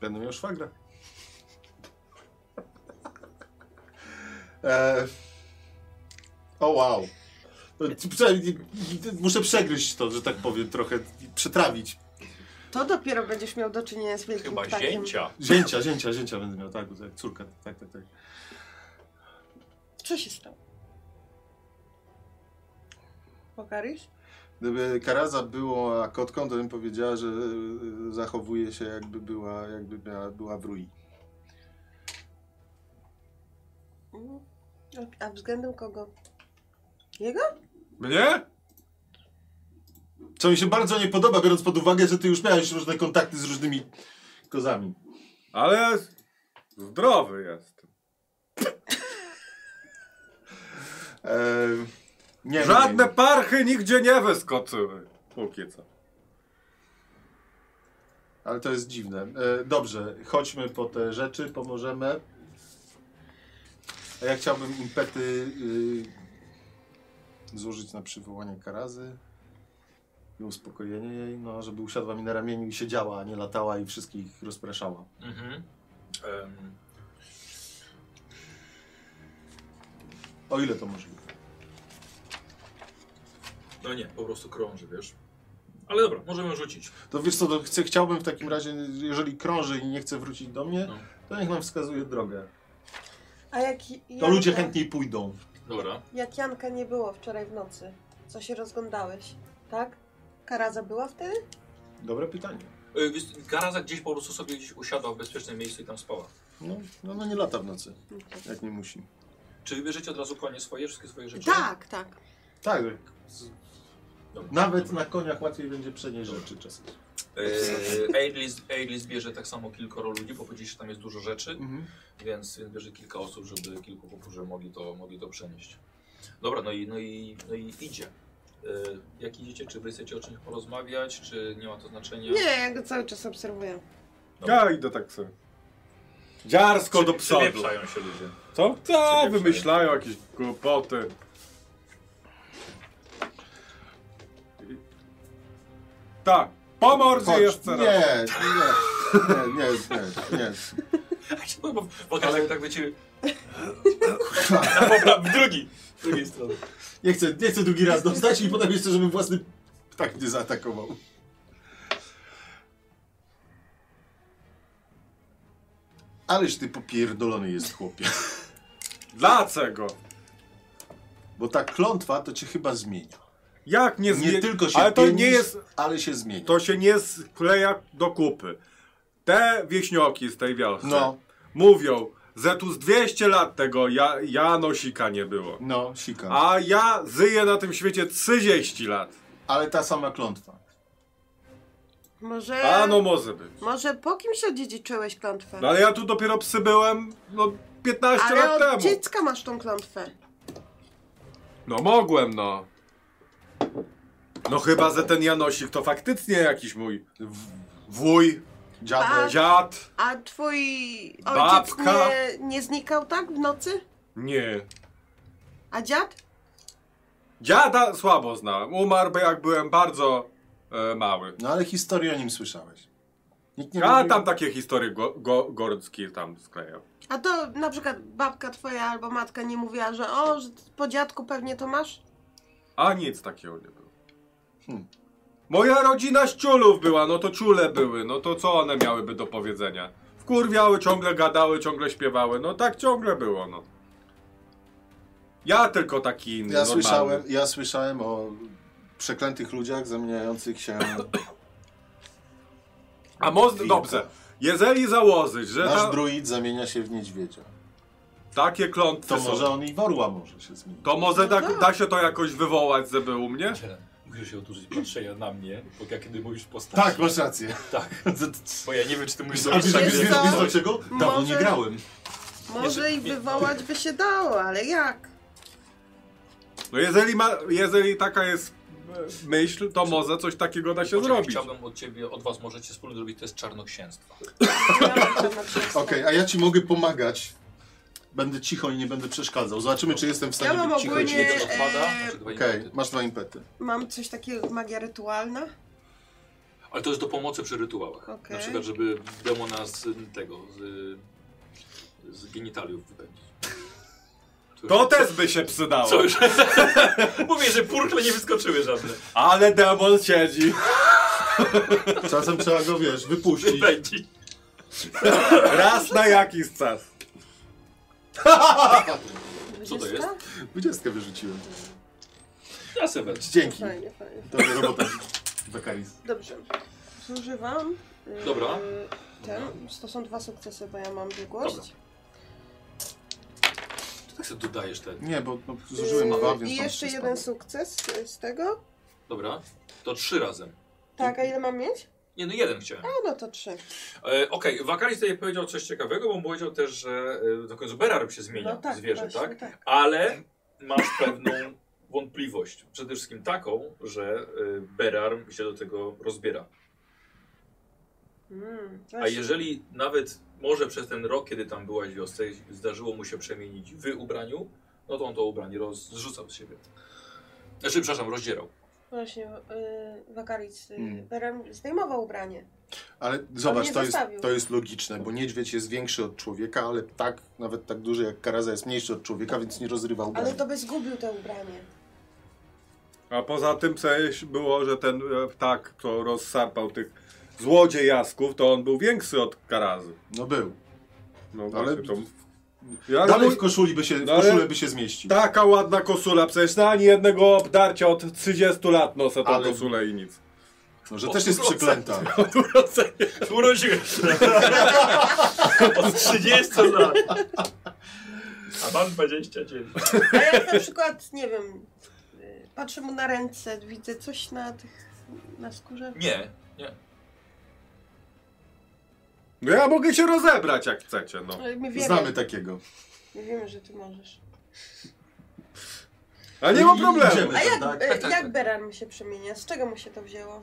Speaker 5: Będę miał szwagra. E... O wow.
Speaker 2: E, przynajmniej- Muszę przegryźć to, że tak powiem, trochę przetrawić.
Speaker 3: To dopiero będziesz miał do czynienia z wielkim
Speaker 1: Chyba
Speaker 3: ptakiem.
Speaker 1: zięcia.
Speaker 2: Zięcia, zięcia, zięcia będę miał, tak, bo tak, córka, tak, tak, tak.
Speaker 3: Co się stało? Pokarisz?
Speaker 5: Gdyby Karaza była kotką, to bym powiedziała, że y, zachowuje się jakby była, jakby miała, była w rui.
Speaker 3: Mm. A względem kogo?
Speaker 4: Mnie?
Speaker 2: Co mi się bardzo nie podoba, biorąc pod uwagę, że ty już miałeś różne kontakty z różnymi kozami.
Speaker 4: Ale zdrowy jestem.
Speaker 5: E,
Speaker 2: Nie, no nie,
Speaker 4: Żadne
Speaker 2: nie.
Speaker 4: parchy nigdzie nie wyskoczyły. Póki co.
Speaker 2: Ale to jest dziwne. E, dobrze, chodźmy po te rzeczy, pomożemy. A ja chciałbym impety y, złożyć na przywołanie karazy i uspokojenie jej, no, żeby usiadła mi na ramieniu i siedziała, a nie latała i wszystkich rozpraszała.
Speaker 1: Mhm. Em,
Speaker 2: O ile to możliwe.
Speaker 1: no nie, po prostu krąży, wiesz. Ale dobra, możemy rzucić.
Speaker 2: To wiesz co, to chcę, chciałbym w takim razie, jeżeli krąży i nie chce wrócić do mnie,
Speaker 1: No.
Speaker 2: to niech nam wskazuje drogę.
Speaker 3: A jak,
Speaker 2: To
Speaker 3: Janka,
Speaker 2: ludzie chętniej pójdą.
Speaker 1: Dobra.
Speaker 3: jak Janka nie było wczoraj w nocy, co się rozglądałeś, tak? Karaza była wtedy?
Speaker 2: Dobre pytanie.
Speaker 1: Y, wiesz, Karaza gdzieś po prostu sobie gdzieś usiadła w bezpiecznym miejscu i tam spała.
Speaker 2: No, no, no nie lata w nocy, jak nie musi.
Speaker 1: Czy wybierzecie od razu konie swoje, wszystkie swoje rzeczy?
Speaker 3: Tak, tak.
Speaker 2: Tak, z-
Speaker 1: Dobra.
Speaker 2: nawet na koniach łatwiej będzie przenieść rzeczy czasem.
Speaker 1: E, Ailis, Ailis bierze tak samo kilkoro ludzi, bo powiedzieli, że tam jest dużo rzeczy,
Speaker 2: Mhm.
Speaker 1: więc, więc bierze kilka osób, żeby kilku kupów, żeby mogli to, mogli to przenieść. Dobra, no i, no i, no i idzie. E, Jak idziecie? Czy wy chcecie o czymś porozmawiać, czy nie ma to znaczenia?
Speaker 8: Nie, ja go cały czas obserwuję.
Speaker 4: Ja idę tak sobie. Dziarsko do
Speaker 1: Przy-
Speaker 4: przodu.
Speaker 1: Przypieprzają się ludzie.
Speaker 4: Co? Co?
Speaker 1: Przypieprzają.
Speaker 4: Wymyślają jakieś głupoty. I- Tak. Pomordzie
Speaker 2: Chodź.
Speaker 4: jeszcze raz.
Speaker 2: nie, nie, nie, nie, nie.
Speaker 1: Tak się podoba. Pokazuję tak do ciebie.
Speaker 2: no,
Speaker 1: Dobra, w drugi. Z drugiej strony.
Speaker 2: Nie chcę, nie chcę drugi raz dostać i potem jeszcze, żeby własny ptak mnie zaatakował. Ależ ty popierdolony jest, chłopie.
Speaker 4: Dlaczego?
Speaker 2: Bo ta klątwa to cię chyba zmienia.
Speaker 4: Jak nie
Speaker 2: Nie
Speaker 4: zmie-
Speaker 2: tylko się
Speaker 4: Ale to nie
Speaker 2: pienisz,
Speaker 4: jest
Speaker 2: ale się zmienia.
Speaker 4: to się nie skleja do kupy. Te wieśnioki z tej wioski
Speaker 2: No,
Speaker 4: mówią, że tu z 200 lat tego ja, Janosika nie było.
Speaker 2: no, sika.
Speaker 4: A ja żyję na tym świecie 30 lat.
Speaker 2: Ale ta sama klątwa.
Speaker 3: Może.
Speaker 4: A no może być.
Speaker 3: Może po kimś odziedziczyłeś klątwę?
Speaker 4: No ale ja tu dopiero psy byłem no 15
Speaker 3: Ale
Speaker 4: lat
Speaker 3: od
Speaker 4: temu.
Speaker 3: dziecka masz tą klątwę.
Speaker 4: No mogłem no. No chyba, że ten Janosik to faktycznie jakiś mój w- wuj,
Speaker 2: Dziadek.
Speaker 4: dziad.
Speaker 3: A twój ojciec
Speaker 4: Babka.
Speaker 3: nie, nie znikał tak w nocy?
Speaker 4: Nie.
Speaker 3: A dziad?
Speaker 4: Dziada słabo znam. Umarł jak byłem bardzo e, mały.
Speaker 2: No ale historię o nim słyszałeś. Nikt nie
Speaker 4: A
Speaker 2: mówił-
Speaker 4: tam takie historie go, go, gordzkie tam skleją.
Speaker 3: A to na przykład babka twoja albo matka nie mówiła, że o, że po dziadku pewnie to masz?
Speaker 4: A nic takiego nie było.
Speaker 2: Hmm.
Speaker 4: Moja rodzina z ciulów była, no to ciule były, no to co one miałyby do powiedzenia? Wkurwiały, ciągle gadały, ciągle śpiewały, no tak ciągle było, no. Ja tylko taki inny,
Speaker 2: Ja
Speaker 4: normalny.
Speaker 2: słyszałem, ja słyszałem o przeklętych ludziach zamieniających się
Speaker 4: A most,
Speaker 2: Wilka.
Speaker 4: dobrze, jeżeli założyć, że
Speaker 2: Nasz
Speaker 4: ta,
Speaker 2: druid zamienia się w niedźwiedzia.
Speaker 4: takie klątwy
Speaker 2: To
Speaker 4: są,
Speaker 2: może on i w orła może się zmienić.
Speaker 4: to może da, da się to jakoś wywołać, żeby u mnie?
Speaker 9: Musisz się oturzyć patrzenia na mnie, bo jak kiedy mówisz postaci.
Speaker 2: Tak, masz rację.
Speaker 9: Tak.
Speaker 1: Bo ja nie wiem, czy ty mówisz
Speaker 2: A wiesz,
Speaker 3: tak
Speaker 2: wiesz, wiesz,
Speaker 3: jest. co?
Speaker 2: dlaczego? Dawno nie
Speaker 3: Może-
Speaker 2: grałem.
Speaker 1: Może
Speaker 8: Może
Speaker 1: i
Speaker 8: i wywołać by się dało, ale jak?
Speaker 4: No jeżeli, ma, jeżeli taka jest e, myśl, to może coś takiego da się zrobić.
Speaker 1: Chciałbym od ciebie, od was możecie wspólnie zrobić test czarnoksięstwa.
Speaker 2: Okej, a ja ci mogę pomagać. Będę cicho i nie będę przeszkadzał. Zobaczymy, czy jestem w stanie
Speaker 3: Ja mam
Speaker 2: być cicho. i czy nie.
Speaker 3: ogólnie-
Speaker 1: Jeden odpada,
Speaker 3: eee,
Speaker 1: znaczy dwa
Speaker 2: Okej,
Speaker 1: impety.
Speaker 2: masz dwa impety.
Speaker 3: Mam coś takiego jak magia rytualna?
Speaker 1: Ale to jest do pomocy przy rytuałach.
Speaker 3: Okej.
Speaker 1: Na przykład, żeby demona z tego, z, z genitaliów wypędzić. To,
Speaker 4: To też by się przydało.
Speaker 1: Co już? Mówię, że purkle nie wyskoczyły żadne.
Speaker 4: Ale demon siedzi.
Speaker 2: Czasem trzeba go, wiesz, wypuścić.
Speaker 1: Wypędzić.
Speaker 4: Raz na jakiś czas.
Speaker 1: Co to jest?
Speaker 2: Dwudziestkę wyrzuciłem.
Speaker 1: Ja se wezmę.
Speaker 2: Dzięki.
Speaker 8: Fajnie, fajnie.
Speaker 2: Dobra robota. Bekaris.
Speaker 8: Dobrze.
Speaker 3: Zużywam. y,
Speaker 1: Dobra.
Speaker 3: Ten. To są dwa sukcesy, bo ja mam biegłość.
Speaker 1: To tak sobie dodajesz ten.
Speaker 2: Nie, bo no, zużyłem
Speaker 3: Y,
Speaker 2: dwa, więc
Speaker 3: I
Speaker 2: tam
Speaker 3: jeszcze
Speaker 2: trzy spadły.
Speaker 3: jeden sukces y, z tego.
Speaker 1: Dobra. To trzy razem.
Speaker 3: Tak, a ile mam mieć?
Speaker 1: Nie, no jeden chciałem.
Speaker 3: A no to trzy.
Speaker 1: E, Okej, Wakaris tutaj powiedział coś ciekawego, bo on powiedział też, że e, do końca Berarb się zmienia
Speaker 3: No tak,
Speaker 1: zwierzę,
Speaker 3: właśnie,
Speaker 1: tak? Ale masz pewną wątpliwość. Przede wszystkim taką, że y, Berarm się do tego rozbiera.
Speaker 3: Mm,
Speaker 1: A jeżeli nawet może przez ten rok, kiedy tam byłaś w wiosce, zdarzyło mu się przemienić w ubraniu, no to on to ubranie roz- zrzucał z siebie. Znaczy, przepraszam, rozdzierał.
Speaker 3: Właśnie, yy, Wakaric yy,
Speaker 5: Mm.
Speaker 3: Berem zdejmował ubranie.
Speaker 5: Ale zobacz,
Speaker 3: mnie
Speaker 5: to jest,
Speaker 3: zostawił.
Speaker 5: to jest logiczne, bo niedźwiedź jest większy od człowieka, ale ptak, nawet tak duży jak karaza, jest mniejszy od człowieka, więc nie rozrywa ubrań.
Speaker 3: Ale to by zgubił to ubranie.
Speaker 4: A poza tym coś było, że ten e, ptak, kto rozsarpał tych złodziejasków, to on był większy od karazy.
Speaker 5: No był.
Speaker 4: No
Speaker 5: Ale-
Speaker 4: właśnie, to... Ja
Speaker 5: Dalej
Speaker 4: mój-
Speaker 5: w koszuli by się, w
Speaker 4: No ale-
Speaker 5: koszulę by się zmieścił.
Speaker 4: Taka ładna koszula, przecież na ani jednego obdarcia od 30 lat noszę tą
Speaker 5: Ale-
Speaker 4: koszulę i nic.
Speaker 5: Może No, też jest przyklęta.
Speaker 1: Urodzenie. Urodziłem się. Od 30 lat. A mam 29.
Speaker 3: A jak na przykład, nie wiem, yy, patrzę mu na ręce, widzę coś na tych, na skórze.
Speaker 1: Nie, nie.
Speaker 4: No ja mogę się rozebrać jak chcecie, no.
Speaker 3: Ale Y, My wiemy,
Speaker 5: Znamy takiego.
Speaker 3: my wiemy, że ty możesz.
Speaker 4: A nie ma problemu.
Speaker 2: Idziemy
Speaker 3: A
Speaker 2: tam,
Speaker 3: jak,
Speaker 2: tak?
Speaker 3: yy,
Speaker 1: tak, tak.
Speaker 3: jak Beran się przemienia? Z czego mu się to wzięło?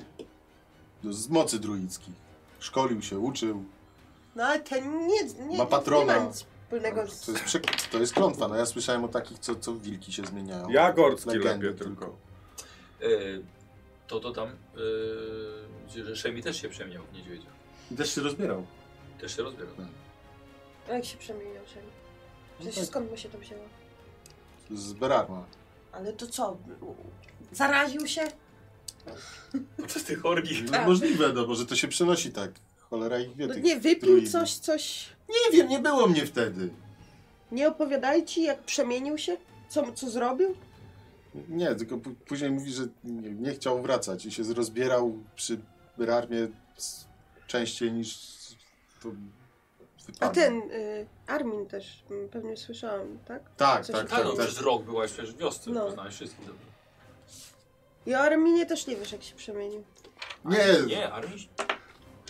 Speaker 5: No, Z mocy druidzkich. Szkolił się, uczył.
Speaker 3: No ale ten nie, nie,
Speaker 5: Ma patrona.
Speaker 3: nie ma nic wspólnego z...
Speaker 5: To jest, przyk- to jest klątwa. No ja słyszałem o takich, co, co wilki się zmieniają.
Speaker 4: Ja Gorski
Speaker 5: Legendy
Speaker 4: lepiej tylko.
Speaker 1: Y, to to tam, yy, że Szemi też się przemieniał w niedźwiedzia.
Speaker 2: I też się rozbierał.
Speaker 1: Też się rozbierał.
Speaker 3: A jak się przemieniał się?
Speaker 5: No
Speaker 3: Przecież
Speaker 5: tak.
Speaker 3: skąd mu się to wzięło?
Speaker 5: Z Berarma.
Speaker 3: Ale to co? Zaraził się?
Speaker 1: Podczas tych
Speaker 3: Tak.
Speaker 1: orgi.
Speaker 5: No, możliwe, no może to się przenosi tak. Cholera ich wie.
Speaker 7: No
Speaker 5: tych
Speaker 7: nie, wypił
Speaker 5: druidów.
Speaker 7: coś, coś.
Speaker 5: Nie wiem, nie było mnie wtedy.
Speaker 7: Nie opowiadaj ci, jak przemienił się? Co, co zrobił?
Speaker 5: Nie, tylko p- później mówi, że nie, nie chciał wracać i się rozbierał przy Berarmie s- częściej niż s- to
Speaker 3: A
Speaker 5: wypadło.
Speaker 3: ten y, Armin też,
Speaker 7: mm,
Speaker 3: y, pewnie słyszałam, tak?
Speaker 5: Tak,
Speaker 3: coś
Speaker 5: tak,
Speaker 1: Tak,
Speaker 5: tak.
Speaker 1: no,
Speaker 5: tak.
Speaker 1: przez rok byłaś przecież w wiosce,
Speaker 3: No.
Speaker 1: no. poznałeś wszystkich dobrze.
Speaker 3: I o Arminie też nie wiesz, jak się przemienił.
Speaker 5: Nie,
Speaker 1: Nie, Armiś.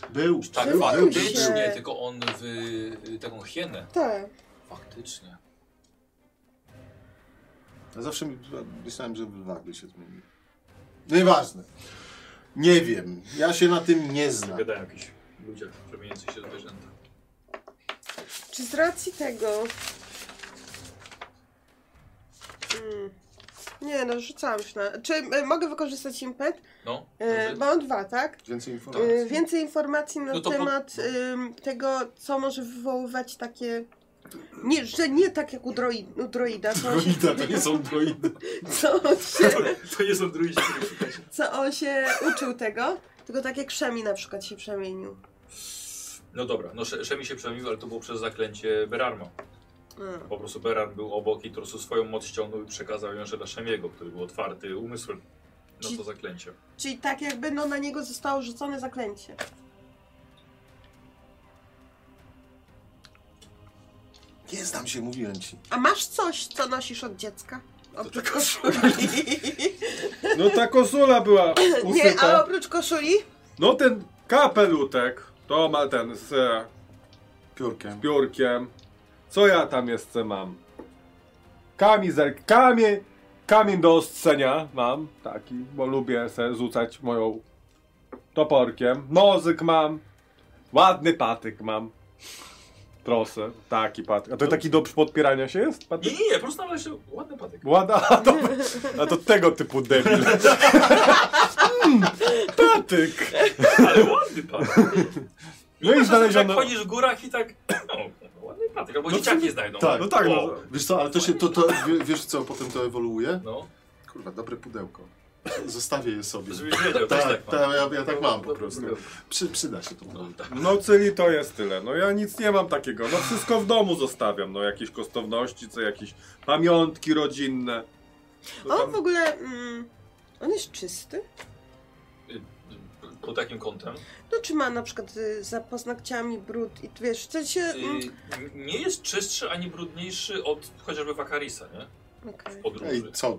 Speaker 2: Był.
Speaker 1: Tak,
Speaker 3: Był,
Speaker 1: faktycznie,
Speaker 3: był, był.
Speaker 1: tylko on w y, taką hienę.
Speaker 3: Tak.
Speaker 1: Faktycznie.
Speaker 5: Ja zawsze mi- myślałem, że wagę się zmienił. Nieważne. Nie wiem. Ja się na tym nie znam.
Speaker 1: Gadają jakiś ludzie przemieniający się do zwierzęta.
Speaker 7: Czy z racji tego... Hmm.
Speaker 3: Mm. Nie no, rzucałam już na... Czy y, mogę wykorzystać impet?
Speaker 1: No,
Speaker 3: E,
Speaker 7: Yy, bo on dwa, tak?
Speaker 5: Więcej
Speaker 1: Tak.
Speaker 5: informacji.
Speaker 7: Y, więcej informacji na
Speaker 1: No to po-
Speaker 7: temat ym, tego, co może wywoływać takie... Nie, że nie tak jak u, droi, u droida, co on się,
Speaker 5: Droida, to nie są droidy.
Speaker 7: co on się,
Speaker 1: to nie są druidzi, których szukacie.
Speaker 7: co on się uczył tego, tylko tak jak Szemi na przykład się przemienił.
Speaker 1: No dobra, no Sze- Szemi się przemił, ale to było przez zaklęcie Berarma.
Speaker 7: Mm.
Speaker 1: Po prostu Berarm był obok i po prostu swoją moc ściągnął i przekazał ją jeszcze dla Szemiego, który był otwarty umysłem na to
Speaker 7: Ci-
Speaker 1: zaklęcie.
Speaker 7: Czyli tak jakby no, na niego zostało rzucone zaklęcie.
Speaker 5: Nie znam się, mówiłem ci.
Speaker 7: A masz coś, co nosisz od dziecka? Oprócz koszuli.
Speaker 4: No ta koszula była
Speaker 7: nie, a
Speaker 5: tak?
Speaker 4: usyta.
Speaker 7: oprócz koszuli?
Speaker 4: No ten kapelutek, to ma ten z e,
Speaker 5: Piórkiem.
Speaker 4: piórkiem. Co ja tam jeszcze mam? Kamizel, kamie, kamień do ostrzenia mam taki, bo lubię se rzucać moją toporkiem. Nozyk mam, ładny patyk mam. Proszę, taki patyk. A to taki do podpierania się jest? Patyk?
Speaker 1: Nie, nie, nie, po prostu należy ładny patyk.
Speaker 4: Łada, a to, a to tego typu debil. mm, patyk.
Speaker 1: Ale ładny patyk.
Speaker 4: No i znaleziono...
Speaker 1: Jak chodzisz w górach i tak, no, ładny patyk, albo dzieciaki znajdą.
Speaker 4: No tak, no.
Speaker 1: O,
Speaker 5: Wiesz co, ale to się, to, to, wie- wiesz co, potem to ewoluuje?
Speaker 1: No,
Speaker 5: Kurwa, dobre pudełko. Zostawię je sobie.
Speaker 1: żebyś wiedział, też
Speaker 5: Tak,
Speaker 1: tak,
Speaker 5: tak, ja, ja tak mam po
Speaker 1: Dobra,
Speaker 5: prostu.
Speaker 1: dobra.
Speaker 5: Przy, przyda się to.
Speaker 1: No, tak.
Speaker 4: No czyli to jest tyle. No ja nic nie mam takiego. No wszystko w domu zostawiam. No jakieś kosztowności, co jakieś pamiątki rodzinne. To
Speaker 7: On
Speaker 4: tam-
Speaker 7: w ogóle... Mm, on jest czysty?
Speaker 1: Pod takim kątem.
Speaker 7: No czy ma na przykład y, za paznokciami brud i wiesz, chce się... Mm,
Speaker 1: Yy, nie jest czystszy ani brudniejszy od chociażby Wakarisa, nie?
Speaker 7: okej.
Speaker 1: Podróży.
Speaker 5: Ej, co?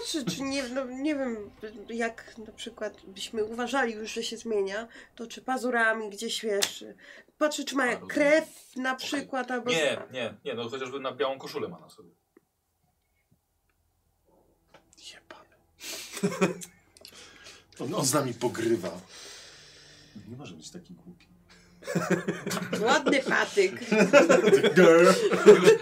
Speaker 7: Patrzę, czy nie, no, nie wiem, jak na przykład byśmy uważali już, że się zmienia, to czy pazurami gdzieś wiesz... Patrzę, czy ma jak
Speaker 1: rozumiem.
Speaker 7: krew na przykład, albo...
Speaker 1: Nie, nie, nie, no chociażby na białą koszulę ma na sobie.
Speaker 2: On, on z nami pogrywa. Nie może być taki głupi.
Speaker 3: Ładny patyk.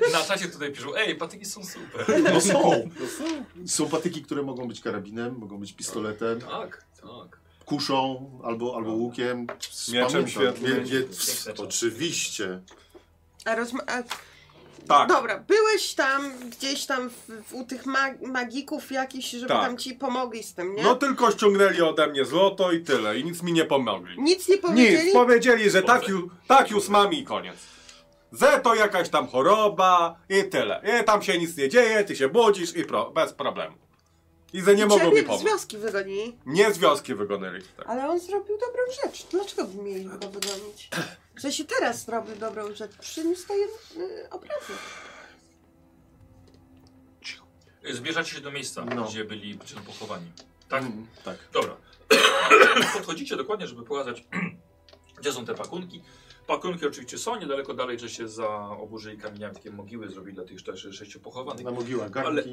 Speaker 1: Już na czasie tutaj piszą, ej, patyki są super.
Speaker 2: No są.
Speaker 10: To są-
Speaker 2: Są patyki, które mogą być karabinem, mogą być pistoletem,
Speaker 1: Tak, tak.
Speaker 2: kuszą albo, albo łukiem.
Speaker 4: Mieczem
Speaker 2: Pamiętam. Wie-
Speaker 4: świetlnym.
Speaker 2: wie- ps- Oczywiście.
Speaker 3: A rozma... A...
Speaker 4: Tak.
Speaker 3: Dobra, byłeś tam gdzieś tam w, w, u tych mag magików jakichś, żeby
Speaker 4: Tak.
Speaker 3: tam ci pomogli z tym, nie?
Speaker 4: No tylko ściągnęli ode mnie złoto i tyle. I nic mi nie pomogli.
Speaker 3: Nic nie powiedzieli?
Speaker 4: Nic, powiedzieli, że tak już, tak już mami i koniec. Ze to jakaś tam choroba i tyle. I tam się nic nie dzieje, ty się budzisz i pro, bez problemu. I ze nie
Speaker 3: I
Speaker 4: mogą mi
Speaker 3: ciebie z
Speaker 4: pomóc.
Speaker 3: związki wygonili.
Speaker 4: Nie związki wygonili. Tak.
Speaker 3: Ale on zrobił dobrą rzecz. Dlaczego by mieli go wygonić? Że się teraz zrobił dobrą rzecz. Przyniósł to y, obrazy.
Speaker 1: Zbierzacie się do miejsca,
Speaker 10: No.
Speaker 1: gdzie byli przy- pochowani. Tak?
Speaker 10: Mm, tak.
Speaker 1: Dobra. Podchodzicie dokładnie, żeby pokazać, gdzie są te pakunki. Pakunki oczywiście są, niedaleko dalej, że się zaoburzyli kamieniami takie mogiły, zrobili dla tych sze- sześciu pochowanych.
Speaker 4: No.
Speaker 10: Na mogiła,
Speaker 1: Ale,
Speaker 10: garnki.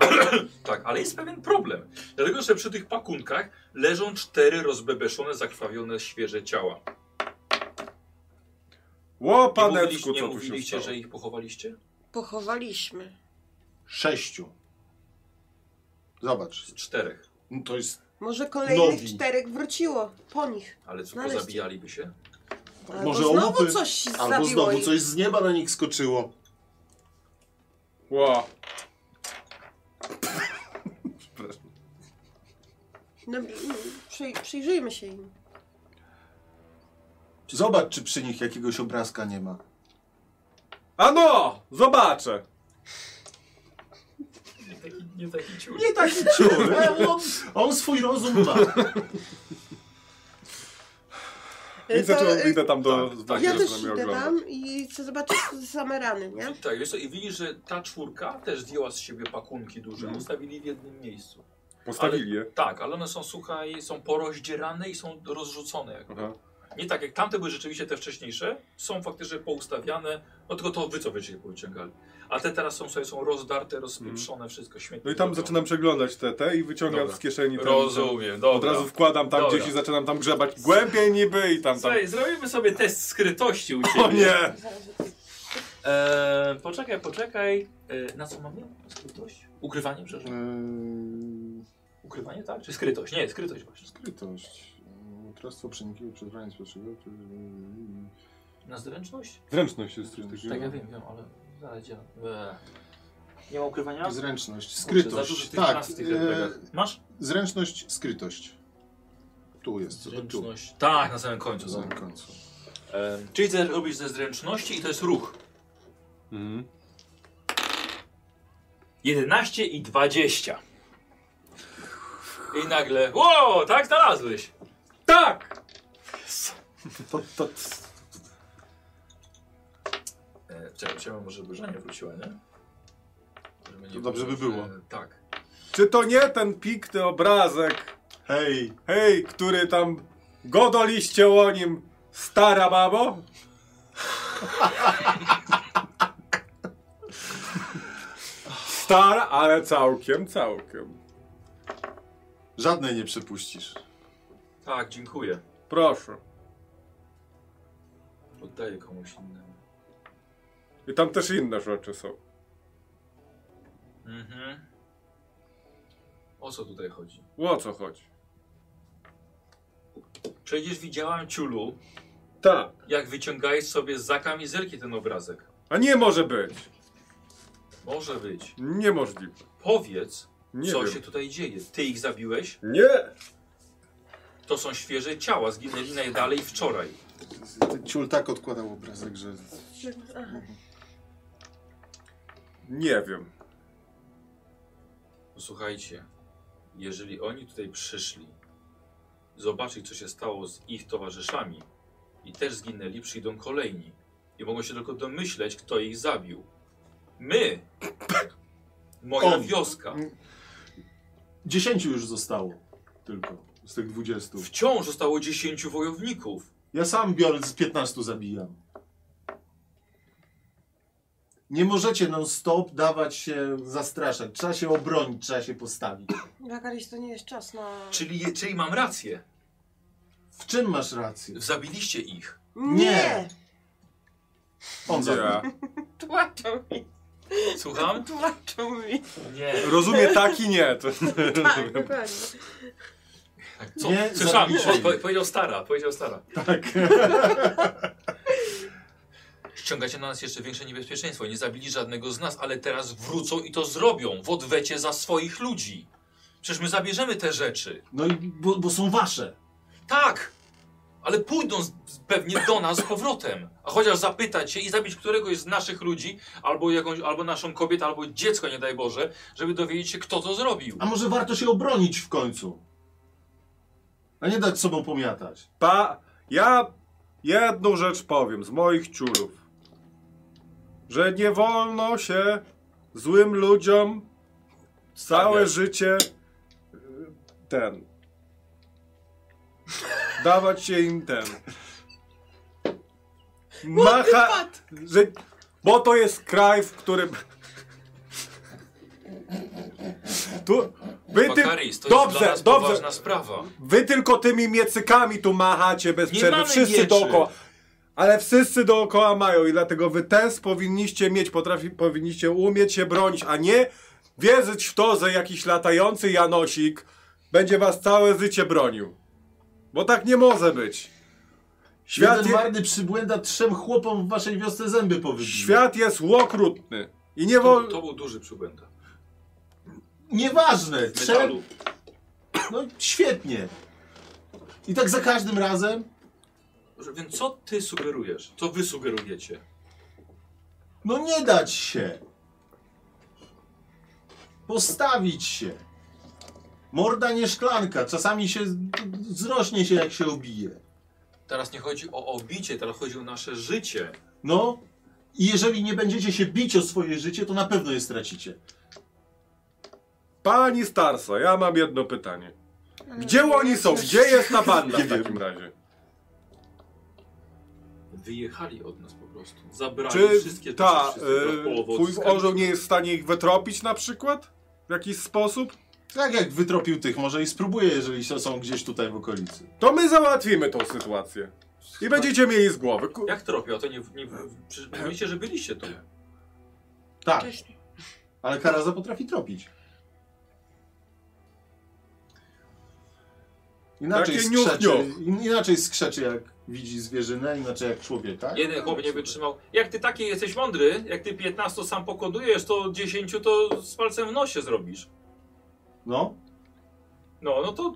Speaker 1: tak, ale jest pewien problem. Dlatego, że przy tych pakunkach leżą cztery rozbebeszone, zakrwawione, świeże ciała.
Speaker 4: Ło,
Speaker 1: Nie mówiliście,
Speaker 4: panecku,
Speaker 1: nie
Speaker 4: co tu się
Speaker 1: mówiliście
Speaker 4: stało?
Speaker 1: że ich pochowaliście?
Speaker 3: Pochowaliśmy.
Speaker 2: Sześciu. Zobacz.
Speaker 1: Z czterech.
Speaker 2: No to jest
Speaker 3: Może kolejnych
Speaker 2: Nowi.
Speaker 3: czterech wróciło po nich.
Speaker 1: Ale co,
Speaker 3: Znaleźli.
Speaker 1: pozabijaliby się?
Speaker 3: Albo
Speaker 2: Może
Speaker 3: znowu
Speaker 2: łupy,
Speaker 3: coś zabiło
Speaker 2: Albo znowu
Speaker 3: ich.
Speaker 2: coś z nieba na nich skoczyło.
Speaker 4: Ło. Przepraszam.
Speaker 3: No, mm, przyj- przyjrzyjmy się im.
Speaker 2: Zobacz, czy przy nich jakiegoś obrazka nie ma.
Speaker 4: A no, zobaczę.
Speaker 1: Nie taki, nie taki ciur.
Speaker 3: tak,
Speaker 2: Nie taki ciur. e, On, on swój rozum ma.
Speaker 3: Y,
Speaker 4: I zacząłem,
Speaker 3: y,
Speaker 4: idę tam do tak,
Speaker 3: ja też idę tam i chcę zobaczyć same rany, nie?
Speaker 1: Tak, wiesz co, i widzisz, że ta czwórka też zdjęła z siebie pakunki duże, ustawili w jednym miejscu.
Speaker 4: Postawili je.
Speaker 1: Tak, ale one są, słuchaj, są porozdzierane i są rozrzucone. jakby.
Speaker 4: Aha.
Speaker 1: Nie tak jak tamte były rzeczywiście te wcześniejsze, są faktycznie poustawiane, no tylko to wy co będziecie powyciągali. A te teraz są, sobie są rozdarte, rozpieprzone, wszystko świetnie.
Speaker 4: No i tam
Speaker 1: wygląda.
Speaker 4: zaczynam przeglądać te, te i wyciągam
Speaker 1: Dobra.
Speaker 4: z kieszeni ten,
Speaker 1: Rozumiem,
Speaker 4: ten.
Speaker 1: dobra.
Speaker 4: Od razu wkładam tam
Speaker 1: Dobra.
Speaker 4: gdzieś i zaczynam tam grzebać głębiej niby i tam tam.
Speaker 1: Słuchaj, zrobimy sobie test skrytości u ciebie.
Speaker 4: O nie!
Speaker 1: Eee, poczekaj, poczekaj. Eee, na co mamy? Skrytość? Ukrywanie, przepraszam.
Speaker 5: Yy,
Speaker 2: Eee,
Speaker 1: Ukrywanie, tak? Czy skrytość? Nie, skrytość właśnie.
Speaker 2: skrytość. Utractwo przenikliwe przetrwanie spoczywego.
Speaker 1: Na zręczność?
Speaker 4: Zręczność jest coś
Speaker 1: Tak, ja
Speaker 4: takiego.
Speaker 1: wiem, wiem, ale zaraz działa. Eee. Nie ma ukrywania?
Speaker 2: Zręczność.
Speaker 1: Kurczę, za dużo
Speaker 2: Skrytość.
Speaker 1: tych
Speaker 2: Tak.
Speaker 1: nas w tych
Speaker 5: yy,
Speaker 2: eee,
Speaker 1: RPGach. Masz?
Speaker 2: Zręczność, skrytość. Tu jest. to Tu.
Speaker 1: Zręczność. Tak, na samym końcu.
Speaker 2: Na samym końcu.
Speaker 1: Ehm, czyli to robisz ze zręczności i to jest ruch.
Speaker 4: Mhm.
Speaker 1: 11 i 20. I nagle, wow, tak znalazłeś.
Speaker 4: Tak!
Speaker 10: To, to,
Speaker 1: E, Czekaj, chciałem może by Żania wróciła, nie? Żeby nie
Speaker 2: To dobrze by
Speaker 1: że-
Speaker 2: było.
Speaker 1: tak.
Speaker 4: Czy to nie ten piękny obrazek,
Speaker 2: Hej!
Speaker 4: hej, który tam godoliście o nim, stara babo? Stara, ale całkiem, całkiem.
Speaker 2: Żadnej nie przepuścisz.
Speaker 1: Tak, dziękuję.
Speaker 4: Proszę.
Speaker 1: Oddaję komuś innemu.
Speaker 4: I tam też inne rzeczy są.
Speaker 1: Mhm. O co tutaj chodzi?
Speaker 4: O co chodzi?
Speaker 1: Przecież widziałam ciulu,
Speaker 4: Tak.
Speaker 1: jak wyciągałeś sobie za kamizelki ten obrazek.
Speaker 4: A nie może być.
Speaker 1: Może być.
Speaker 4: Niemożliwe.
Speaker 1: Powiedz,
Speaker 4: Nie
Speaker 1: co
Speaker 4: wiem.
Speaker 1: się tutaj dzieje. Ty ich zabiłeś?
Speaker 4: Nie!
Speaker 1: To są świeże ciała, zginęli najdalej wczoraj.
Speaker 2: Ten Ciul tak odkładał obrazek, że...
Speaker 4: Nie wiem.
Speaker 1: Posłuchajcie, jeżeli oni tutaj przyszli, zobaczyli, co się stało z ich towarzyszami i też zginęli, przyjdą kolejni. I mogą się tylko domyśleć, kto ich zabił. My! Moja
Speaker 2: On.
Speaker 1: wioska.
Speaker 2: Dziesięciu już zostało. Tylko. Z tych dwudziestu.
Speaker 1: Wciąż zostało 10 wojowników.
Speaker 2: Ja sam biorę z 15 zabijam. Nie możecie non-stop dawać się zastraszać. Trzeba się obronić, trzeba się postawić.
Speaker 3: Jakaś to nie jest czas na...
Speaker 1: Czyli, czyli mam rację.
Speaker 2: W czym masz rację?
Speaker 1: Zabiliście ich.
Speaker 2: Nie! On zabił.
Speaker 4: Nie.
Speaker 3: Tłaczą mi,
Speaker 1: Słucham?
Speaker 3: tłaczą mi.
Speaker 1: Nie.
Speaker 4: Rozumie tak i nie. To...
Speaker 3: Tak, dokładnie.
Speaker 1: Co?
Speaker 2: Nie,
Speaker 1: Słyszałem.
Speaker 2: zabijcie
Speaker 1: Po, powiedział stara, powiedział stara.
Speaker 2: Tak.
Speaker 1: Ściągacie na nas jeszcze większe niebezpieczeństwo. Nie zabili żadnego z nas, ale teraz wrócą i to zrobią w odwecie za swoich ludzi. Przecież my zabierzemy te rzeczy.
Speaker 2: No i bo, bo są wasze.
Speaker 1: Tak! Ale pójdą z, z- pewnie do nas z powrotem. A chociaż zapytać się i zabić któregoś z naszych ludzi, albo, jakąś, albo naszą kobietę, albo dziecko, nie daj Boże, żeby dowiedzieć się, kto to zrobił.
Speaker 2: A może warto się obronić w końcu? A nie dać sobą pomiatać.
Speaker 4: Pa, ja jedną rzecz powiem z moich ciurów. Że nie wolno się złym ludziom całe
Speaker 1: Stawiać.
Speaker 4: życie y, ten. Dawać się im ten. Macha, że, bo to jest kraj, w którym. Tu, wy ty,
Speaker 1: Bakaris, to jest dla
Speaker 4: dobrze,
Speaker 1: nas
Speaker 4: dobrze,
Speaker 1: poważna sprawa.
Speaker 4: Wy tylko tymi miecykami tu machacie bez
Speaker 1: Nie
Speaker 4: przerwy.
Speaker 1: mamy
Speaker 4: Wszyscy
Speaker 1: mieczy.
Speaker 4: dookoła. Ale wszyscy dookoła mają i dlatego wy też powinniście mieć, potrafi, powinniście umieć się bronić, a nie wierzyć w to, że jakiś latający Janosik będzie was całe życie bronił. Bo tak nie może być. Świat,
Speaker 2: Jeden
Speaker 4: je,
Speaker 2: marny przybłęda trzem chłopom w waszej wiosce zęby powybił.
Speaker 4: świat jest łokrutny i nie
Speaker 1: To,
Speaker 4: wolno...
Speaker 1: to był duży przybłęda.
Speaker 2: Nieważne. Trzem...
Speaker 1: Metalu.
Speaker 2: No świetnie. I tak za każdym razem.
Speaker 1: Dobrze, Więc co ty sugerujesz? Co wy sugerujecie?
Speaker 2: No nie dać się. Postawić się. Morda nie szklanka. Czasami się z- zrośnie się jak się obije.
Speaker 1: Teraz nie chodzi o obicie, teraz chodzi o nasze życie.
Speaker 2: No i jeżeli nie będziecie się bić o swoje życie, to na pewno je stracicie.
Speaker 4: Pani Starso, ja mam jedno pytanie. Gdzie oni są? Gdzie jest ta banda w takim razie?
Speaker 1: Wyjechali od nas po prostu. Zabrali
Speaker 4: Czy
Speaker 1: wszystkie te
Speaker 4: ta,
Speaker 1: rzeczy,
Speaker 4: y, twój orzeł nie jest w stanie ich wytropić na przykład? W jakiś sposób?
Speaker 2: Tak jak wytropił tych, może i spróbuję, jeżeli są- są gdzieś tutaj w okolicy.
Speaker 4: To my załatwimy tą sytuację.
Speaker 2: Tak.
Speaker 4: I będziecie mieli z głowy. Ku-
Speaker 1: Jak tropił? A to nie... nie przy- mówicie, że byliście tu.
Speaker 2: Tak,
Speaker 3: Wcześniej.
Speaker 2: ale Karaza potrafi tropić. Inaczej
Speaker 4: Takie niuch,
Speaker 2: skrzeczy, inaczej skrzeczy jak widzi zwierzynę, inaczej jak tak? człowieka.
Speaker 1: Jeden chłop nie wytrzymał. Jak ty taki jesteś mądry, jak ty 15 sam pokonujesz, to 10 to z palcem w nosie zrobisz.
Speaker 2: No,
Speaker 1: No, no to...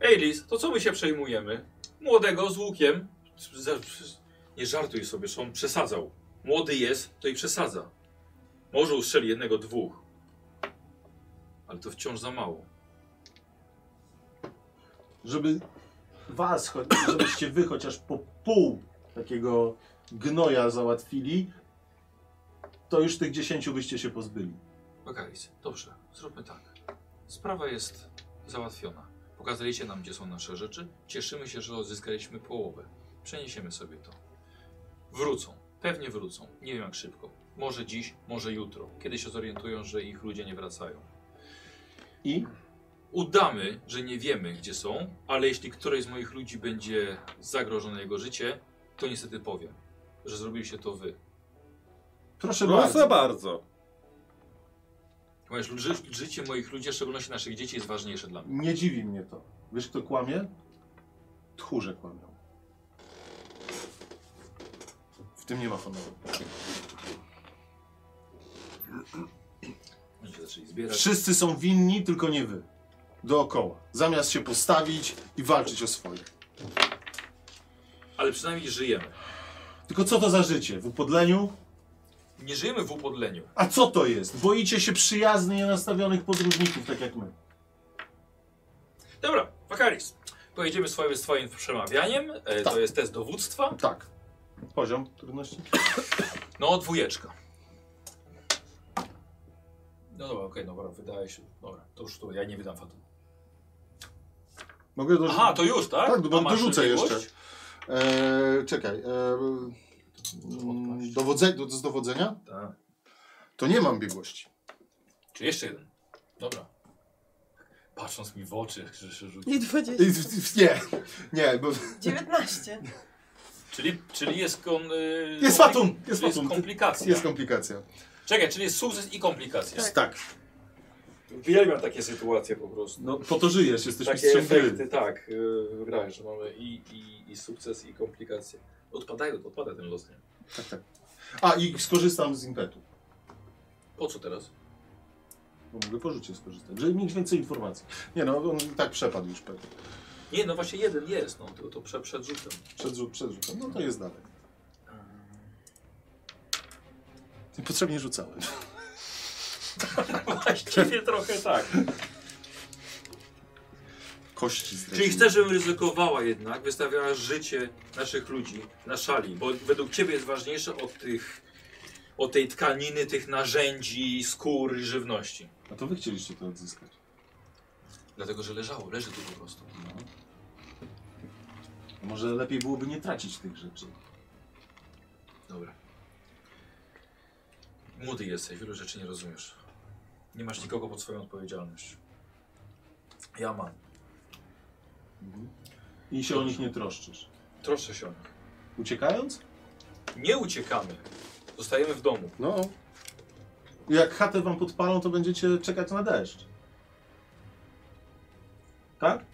Speaker 1: Ej, Lis, to co my się przejmujemy? Młodego z łukiem... Za- Nie żartuj sobie, że on przesadzał. Młody jest, to i przesadza. Może ustrzeli jednego, dwóch. Ale to wciąż za mało.
Speaker 2: żeby was, cho- żebyście wy chociaż po pół takiego gnoja załatwili, to już tych dziesięciu byście się pozbyli.
Speaker 1: Bakaris, dobrze, zróbmy tak. Sprawa jest załatwiona. Pokazaliście nam, gdzie są nasze rzeczy. Cieszymy się, że odzyskaliśmy połowę. Przeniesiemy sobie to. Wrócą. Pewnie wrócą. Nie wiem jak szybko. Może dziś, może jutro. Kiedy się zorientują, że ich ludzie nie wracają.
Speaker 2: I?
Speaker 1: Udamy, że nie wiemy, gdzie są, ale jeśli któreś z moich ludzi będzie zagrożone jego życie, to niestety powiem, że zrobiliście to wy.
Speaker 2: Proszę
Speaker 4: Proszę
Speaker 2: bardzo.
Speaker 4: bardzo.
Speaker 1: Ponieważ ży życie moich ludzi, a w szczególności naszych dzieci, jest ważniejsze dla mnie.
Speaker 2: Nie dziwi mnie to. Wiesz, kto kłamie? Tchórze kłamią. W tym nie ma honoru.
Speaker 1: Oni się zaczęli zbierać.
Speaker 2: Wszyscy są winni, tylko nie wy. Dookoła. Zamiast się postawić i walczyć o swoje.
Speaker 1: Ale przynajmniej żyjemy.
Speaker 2: Tylko co to za życie? W upodleniu?
Speaker 1: Nie żyjemy w upodleniu.
Speaker 2: A co to jest? Boicie się przyjaznie nastawionych podróżników, tak jak my.
Speaker 1: Dobra, Wakaris. Pojedziemy swoim, swoim przemawianiem. E, to jest test dowództwa.
Speaker 2: Tak. Poziom trudności?
Speaker 1: No, dwójeczka. No dobra, okej, dobra, wydaje się. Dobra, to już tu, ja nie wydam fatu.
Speaker 5: Mogę dorzucić?
Speaker 1: Aha, to już, tak?
Speaker 5: Tak, bo
Speaker 1: A masz
Speaker 5: dorzucę
Speaker 1: biegłość?
Speaker 5: jeszcze.
Speaker 2: E,
Speaker 5: Eee, czekaj. Eee, mm, dowodze... To jest dowodzenia?
Speaker 1: Tak.
Speaker 2: to nie mam biegłości.
Speaker 11: Czy jeszcze jeden? Dobra. Patrząc mi w oczy, Krzyszy rzucił.
Speaker 3: Nie
Speaker 2: I- i-
Speaker 3: 20.
Speaker 2: Nie, nie, bo
Speaker 12: 19.
Speaker 11: Czyli, czyli jest kon... y,
Speaker 2: Jest
Speaker 11: komplik-
Speaker 2: fatum, jest
Speaker 11: czyli
Speaker 2: fatum.
Speaker 11: Jest komplikacja.
Speaker 2: jest komplikacja.
Speaker 11: Czekaj, czyli jest sukces i komplikacja.
Speaker 2: Tak.
Speaker 1: Uwielbiam takie sytuacje po prostu.
Speaker 13: No po to żyjesz, jesteś
Speaker 1: Takie
Speaker 13: mistrzem
Speaker 1: efekty,
Speaker 13: gry.
Speaker 1: tak, yy, grałem, że mamy i, i, i sukces, i komplikacje. Odpadają, odpada ten los, nie?
Speaker 2: tak, tak. A i skorzystam z impetu.
Speaker 1: Po co teraz?
Speaker 2: Bo mogę porzucić skorzystać, żeby mieć więcej informacji. Nie no, on i tak przepadł już pewnie.
Speaker 1: Nie, no właśnie jeden jest, no to, to prze, przed rzutem.
Speaker 2: Przedrzu- Przedrzucam. No to jest dalej.
Speaker 1: Eee.
Speaker 2: Niepotrzebnie rzucałem.
Speaker 11: Właściwie trochę tak.
Speaker 2: Kości
Speaker 1: Czyli
Speaker 2: zdradziłem.
Speaker 1: chcesz, żebym ryzykowała jednak, wystawiała życie naszych ludzi na szali, bo według ciebie jest ważniejsze od tych, od tej tkaniny, tych narzędzi, skór, żywności.
Speaker 2: A to wy chcieliście to odzyskać.
Speaker 1: Dlatego, że leżało, leży tu po prostu.
Speaker 2: Może lepiej byłoby nie tracić tych rzeczy.
Speaker 1: Dobra. Młody jesteś, wielu rzeczy nie rozumiesz. Nie masz nikogo pod swoją odpowiedzialność. Ja mam.
Speaker 2: I się o nich nie troszczysz.
Speaker 1: Troszczę się o nich.
Speaker 2: Uciekając?
Speaker 1: Nie uciekamy. Zostajemy w domu.
Speaker 2: No. Jak chatę wam podpalą, to będziecie czekać na deszcz. Tak?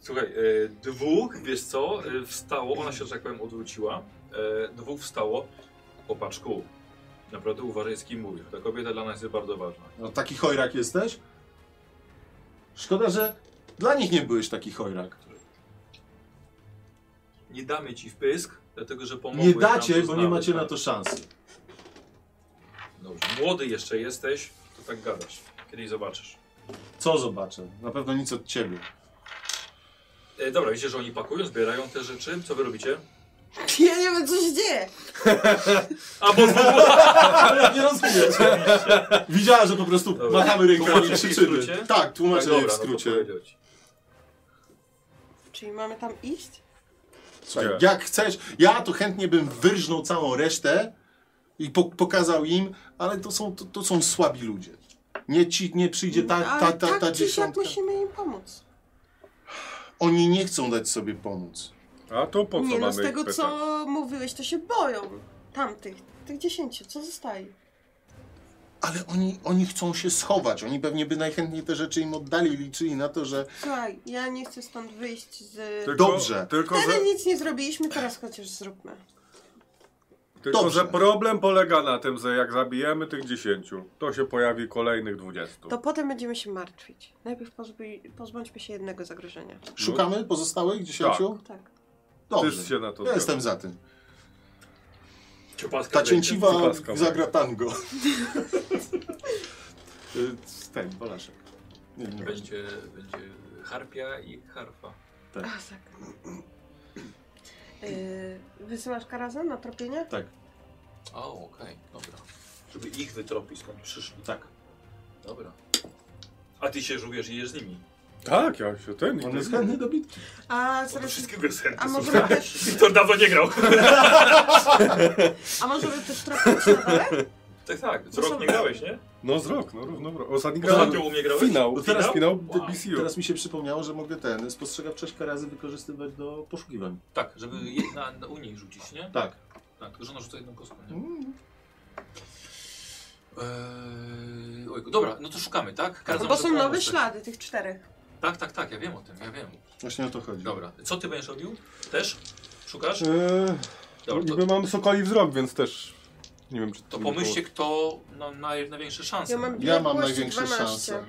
Speaker 1: Słuchaj, e, dwóch, wiesz co, e, wstało, ona się, że tak powiem, odwróciła. E, dwóch wstało. Opaczku, naprawdę uważaj z kim mówisz. Ta kobieta dla nas jest bardzo ważna.
Speaker 2: No taki chojrak jesteś? Szkoda, że dla nich nie byłeś taki chojrak.
Speaker 1: Nie damy ci w pysk, dlatego że pomogłeś
Speaker 2: Nie
Speaker 1: nam
Speaker 2: dacie,
Speaker 1: to
Speaker 2: bo nie macie na
Speaker 1: znaleźć.
Speaker 2: to szansy.
Speaker 1: Dobrze, młody jeszcze jesteś, to tak gadasz. Kiedyś zobaczysz.
Speaker 2: Co zobaczę? Na pewno nic od ciebie.
Speaker 1: E, dobra, wiecie, że oni pakują, zbierają te rzeczy. Co wy robicie?
Speaker 3: Ja nie wiem, co się dzieje.
Speaker 1: A bo
Speaker 2: Ja nie rozumiem. Widziałem, że po prostu
Speaker 1: Dobra.
Speaker 2: machamy rękami i
Speaker 1: Tłumaczysz jej w
Speaker 2: krzyczymy.
Speaker 1: skrócie?
Speaker 2: Tak, tłumaczę jej w
Speaker 1: no to
Speaker 2: skrócie.
Speaker 1: powiedział ci.
Speaker 3: Czyli mamy tam iść?
Speaker 2: Słuchaj, jak chcesz, ja to chętnie bym wyrżnął całą resztę i po, pokazał im, ale to są, to, to są słabi ludzie. Nie ci, nie przyjdzie ta, ta, ta,
Speaker 3: Ale
Speaker 2: ta,
Speaker 3: tak czy siak
Speaker 2: dziesiątka.
Speaker 3: musimy im pomóc.
Speaker 2: Oni nie chcą dać sobie pomóc.
Speaker 4: A to po co
Speaker 3: nie
Speaker 4: mamy
Speaker 3: no, z
Speaker 4: ich
Speaker 3: tego
Speaker 4: pytać?
Speaker 3: co mówiłeś, to się boją. Tamtych, tych dziesięciu, co zostaje?
Speaker 2: Ale oni, oni chcą się schować. Oni pewnie by najchętniej te rzeczy im oddali, liczyli na to, że
Speaker 3: Słuchaj, ja nie chcę stąd wyjść z...
Speaker 4: Tylko,
Speaker 2: Dobrze.
Speaker 4: Tylko, że,
Speaker 3: Wtedy nic nie zrobiliśmy, teraz chociaż zróbmy.
Speaker 4: tylko
Speaker 2: Dobrze.
Speaker 4: że problem polega na tym, że jak zabijemy tych 10, to się pojawi kolejnych 20.
Speaker 3: To potem będziemy się martwić. Najpierw pozbój, pozbądźmy się jednego zagrożenia.
Speaker 2: szukamy pozostałych dziesięciu.
Speaker 3: No. Tak.
Speaker 2: Dobrze.
Speaker 4: Też się na to
Speaker 2: ja
Speaker 4: zgadzam.
Speaker 2: jestem za tym.
Speaker 1: Ciopaska
Speaker 2: Ta
Speaker 1: wejdzie.
Speaker 2: cięciwa
Speaker 4: Cypaska.
Speaker 2: zagra tango. Y, Ten, Bolaszek. Nie, nie.
Speaker 1: Będzie, będzie harpia i harfa.
Speaker 3: A, tak. Yy, wysyłasz karazę na tropienie?
Speaker 2: Tak,
Speaker 1: O, okej, dobra. Żeby ich wytropić skąd przyszli.
Speaker 2: tak.
Speaker 1: Dobra. A ty się żółwiesz i jesz z nimi.
Speaker 4: Tak, ja się ten.
Speaker 2: On jest chętny do bitki.
Speaker 3: A,
Speaker 1: Bo to
Speaker 3: zaraz,
Speaker 1: wszystkiego jest
Speaker 3: a,
Speaker 1: chętny.
Speaker 3: może
Speaker 1: słuchaj.
Speaker 3: by też,
Speaker 1: Wiktor dawno nie grał.
Speaker 3: a może by też tropić na dole?
Speaker 1: tak, tak. Co
Speaker 3: To
Speaker 1: rok
Speaker 3: są-
Speaker 1: nie grałeś, nie?
Speaker 4: No z rok, no równo w rok. Ostatni
Speaker 1: Ostatnio u mnie grałeś?
Speaker 4: Finał,
Speaker 1: Teraz
Speaker 4: teraz finał
Speaker 1: Wow.
Speaker 4: BCU.
Speaker 2: Teraz mi się przypomniało, że mogę ten spostrzegawczość karazy wykorzystywać do poszukiwań.
Speaker 1: Tak, żeby je- na, na u niej rzucić, nie?
Speaker 2: Tak.
Speaker 1: Tak, tylko że ona rzuca jedną kostką, nie?
Speaker 2: Mm.
Speaker 1: Eee, ojku, dobra, no to szukamy, tak? Każdy
Speaker 3: Bo
Speaker 1: może
Speaker 3: są nowe
Speaker 1: pomóc, tak?
Speaker 3: ślady tych czterech.
Speaker 1: Tak, tak, tak, ja wiem o tym, ja wiem.
Speaker 2: Właśnie o to chodzi.
Speaker 1: Dobra, co ty będziesz robił? Też? Szukasz?
Speaker 4: Eee,
Speaker 1: Dobra, to,
Speaker 4: niby mam sokoli wzrok, więc też nie wiem czy
Speaker 1: to
Speaker 4: mi było-
Speaker 1: pomyślcie, kto na, na największe szanse
Speaker 3: Ja
Speaker 1: ma.
Speaker 3: mam,
Speaker 2: Ja mam
Speaker 3: biegłość
Speaker 2: największe
Speaker 3: 12.
Speaker 2: szanse.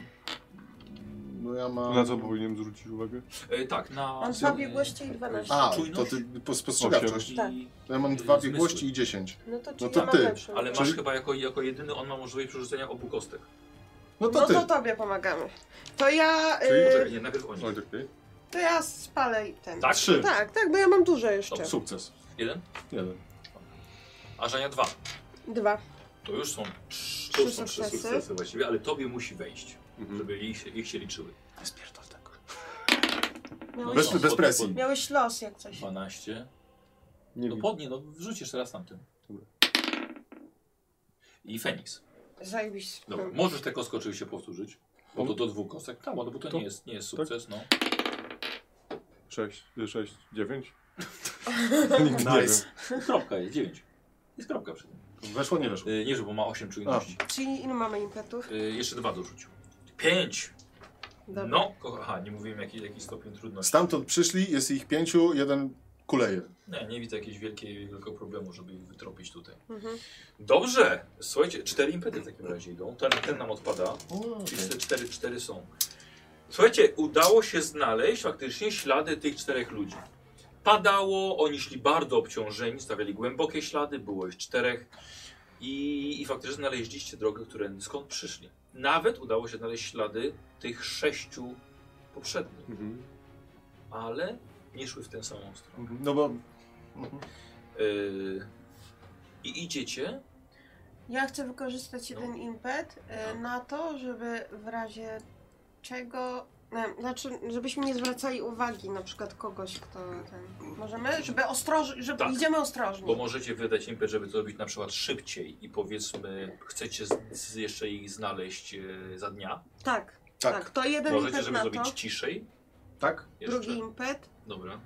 Speaker 2: No ja mam...
Speaker 4: Na co powinienem zwrócić uwagę?
Speaker 1: E, tak, na...
Speaker 3: Mam dwa biegłości i 12.
Speaker 2: A, to
Speaker 1: Czujność?
Speaker 2: ty po- spostrzegawczość.
Speaker 1: I-
Speaker 3: Tak.
Speaker 2: Ja mam
Speaker 1: y,
Speaker 2: dwa
Speaker 1: zmysły.
Speaker 2: biegłości i dziesięć.
Speaker 3: No to, czyli
Speaker 2: to
Speaker 3: ja mam
Speaker 2: ty.
Speaker 3: lepszą.
Speaker 1: Ale masz
Speaker 2: Czyli-
Speaker 1: chyba jako, jako jedyny, on ma możliwość przerzucenia obu kostek.
Speaker 2: No to
Speaker 3: No
Speaker 2: ty.
Speaker 3: to tobie pomagamy. To ja...
Speaker 4: Czyli-
Speaker 3: Yy,
Speaker 1: Czekaj, nie, najpierw oni.
Speaker 4: Oj, okej.
Speaker 3: to ja spalę i ten.
Speaker 1: Tak? No,
Speaker 2: Trzy.
Speaker 3: Tak, tak, bo ja mam dużo jeszcze.
Speaker 1: Dobrze.
Speaker 2: Sukces.
Speaker 1: Jeden,
Speaker 2: Jeden.
Speaker 1: a Żania dwa.
Speaker 3: Dwa.
Speaker 1: To już są trz- to już są trzy
Speaker 3: sukcesy.
Speaker 1: sukcesy właściwie, ale tobie musi wejść,
Speaker 4: Mhm.
Speaker 1: żeby ich, się- ich się liczyły. Spierdol tego.
Speaker 7: No
Speaker 3: Miałeś,
Speaker 2: Bez, bez presji.
Speaker 3: miałeś los jak coś.
Speaker 1: 12.
Speaker 4: Nie
Speaker 1: No
Speaker 5: Mm.
Speaker 4: wiem.
Speaker 1: podnie, no wrzucisz teraz tamten.
Speaker 4: Dobra.
Speaker 1: I Feniks.
Speaker 7: Zajebiście.
Speaker 1: Dobra, możesz te kostki oczywiście powtórzyć. Bo to do dwóch kostek. Tak, bo to
Speaker 4: To-
Speaker 1: nie jest, nie jest sukces, no.
Speaker 4: 6, 6, 9? Nikt nie wiem.
Speaker 1: Kropka jest, dziewięć. Jest kropka przy tym.
Speaker 2: Weszło, nie weszło.
Speaker 1: Y, Nie, że bo ma osiem czujności.
Speaker 7: Czyli ile mamy impetów?
Speaker 1: Y, Jeszcze dwa dorzucił. Pięć!
Speaker 7: Dobra.
Speaker 1: No, ko- aha, nie mówiłem jaki, jaki stopień trudności.
Speaker 5: Stamtąd przyszli, jest ich pięciu, jeden kuleje.
Speaker 1: Nie, nie widzę jakiegoś wielkiego problemu, żeby ich wytropić tutaj.
Speaker 7: Mhm.
Speaker 1: Dobrze, słuchajcie, cztery impety w takim razie idą. Ten, ten nam odpada.
Speaker 2: No,
Speaker 1: Czyli te cztery, cztery są. Słuchajcie, udało się znaleźć faktycznie ślady tych czterech ludzi. Padało, oni szli bardzo obciążeni, stawiali głębokie ślady, było ich czterech. I, I faktycznie znaleźliście drogę, które skąd przyszli. Nawet udało się znaleźć ślady tych sześciu poprzednich,
Speaker 4: Mhm.
Speaker 1: ale nie szły w tę samą stronę.
Speaker 2: Mhm, No bo
Speaker 1: Yy, I idziecie
Speaker 7: Ja chcę wykorzystać
Speaker 1: No.
Speaker 7: jeden impet e,
Speaker 1: No.
Speaker 7: na to, żeby w razie czego. e, Znaczy, żebyśmy nie zwracali uwagi na przykład kogoś, kto ten. Możemy? Żeby ostrożnie, żeby
Speaker 1: Tak.
Speaker 7: idziemy ostrożnie.
Speaker 1: Bo możecie wydać impet, żeby to zrobić na przykład szybciej i powiedzmy, chcecie z, z jeszcze ich znaleźć e, za dnia.
Speaker 7: Tak,
Speaker 5: Tak.
Speaker 7: tak, To jeden
Speaker 1: Możecie,
Speaker 7: impet
Speaker 1: żeby
Speaker 7: na
Speaker 1: zrobić
Speaker 7: to,
Speaker 1: ciszej.
Speaker 2: tak?
Speaker 1: Jeszcze.
Speaker 7: drugi impet.
Speaker 1: Dobra.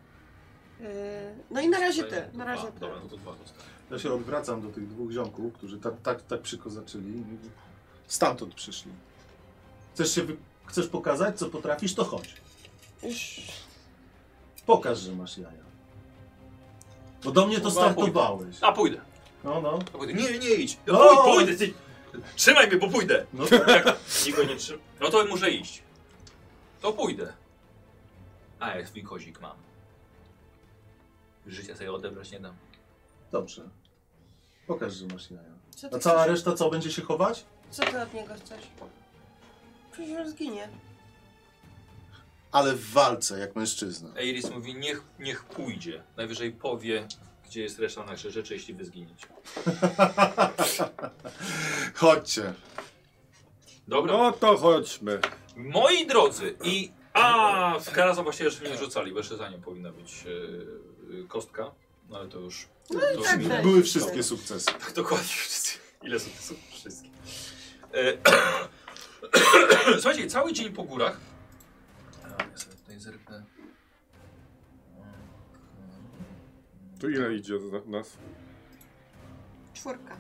Speaker 7: e, No i na razie ty,
Speaker 1: Zostaje
Speaker 7: na
Speaker 1: dwa.
Speaker 7: razie ty.
Speaker 1: Dobra, no to dwa zostały.
Speaker 2: Ja się odwracam do tych dwóch ziomków, którzy tak, tak, tak przykozaczyli.
Speaker 5: Stamtąd przyszli.
Speaker 2: Chcesz się wy... Chcesz pokazać, co potrafisz, to chodź.
Speaker 7: Już
Speaker 2: Pokaż, że masz jaja. Bo do mnie to
Speaker 1: Kurwa, pójdę.
Speaker 2: startowałeś.
Speaker 1: A pójdę.
Speaker 2: No, no.
Speaker 1: A, pójdę. Nie, nie idź. No,
Speaker 2: O!
Speaker 1: pój- pójdę. Ty. Trzymaj mnie, bo pójdę.
Speaker 2: No to,
Speaker 1: Nikt go nie trzyma. No to muszę iść. To pójdę. A jak swój kozik mam. Życia sobie odebrać nie dam.
Speaker 2: dobrze. Pokaż, że masz jaja.
Speaker 7: Co
Speaker 5: No
Speaker 7: ty,
Speaker 2: A cała
Speaker 7: chcesz?
Speaker 2: reszta co, będzie się chować?
Speaker 7: Co ty od niego chcesz? Przecież on zginie.
Speaker 5: Ale w walce, jak mężczyzna.
Speaker 1: Eiris mówi, niech, niech pójdzie. Najwyżej powie, gdzie jest reszta naszych rzeczy, jeśli wy zginiecie.
Speaker 5: Chodźcie.
Speaker 1: Dobra.
Speaker 4: No to chodźmy.
Speaker 1: Moi drodzy i... A, w Karaza właśnie jeszcze nie rzucali, bo jeszcze za nią powinna być e, e, kostka. No ale to już... to już
Speaker 7: tak,
Speaker 1: minęło.
Speaker 7: tak.
Speaker 5: Były wszystkie sukcesy.
Speaker 1: Tak, dokładnie. wszyscy. Ile są to są wszystkie? E, Słuchajcie, cały dzień po górach. A, Ja sobie tutaj zerknę. Mm, mm.
Speaker 4: Tu ile idzie za nas?
Speaker 7: Czwórka.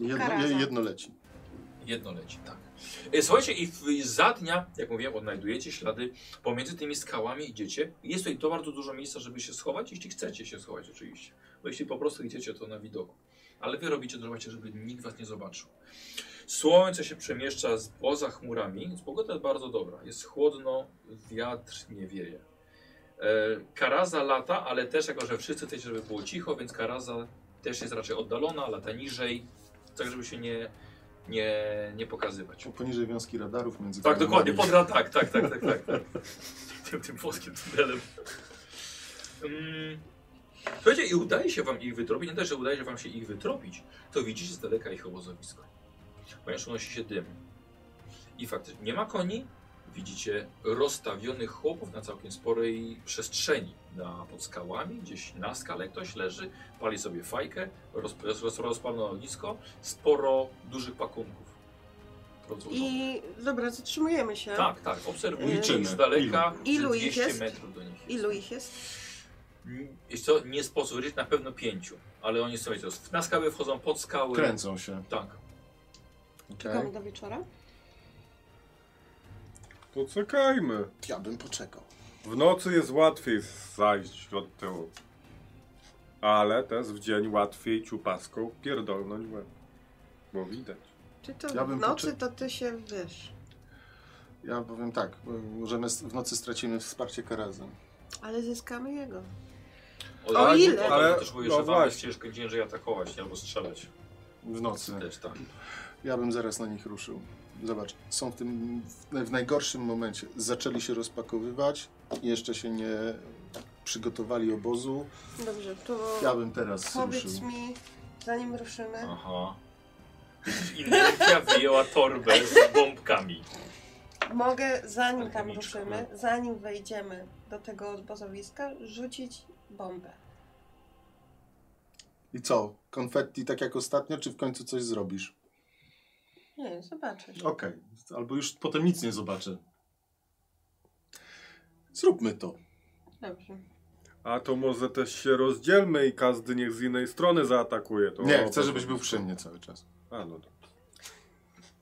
Speaker 5: Jedno,
Speaker 7: Karaza.
Speaker 5: jedno leci.
Speaker 1: Jedno leci, tak. E, Słuchajcie, i w, i za dnia, jak mówiłem, odnajdujecie ślady pomiędzy tymi skałami, idziecie. Jest tutaj to bardzo dużo miejsca, żeby się schować, jeśli chcecie się schować oczywiście. Bo jeśli po prostu idziecie, to na widoku. Ale wy robicie to właśnie, żeby nikt was nie zobaczył. Słońce się przemieszcza z, poza chmurami, więc pogoda jest bardzo dobra. Jest chłodno, wiatr nie wieje. E, karaza lata, ale też jako, że wszyscy chcecie, żeby było cicho, więc karaza też jest raczej oddalona, lata niżej, tak żeby się nie, nie, nie pokazywać.
Speaker 2: Poniżej wiązki radarów między...
Speaker 1: Tak, dokładnie,
Speaker 2: kolumnami.
Speaker 1: pod rad, tak, tak, tak, tak, tak, tak. Tym, tym włoskim tunelem. Mm. Słuchajcie, i udaje się wam ich wytropić, nie też, że udaje się wam się ich wytropić, to widzicie z daleka ich obozowisko. Ponieważ unosi się dym. I faktycznie nie ma koni, widzicie rozstawionych chłopów na całkiem sporej przestrzeni. Na, pod skałami, gdzieś na skale ktoś leży, pali sobie fajkę, roz, roz, roz, rozpalone ognisko, sporo dużych pakunków. Rozłożonych.
Speaker 7: I dobra, zatrzymujemy się.
Speaker 1: Tak, tak, obserwujcie
Speaker 5: Liczymy.
Speaker 1: ich z daleka.
Speaker 7: Ilu
Speaker 1: ze
Speaker 7: ich
Speaker 1: 200
Speaker 7: jest?
Speaker 1: metrów do nich.
Speaker 7: Ilu ich jest?
Speaker 1: Mm, Wiesz co, nie sposób liczyć, na pewno pięciu. Ale oni słuchajcie, no, na skały wchodzą pod skały.
Speaker 5: Kręcą się.
Speaker 1: Tak.
Speaker 5: Okay.
Speaker 7: Czekamy do wieczora.
Speaker 4: To czekajmy.
Speaker 5: Ja bym poczekał.
Speaker 4: W nocy jest łatwiej zajść od tyłu. Ale też w dzień łatwiej ciupaską pierdolnąć w łeb. Bo widać.
Speaker 7: Czy to
Speaker 5: Ja
Speaker 7: w
Speaker 5: bym
Speaker 7: nocy
Speaker 5: poczy-
Speaker 7: to ty się wiesz.
Speaker 5: Ja powiem tak, możemy s- w nocy stracimy wsparcie Karazem.
Speaker 7: Ale zyskamy jego.
Speaker 1: Od,
Speaker 7: O ile?
Speaker 1: Od, ale
Speaker 4: Ale-
Speaker 1: też boję,
Speaker 4: no
Speaker 1: że wam jest
Speaker 4: właśnie.
Speaker 1: ciężko ciężej atakować nie? albo strzelać.
Speaker 5: W nocy.
Speaker 1: Też tak.
Speaker 5: Ja bym zaraz na nich ruszył. Zobacz, są w tym w, w najgorszym momencie. Zaczęli się rozpakowywać, jeszcze się nie przygotowali obozu.
Speaker 7: Dobrze, to
Speaker 5: Ja bym teraz
Speaker 7: powiedz
Speaker 5: ruszył.
Speaker 7: mi, zanim ruszymy.
Speaker 1: Aha. Indyjka wyjęła torbę z bombkami.
Speaker 7: Mogę, zanim tam
Speaker 1: Alchemiczka,
Speaker 7: ruszymy, zanim wejdziemy do tego obozowiska, rzucić bombę.
Speaker 5: I co? Konfetti tak jak ostatnio, czy w końcu coś zrobisz?
Speaker 3: Nie, zobaczysz.
Speaker 2: Okej, albo już potem nic nie zobaczę.
Speaker 5: Zróbmy to.
Speaker 3: Dobrze.
Speaker 4: A to może też się rozdzielmy i każdy niech z innej strony zaatakuje. To
Speaker 2: Nie,
Speaker 4: o,
Speaker 2: chcę,
Speaker 4: to-
Speaker 2: żebyś był przy mnie cały czas.
Speaker 4: A no, to-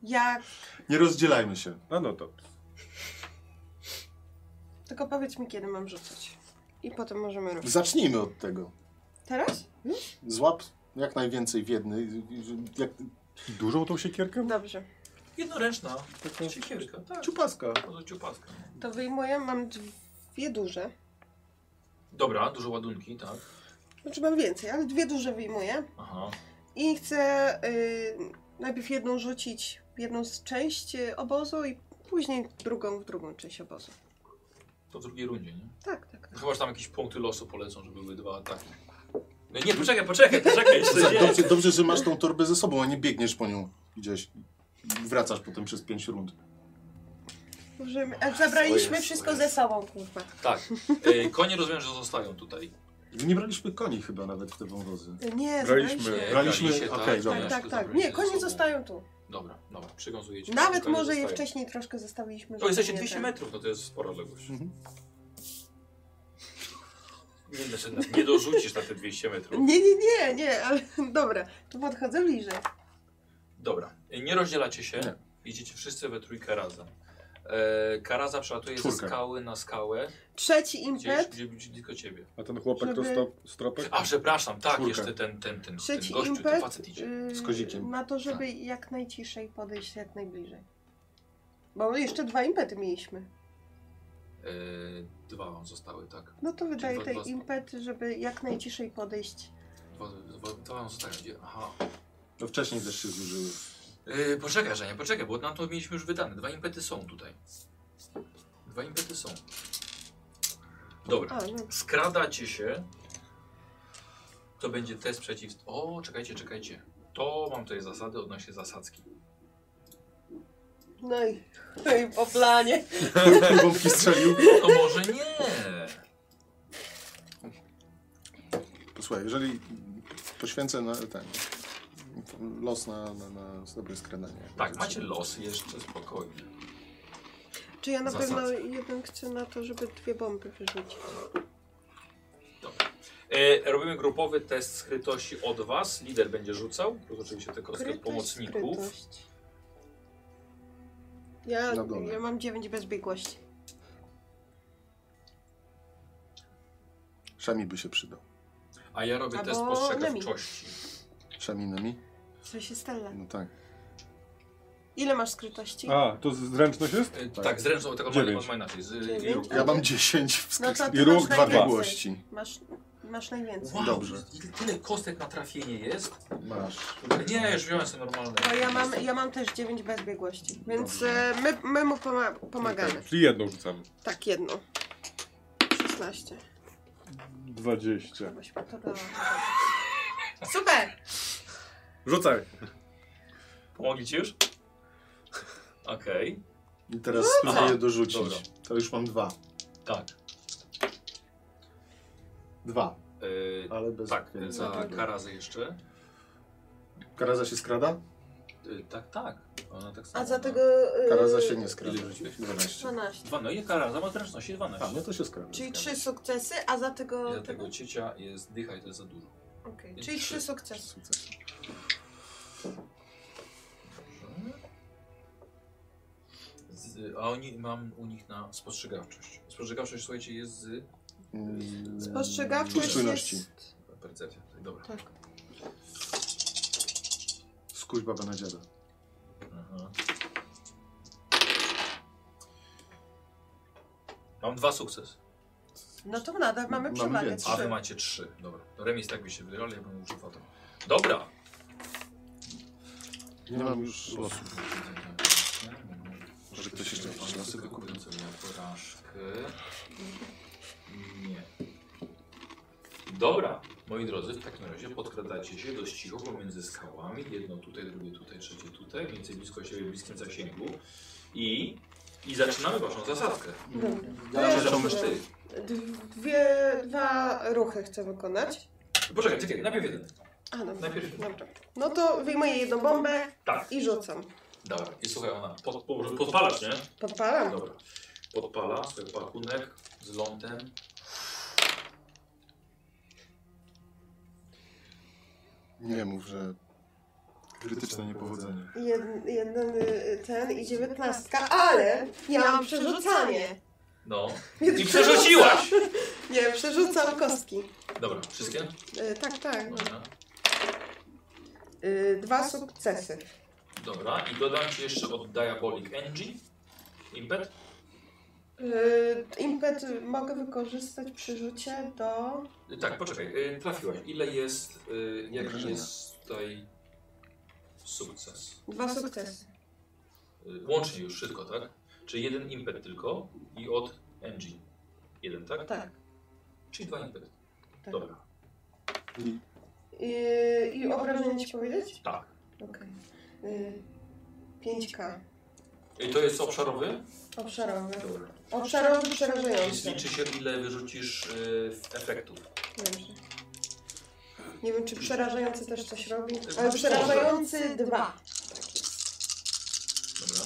Speaker 3: Jak?
Speaker 2: Nie rozdzielajmy się.
Speaker 4: a no to.
Speaker 3: Tylko powiedz mi, kiedy mam rzucać. I potem możemy robić.
Speaker 5: Zacznijmy od tego.
Speaker 3: Teraz?
Speaker 5: Złap jak najwięcej w jednej. Jak...
Speaker 4: Dużą tą siekierkę?
Speaker 3: Dobrze.
Speaker 1: Jednoręczna. Siekierka, tak.
Speaker 2: Ciupaska.
Speaker 1: Może ciupaska.
Speaker 3: To wyjmuję, mam dwie duże.
Speaker 1: Dobra, dużo ładunki, tak.
Speaker 3: Znaczy mam więcej, ale dwie duże wyjmuję.
Speaker 1: Aha.
Speaker 3: I chcę y, najpierw jedną rzucić w jedną z część y, obozu i później drugą w drugą część obozu.
Speaker 1: To w drugiej rundzie, nie?
Speaker 3: Tak, tak. tak.
Speaker 1: Chyba, że tam jakieś punkty losu polecą, żeby były dwa ataki. No nie, poczekaj, poczekaj, poczekaj, jeszcze nie.
Speaker 5: Dobrze, dobrze, że masz tą torbę ze sobą, a nie biegniesz po nią gdzieś.
Speaker 2: Wracasz potem przez pięć rund.
Speaker 3: Możemy, a zabraliśmy
Speaker 1: Swoje,
Speaker 3: wszystko
Speaker 1: swoje.
Speaker 3: ze sobą, kurwa.
Speaker 1: Tak, e, konie rozumiem, że zostają tutaj.
Speaker 2: Nie braliśmy koni chyba nawet w te wąwozy.
Speaker 3: Y, Nie,
Speaker 4: Braliśmy.
Speaker 3: zabraliśmy.
Speaker 1: E,
Speaker 2: Braliśmy-
Speaker 1: kali się,
Speaker 2: okej,
Speaker 1: tak,
Speaker 2: dobra.
Speaker 1: kali
Speaker 3: Tak, tak,
Speaker 1: się
Speaker 3: tak.
Speaker 1: zabraliście
Speaker 3: Nie,
Speaker 1: ze
Speaker 3: konie
Speaker 1: sobą.
Speaker 3: zostają tu.
Speaker 1: Dobra, dobra, przywiązujecie.
Speaker 3: Nawet
Speaker 1: Konie
Speaker 3: może je
Speaker 1: zostają.
Speaker 3: wcześniej troszkę zostawiliśmy.
Speaker 1: To jesteście
Speaker 3: żeby nie
Speaker 1: 200
Speaker 3: ten.
Speaker 1: metrów, no to jest spora odległość.
Speaker 5: Mhm.
Speaker 1: Nie, znaczy, no, nie dorzucisz na te 200 metrów.
Speaker 3: Nie, nie, nie, nie, ale dobra, to podchodzę bliżej.
Speaker 1: Dobra, e, nie rozdzielacie się,
Speaker 2: Nie.
Speaker 1: idziecie wszyscy we trójkę razem. E, Karaza przelatuje ze
Speaker 2: Czwórka.
Speaker 1: skały na skałę,
Speaker 3: Trzeci
Speaker 1: gdzieś,
Speaker 3: impet,
Speaker 1: gdzie, gdzie blisko ciebie.
Speaker 4: A ten chłopek to
Speaker 3: Żeby-
Speaker 4: stop, stropek?
Speaker 1: A, przepraszam, tak,
Speaker 2: Czwórka.
Speaker 1: jeszcze ten, ten, No, ten, ten
Speaker 3: trzeci
Speaker 1: gościu, ten facet
Speaker 3: impet
Speaker 1: idzie. Tak.
Speaker 3: y,
Speaker 2: z kozikiem.
Speaker 3: na to, żeby jak najciszej podejść jak najbliżej. Bo my jeszcze dwa impety mieliśmy.
Speaker 1: E, dwa wam zostały, tak?
Speaker 3: No to wydaje
Speaker 1: dwa-
Speaker 3: ten
Speaker 1: dwa-
Speaker 3: impet, żeby jak najciszej podejść.
Speaker 1: Dwa, dwa, dwa wam zostały, gdzie? Aha.
Speaker 2: To wcześniej też się zużyły.
Speaker 1: Yy, poczekaj, Żenia, poczekaj, bo na to mieliśmy już wydane. Dwa impety są tutaj. Dwa impety są.
Speaker 3: A,
Speaker 1: Dobra.
Speaker 3: no.
Speaker 1: Skradacie się. To będzie test przeciw... O, czekajcie, czekajcie. To mam tutaj zasady odnośnie zasadzki.
Speaker 3: No i, no i po planie.
Speaker 2: Bombki strzelił.
Speaker 1: No może nie.
Speaker 5: Posłuchaj, jeżeli poświęcę na ten los na, na, na dobre skradanie.
Speaker 1: Tak, macie losy jeszcze, spokojnie.
Speaker 3: Czy ja na
Speaker 1: Zasadzka.
Speaker 3: pewno jeden chcę na to, żeby dwie bomby wyrzucić?
Speaker 1: E, robimy grupowy test skrytości od was. Lider będzie rzucał. Plus oczywiście te kostki od
Speaker 3: Skrytość,
Speaker 1: pomocników.
Speaker 3: skrytość. Ja,
Speaker 5: Na dole.
Speaker 3: ja mam dziewięć bez biegłości.
Speaker 5: Szami by się przydał.
Speaker 1: A ja robię test
Speaker 3: Albo
Speaker 1: postrzegawczości.
Speaker 5: Szaminami?
Speaker 3: Co się Stella?
Speaker 5: No tak.
Speaker 3: Ile masz skrytości?
Speaker 4: A, to zręczność jest?
Speaker 1: E,
Speaker 5: Tak.
Speaker 1: tak, zręczną, tak on ma,
Speaker 4: Dziewięć.
Speaker 1: on ma inaczej. Z,
Speaker 3: Dziewięć.
Speaker 1: Iruk.
Speaker 5: Ja mam 10 w
Speaker 3: No
Speaker 5: skrycie.
Speaker 3: to ty
Speaker 4: I róg
Speaker 3: masz
Speaker 4: dwa
Speaker 3: najwięcej.
Speaker 5: biegłości.
Speaker 3: Masz, masz najwięcej.
Speaker 1: Wow,
Speaker 5: Dobrze.
Speaker 1: ile- Tyle kostek na trafienie jest.
Speaker 5: Masz.
Speaker 1: Nie, już wziąłem sobie normalne.
Speaker 3: To No ja mam, ja mam też dziewięć bez biegłości, więc e, my, my mu poma pomagamy.
Speaker 4: Czyli jedną rzucamy.
Speaker 3: Tak, jedno. 16.
Speaker 4: 20.
Speaker 3: Chyba się poturlała. Super!
Speaker 4: Rzucaj.
Speaker 1: Pomogli ci już? Okej,
Speaker 5: I teraz
Speaker 1: Aha,
Speaker 5: spróbuję dorzucić.
Speaker 1: No tak. dobra.
Speaker 2: To już mam dwa.
Speaker 1: tak.
Speaker 2: Dwa,
Speaker 1: Yy,
Speaker 2: ale bez...
Speaker 1: tak,
Speaker 2: nie,
Speaker 1: za
Speaker 2: tego.
Speaker 1: karazę jeszcze.
Speaker 2: Karaza się skrada?
Speaker 1: Yy, tak, tak. Ona tak samo.
Speaker 3: A za
Speaker 1: no.
Speaker 3: tego... e,
Speaker 5: Karaza się nie skrada.
Speaker 1: Ile rzuciłeś?
Speaker 5: 12.
Speaker 3: 12.
Speaker 1: Dwa, no i karaza ma zręczności 12.
Speaker 2: A, no to się skrada.
Speaker 3: Czyli
Speaker 2: Skrada.
Speaker 3: trzy sukcesy, a za
Speaker 1: I
Speaker 3: tego...
Speaker 1: za tego ciecia jest dycha i to jest za dużo.
Speaker 3: Okej, Czyli trzy sukcesy.
Speaker 1: Dobrze. Z, a oni mam u nich na spostrzegawczość. Spostrzegawczość, słuchajcie, jest z
Speaker 5: Mm,
Speaker 3: Spostrzegawczość
Speaker 5: Czujności.
Speaker 3: jest...
Speaker 1: e, percepcja. Dobra.
Speaker 3: Tak.
Speaker 2: Skuś baba na dziada.
Speaker 1: Aha. Mam dwa sukcesy.
Speaker 3: No to nadal mamy
Speaker 5: Mamy
Speaker 3: przewagę.
Speaker 5: więcej.
Speaker 1: A wy
Speaker 3: Trzy.
Speaker 1: macie trzy. Dobra. To remis tak by się wygrał, ale ja bym użył to. Dobra.
Speaker 5: Nie mam Mm, no już losu. Może ktoś jeszcze jakieś losy wykupi?
Speaker 1: Kupiłem sobie porażkę. Nie. Dobra, moi drodzy, w takim razie podkradacie się dość cicho pomiędzy skałami. Jedno tutaj, drugie tutaj, trzecie tutaj. Mniej więcej blisko siebie, w bliskim zasięgu. I, i zaczynamy waszą zasadkę.
Speaker 3: Dobra.
Speaker 5: Ja
Speaker 3: Ja
Speaker 1: Czy
Speaker 5: rzucam
Speaker 1: zaczynasz ty?
Speaker 3: Dw- Dwie, dwa ruchy chcę wykonać.
Speaker 1: Poczekaj, czekaj, najpierw jeden.
Speaker 3: A, dobra.
Speaker 1: Najpierw.
Speaker 3: dobra. No to wyjmuję jedną bombę
Speaker 1: Tak.
Speaker 3: i rzucam.
Speaker 1: Dobra, i słuchaj, ona pod,
Speaker 6: Po- Podpalasz, nie?
Speaker 3: Podpalam.
Speaker 1: dobra, podpala swój pakunek z lądem.
Speaker 2: Nie mów, że
Speaker 5: Krytyczne niepowodzenie.
Speaker 3: Jed, jeden y, ten i dziewiętnastka, ale
Speaker 14: Ale
Speaker 3: miałam przerzucanie.
Speaker 1: No.
Speaker 3: Nie,
Speaker 1: I przerzuciłaś!
Speaker 3: Nie, przerzucam kostki.
Speaker 1: Dobra, wszystkie?
Speaker 3: Y, tak, tak.
Speaker 1: Dobra.
Speaker 3: Y, dwa sukcesy.
Speaker 1: Dobra, i dodam ci jeszcze od Diabolic Engie. Impet.
Speaker 3: Y, impet mogę wykorzystać przy rzucie do...
Speaker 1: Y, Tak, poczekaj, y, trafiłaś. Ile jest, y, jaki
Speaker 2: Obrażenia.
Speaker 1: jest tutaj sukces?
Speaker 3: Dwa sukcesy.
Speaker 1: Y, Łącznie już wszystko, tak? Czyli jeden impet tylko i od Engie. Jeden, tak?
Speaker 3: Tak.
Speaker 1: Czyli dwa impety.
Speaker 3: Tak.
Speaker 1: Dobra.
Speaker 3: Y, I obrażenie ci powiedzieć?
Speaker 1: Tak.
Speaker 3: Okej. Y, 5K.
Speaker 1: I to jest obszarowy?
Speaker 3: Obszarowy.
Speaker 1: Dobra.
Speaker 3: Obszarowy
Speaker 1: I
Speaker 3: przerażający.
Speaker 1: zliczy się, ile wyrzucisz y, efektów.
Speaker 3: Dobrze. Nie wiem, czy przerażający też coś robi,
Speaker 1: Może.
Speaker 3: ale przerażający dwa.
Speaker 1: Dobra.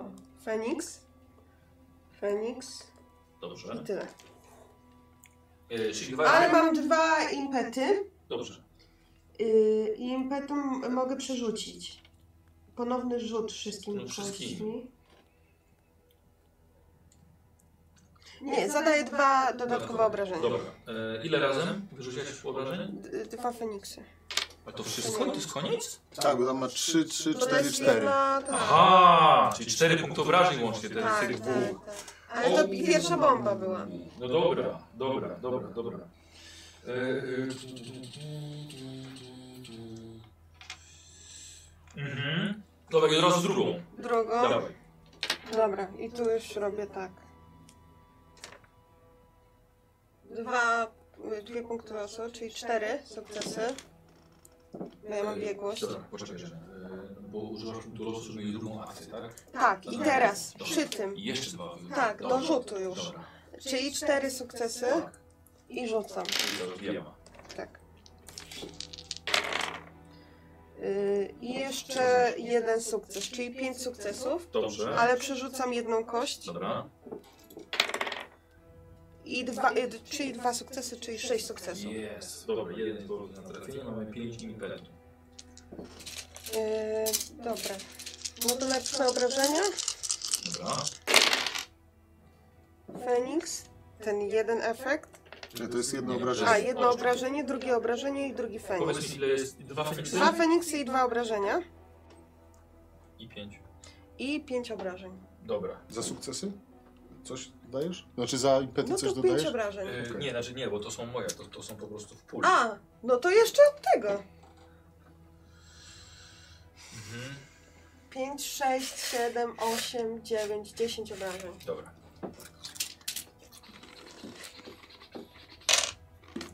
Speaker 3: O, Feniks. Feniks i
Speaker 1: Dobrze.
Speaker 3: tyle.
Speaker 1: Y, czyli dwa
Speaker 3: Ale
Speaker 1: efekty.
Speaker 3: mam dwa impety
Speaker 1: Dobrze.
Speaker 3: yy, i impetum mogę przerzucić. Ponowny rzut wszystkim
Speaker 1: No, wszystkimi.
Speaker 3: kośćmi. Nie, zadaję dwa dodatkowe
Speaker 1: Dodatkowe.
Speaker 3: obrażenia.
Speaker 1: Dobra. Y, ile razem wyrzuciłeś obrażeń?
Speaker 3: D- Dwa Feniksy.
Speaker 1: A to wszystko? To jest koniec?
Speaker 2: Tak, bo tam ma 3, 3,
Speaker 3: No To
Speaker 2: 4,
Speaker 3: jest
Speaker 2: 4.
Speaker 3: jedna- tak.
Speaker 1: Aha! Czyli cztery punkty obrażeń łącznie te- z
Speaker 3: Tak,
Speaker 1: tych
Speaker 3: tak,
Speaker 1: dwóch.
Speaker 3: tak. Ale to pierwsza bomba była.
Speaker 1: No dobra, dobra, dobra, dobra. E, e, Mhm. Dobra, i od razu drugą.
Speaker 3: Drugą.
Speaker 1: Dawaj.
Speaker 3: Dobra, i tu już robię tak. Dwa, dwie punkty losu, czyli cztery sukcesy. Bo ja mam biegłość.
Speaker 1: Dobra, poczekaj, że. e, Bo używasz punktu losu, żeby i drugą akcję, tak?
Speaker 3: Tak, i teraz
Speaker 1: Dobra.
Speaker 3: przy tym,
Speaker 1: I jeszcze dwa.
Speaker 3: Tak,
Speaker 1: Dobra,
Speaker 3: do rzutu już. Tak?
Speaker 1: Dobra,
Speaker 3: czyli cztery sukcesy i rzucam.
Speaker 1: i rozbijamy.
Speaker 3: Tak. Yy, I jeszcze jeden sukces, czyli pięć sukcesów,
Speaker 1: Dobrze.
Speaker 3: ale przerzucam jedną kość
Speaker 1: Dobra.
Speaker 3: i dwa, yy, czyli dwa sukcesy, czyli sześć sukcesów.
Speaker 1: Jest. Dobra, jeden powrót na trafienie, mamy pięć impetu.
Speaker 3: Yy, dobra. No to najpierw na obrażenia.
Speaker 1: Dobra.
Speaker 3: Feniks, ten jeden efekt.
Speaker 2: To jest jedno
Speaker 1: Nie.
Speaker 2: obrażenie.
Speaker 3: A, jedno obrażenie, drugie obrażenie i drugi Feniks.
Speaker 1: Powiedz mi, ile jest. Dwa Feniksy?
Speaker 3: Dwa Feniksy i dwa obrażenia.
Speaker 1: I pięć.
Speaker 3: I pięć obrażeń.
Speaker 1: Dobra.
Speaker 2: Za sukcesy? Coś dodajesz? Znaczy za impety
Speaker 3: No
Speaker 2: coś
Speaker 3: to
Speaker 2: dodajesz?
Speaker 3: pięć obrażeń.
Speaker 1: E, Nie, znaczy nie, bo to są moje, to, to są po prostu w puli.
Speaker 3: A, no to jeszcze od tego.
Speaker 1: Mhm.
Speaker 3: Pięć, sześć, siedem, osiem, dziewięć, dziesięć obrażeń.
Speaker 1: Dobra.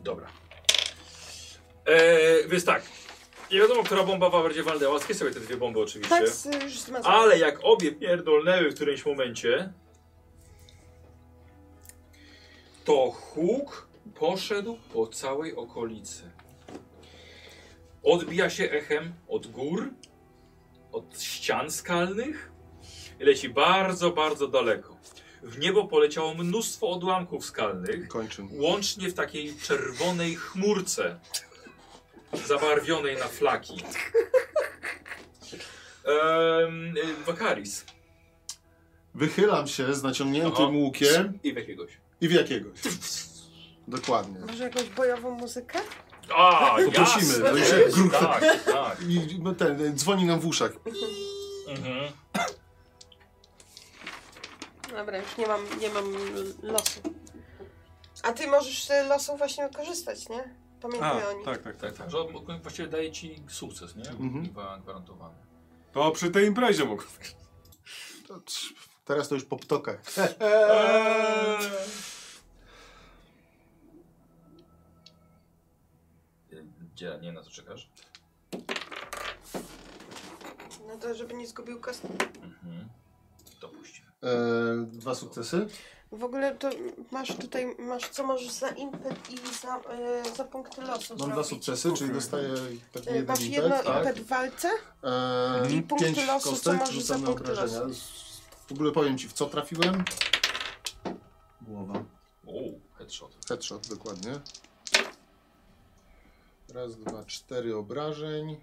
Speaker 1: Dobra. E,
Speaker 6: Eee, więc tak. Nie wiadomo, która bomba bardziej walnęła. Skieruj sobie te dwie bomby oczywiście.
Speaker 3: Tak z, już zmazałem.
Speaker 6: Ale jak obie pierdolnęły w którymś momencie,
Speaker 1: To huk poszedł po całej okolicy. Odbija się echem od gór, od ścian skalnych. Leci bardzo, bardzo daleko. W niebo poleciało mnóstwo odłamków skalnych.
Speaker 2: Kończę.
Speaker 1: łącznie w takiej czerwonej chmurce zabarwionej na flaki. Ehm, y, Wakaris.
Speaker 2: Wychylam się z naciągniętym
Speaker 1: Aha.
Speaker 2: łukiem
Speaker 1: I w jakiegoś.
Speaker 2: i w jakiegoś. Dokładnie.
Speaker 3: Może jakąś bojową muzykę?
Speaker 1: A,
Speaker 2: Poprosimy,
Speaker 1: jasne.
Speaker 2: to już jak grucha.
Speaker 1: Tak, tak.
Speaker 2: I ten, e, dzwoni nam w uszach.
Speaker 1: Mhm.
Speaker 3: Dobra, już nie mam, nie mam losu. A ty możesz z losu właśnie korzystać, nie?
Speaker 4: A,
Speaker 3: Pamiętaj o nich.
Speaker 4: tak, tak,
Speaker 1: Tak,
Speaker 4: tak.
Speaker 1: tak. Że on właściwie daje ci sukces, nie?
Speaker 2: Mhm.
Speaker 1: Gwa- Gwarantowany.
Speaker 4: To przy tej imprezie mógł.
Speaker 2: To trz- Teraz to już po ptokach.
Speaker 1: Eee. Y, Gdzie, nie na co czekasz?
Speaker 3: No to żeby nie zgubił kostki.
Speaker 1: Mhm. Dopuść.
Speaker 2: E, dwa sukcesy.
Speaker 3: W ogóle to masz tutaj, masz co możesz za impet i za, y, za punkty losu
Speaker 2: Mam dwa
Speaker 3: zrobić.
Speaker 2: sukcesy, czyli dostaję taki
Speaker 3: Y,
Speaker 2: jeden
Speaker 3: Masz jedno
Speaker 2: impet, tak?
Speaker 3: impet w walce?
Speaker 2: Eee,
Speaker 3: I punkty
Speaker 2: pięć
Speaker 3: losu, co
Speaker 2: kostek,
Speaker 3: możesz
Speaker 2: rzucam
Speaker 3: za
Speaker 2: na
Speaker 3: punkty
Speaker 2: obrażenia. W ogóle powiem ci, w co trafiłem. Głowa.
Speaker 1: Uuu, headshot.
Speaker 2: Headshot, dokładnie. Raz, dwa, cztery obrażeń.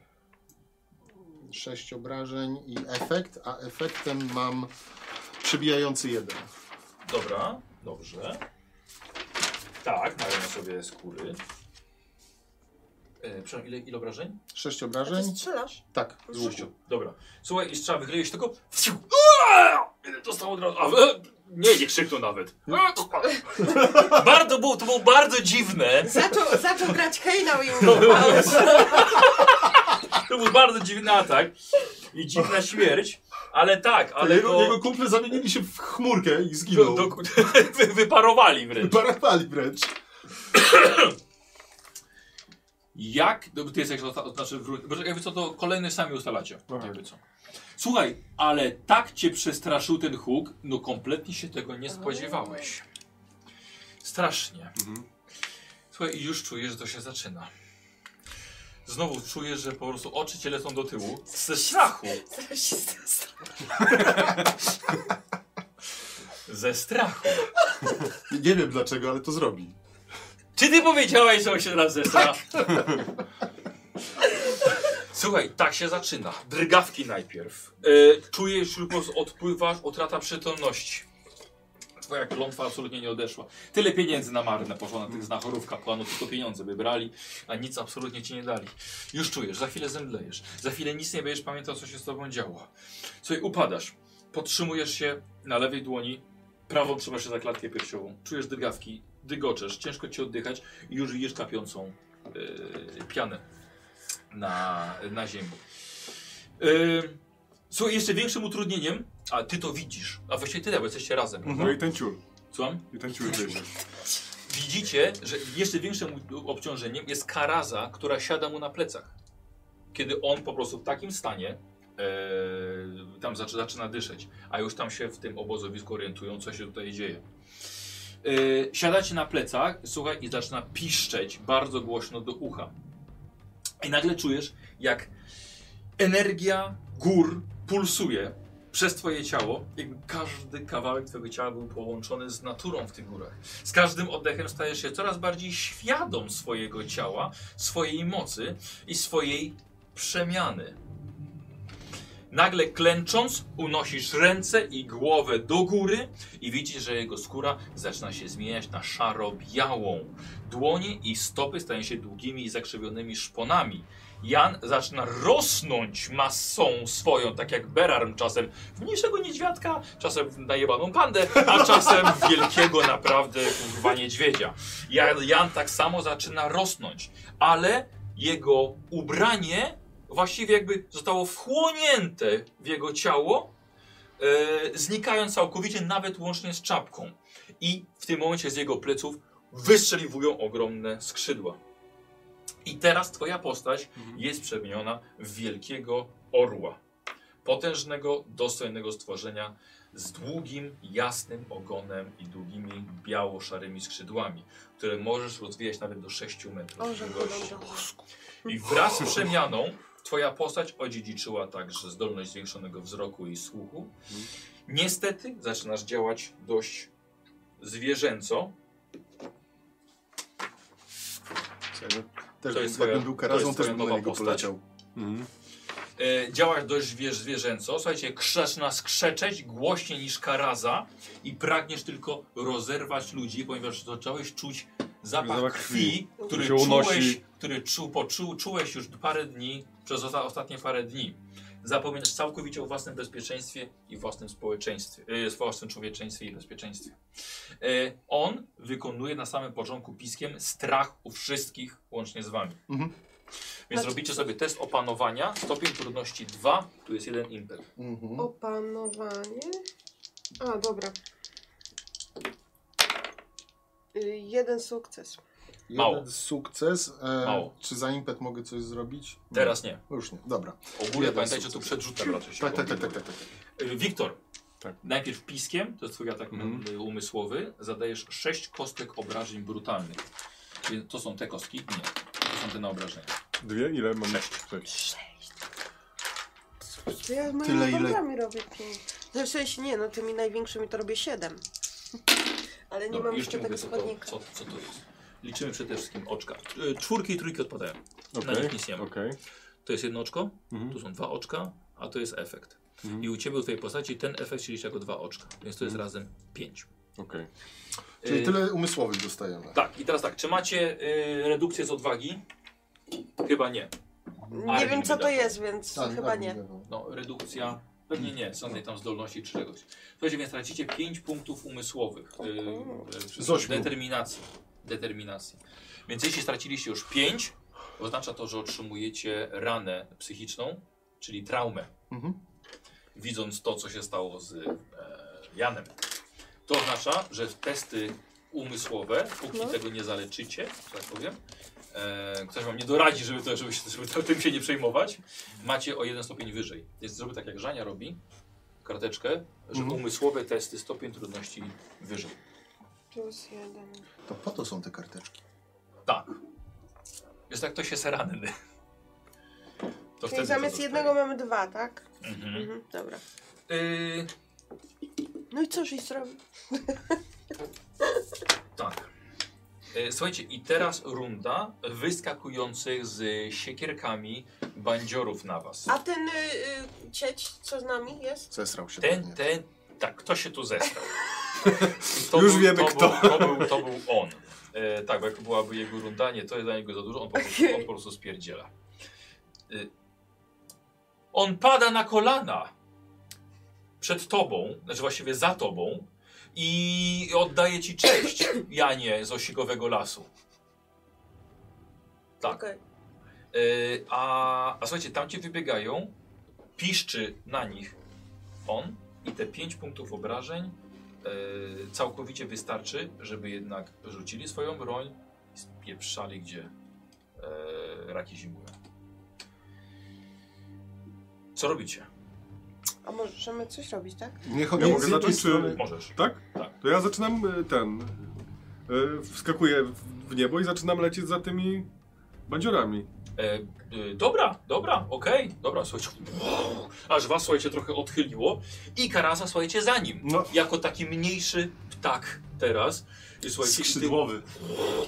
Speaker 2: Sześć obrażeń i efekt, a efektem mam przebijający jeden.
Speaker 1: Dobra, dobrze. Tak, mają na sobie skóry. E, przepraszam, ile, ile obrażeń?
Speaker 2: Sześć
Speaker 3: A ty
Speaker 2: obrażeń?
Speaker 3: strzelasz?
Speaker 2: Tak, z
Speaker 1: Sześciu.
Speaker 2: łuku.
Speaker 1: Dobra. Słuchaj, i strzał wychylałeś tylko. Wsiu! Aaaa! Dostał od razu. A, e, nie, nie krzyknął nawet. A, to spadł. bardzo było, to było bardzo dziwne.
Speaker 3: Zaczął, zaczął grać hejnał i
Speaker 1: To był,
Speaker 3: umarł.
Speaker 1: to był bardzo dziwny atak i dziwna śmierć, ale tak, ale
Speaker 2: jego,
Speaker 1: to,
Speaker 2: jego kumple zamienili się w chmurkę i
Speaker 1: to,
Speaker 2: zginął.
Speaker 1: to wy, wyparowali wręcz.
Speaker 2: Parapali wręcz.
Speaker 1: Jak? No, Ty jesteś osta- znaczy wróć. Bo jakby co, to kolejne sami ustalacie. Jakby co. Słuchaj, ale tak cię przestraszył ten huk, no kompletnie się tego nie spodziewałeś. Strasznie. Słuchaj, i już czujesz, że to się zaczyna. Znowu czujesz, że po prostu oczy cię lecą do tyłu ze strachu.
Speaker 3: Zaraz się zestra-
Speaker 1: Ze strachu.
Speaker 2: Nie wiem dlaczego, ale to zrobi.
Speaker 1: Czy ty powiedziałeś, że on się teraz zesra? Słuchaj, tak się zaczyna. Drgawki najpierw. E, czujesz, że po prostu odpływasz, utrata przytomności. Twoja klątwa absolutnie nie odeszła. Tyle pieniędzy na marne poszło na tych znachorów kapłanów, tylko pieniądze by brali, a nic absolutnie ci nie dali. Już czujesz, za chwilę zemdlejesz. Za chwilę nic nie będziesz pamiętał, co się z tobą działo. Słuchaj, upadasz. Podtrzymujesz się na lewej dłoni, prawą trzymasz się za klatkę piersiową. Czujesz drgawki, dygoczesz, ciężko ci oddychać i już widzisz kapiącą e, pianę na, na ziemi. Yy, słuchaj, jeszcze większym utrudnieniem, a ty to widzisz, a właściwie ty, bo jesteście razem.
Speaker 4: No i ten ciur.
Speaker 1: Słucham?
Speaker 4: I ten ciur wyjdzie.
Speaker 1: Widzicie, że jeszcze większym u- obciążeniem jest karaza, która siada mu na plecach. Kiedy on po prostu w takim stanie e, tam zaczy, zaczyna dyszeć, a już tam się w tym obozowisku orientują, co się tutaj dzieje. E, siadacie na plecach, słuchaj, i zaczyna piszczeć bardzo głośno do ucha. I nagle czujesz, jak energia gór pulsuje przez twoje ciało, jakby każdy kawałek twojego ciała był połączony z naturą w tych górach. Z każdym oddechem stajesz się coraz bardziej świadom swojego ciała, swojej mocy i swojej przemiany. Nagle klęcząc, unosisz ręce i głowę do góry i widzisz, że jego skóra zaczyna się zmieniać na szaro-białą. Dłonie i stopy stają się długimi i zakrzywionymi szponami. Jan zaczyna rosnąć masą swoją, tak jak Berarm czasem w mniejszego niedźwiadka, czasem w najebaną pandę, a czasem w wielkiego naprawdę kurwa niedźwiedzia. Jan, Jan tak samo zaczyna rosnąć, ale jego ubranie właściwie jakby zostało wchłonięte w jego ciało, e, znikając całkowicie, nawet łącznie z czapką. I w tym momencie z jego pleców wystrzeliwują ogromne skrzydła. I teraz twoja postać jest przemieniona w wielkiego orła. Potężnego, dostojnego stworzenia z długim, jasnym ogonem i długimi, biało-szarymi skrzydłami, które możesz rozwijać nawet do 6 metrów
Speaker 3: Boże,
Speaker 1: długości.
Speaker 3: podobno.
Speaker 1: I wraz z przemianą twoja postać odziedziczyła także zdolność zwiększonego wzroku i słuchu. Niestety zaczynasz działać dość zwierzęco.
Speaker 2: Też
Speaker 1: To jest
Speaker 2: jakbym
Speaker 1: twoja-
Speaker 2: był
Speaker 1: to
Speaker 2: karazą,
Speaker 1: jest
Speaker 2: też
Speaker 1: twoja
Speaker 2: bym na
Speaker 1: nowa
Speaker 2: niego
Speaker 1: postać.
Speaker 2: poleciał.
Speaker 4: Mhm.
Speaker 1: E, działasz dość zwierz zwierzęco. Słuchajcie, krzasz nas krzeczeć głośniej niż karaza i pragniesz tylko rozerwać ludzi, ponieważ zacząłeś czuć zapach
Speaker 4: Zapach
Speaker 1: krwi, który
Speaker 4: się
Speaker 1: czułeś,
Speaker 4: unosi.
Speaker 1: który czu, poczuł, czułeś już parę dni, przez osta- ostatnie parę dni. Zapominasz całkowicie o własnym bezpieczeństwie i własnym społeczeństwie, e, własnym człowieczeństwie i bezpieczeństwie. E, on wykonuje na samym początku piskiem strach u wszystkich, łącznie z wami.
Speaker 2: Mhm.
Speaker 1: Więc
Speaker 3: Znaczy-
Speaker 1: robicie sobie test opanowania, stopień trudności 2, tu jest jeden impet.
Speaker 2: Mhm.
Speaker 3: Opanowanie. A, dobra. Y, Jeden sukces.
Speaker 1: Mało.
Speaker 2: Jeden sukces. E,
Speaker 1: Mało.
Speaker 2: Czy za impet mogę coś zrobić? Nie.
Speaker 1: Teraz nie.
Speaker 5: No
Speaker 2: Już nie, dobra.
Speaker 1: Ogólnie
Speaker 2: Jeden
Speaker 1: pamiętajcie, tu
Speaker 2: sukces.
Speaker 1: przed rzutem raczej się
Speaker 2: Tak, tak, tak,
Speaker 1: kombinuje.
Speaker 2: tak, tak, tak.
Speaker 1: Y, Wiktor,
Speaker 4: Tak.
Speaker 1: Najpierw piskiem, to jest twój atak
Speaker 4: Mhm.
Speaker 1: mm. umysłowy, zadajesz 6 kostek obrażeń brutalnych. Więc to są te kostki? Nie. To są te na obrażenia.
Speaker 4: Dwie? Ile mam? Sześć.
Speaker 7: To ja z moimi
Speaker 5: Tyle, ile-
Speaker 7: bądrami robię pięć. No w sensie nie, no tymi największymi to robię siedem. Ale nie mam
Speaker 1: już
Speaker 7: jeszcze
Speaker 1: ci mówię,
Speaker 7: tego
Speaker 1: co to,
Speaker 7: składnika.
Speaker 1: co, co to jest. Liczymy przede wszystkim oczka. Y, Czwórki i trójki odpadają. Na
Speaker 4: Okej,
Speaker 1: nich nic nie ma.
Speaker 4: okej.
Speaker 1: To jest jedno oczko,
Speaker 4: Mhm.
Speaker 1: tu są dwa oczka, a to jest efekt.
Speaker 4: Mhm.
Speaker 1: I u ciebie, u twojej postaci, ten efekt się liczy jako dwa oczka. Więc to jest razem pięć.
Speaker 4: Okej.
Speaker 5: Czyli
Speaker 1: Y,
Speaker 5: tyle umysłowych dostajemy.
Speaker 1: Tak, i teraz tak, czy macie y, redukcję z odwagi? Chyba nie.
Speaker 7: Nie wiem co to
Speaker 1: wydarzy.
Speaker 7: jest, więc
Speaker 5: Tak,
Speaker 7: chyba
Speaker 5: tak,
Speaker 7: nie.
Speaker 5: wydawał.
Speaker 1: No, redukcja. Pewnie nie, sądzę tam zdolności czy czegoś. Słuchajcie, więc tracicie 5 punktów umysłowych. Yy,
Speaker 5: Z ośmiu.
Speaker 1: determinacji. Determinacji. Więc jeśli straciliście już 5, oznacza to, że otrzymujecie ranę psychiczną, czyli traumę.
Speaker 5: Mhm.
Speaker 1: Widząc to, co się stało z e, Janem. To oznacza, że testy umysłowe, póki tego nie zaleczycie, że tak powiem, e, ktoś wam nie doradzi, żeby, to, żeby, się, żeby tym się nie przejmować, macie o jeden stopień wyżej. Więc zrobię tak, jak Żania robi, karteczkę, że umysłowe testy stopień trudności wyżej.
Speaker 3: Plus jeden.
Speaker 5: To po to są te karteczki.
Speaker 1: Tak. Jest tak, to się seranny. To
Speaker 3: Czyli zamiast jednego mamy dwa, tak?
Speaker 1: Mhm.
Speaker 3: Mhm, dobra.
Speaker 1: Y,
Speaker 3: No i co żeś zrobił?
Speaker 1: tak. Y, słuchajcie, i teraz runda wyskakujących z siekierkami bandziorów na was.
Speaker 3: A ten y, y, cieć, co z nami jest?
Speaker 5: Zesrał się
Speaker 1: Ten,
Speaker 5: pewnie.
Speaker 1: ten, tak, kto się tu zesrał? To
Speaker 4: Już wiemy
Speaker 1: to
Speaker 4: kto.
Speaker 1: Był, to, był, to był on. E, tak, bo jak byłaby jego runda, nie, to jest dla niego za dużo, on po prostu, on po prostu spierdziela. E, on pada na kolana przed tobą, znaczy właściwie za tobą i oddaje ci cześć, Janie z Osikowego Lasu. Tak.
Speaker 3: Okej.
Speaker 1: E, a, a słuchajcie, tam ci wybiegają, piszczy na nich on i te 5 punktów obrażeń e, całkowicie wystarczy, żeby jednak rzucili swoją broń i spieprzali gdzie e, raki zimują. Co robicie?
Speaker 3: A możemy coś robić, tak?
Speaker 5: Nie
Speaker 4: Ja
Speaker 5: chodzi
Speaker 4: mogę zacząć, czy...
Speaker 1: Możesz.
Speaker 4: Tak?
Speaker 1: Tak.
Speaker 4: To ja zaczynam y, ten. y, Wskakuję w- w niebo i zaczynam lecieć za tymi bandziorami.
Speaker 1: E, e, dobra, dobra, okej, dobra, słuchajcie. Wow, aż was, słuchajcie, trochę odchyliło i Karasa, słuchajcie, za nim.
Speaker 4: No.
Speaker 1: Jako taki mniejszy ptak teraz. I słuchajcie, i ty-
Speaker 2: Skrzydłowy.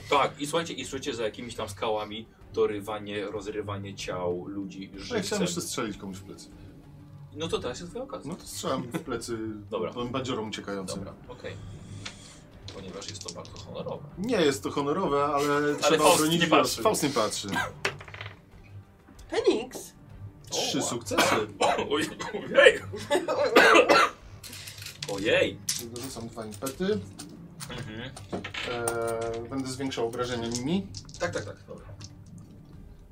Speaker 1: Tak, i słuchajcie, i słyszycie za jakimiś tam skałami dorywanie, rozrywanie ciał ludzi
Speaker 5: No Ja chciałem
Speaker 1: żywcem.
Speaker 5: jeszcze strzelić komuś w plecy.
Speaker 1: No to teraz jest twoja okazja.
Speaker 5: No to strzelam w plecy
Speaker 1: Dobra.
Speaker 5: tą bandziorom uciekającym.
Speaker 1: Dobra, okej. Ponieważ jest to bardzo honorowe.
Speaker 5: Nie jest to honorowe, ale, trzeba
Speaker 1: Faust
Speaker 5: obronić
Speaker 1: nie
Speaker 5: wios-
Speaker 1: patrzy.
Speaker 5: Faust nie patrzy.
Speaker 3: Feniks!
Speaker 5: Trzy
Speaker 1: wow.
Speaker 5: sukcesy.
Speaker 1: Ojej! Ojej! Ojej!
Speaker 5: Dorzucam dwa impety.
Speaker 1: Mhm.
Speaker 5: Eee, będę zwiększał obrażenia nimi.
Speaker 1: Tak, tak, tak. Dobra.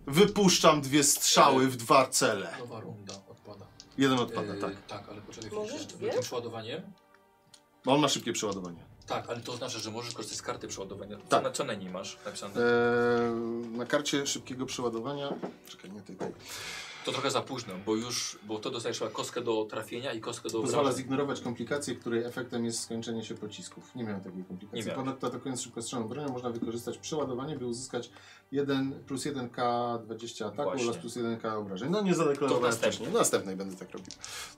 Speaker 5: Wypuszczam dwie strzały w dwa cele.
Speaker 1: No
Speaker 6: Nowa runda odpada.
Speaker 5: Jeden odpada,
Speaker 6: E,
Speaker 1: Yy, Eee.
Speaker 5: tak.
Speaker 6: tak, ale poczekaj
Speaker 3: Możesz
Speaker 6: chwileczkę.
Speaker 3: dwie?
Speaker 6: Tym przeładowaniem?
Speaker 5: Bo on ma szybkie przeładowanie.
Speaker 1: Tak, ale to oznacza, że możesz korzystać z karty przeładowania. Co
Speaker 5: Tak.
Speaker 1: na, co na niej masz napisane?
Speaker 5: Eee, na karcie szybkiego przeładowania. Czekaj, nie tej. tej.
Speaker 1: To trochę za późno, bo już, bo to dostajesz chyba kostkę do trafienia i kostkę do
Speaker 5: Pozwala
Speaker 1: obrażeń.
Speaker 5: zignorować komplikację, której efektem jest skończenie się pocisków. Nie miałem takiej
Speaker 1: Nie
Speaker 5: komplikacji.
Speaker 1: miałem.
Speaker 5: Ponadto atakując szybkostrzelną bronią można wykorzystać przeładowanie, by uzyskać 1 plus 1k 20 ataku
Speaker 1: Właśnie.
Speaker 5: oraz plus 1k obrażeń. No nie zadeklarowałem
Speaker 1: To w następnej.
Speaker 5: wcześniej. Następnej będę tak robił.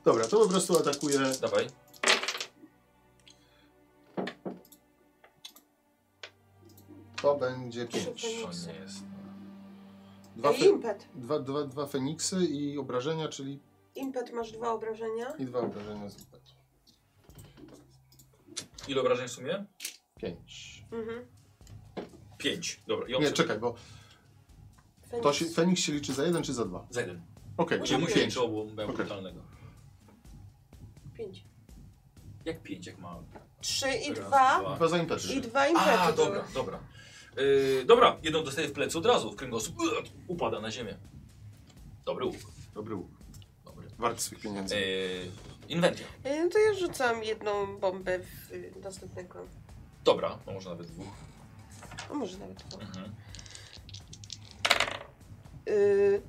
Speaker 5: Dobra, to po prostu atakuję
Speaker 1: Dawaj.
Speaker 5: To będzie
Speaker 3: Trzy
Speaker 5: 5.
Speaker 1: To nie
Speaker 3: Feniksy.
Speaker 1: jest.
Speaker 5: Dwa, fe,
Speaker 3: Impet.
Speaker 5: dwa, dwa, dwa feniksy i obrażenia, czyli
Speaker 3: Impet masz dwa obrażenia.
Speaker 5: i dwa obrażenia z
Speaker 1: Ile obrażeń w sumie?
Speaker 5: 5.
Speaker 3: Mhm.
Speaker 1: Pięć. Dobra. i on
Speaker 5: Nie,
Speaker 1: prze-
Speaker 5: czekaj, bo
Speaker 3: Feniks.
Speaker 5: to się, feniks się liczy za jeden czy za dwa?
Speaker 1: Za jeden.
Speaker 5: Okej,
Speaker 1: Czyli
Speaker 5: czyli
Speaker 1: musi mieć
Speaker 5: 5.
Speaker 1: obłąd okay.
Speaker 5: Okej.
Speaker 1: brutalnego.
Speaker 3: Pięć.
Speaker 1: Jak pięć, jak mały.
Speaker 3: Trzy i
Speaker 1: Raz,
Speaker 3: dwa.
Speaker 5: Dwa za impetem.
Speaker 3: I dwa impety.
Speaker 1: A,
Speaker 3: były.
Speaker 1: dobra, dobra. Yy, dobra, jedną dostaje w plecy od razu, w kręgosłup. Uuu, Upada na ziemię. Dobry łuk.
Speaker 5: Dobry łuk.
Speaker 1: Dobry.
Speaker 5: Wart swych
Speaker 2: Y,
Speaker 5: pieniędzy.
Speaker 1: Yy, inwentia.
Speaker 3: E, No to ja rzucam jedną bombę w y, następnego.
Speaker 1: Dobra, no
Speaker 3: No
Speaker 1: może nawet dwóch.
Speaker 3: A może nawet dwa.
Speaker 1: Mhm.
Speaker 3: Y, y,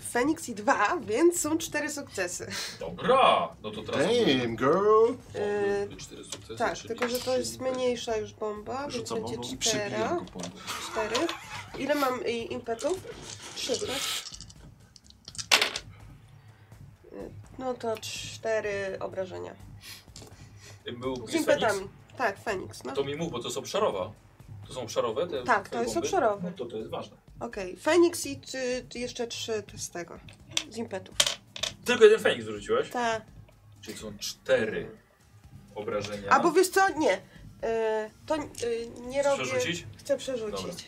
Speaker 3: Feniks i dwa, więc są cztery sukcesy.
Speaker 1: Dobra, no to teraz...
Speaker 5: Damn, girl!
Speaker 3: Y,
Speaker 1: Cztery sukcesy,
Speaker 3: tak,
Speaker 1: czyli
Speaker 3: tylko że to jest
Speaker 1: trzy.
Speaker 3: mniejsza już bomba, więc
Speaker 2: Rzuca
Speaker 3: będzie
Speaker 2: bombą i
Speaker 3: cztera.
Speaker 2: przebija go bombą.
Speaker 3: Cztery. Ile mam y, impetów? Trzy, tak? Y, No to cztery obrażenia.
Speaker 1: Y, Był
Speaker 3: Z
Speaker 1: jest Feniks?
Speaker 3: impetami. Tak, Feniks, no.
Speaker 1: To mi mów, bo to są obszarowa. To są obszarowe te
Speaker 3: Tak, to
Speaker 1: te
Speaker 3: jest
Speaker 1: bomby?
Speaker 3: obszarowe.
Speaker 1: No to to jest ważne.
Speaker 3: Okej, Feniks i czy, czy jeszcze trzy z tego. Z impetów.
Speaker 1: Tylko jeden Feniks wyrzuciłeś?
Speaker 3: Tak.
Speaker 1: Czyli są cztery obrażenia.
Speaker 3: Albo wiesz co? Nie. Y, to y, nie robię...
Speaker 1: Przerzucić?
Speaker 3: Chcę przerzucić.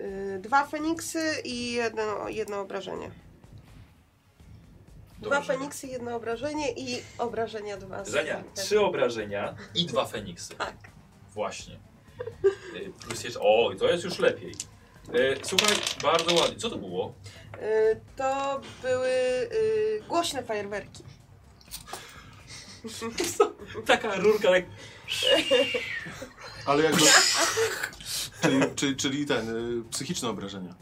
Speaker 3: Y, Dwa Feniksy i jedno, jedno obrażenie. Dwa
Speaker 1: Dobrze.
Speaker 3: Feniksy, jedno obrażenie i obrażenia dwa. z
Speaker 1: Zania,
Speaker 3: impetów.
Speaker 1: trzy obrażenia i dwa Feniksy.
Speaker 3: Tak.
Speaker 1: Właśnie. Y, Plus jeszcze... O, to jest już lepiej. Y, Słuchaj, bardzo ładnie. Co to było?
Speaker 3: Y, To były y, głośne fajerwerki.
Speaker 1: Taka rurka, jak
Speaker 2: Ale jak go... czyli, czyli, czyli ten, y, psychiczne obrażenia.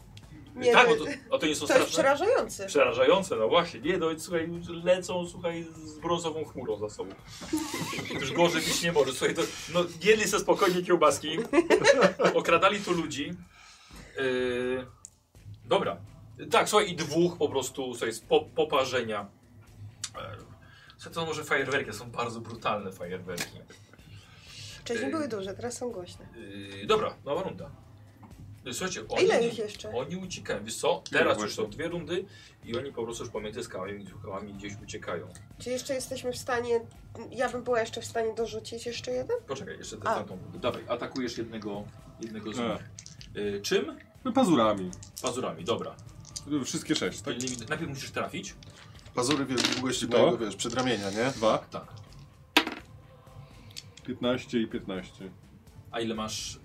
Speaker 3: Nie,
Speaker 1: tak,
Speaker 3: to,
Speaker 1: bo to, a to nie są
Speaker 3: to jest
Speaker 1: straszne.
Speaker 3: przerażające.
Speaker 1: Przerażające, no właśnie. Nie, no i słuchaj, lecą, słuchaj, z brązową chmurą za sobą. Już gorzej być nie może. Słuchaj, to, no jedli se spokojnie kiełbaski, okradali tu ludzi. Yy, dobra. Tak, słuchaj, i dwóch po prostu, słuchaj, z po, poparzenia. Yy, Słuchaj, to może fajerwerki, są bardzo brutalne fajerwerki.
Speaker 3: Wcześniej były duże, teraz są głośne.
Speaker 1: Yy, dobra, nowa runda. Yy, Słuchajcie, oni,
Speaker 3: ile ich jeszcze?
Speaker 1: oni uciekają. Wiesz co? Teraz już
Speaker 2: właśnie?
Speaker 1: są dwie rundy i oni po prostu już pomiędzy skałami, skałami gdzieś uciekają.
Speaker 3: Czy jeszcze jesteśmy w stanie. Ja bym była jeszcze w stanie dorzucić jeszcze jeden?
Speaker 1: Poczekaj, jeszcze tę
Speaker 3: A.
Speaker 1: tamtą rundę. Dawaj, atakujesz jednego, jednego z
Speaker 4: E.
Speaker 1: nich. Yy, czym?
Speaker 4: No, Pazurami.
Speaker 1: Pazurami, dobra.
Speaker 4: Wszystkie sześć, tak?
Speaker 1: Czyli najpierw musisz trafić.
Speaker 5: Pazury wiesz, długości
Speaker 4: To?
Speaker 5: mojego, wiesz, przedramienia, nie?
Speaker 4: Dwa.
Speaker 1: Tak.
Speaker 4: 15 i 15.
Speaker 1: A ile masz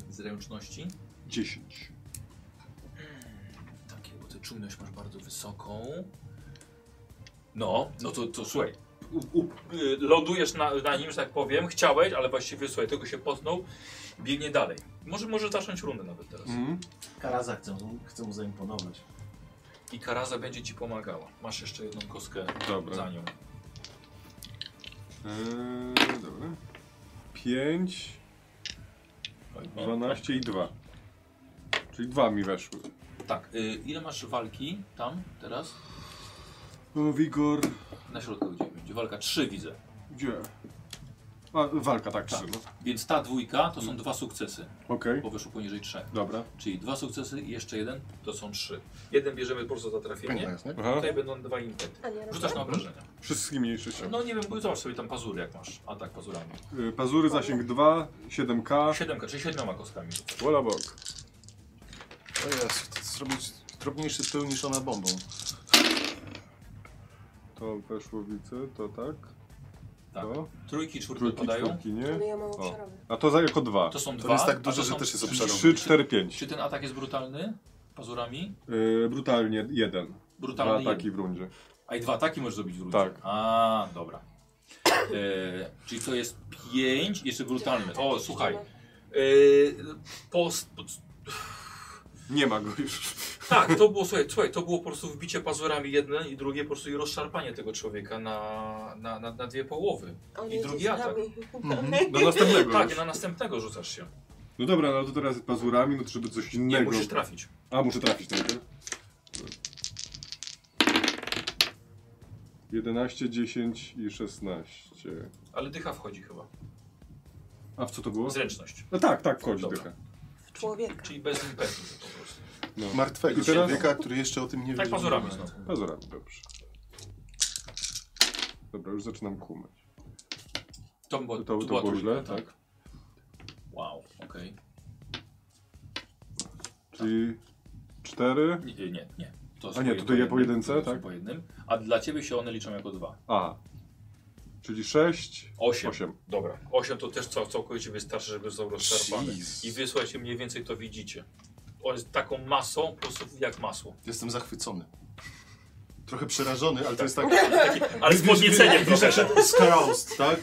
Speaker 1: yy, zręczności?
Speaker 4: 10.
Speaker 1: Takie, bo ty czujność masz bardzo wysoką. No, no to, to słuchaj. U, u, y, lądujesz na, na nim, że tak powiem. Chciałeś, ale właściwie słuchaj, tego się potknął. Biegnie dalej. Może, może zacząć rundę nawet teraz.
Speaker 4: Mhm.
Speaker 2: Karaza chce, mu- chce mu zaimponować.
Speaker 1: I Karaza będzie ci pomagała. Masz jeszcze jedną kostkę
Speaker 4: Dobra.
Speaker 1: za nią.
Speaker 4: Eee, dobra. 5, 12 i 2. Czyli dwa mi weszły.
Speaker 1: Tak, y, ile masz walki tam teraz?
Speaker 4: No, Wigor.
Speaker 1: Na środku gdzie będzie? Walka 3 widzę.
Speaker 4: Gdzie? A, walka, tak,
Speaker 1: Tak.
Speaker 4: trzy. No.
Speaker 1: Więc ta dwójka to są dwa sukcesy,
Speaker 4: Okej,
Speaker 1: bo wyszło poniżej 3.
Speaker 4: dobra.
Speaker 1: Czyli dwa sukcesy i jeszcze jeden to są trzy. Jeden bierzemy po prostu za trafienie.
Speaker 5: Piękne, nie?
Speaker 4: Aha.
Speaker 1: Tutaj będą dwa impety.
Speaker 3: A nie robię.
Speaker 1: Rzucasz na obrażenia.
Speaker 4: Wszystkim mniejszością.
Speaker 1: No nie wiem, bo zobacz sobie tam pazury jak masz. A tak, pazurami.
Speaker 4: Y, Pazury, zasięg 2, 7K.
Speaker 1: Siedemka, czyli siedmioma kostkami.
Speaker 4: Wolabok.
Speaker 2: To jest, to zrobić drobniejszy pył niż ona bombą.
Speaker 4: To weszło wice, to tak.
Speaker 1: Tak.
Speaker 4: To.
Speaker 1: Trójki, czwórki
Speaker 4: Trójki,
Speaker 1: padają.
Speaker 4: czwórki,
Speaker 3: Ale
Speaker 4: nie.
Speaker 3: ja mam
Speaker 4: O.
Speaker 3: obszarowy.
Speaker 4: A to za jako 2.
Speaker 1: To są dwa.
Speaker 5: To jest tak
Speaker 1: a
Speaker 5: duże, że
Speaker 1: są
Speaker 5: też jest
Speaker 1: trzy.
Speaker 5: obszarowy.
Speaker 4: 3, 4, 5.
Speaker 1: Czy ten atak jest brutalny? Pazurami?
Speaker 4: Y, Brutalnie 1. Dwa
Speaker 1: Brutalny.
Speaker 4: ataki
Speaker 1: jeden.
Speaker 4: w rundzie.
Speaker 1: A i dwa ataki możesz zrobić w rundzie.
Speaker 4: Tak.
Speaker 1: A, dobra. E, czyli to jest pięć, jeszcze brutalny. O, słuchaj. E, post, post,
Speaker 4: Nie ma go już.
Speaker 1: Tak, to było, słuchaj, słuchaj, to było po prostu wbicie pazurami jedne i drugie po prostu i rozszarpanie tego człowieka na, na, na, na dwie połowy. I
Speaker 3: On jedzie
Speaker 1: drugi
Speaker 3: z nami.
Speaker 4: Do następnego
Speaker 1: Tak, i
Speaker 4: już.
Speaker 1: na następnego rzucasz się.
Speaker 4: No dobra, no to teraz pazurami, no to żeby coś
Speaker 1: Nie,
Speaker 4: innego.
Speaker 1: musisz trafić.
Speaker 4: A, muszę trafić tak, najpierw. 11, 10 i 16.
Speaker 1: Ale dycha wchodzi chyba.
Speaker 4: A w co to było?
Speaker 1: Zręczność.
Speaker 4: No tak, tak, wchodzi
Speaker 1: Dobra.
Speaker 4: dycha.
Speaker 3: Człowieka.
Speaker 1: Czyli bez impetu po prostu.
Speaker 4: No.
Speaker 5: Martwego
Speaker 4: I teraz-
Speaker 5: człowieka, który jeszcze o tym nie
Speaker 1: Tak
Speaker 5: wiedział.
Speaker 1: pazurami znowu.
Speaker 4: Pazurami, No dobrze. Dobra, już zaczynam kumać.
Speaker 1: To, było,
Speaker 4: To,
Speaker 1: to,
Speaker 4: to,
Speaker 1: była
Speaker 4: było źle,
Speaker 1: trójka,
Speaker 4: tak?
Speaker 1: Wow, okej.
Speaker 4: Czyli 4.
Speaker 1: Nie, nie, nie. To
Speaker 4: A nie,
Speaker 1: swoje
Speaker 4: tutaj ja po jedynce,
Speaker 1: to są
Speaker 4: tak?
Speaker 1: Po jednym. A dla ciebie się one liczą jako dwa.
Speaker 4: A. Czyli 6.
Speaker 1: Osiem.
Speaker 4: 8.
Speaker 1: Dobra. Osiem to też cał, całkowicie wystarczy, żeby został rozszarpany. I wy słuchajcie, mniej więcej to widzicie. On jest taką masą, po prostu jak masło.
Speaker 5: Jestem zachwycony.
Speaker 2: Trochę przerażony, ale to jest tak...
Speaker 1: Ale z podnieceniem trochę.
Speaker 2: Scaroused, tak?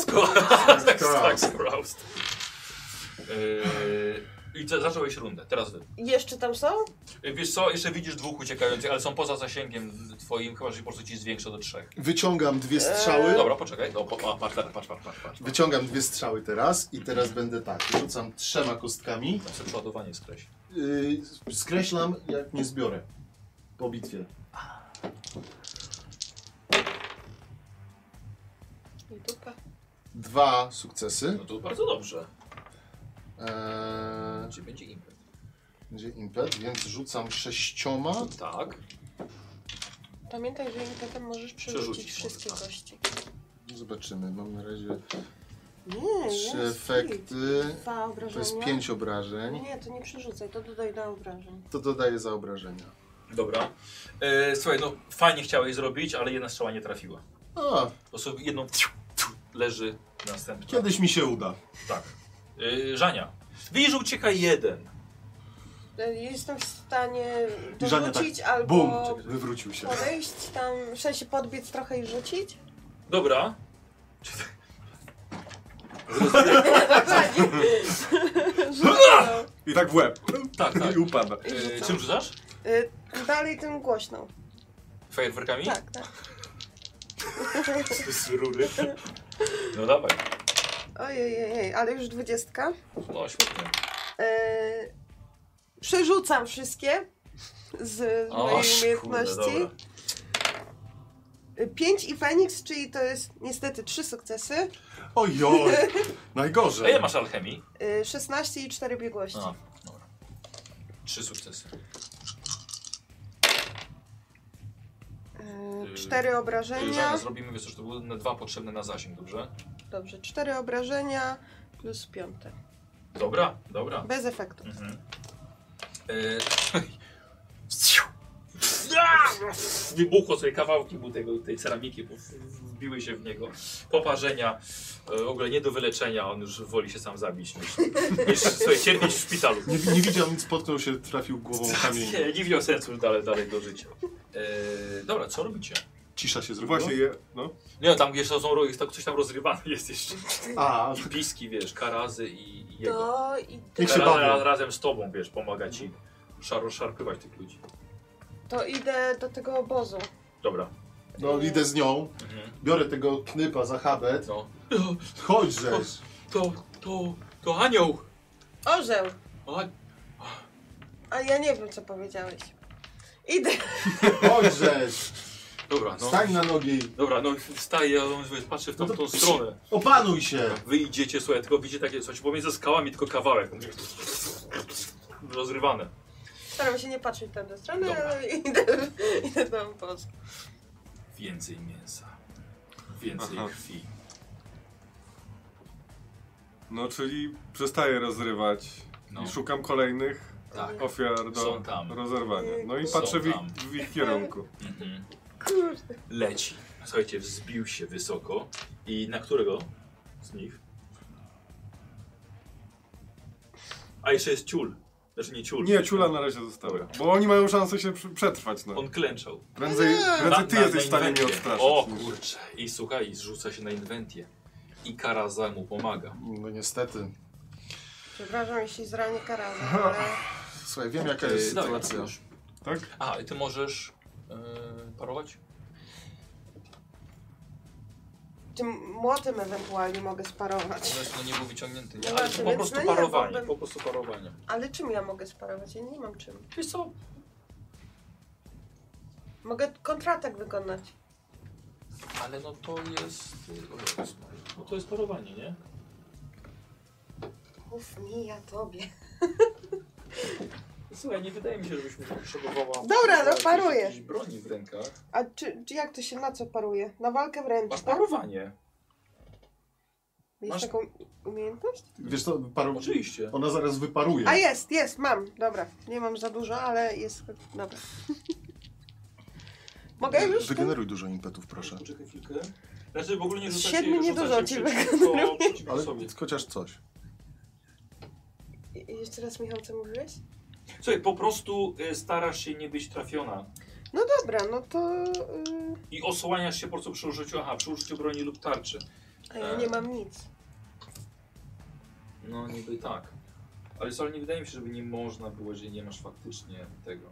Speaker 1: Sko- tak, tak, tak, sproust. Yy, I za- zacząłeś rundę, teraz wy.
Speaker 3: Jeszcze tam są?
Speaker 1: Y, Wiesz co, jeszcze widzisz dwóch uciekających, ale są poza zasięgiem twoim, chyba że po prostu ci zwiększa do trzech.
Speaker 5: Wyciągam dwie strzały.
Speaker 1: Dobra, poczekaj. No, po, pa- patrz, patrz, patrz, patrz, patrz, patrz.
Speaker 5: Wyciągam dwie strzały teraz i teraz będę tak. Rzucam trzema kostkami.
Speaker 1: Chcę przeładowanie skreś.
Speaker 5: Yy, skreślam, jak nie zbiorę. Po bitwie.
Speaker 3: I dupa.
Speaker 5: Dwa sukcesy.
Speaker 1: No to bardzo dobrze.
Speaker 5: Eee,
Speaker 1: Czy będzie impet?
Speaker 5: będzie impet, więc rzucam
Speaker 2: No.
Speaker 5: sześcioma.
Speaker 1: Tak.
Speaker 3: Pamiętaj, że impetem możesz
Speaker 1: Przerzucić
Speaker 3: przerzucić wszystkie
Speaker 5: tak.
Speaker 1: możesz,
Speaker 3: kości.
Speaker 5: Zobaczymy. Mam na razie
Speaker 3: Nie, jest
Speaker 5: trzy
Speaker 3: hit.
Speaker 5: efekty.
Speaker 3: Dwa
Speaker 5: To
Speaker 3: obrażenia.
Speaker 5: jest pięć obrażeń.
Speaker 3: Nie, to nie przerzucaj, to dodaj do obrażeń.
Speaker 5: To dodaję za obrażenia.
Speaker 1: Dobra. E, słuchaj, no fajnie chciałeś zrobić, ale jedna strzała nie trafiła.
Speaker 5: A,
Speaker 1: Po prostu jedną leży następna.
Speaker 5: kiedyś mi się uda.
Speaker 1: Tak. E, Żania. Widzisz, że ucieka jeden.
Speaker 3: E, Jestem w stanie
Speaker 5: Żadne tak.
Speaker 3: dorzucić albo
Speaker 5: Bum! Wywrócił się.
Speaker 3: podejść tam, w sensie podbiec trochę i rzucić.
Speaker 1: Dobra.
Speaker 3: Rzucę.
Speaker 4: I tak w łeb.
Speaker 1: Tak, tak.
Speaker 4: I upada.
Speaker 1: E, czym rzucasz?
Speaker 3: Y, Dalej tym głośno.
Speaker 1: Fajerwerkami?
Speaker 3: Tak, tak.
Speaker 1: Z rury. No dawaj.
Speaker 3: Ojej, ojej, ale już dwudziestka.
Speaker 1: No świetnie.
Speaker 3: Y, Przerzucam wszystkie z mojej umiejętności.
Speaker 1: dobra.
Speaker 3: Y, Pięć i Feniks, czyli to jest niestety trzy sukcesy.
Speaker 5: Ojoj!
Speaker 1: A
Speaker 5: Najgorzej.
Speaker 1: ile masz alchemii?
Speaker 3: Y, 16 i 4 biegłości.
Speaker 1: A, dobra. Trzy sukcesy.
Speaker 3: Y, Cztery obrażenia.
Speaker 1: Żania, zrobimy, wiesz, co, że to były na dwa potrzebne na zasięg, dobrze?
Speaker 3: Dobrze, cztery obrażenia plus piąte.
Speaker 1: Dobra, dobra.
Speaker 3: Bez efektu.
Speaker 1: Mhm. Eee, Wybuchło sobie kawałki mu tego, tej ceramiki, bo w- wbiły się w niego. Poparzenia, e, w ogóle nie do wyleczenia, on już woli się sam zabić niż, niż sobie cierpieć w szpitalu.
Speaker 5: Nie, nie widział nic, potknął się, trafił głową w kamień.
Speaker 1: Nie, nie wziął sensu już dalej, dalej do życia. E, dobra, co robicie?
Speaker 5: Cisza się zrobiła.
Speaker 4: Właśnie je, no.
Speaker 1: Nie, tam jeszcze są, ro- jest tam, coś tam rozrywane jest jeszcze.
Speaker 5: A,
Speaker 1: I piski, wiesz, karazy i, i jego.
Speaker 3: To i to,
Speaker 5: Niech się
Speaker 1: Ra-
Speaker 5: bawią.
Speaker 1: ra- razem z tobą, wiesz, pomaga ci szar szarpywać tych ludzi.
Speaker 3: to idę do tego obozu.
Speaker 1: Dobra.
Speaker 5: no idę z nią,
Speaker 1: Mhm.
Speaker 5: biorę tego knypa za habet.
Speaker 1: No.
Speaker 5: Chodź żeś.
Speaker 1: To, to, to anioł!
Speaker 3: Orzeł!
Speaker 1: A,
Speaker 3: A ja nie wiem, co powiedziałeś. Idę.
Speaker 5: Chodź żeś.
Speaker 1: dobra, no.
Speaker 5: Stań na nogi.
Speaker 1: Dobra, no wstaje, a on wiesz, patrzy w tą,
Speaker 5: No to
Speaker 1: tą
Speaker 5: przy-
Speaker 1: stronę.
Speaker 5: Opanuj się.
Speaker 1: Wyjdziecie, słuchaj, tylko widzicie takie coś pomiędzy skałami, tylko kawałek. Rozrywane.
Speaker 3: Staram się nie patrzeć tam do strony,
Speaker 1: Dobra.
Speaker 3: ale idę, idę do obozu.
Speaker 1: Więcej mięsa. Więcej
Speaker 4: Aha.
Speaker 1: krwi.
Speaker 4: No, czyli przestaję rozrywać
Speaker 1: No.
Speaker 4: i szukam kolejnych
Speaker 1: Tak.
Speaker 4: ofiar do
Speaker 1: Są tam.
Speaker 4: rozerwania. No i
Speaker 1: Są
Speaker 4: patrzę w ich,
Speaker 1: tam.
Speaker 4: w ich kierunku.
Speaker 1: Mhm.
Speaker 3: Kurde.
Speaker 1: Leci. Słuchajcie, wzbił się wysoko. I na którego z nich? A jeszcze jest ciul. Znaczy nie ciul.
Speaker 4: Nie, ciula na razie zostały, bo oni mają szansę się przy- przetrwać. No.
Speaker 1: On klęczał.
Speaker 4: Prędzej, prędzej ty jesteś w stanie mnie
Speaker 1: inwentię.
Speaker 4: odstraszyć.
Speaker 1: O
Speaker 4: niż-
Speaker 1: kurczę. I słuchaj, i zrzuca się na inwentię. I Karaza mu pomaga.
Speaker 5: No niestety.
Speaker 3: Przepraszam, jeśli zranię karazę, ale
Speaker 5: Słuchaj, wiem jaka jest
Speaker 1: Yy, dawaj,
Speaker 5: sytuacja.
Speaker 1: już.
Speaker 4: Tak?
Speaker 1: A, i ty możesz yy, parować?
Speaker 3: tym młotem ewentualnie mogę sparować.
Speaker 1: Zresztą no nie był wyciągnięty.
Speaker 3: No
Speaker 1: Nie, ale
Speaker 3: właśnie,
Speaker 1: po
Speaker 3: więc
Speaker 1: prostu
Speaker 3: no nie,
Speaker 1: parowanie.
Speaker 3: byłbym-
Speaker 1: Po prostu parowanie.
Speaker 3: Ale czym ja mogę sparować? Ja nie mam czym.
Speaker 1: Wiesz co?
Speaker 3: Mogę kontratak wykonać.
Speaker 1: Ale no to jest... o Jezu, No to jest parowanie, nie?
Speaker 3: Uf, mi, ja tobie.
Speaker 1: Słuchaj, nie wydaje mi się, żebyśmy potrzebowała...
Speaker 3: Dobra, no paruję.
Speaker 1: jakiejś broni w rękach.
Speaker 3: A czy, czy jak to się na co paruje? Na walkę wręcz,
Speaker 1: Masz
Speaker 3: tak?
Speaker 1: parowanie.
Speaker 3: Jest
Speaker 1: Masz-
Speaker 3: taką umiejętność?
Speaker 5: Wiesz co, paru...
Speaker 1: Oczywiście.
Speaker 5: ona zaraz wyparuje.
Speaker 3: A jest, jest, mam. Dobra. Nie mam za dużo, ale jest. Dobra. Mogę już?
Speaker 5: Wygeneruj dużo impetów, proszę.
Speaker 1: Poczekaj chwilkę. Znaczy w ogóle nie
Speaker 3: Z
Speaker 1: rzucać
Speaker 3: siedmiu nie
Speaker 1: rzucać
Speaker 3: dużo
Speaker 1: się
Speaker 3: ci
Speaker 1: przeciwko- przeciwko
Speaker 5: Ale
Speaker 1: sobie.
Speaker 5: chociaż coś.
Speaker 3: Je- Jeszcze raz, Michał, co mówiłeś?
Speaker 1: Słuchaj, po prostu y, starasz się nie być trafiona.
Speaker 3: No dobra, no to. Yy,
Speaker 1: I osłaniasz się po prostu przy użyciu, aha, przy użyciu broni lub tarczy.
Speaker 3: a ja nie mam nic.
Speaker 1: No niby tak. Ale co, ale nie wydaje mi się, żeby nie można było, jeżeli nie masz faktycznie tego.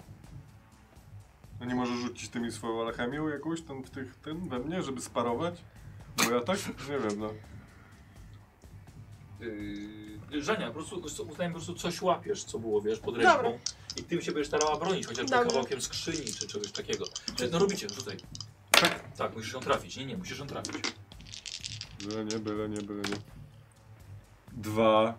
Speaker 4: No nie możesz rzucić tymi swoją alchemią jakąś tam w tych, tym we mnie, żeby sparować? Bo ja tak, nie wiem, no.
Speaker 1: Yy, Żenia, po prostu wiesz co, uznałem, po prostu coś łapiesz, co było, wiesz, pod ręką.
Speaker 3: Dobra.
Speaker 1: I tym się będziesz starała bronić, chociażby
Speaker 3: Dobra.
Speaker 1: kawałkiem skrzyni czy czegoś takiego. Czy no robicie, rzucaj. Tak. Tak, musisz ją trafić. Nie, nie, musisz ją trafić.
Speaker 4: Byle nie, byle nie, byle nie. Dwa.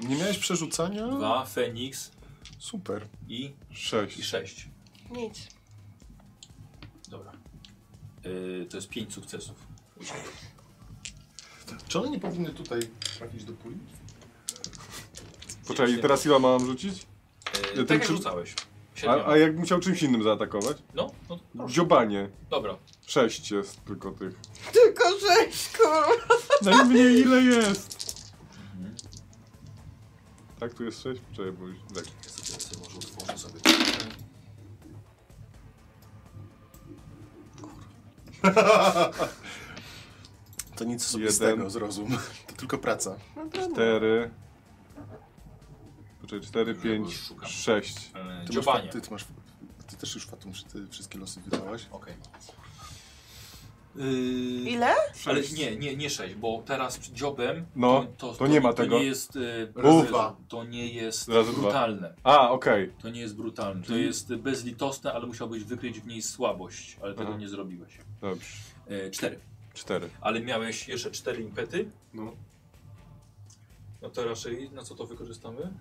Speaker 2: Nie miałeś przerzucania?
Speaker 1: Dwa, Feniks
Speaker 4: Super.
Speaker 1: i, i
Speaker 4: Sześć.
Speaker 1: sześć.
Speaker 3: Nic.
Speaker 1: Dobra. Yy, to jest pięć sukcesów.
Speaker 2: Czy one nie powinny tutaj trafić do puli?
Speaker 4: Poczekaj, i teraz ile mam rzucić?
Speaker 1: Yy, tak
Speaker 4: ten
Speaker 1: jak
Speaker 4: No czy-
Speaker 1: rzucałeś. Siedmioma.
Speaker 4: A, a jakbym chciał czymś innym zaatakować?
Speaker 1: No, no, proszę. Tak,
Speaker 4: Dziobanie.
Speaker 1: Dobra.
Speaker 4: Sześć jest tylko tych.
Speaker 15: Tylko sześć, kurwa.
Speaker 1: tak.
Speaker 4: Najmniej ile jest?
Speaker 1: Mhm.
Speaker 4: Tak, tu jest sześć? Poczekaj, bo już tak.
Speaker 1: Ja sobie, ja sobie może otworzę sobie.
Speaker 2: To nic sobie z
Speaker 4: Jeden.
Speaker 2: tego zrozum. To tylko praca.
Speaker 4: Cztery. Poczekaj, cztery,
Speaker 1: Już
Speaker 4: pięć,
Speaker 1: szukam.
Speaker 4: sześć.
Speaker 1: Yy,
Speaker 2: Ty, masz,
Speaker 1: dziobanie.
Speaker 4: tak-
Speaker 2: fa- ty, ty, masz, ty też już fatum, ty wszystkie losy wydałaś.
Speaker 1: Okej.
Speaker 15: Ile?
Speaker 1: Yy, Ale nie, nie, nie 6, bo teraz przy dziobem
Speaker 4: No, to nie ma tego.
Speaker 1: To nie jest, y,
Speaker 4: Razy
Speaker 1: dwa. to nie jest
Speaker 4: Razy dwa.
Speaker 1: brutalne.
Speaker 4: A, okej.
Speaker 1: To nie jest brutalne. To
Speaker 4: Mhm.
Speaker 1: jest y, bezlitosne, ale musiałbyś wykryć w niej słabość, ale tego
Speaker 4: Aha.
Speaker 1: nie zrobiłeś.
Speaker 4: Dobrze.
Speaker 1: Y, Cztery.
Speaker 4: Cztery.
Speaker 1: Ale miałeś jeszcze cztery impety.
Speaker 4: No.
Speaker 1: No to raczej na co to wykorzystamy?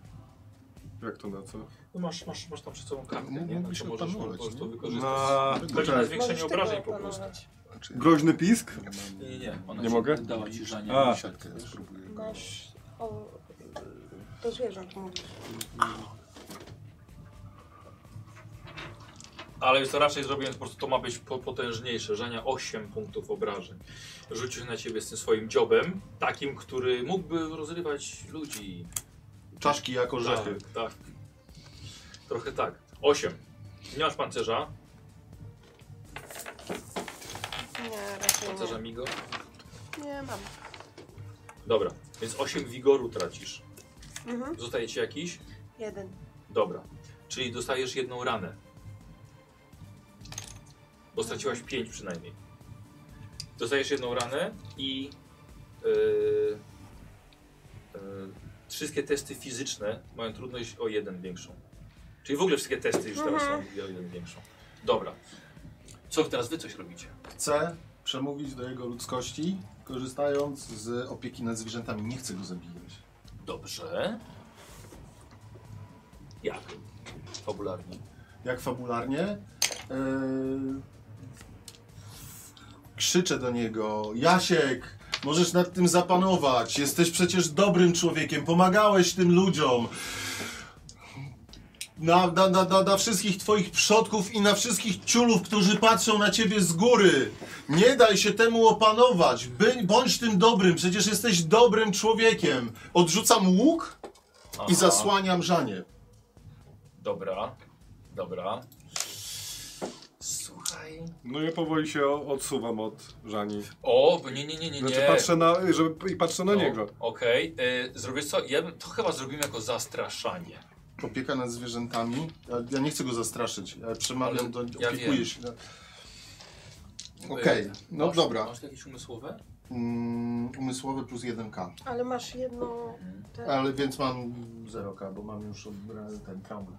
Speaker 4: Jak to na co?
Speaker 1: No masz, masz, masz tam przed
Speaker 4: Tak,
Speaker 1: sobą kartę,
Speaker 2: No,
Speaker 1: nie?
Speaker 2: mógłbyś
Speaker 1: Znaczy możesz,
Speaker 2: opanować,
Speaker 1: możesz to
Speaker 2: nie?
Speaker 4: No,
Speaker 1: wykorzystać. Będzie na
Speaker 3: Możesz
Speaker 1: zwiększenie
Speaker 3: tego
Speaker 1: obrażeń po prostu.
Speaker 3: opanować.
Speaker 2: Znaczy,
Speaker 4: Groźny pisk?
Speaker 1: Nie, nie, nie. Ona
Speaker 4: Nie
Speaker 1: ci
Speaker 4: mogę?
Speaker 1: Dała ci żanie.
Speaker 4: A.
Speaker 2: siatkę ja spróbuję.
Speaker 3: Masz... O, y, do zwierząt mówisz.
Speaker 1: Ale jest to raczej zrobiłem, po prostu to ma być po- potężniejsze. Żania 8 punktów obrażeń. Rzucił się na ciebie z tym swoim dziobem, takim, który mógłby rozrywać ludzi.
Speaker 6: Czaszki jako
Speaker 1: Tak,
Speaker 6: orzechy.
Speaker 1: tak. Trochę tak. 8. Nie masz pancerza.
Speaker 3: Nie, raczej
Speaker 1: Pancerza Migo.
Speaker 3: nie. Nie mam.
Speaker 1: Dobra, więc 8 wigoru tracisz.
Speaker 3: Mhm.
Speaker 1: Zostaje ci jakiś?
Speaker 3: Jeden.
Speaker 1: Dobra. Czyli dostajesz jedną ranę. Bo straciłaś 5 przynajmniej. Dostajesz jedną ranę i yy, yy, wszystkie testy fizyczne mają trudność o jeden większą. Czyli w ogóle wszystkie testy już teraz są o jeden większą. Dobra. Co teraz wy coś robicie?
Speaker 2: Chcę przemówić do jego ludzkości, korzystając z opieki nad zwierzętami. Nie chcę go zabijać.
Speaker 1: Dobrze. Jak? Fabularnie.
Speaker 2: Jak fabularnie e, krzyczę do niego, Jasiek, możesz nad tym zapanować, jesteś przecież dobrym człowiekiem, pomagałeś tym ludziom. Na, na, na, na, na wszystkich twoich przodków i na wszystkich ciulów, którzy patrzą na ciebie z góry. Nie daj się temu opanować. By, bądź tym dobrym, przecież jesteś dobrym człowiekiem. Odrzucam łuk i
Speaker 1: Aha.
Speaker 2: zasłaniam żanie.
Speaker 1: Dobra. Dobra. Słuchaj.
Speaker 4: No ja powoli się o- odsuwam od Żani.
Speaker 1: O, bo nie, nie, nie, nie,
Speaker 4: Znaczy
Speaker 1: nie.
Speaker 4: patrzę na, żeby, i patrzę na
Speaker 1: No,
Speaker 4: niego.
Speaker 1: Okej, y, zrobisz co? Ja bym, to chyba zrobimy jako zastraszanie.
Speaker 2: Opieka nad zwierzętami. Ja, ja nie chcę go zastraszyć. Ja
Speaker 1: Ale
Speaker 2: przemawiam do.
Speaker 1: ja
Speaker 2: opiekuję
Speaker 1: wiem.
Speaker 2: się. Okej,
Speaker 1: Y,
Speaker 2: no
Speaker 1: masz,
Speaker 2: dobra.
Speaker 1: Masz jakieś umysłowe?
Speaker 2: Mm, umysłowy plus 1K.
Speaker 3: Ale masz jedną... Te...
Speaker 2: Ale więc mam 0K, bo mam już obra- ten traumę.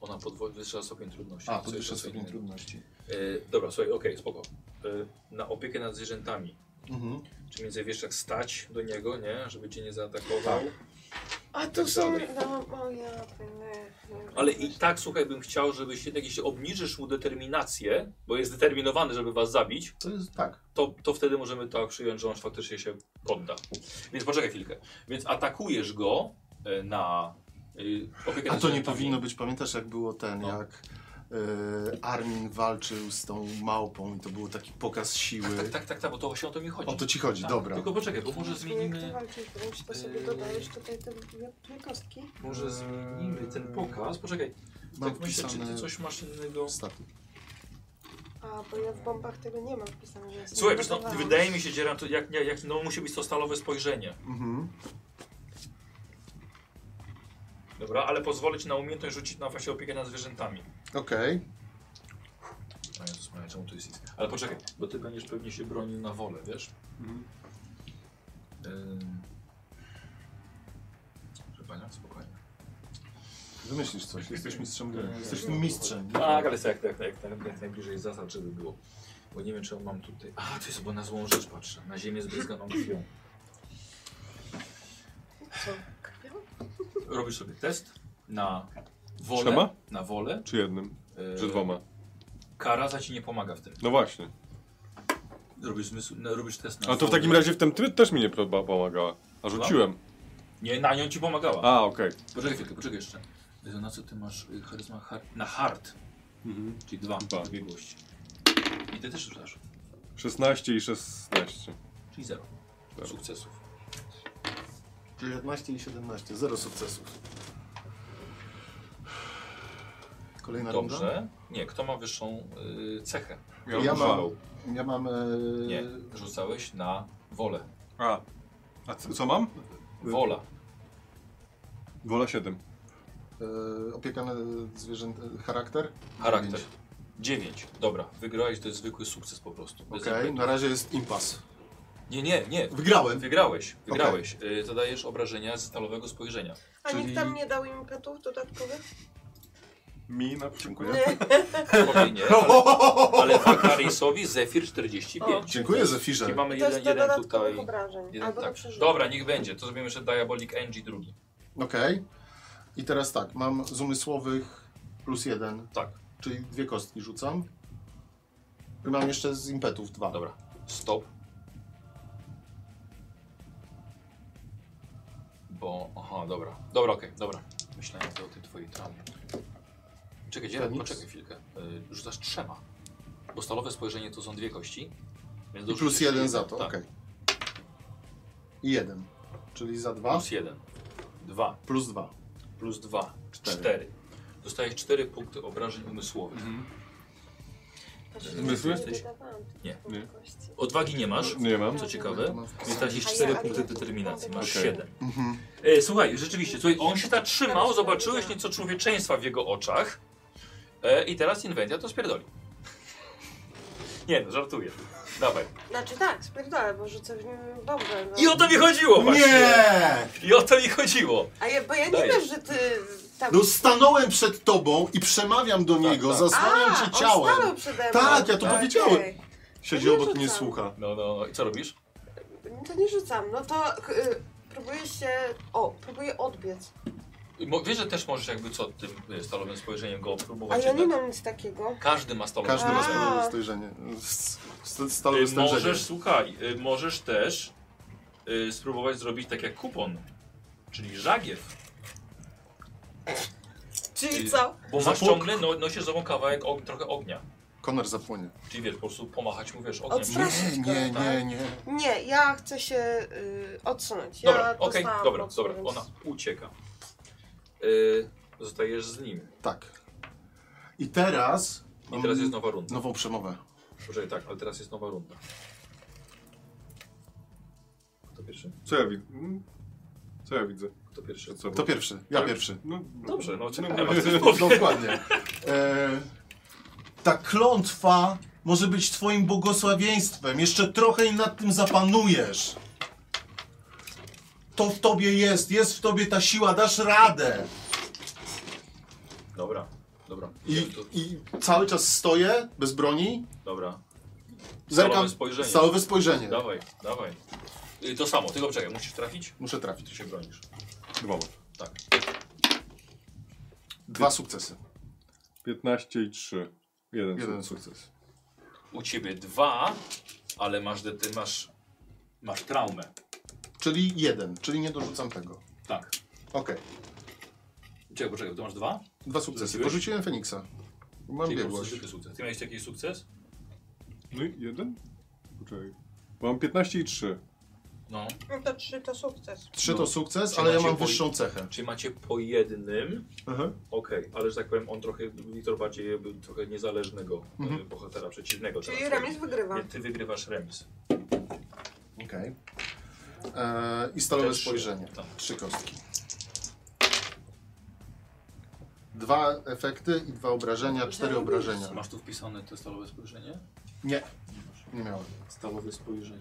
Speaker 1: Ona podwo- wyższa stopień trudności.
Speaker 2: A,
Speaker 1: Coś-
Speaker 2: podwyższa
Speaker 1: coś
Speaker 2: sobie
Speaker 1: innego.
Speaker 2: trudności.
Speaker 1: Y, dobra, słuchaj, okej, spoko. Y, na opiekę nad zwierzętami.
Speaker 2: Mhm.
Speaker 1: Czy między wiesz jak stać do niego, nie? Żeby cię nie zaatakował.
Speaker 3: A tu
Speaker 1: tak
Speaker 3: są...
Speaker 1: dalej.
Speaker 3: No, o ja... nie, nie.
Speaker 1: Ale i tak, słuchaj, bym chciał, żebyś jednak, jeśli obniżysz mu determinację, bo jest zdeterminowany, żeby was zabić,
Speaker 2: To jest tak.
Speaker 1: to, to wtedy możemy tak przyjąć, że on faktycznie się podda. Więc poczekaj chwilkę. Więc atakujesz go e, na y, opiekę
Speaker 2: A
Speaker 1: nad
Speaker 2: to nie
Speaker 1: zwierzętami.
Speaker 2: powinno być. Pamiętasz, jak było ten,
Speaker 1: No.
Speaker 2: jak y, Armin walczył z tą małpą i to był taki pokaz siły.
Speaker 1: Tak, tak, tak, tak, bo to właśnie o to mi chodzi.
Speaker 2: O to ci chodzi,
Speaker 1: tak,
Speaker 2: dobra.
Speaker 1: Tylko poczekaj, bo może
Speaker 3: Jak ty
Speaker 1: zmienimy,
Speaker 3: walczysz, bo musisz to
Speaker 2: Yy.
Speaker 3: sobie dodajesz tutaj te dwie- dwie kostki.
Speaker 1: może zmienimy ten pokaz. Poczekaj,
Speaker 2: Mam
Speaker 1: tak myślę, czy ty
Speaker 2: wpisane-
Speaker 1: coś masz innego?
Speaker 2: Staty.
Speaker 3: A, bo ja w bombach tego nie mam wpisane, że jest
Speaker 1: Słuchaj, wiesz, no, wydaje mi się, Dzieran, to jak, jak, jak, no musi być to stalowe spojrzenie.
Speaker 2: Mhm.
Speaker 1: Dobra, ale pozwolę ci na umiejętność rzucić na właśnie opiekę nad zwierzętami.
Speaker 2: Okej.
Speaker 1: A Jezus Maria, czemu to jest istne? Ale poczekaj, bo ty będziesz pewnie się bronił na wolę, wiesz?
Speaker 4: Mhm.
Speaker 1: Ym... Proszę pana, spokojnie.
Speaker 16: Wymyślisz coś, jesteś mistrzem gry. Jesteś tym mistrzem.
Speaker 1: Tak, ale tak, tak, tak, tak, tak najbliżej zasad, żeby było. Bo nie wiem, czy mam tutaj... A, to jest, bo na złą rzecz patrzę. Na ziemię zbryzganą krwią.
Speaker 3: Co? Krwią?
Speaker 1: Robisz sobie test na wolę.
Speaker 4: Trzema?
Speaker 1: Na wolę.
Speaker 4: Czy jednym?
Speaker 1: Yy,
Speaker 4: Czy dwoma?
Speaker 1: Karaza ci nie pomaga w tym.
Speaker 4: No właśnie.
Speaker 1: Robisz, zmysł, no, robisz test na
Speaker 4: A to w
Speaker 1: wolę.
Speaker 4: takim razie w tym ty też mi nie proba- pomagała. A rzuciłem.
Speaker 1: Nie, na nią ci pomagała.
Speaker 4: A, okej.
Speaker 1: Poczekaj chwilkę, poczekaj jeszcze. Jezu, Na co ty masz y, charyzma hard? Na hard,
Speaker 4: Mhm.
Speaker 1: czyli dwa.
Speaker 4: Dwa.
Speaker 1: Biegłość. I ty też rzucasz,
Speaker 4: 16 i 16.
Speaker 1: czyli zero.
Speaker 4: Zero.
Speaker 1: Sukcesów.
Speaker 16: 19 i 17, zero sukcesów. Kolejna runda?
Speaker 1: Dobrze. Nie, kto ma wyższą y, cechę?
Speaker 4: Ja,
Speaker 2: Ja
Speaker 4: mam.
Speaker 2: mam. Ja mam... E...
Speaker 1: Nie, rzucałeś na wolę.
Speaker 4: A. A co, co mam?
Speaker 1: Wola.
Speaker 4: Wola 7.
Speaker 2: E, opieka nad zwierzęt... Charakter?
Speaker 1: Charakter. Dziewięć. Dobra, wygrałeś, to jest zwykły sukces po prostu. Bez
Speaker 2: Okej,
Speaker 1: jakby-
Speaker 2: na razie jest impas.
Speaker 1: Nie, nie, nie.
Speaker 2: Wygrałem.
Speaker 1: Wygrałeś, wygrałeś. Y, zadajesz obrażenia z stalowego spojrzenia.
Speaker 3: A
Speaker 2: Czyli-
Speaker 3: nikt tam nie dał im petów dodatkowych?
Speaker 4: Mi na przykład.
Speaker 1: Tobie
Speaker 2: No.
Speaker 1: nie, ale, ale Wakarisowi Zephyr 45.
Speaker 2: Dziękuję Zefirze.
Speaker 1: Czyli mamy
Speaker 3: To jest
Speaker 1: jeden,
Speaker 3: do
Speaker 1: jeden
Speaker 3: dodatkowych
Speaker 1: tutaj.
Speaker 3: obrażeń.
Speaker 1: Jeden,
Speaker 3: Albo do
Speaker 1: tak.
Speaker 3: przeżycia.
Speaker 1: Dobra, niech będzie. To zrobimy jeszcze Diabolic Angie drugi.
Speaker 2: Okej. I teraz tak, mam z umysłowych plus jeden,
Speaker 1: Tak,
Speaker 2: czyli dwie kostki rzucam. I mam jeszcze z impetów dwa.
Speaker 1: dobra. Stop. Bo. Aha, dobra. Dobra, okej, dobra. Myślałem to o tej twojej traumie. Czekaj, gdzie?
Speaker 2: Feniks?
Speaker 1: poczekaj chwilkę. Y, Rzucasz trzema. Bo stalowe spojrzenie to są dwie kości. Więc
Speaker 2: I plus
Speaker 1: dorzucisz
Speaker 2: jeden
Speaker 1: jeden.
Speaker 2: za to,
Speaker 1: tak.
Speaker 2: okej. I jeden, czyli za dwa,
Speaker 1: Plus jeden. Dwa.
Speaker 2: plus dwa.
Speaker 1: plus 2,
Speaker 2: Cztery.
Speaker 1: 4. Dostajesz 4 punkty obrażeń umysłowych.
Speaker 2: Mhm.
Speaker 4: Zmysły?
Speaker 3: Jesteś...
Speaker 1: Nie. Odwagi nie masz,
Speaker 4: Nie mam.
Speaker 1: co ciekawe.
Speaker 2: Mam wpisane.
Speaker 1: Więc tracisz
Speaker 3: A Mhm. ja-
Speaker 1: 4
Speaker 3: a ja-
Speaker 1: punkty determinacji, masz
Speaker 4: Okej.
Speaker 1: 7. E, słuchaj, rzeczywiście, słuchaj, on się tak trzymał, zobaczyłeś nieco człowieczeństwa w jego oczach. E, I teraz inwentia to spierdoli. Nie no, żartuję. Dawaj.
Speaker 3: Znaczy tak, spierdolę, bo rzucę w nim bombę. No.
Speaker 1: I o to mi chodziło właśnie!
Speaker 2: Nie!
Speaker 1: I o to mi chodziło!
Speaker 3: A ja, bo ja nie
Speaker 1: Dajesz.
Speaker 3: wiem, że ty tam...
Speaker 2: No stanąłem przed tobą i przemawiam do niego,
Speaker 1: tak.
Speaker 2: zasłaniam cię
Speaker 3: on
Speaker 2: ciałem.
Speaker 3: stanął przede mną.
Speaker 2: Tak, ja to
Speaker 3: Okej.
Speaker 2: powiedziałem.
Speaker 16: Siedzi
Speaker 3: Nie
Speaker 16: obok, nie
Speaker 3: rzucam.
Speaker 16: słucha.
Speaker 1: No, no, i co robisz?
Speaker 3: To nie rzucam, no to y, próbuję się... O, próbuję odbiec.
Speaker 1: Mo- Wiesz, że też możesz jakby co tym e, stalowym spojrzeniem go
Speaker 3: A
Speaker 1: próbować
Speaker 3: ja nie
Speaker 1: jednak.
Speaker 3: mam nic takiego.
Speaker 1: Każdy ma stalowe
Speaker 2: Każdy ma
Speaker 3: A.
Speaker 2: stalowe spojrzenie. S- s- Stalowe
Speaker 1: Ty
Speaker 2: stężenie.
Speaker 1: możesz, słuchaj, y, możesz też y, spróbować zrobić tak jak kupon, czyli żagiew,
Speaker 3: Czyli
Speaker 1: Ty-
Speaker 3: co?
Speaker 1: bo masz
Speaker 2: Zapłuk.
Speaker 1: ciągle, no, nosisz ze sobą kawałek, og trochę ognia,
Speaker 2: Konar zapłonie.
Speaker 1: czyli wiesz, po prostu pomachać mu, wiesz, ogniem.
Speaker 3: Odstraszyć.
Speaker 2: Nie, nie, nie, nie.
Speaker 3: Nie, ja chcę się y, odsunąć.
Speaker 1: Dobra,
Speaker 3: ja
Speaker 1: okej,
Speaker 3: dostałam
Speaker 1: dobra,
Speaker 3: mocno,
Speaker 1: dobra,
Speaker 3: więc-
Speaker 1: ona ucieka. Y, zostajesz z nim.
Speaker 2: Tak. I teraz...
Speaker 1: I teraz
Speaker 2: mam
Speaker 1: jest nowa runda.
Speaker 2: Nową przemowę.
Speaker 1: Poczekaj, tak, ale teraz jest nowa runda. Kto pierwszy?
Speaker 4: Co ja widzę? Mm. Co ja widzę?
Speaker 1: Kto pierwszy?
Speaker 4: Przed sobą.
Speaker 2: To pierwszy, ja
Speaker 4: Tak?
Speaker 2: pierwszy.
Speaker 4: No,
Speaker 1: Dobrze, no, czekaj,
Speaker 4: No,
Speaker 1: ma coś
Speaker 4: no,
Speaker 1: powiedzieć.
Speaker 2: Dokładnie. E, ta klątwa może być twoim błogosławieństwem. Jeszcze trochę i nad tym zapanujesz. To w tobie jest, jest w tobie ta siła, dasz radę.
Speaker 1: Dobra, dobra,
Speaker 2: I, i cały czas stoję, bez broni,
Speaker 1: dobra,
Speaker 2: zerkam,
Speaker 1: Stalowe spojrzenie.
Speaker 2: całe spojrzenie.
Speaker 1: dawaj, dawaj. Y, To samo, tylko czekaj, musisz trafić?
Speaker 2: Muszę trafić.
Speaker 1: Ty się bronisz.
Speaker 4: dwoma.
Speaker 1: Tak.
Speaker 2: Dwa sukcesy,
Speaker 4: 15 i 3. Jeden.
Speaker 2: jeden sukces.
Speaker 1: U ciebie dwa, ale masz, de- ty masz, masz traumę.
Speaker 2: Czyli jeden, czyli nie dorzucam tego.
Speaker 1: Tak.
Speaker 2: Okej,
Speaker 1: Czekaj, poczekaj, to masz dwa?
Speaker 2: dwa sukcesy.
Speaker 1: Rzuciłeś?
Speaker 2: Porzuciłem Feniksa. Mam
Speaker 1: Czyli po prostu
Speaker 2: biegłość.
Speaker 1: zwykły sukces. Ty miałeś taki sukces?
Speaker 4: No i jeden? Poczekaj. Bo mam 15 i 3.
Speaker 1: No.
Speaker 3: No to trzy to sukces.
Speaker 2: Trzy to sukces,
Speaker 1: Czy
Speaker 2: ale ja
Speaker 1: macie
Speaker 2: mam
Speaker 1: boi-
Speaker 2: wyższą cechę.
Speaker 1: Czy macie po jednym?
Speaker 2: Mhm.
Speaker 1: Okej, ale że tak powiem, on trochę, Wiktor bardziej jakby trochę niezależnego
Speaker 17: Mhm.
Speaker 1: e, bohatera przeciwnego.
Speaker 3: Czyli
Speaker 1: teraz
Speaker 3: remis
Speaker 1: robi.
Speaker 3: wygrywa.
Speaker 1: Nie, ty wygrywasz remis.
Speaker 2: Okej. Eee, I stalowe
Speaker 1: Te trzy.
Speaker 2: spojrzenie.
Speaker 1: Tak.
Speaker 2: Trzy kostki. Dwa efekty i dwa obrażenia, cztery obrażenia.
Speaker 6: Masz tu wpisane te stalowe spojrzenie?
Speaker 2: Nie, nie miałem.
Speaker 17: Stalowe spojrzenie.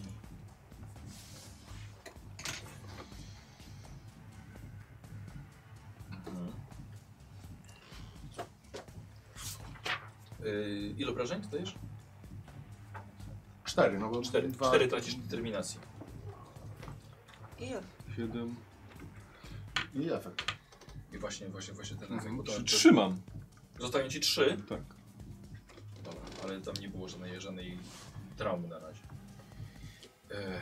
Speaker 1: Mhm. E,
Speaker 6: Yy, ile obrażeń dajesz?
Speaker 2: Cztery, no bo
Speaker 6: Cztery.
Speaker 2: dwa...
Speaker 6: Cztery tracisz determinację.
Speaker 18: I ja.
Speaker 4: Siedem.
Speaker 2: I efekt.
Speaker 6: I właśnie, właśnie, właśnie ten efekt.
Speaker 4: Mhm.
Speaker 19: Tak,
Speaker 6: bo to-
Speaker 4: Trzy-
Speaker 6: to-
Speaker 4: Trzymam.
Speaker 6: Zostają ci trzy.
Speaker 4: Tak.
Speaker 6: Dobra, ale tam nie było żadnej, żadnej traumy na razie. Ech.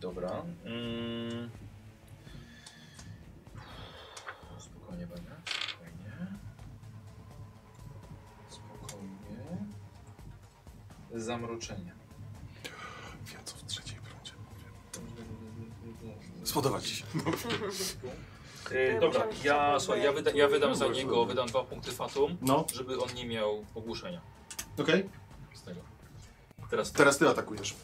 Speaker 6: Dobra. Mm. Spokojnie będę. Spokojnie. Spokojnie. Zamroczenie.
Speaker 4: Ja co w trzeciej rundzie. Spodobał ci się.
Speaker 6: E, dobra, ja, słuchaj, ja, wyda, ja wydam za niego, wydam dwa punkty fatum,
Speaker 2: No,
Speaker 6: żeby on nie miał ogłuszenia
Speaker 2: okej.
Speaker 6: z tego. Teraz ty.
Speaker 2: Teraz ty atakujesz.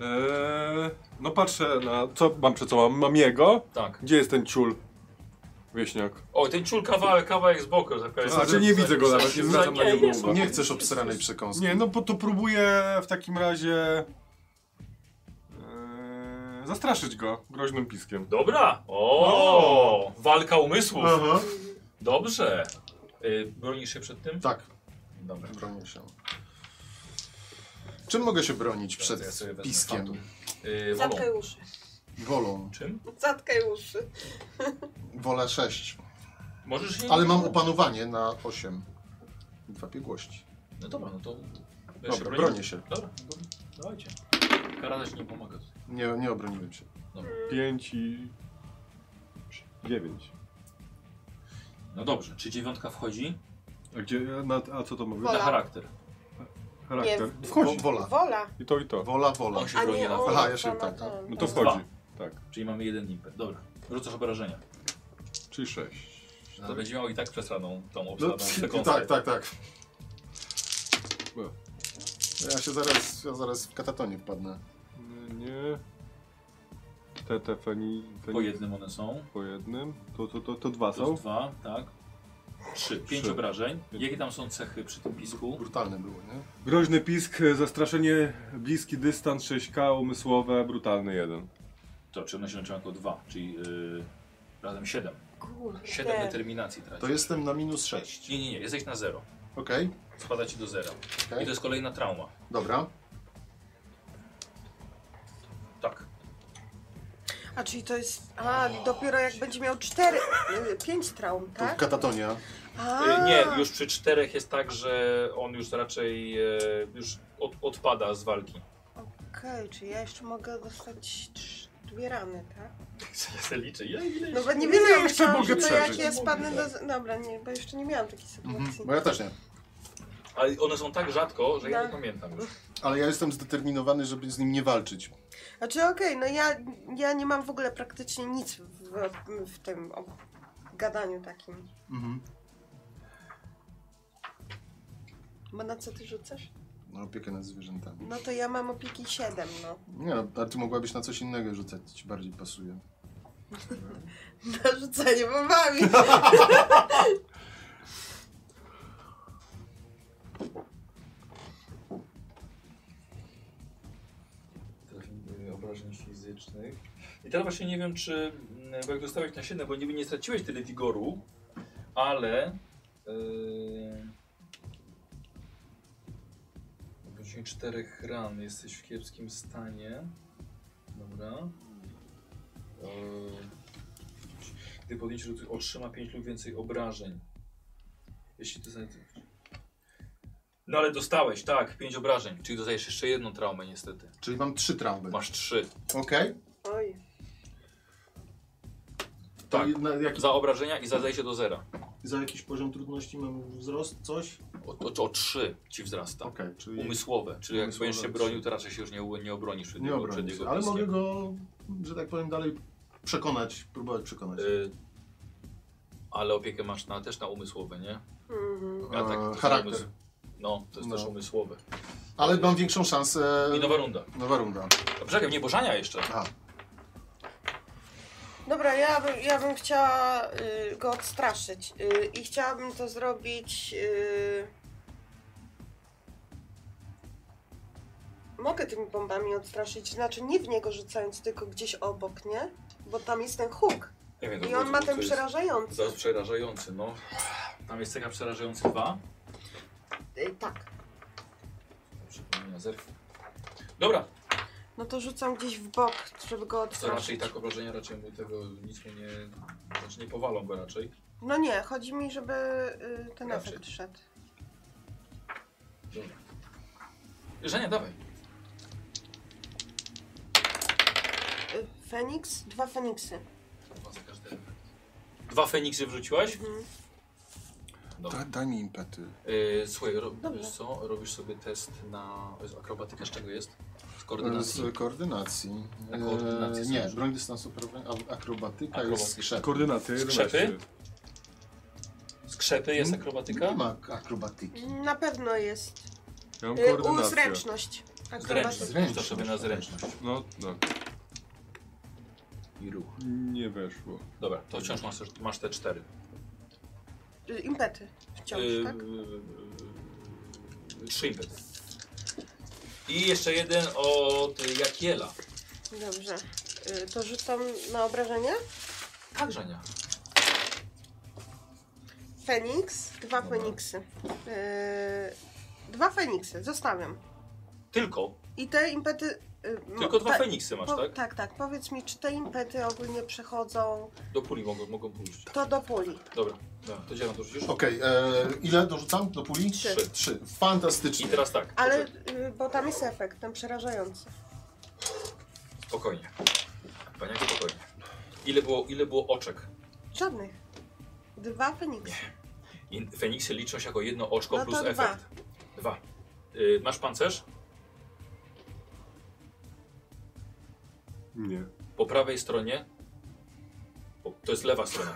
Speaker 19: Eee, no patrzę na... Co mam przed sobą? Mam jego?
Speaker 6: Tak.
Speaker 19: Gdzie jest ten ciul? Wieśniak.
Speaker 6: O, ten ciul kawałek, kawałek z boku. Że tak
Speaker 19: To znaczy nie widzę go nawet, nie zwracam na niego
Speaker 6: jest-
Speaker 19: uwagi.
Speaker 2: Nie chcesz obsranej przekąski.
Speaker 4: Nie, no bo to próbuję w takim razie... e, Zastraszyć go groźnym piskiem.
Speaker 1: Dobra! O, Walka umysłów.
Speaker 2: Aha.
Speaker 1: Dobrze. Y, bronisz się przed tym?
Speaker 2: Tak,
Speaker 6: Dobra.
Speaker 2: bronię się. Czym mogę się bronić
Speaker 6: to ja
Speaker 2: przed
Speaker 6: sobie wezmę
Speaker 2: piskiem?
Speaker 6: fatum. Y, wolą.
Speaker 18: Zatkaj uszy.
Speaker 2: Wolą.
Speaker 1: Czym?
Speaker 18: Zatkaj uszy.
Speaker 2: Wola 6.
Speaker 1: Możesz się...
Speaker 2: Ale mam opanowanie na 8. Dwa biegłości.
Speaker 1: No dobra, no to... Ja się
Speaker 2: Dobra,
Speaker 1: bronię.
Speaker 2: bronię się.
Speaker 1: Dobra, dobra, dawajcie. Kara też nie pomaga tutaj.
Speaker 2: Nie, nie obroniłem się.
Speaker 4: Pięć i... Dziewięć.
Speaker 1: No dobrze, czy dziewiątka wchodzi?
Speaker 4: A, gdzie, na, a co to mówię?
Speaker 1: Na
Speaker 18: Wola.
Speaker 1: charakter.
Speaker 4: Charakter.
Speaker 2: Wo- Wola.
Speaker 18: Wola.
Speaker 4: I to i to.
Speaker 2: Wola, wola.
Speaker 1: On się
Speaker 18: A
Speaker 1: broni
Speaker 18: nie
Speaker 1: na
Speaker 18: on.
Speaker 1: charakter.
Speaker 2: Aha, jeszcze
Speaker 18: to na
Speaker 2: tak.
Speaker 18: ten.
Speaker 4: No to
Speaker 1: Dwa.
Speaker 4: wchodzi. Tak.
Speaker 1: Czyli mamy jeden impet. Dobra. Rzucasz obrażenia.
Speaker 4: Czyli sześć.
Speaker 1: To będzie miał i tak przesraną tą
Speaker 2: No,
Speaker 1: obsadę.
Speaker 2: tak, tak, tak.
Speaker 4: Było.
Speaker 2: Ja się zaraz, ja zaraz w katatonię wpadnę.
Speaker 4: Nie, Nie. Te, te feni,
Speaker 2: tak.
Speaker 4: feni...
Speaker 1: Po jednym one są.
Speaker 4: Po jednym. To, to, to, to dwa
Speaker 1: Są?
Speaker 4: są.
Speaker 1: Dwa, tak. Trzy. Pięć
Speaker 4: Trzy.
Speaker 1: obrażeń. Jakie tam są cechy przy tym pisku?
Speaker 2: Brutalne było, nie?
Speaker 4: Groźny pisk, e, zastraszenie, bliski dystans, 6K, umysłowe, brutalny jeden.
Speaker 1: To czy one się liczą jako dwa, czyli yy, razem siedem.
Speaker 18: Kurde.
Speaker 1: Siedem determinacji
Speaker 2: To
Speaker 1: tracisz.
Speaker 2: jestem na minus 6.
Speaker 1: Nie, nie, nie, jesteś na zero.
Speaker 2: Okej,
Speaker 1: Spada ci do zera. I
Speaker 2: okej.
Speaker 1: to jest kolejna trauma.
Speaker 2: Dobra.
Speaker 1: Tak.
Speaker 3: A czyli to jest. A, dopiero jak będzie miał cztery, y, pięć traum,
Speaker 2: To
Speaker 3: tak?
Speaker 2: katatonia.
Speaker 3: A,
Speaker 1: Y, Nie, już przy czterech jest tak, że on już raczej e, już od, odpada z walki.
Speaker 3: Okej, czy ja jeszcze mogę dostać trz- dwie rany, tak?
Speaker 1: Ja se liczę. Ja ile
Speaker 3: No bo nie
Speaker 4: ja
Speaker 3: wiedziałam,
Speaker 4: jeszcze
Speaker 3: myślałam, że
Speaker 4: mogę
Speaker 3: to jak
Speaker 4: przeżyć.
Speaker 3: ja spadnę do... Dobra, nie, bo jeszcze nie miałam takiej sytuacji.
Speaker 2: Mhm. Bo ja też nie.
Speaker 1: Ale one są tak rzadko, że ja nie
Speaker 3: No.
Speaker 1: pamiętam już.
Speaker 2: Ale ja jestem zdeterminowany, żeby z nim nie walczyć.
Speaker 3: Znaczy okej, no ja, ja nie mam w ogóle praktycznie nic w, w tym ob- gadaniu takim.
Speaker 2: Mhm.
Speaker 3: Bo na co ty rzucasz?
Speaker 2: No, opiekę nad zwierzętami.
Speaker 3: No to ja mam opieki 7, no.
Speaker 2: Nie, no, a ty mogłabyś na coś innego rzucać, to ci bardziej pasuje.
Speaker 3: Na rzucenie bombami.
Speaker 1: y, obrażeń fizycznych. I teraz właśnie nie wiem, czy mm, bo jak dostałeś na 7, bo niby nie straciłeś tyle wigoru, ale. y, Yy, Godzin czterech ran, jesteś w kiepskim stanie. Dobra. Yy, Gdy podjęcie rzutu otrzyma 5 lub więcej obrażeń. Jeśli to znajdziesz. No ale dostałeś, tak, 5 obrażeń. Czyli dostajesz jeszcze jedną traumę, niestety.
Speaker 2: Czyli mam trzy traumy.
Speaker 1: Masz 3.
Speaker 2: Okej?
Speaker 3: Oj,
Speaker 2: To
Speaker 1: Tak.
Speaker 2: na, jak,
Speaker 1: Za obrażenia i za zejście do zera.
Speaker 17: Za jakiś poziom trudności mam wzrost, coś?
Speaker 1: O, o, o 3 ci wzrasta.
Speaker 2: Okej, czyli
Speaker 1: Umysłowe, czyli jak
Speaker 2: Umysłowe
Speaker 1: będziesz się
Speaker 2: trzy.
Speaker 1: bronił, to raczej się już nie, u- nie obronisz przed
Speaker 2: nie
Speaker 1: jego, przed
Speaker 2: obronię się,
Speaker 1: jego
Speaker 2: ale mogę
Speaker 1: piskiem.
Speaker 2: go, że tak powiem, dalej przekonać, próbować przekonać.
Speaker 1: Y, ale opiekę masz na, też na umysłowe, nie?
Speaker 3: mhm.
Speaker 1: Atak to
Speaker 2: E,
Speaker 1: jest
Speaker 2: charakter.
Speaker 1: umysł. No, to jest
Speaker 2: No. Y,
Speaker 1: też umysłowe.
Speaker 2: Ale mam większą szansę.
Speaker 1: I nowa runda.
Speaker 2: Nowa runda.
Speaker 1: A Poczekaj, nie, Bożania jeszcze.
Speaker 2: Aha,
Speaker 3: Dobra, ja, by, ja bym chciała y, go odstraszyć y, i chciałabym to zrobić. Y... Mogę tymi bombami odstraszyć, znaczy nie w niego rzucając, tylko gdzieś obok, nie? Bo tam jest ten huk
Speaker 1: Nie wiem,
Speaker 3: i
Speaker 1: No to
Speaker 3: on ma
Speaker 1: to
Speaker 3: ten
Speaker 1: jest-
Speaker 3: przerażający.
Speaker 1: To jest przerażający, no. Tam jest cega przerażający 2.
Speaker 3: Y, tak.
Speaker 1: Przypomina zerk. Dobra,
Speaker 3: No to rzucam gdzieś w bok, żeby go
Speaker 1: to raczej
Speaker 3: odstraszyć.
Speaker 1: tak obrażenia raczej mu tego nic mu nie. Znaczy nie powalą go raczej.
Speaker 3: No nie, chodzi mi, żeby y, ten
Speaker 1: Raczej.
Speaker 3: efekt szedł.
Speaker 1: Dobra. Żenia, dawaj.
Speaker 3: Y, Feniks? Dwa Feniksy.
Speaker 1: Dwa za każdy element. Dwa Feniksy wrzuciłaś?
Speaker 3: Mhm.
Speaker 1: Dobra.
Speaker 2: Da, daj mi impety.
Speaker 1: Yy, słuchaj, ro,
Speaker 3: Dobra.
Speaker 1: wiesz co? Robisz sobie test na. o Jezu, Akrobatyka z czego jest? Z
Speaker 2: Koordynacji.
Speaker 1: koordynacji.
Speaker 2: Z koordynacji.
Speaker 1: A koordynacji
Speaker 2: E,
Speaker 1: są
Speaker 2: nie,
Speaker 1: już.
Speaker 2: broń dystansu prawego, a- akrobatyka
Speaker 1: Akrobatyka.
Speaker 2: jest skrzep.
Speaker 20: Koordynaty.
Speaker 1: Skrzepy?
Speaker 20: weź.
Speaker 1: Skrzepy jest
Speaker 2: Mm.
Speaker 1: akrobatyka?
Speaker 2: Nie ma ak- akrobatyki.
Speaker 3: Na pewno jest.
Speaker 4: Ja mam
Speaker 3: Y, u,
Speaker 4: koordynację.
Speaker 3: zręczność. Akrobatyka.
Speaker 1: Zręczność.
Speaker 2: Zręczność.
Speaker 1: To sobie na zręczność.
Speaker 4: No, no.
Speaker 1: I ruch.
Speaker 4: Nie weszło.
Speaker 1: Dobra, to wciąż masz, masz te cztery.
Speaker 3: Y, Impety. Wciąż,
Speaker 1: Y,
Speaker 3: tak?
Speaker 1: y, y, Trzy impety. I jeszcze jeden od y, Jakiela.
Speaker 3: Dobrze. Y, To rzucam na obrażenie.
Speaker 1: Tak, Żenia.
Speaker 3: Feniks, dwa
Speaker 1: Dobra.
Speaker 3: Feniksy. Y, Dwa Feniksy, zostawiam.
Speaker 1: Tylko.
Speaker 3: I te impety... y, mo-
Speaker 1: Tylko dwa
Speaker 3: te-
Speaker 1: Feniksy masz,
Speaker 3: po-
Speaker 1: tak?
Speaker 3: Tak, tak. Powiedz mi, czy te impety ogólnie przechodzą
Speaker 1: Do puli mogą, mogą pójść.
Speaker 3: to do puli.
Speaker 1: Dobra, dobra to dzielam to już.
Speaker 2: Okej, e, ile dorzucam do puli?
Speaker 1: Trzy.
Speaker 2: Trzy.
Speaker 1: I
Speaker 2: Fantastycznie.
Speaker 1: teraz tak.
Speaker 3: Ale, y, bo tam jest efekt, ten przerażający.
Speaker 1: Spokojnie. Paniak, spokojnie. Ile było, ile było oczek?
Speaker 3: Żadnych. Dwa Feniksy.
Speaker 1: I Feniksy liczą się jako jedno oczko
Speaker 3: No to
Speaker 1: plus
Speaker 3: dwa.
Speaker 1: efekt. Dwa. Y, masz pancerz?
Speaker 4: Nie.
Speaker 1: Po prawej stronie. O, to jest lewa strona.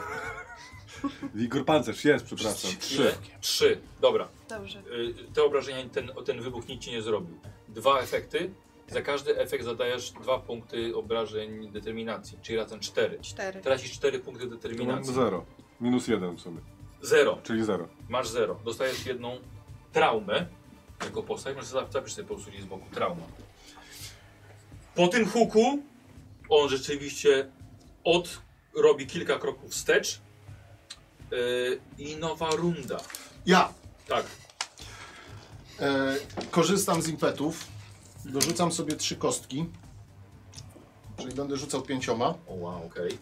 Speaker 20: Igor Pancerz jest, przepraszam.
Speaker 1: Ile?
Speaker 20: Trzy.
Speaker 1: Trzy. Dobra.
Speaker 3: Dobrze.
Speaker 1: Y, te obrażenia, ten, ten wybuch nic ci nie zrobił. Dwa efekty. Za każdy efekt zadajesz dwa punkty obrażeń determinacji, czyli razem cztery.
Speaker 3: Cztery.
Speaker 1: Tracisz cztery punkty
Speaker 4: Ja mam
Speaker 1: determinacji.
Speaker 4: zero. Minus jeden w sumie.
Speaker 1: Zero.
Speaker 4: Czyli zero.
Speaker 1: Masz zero. Dostajesz jedną traumę jako postać. Możesz zap- zapisz sobie po prostu gdzieś z boku. Trauma. Po tym huku on rzeczywiście od, robi kilka kroków wstecz. Yy, I nowa runda.
Speaker 2: Ja
Speaker 1: Tak.
Speaker 2: e, korzystam z impetów, dorzucam sobie trzy kostki, czyli będę rzucał pięcioma
Speaker 1: O, wow, okej.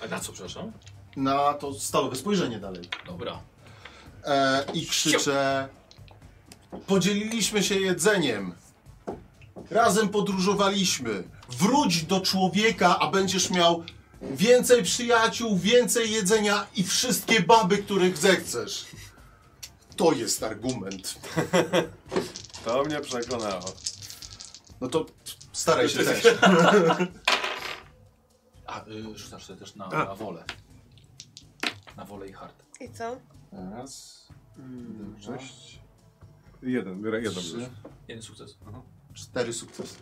Speaker 1: A na co, przepraszam?
Speaker 2: na to stalowe spojrzenie dalej.
Speaker 1: Dobra.
Speaker 2: E, I krzyczę, podzieliliśmy się jedzeniem, razem podróżowaliśmy, wróć do człowieka, a będziesz miał więcej przyjaciół, więcej jedzenia i wszystkie baby, których zechcesz. To jest argument.
Speaker 4: To mnie przekonało.
Speaker 2: No to staraj się też.
Speaker 1: A, yy, rzucasz sobie też na, na wolę. Na wolę i hard.
Speaker 3: I co?
Speaker 2: Raz, sześć,
Speaker 4: Jeden, jeden już.
Speaker 2: trzy,
Speaker 1: Jeden sukces.
Speaker 2: cztery sukcesy.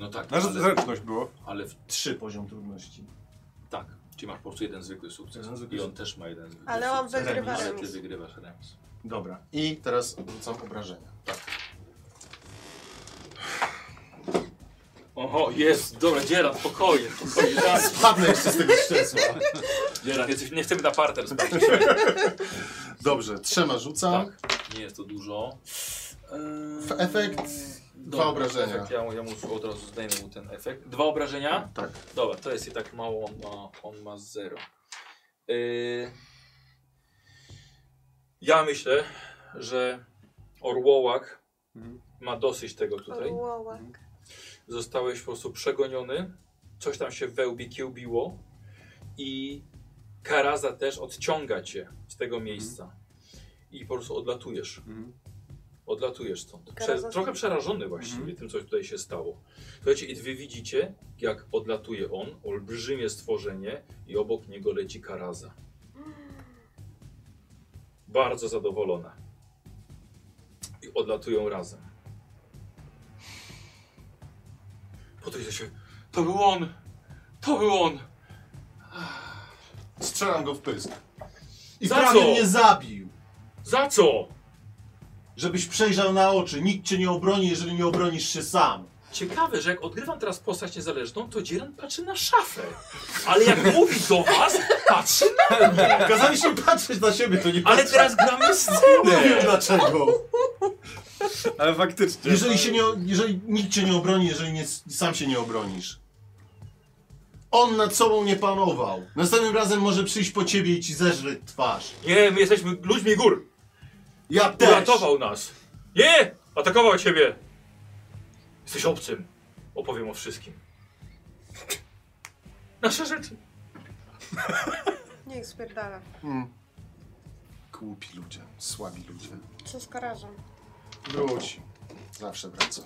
Speaker 1: No tak,
Speaker 4: Nasza
Speaker 1: ale,
Speaker 4: Znaczy, zręczność było.
Speaker 1: ale w,
Speaker 2: Trzy poziom trudności.
Speaker 1: tak. Czyli masz po prostu jeden zwykły sukces.
Speaker 2: Jeden zwykły
Speaker 1: I on też ma jeden zwykły
Speaker 3: Ale on
Speaker 1: sukces.
Speaker 3: wygrywa
Speaker 1: Ale ty
Speaker 3: remis.
Speaker 1: wygrywasz remis.
Speaker 2: Dobra. I teraz rzucam obrażenia.
Speaker 1: Oho, jest, dobra, Dzieran, spokojnie, spokojnie, Dzieran,
Speaker 2: Spadnę jeszcze z tego szczęścia. Tak.
Speaker 1: Dzieran, jesteś, nie chcemy na parter spać.
Speaker 2: Dobrze, trzema rzucam.
Speaker 1: Tak, nie jest to dużo. Eee,
Speaker 2: W efekt dwa obrażenia.
Speaker 1: Efekt, ja, mu- ja mu od razu zdejmę mu ten efekt. Dwa obrażenia?
Speaker 2: Tak.
Speaker 1: Dobra, to jest i tak mało, on ma, on ma zero. Yy, ja myślę, że Orłołak
Speaker 2: Mhm.
Speaker 1: ma dosyć tego tutaj.
Speaker 3: Orłołak.
Speaker 1: zostałeś po prostu przegoniony, coś tam się wełbi, kiełbiło i karaza też odciąga cię z tego miejsca i po prostu odlatujesz.
Speaker 4: Mhm.
Speaker 1: Odlatujesz stąd. Prze
Speaker 3: Karaza
Speaker 1: trochę
Speaker 3: znika.
Speaker 1: przerażony właściwie
Speaker 4: Mhm.
Speaker 1: tym, co tutaj się stało. Słuchajcie, i wy widzicie, jak odlatuje on, olbrzymie stworzenie i obok niego leci karaza. Bardzo zadowolona. I odlatują razem. Podejdzie się. To był on! To był on! Ach,
Speaker 6: strzelam go w pysk. I
Speaker 1: Za
Speaker 6: prawie
Speaker 1: co?
Speaker 6: mnie zabił.
Speaker 1: Za co?
Speaker 6: Żebyś przejrzał na oczy. Nikt cię nie obroni, jeżeli nie obronisz się sam.
Speaker 1: Ciekawe, że jak odgrywam teraz postać niezależną, to Dzieran patrzy na szafę. Ale jak mówi do was, patrzy na...
Speaker 6: Kazaliście patrzeć na siebie, to nie
Speaker 1: Ale
Speaker 6: patrzę.
Speaker 1: teraz gramy
Speaker 6: Nie wiem
Speaker 1: scenę.
Speaker 6: dlaczego.
Speaker 21: Ale faktycznie.
Speaker 6: Jeżeli, się nie, jeżeli nikt cię nie obroni, jeżeli nie, sam się nie obronisz. On nad sobą nie panował. Następnym razem może przyjść po ciebie i ci zeżre twarz.
Speaker 1: Nie, my jesteśmy ludźmi gór.
Speaker 6: Ja też.
Speaker 1: Uratował nas. Nie! Atakował ciebie. Jesteś obcym. Opowiem o wszystkim. Nasze rzeczy.
Speaker 3: Niech spierdala.
Speaker 2: Głupi ludzie, słabi ludzie.
Speaker 3: Co z kararzem?
Speaker 2: Wróci. Zawsze wraca.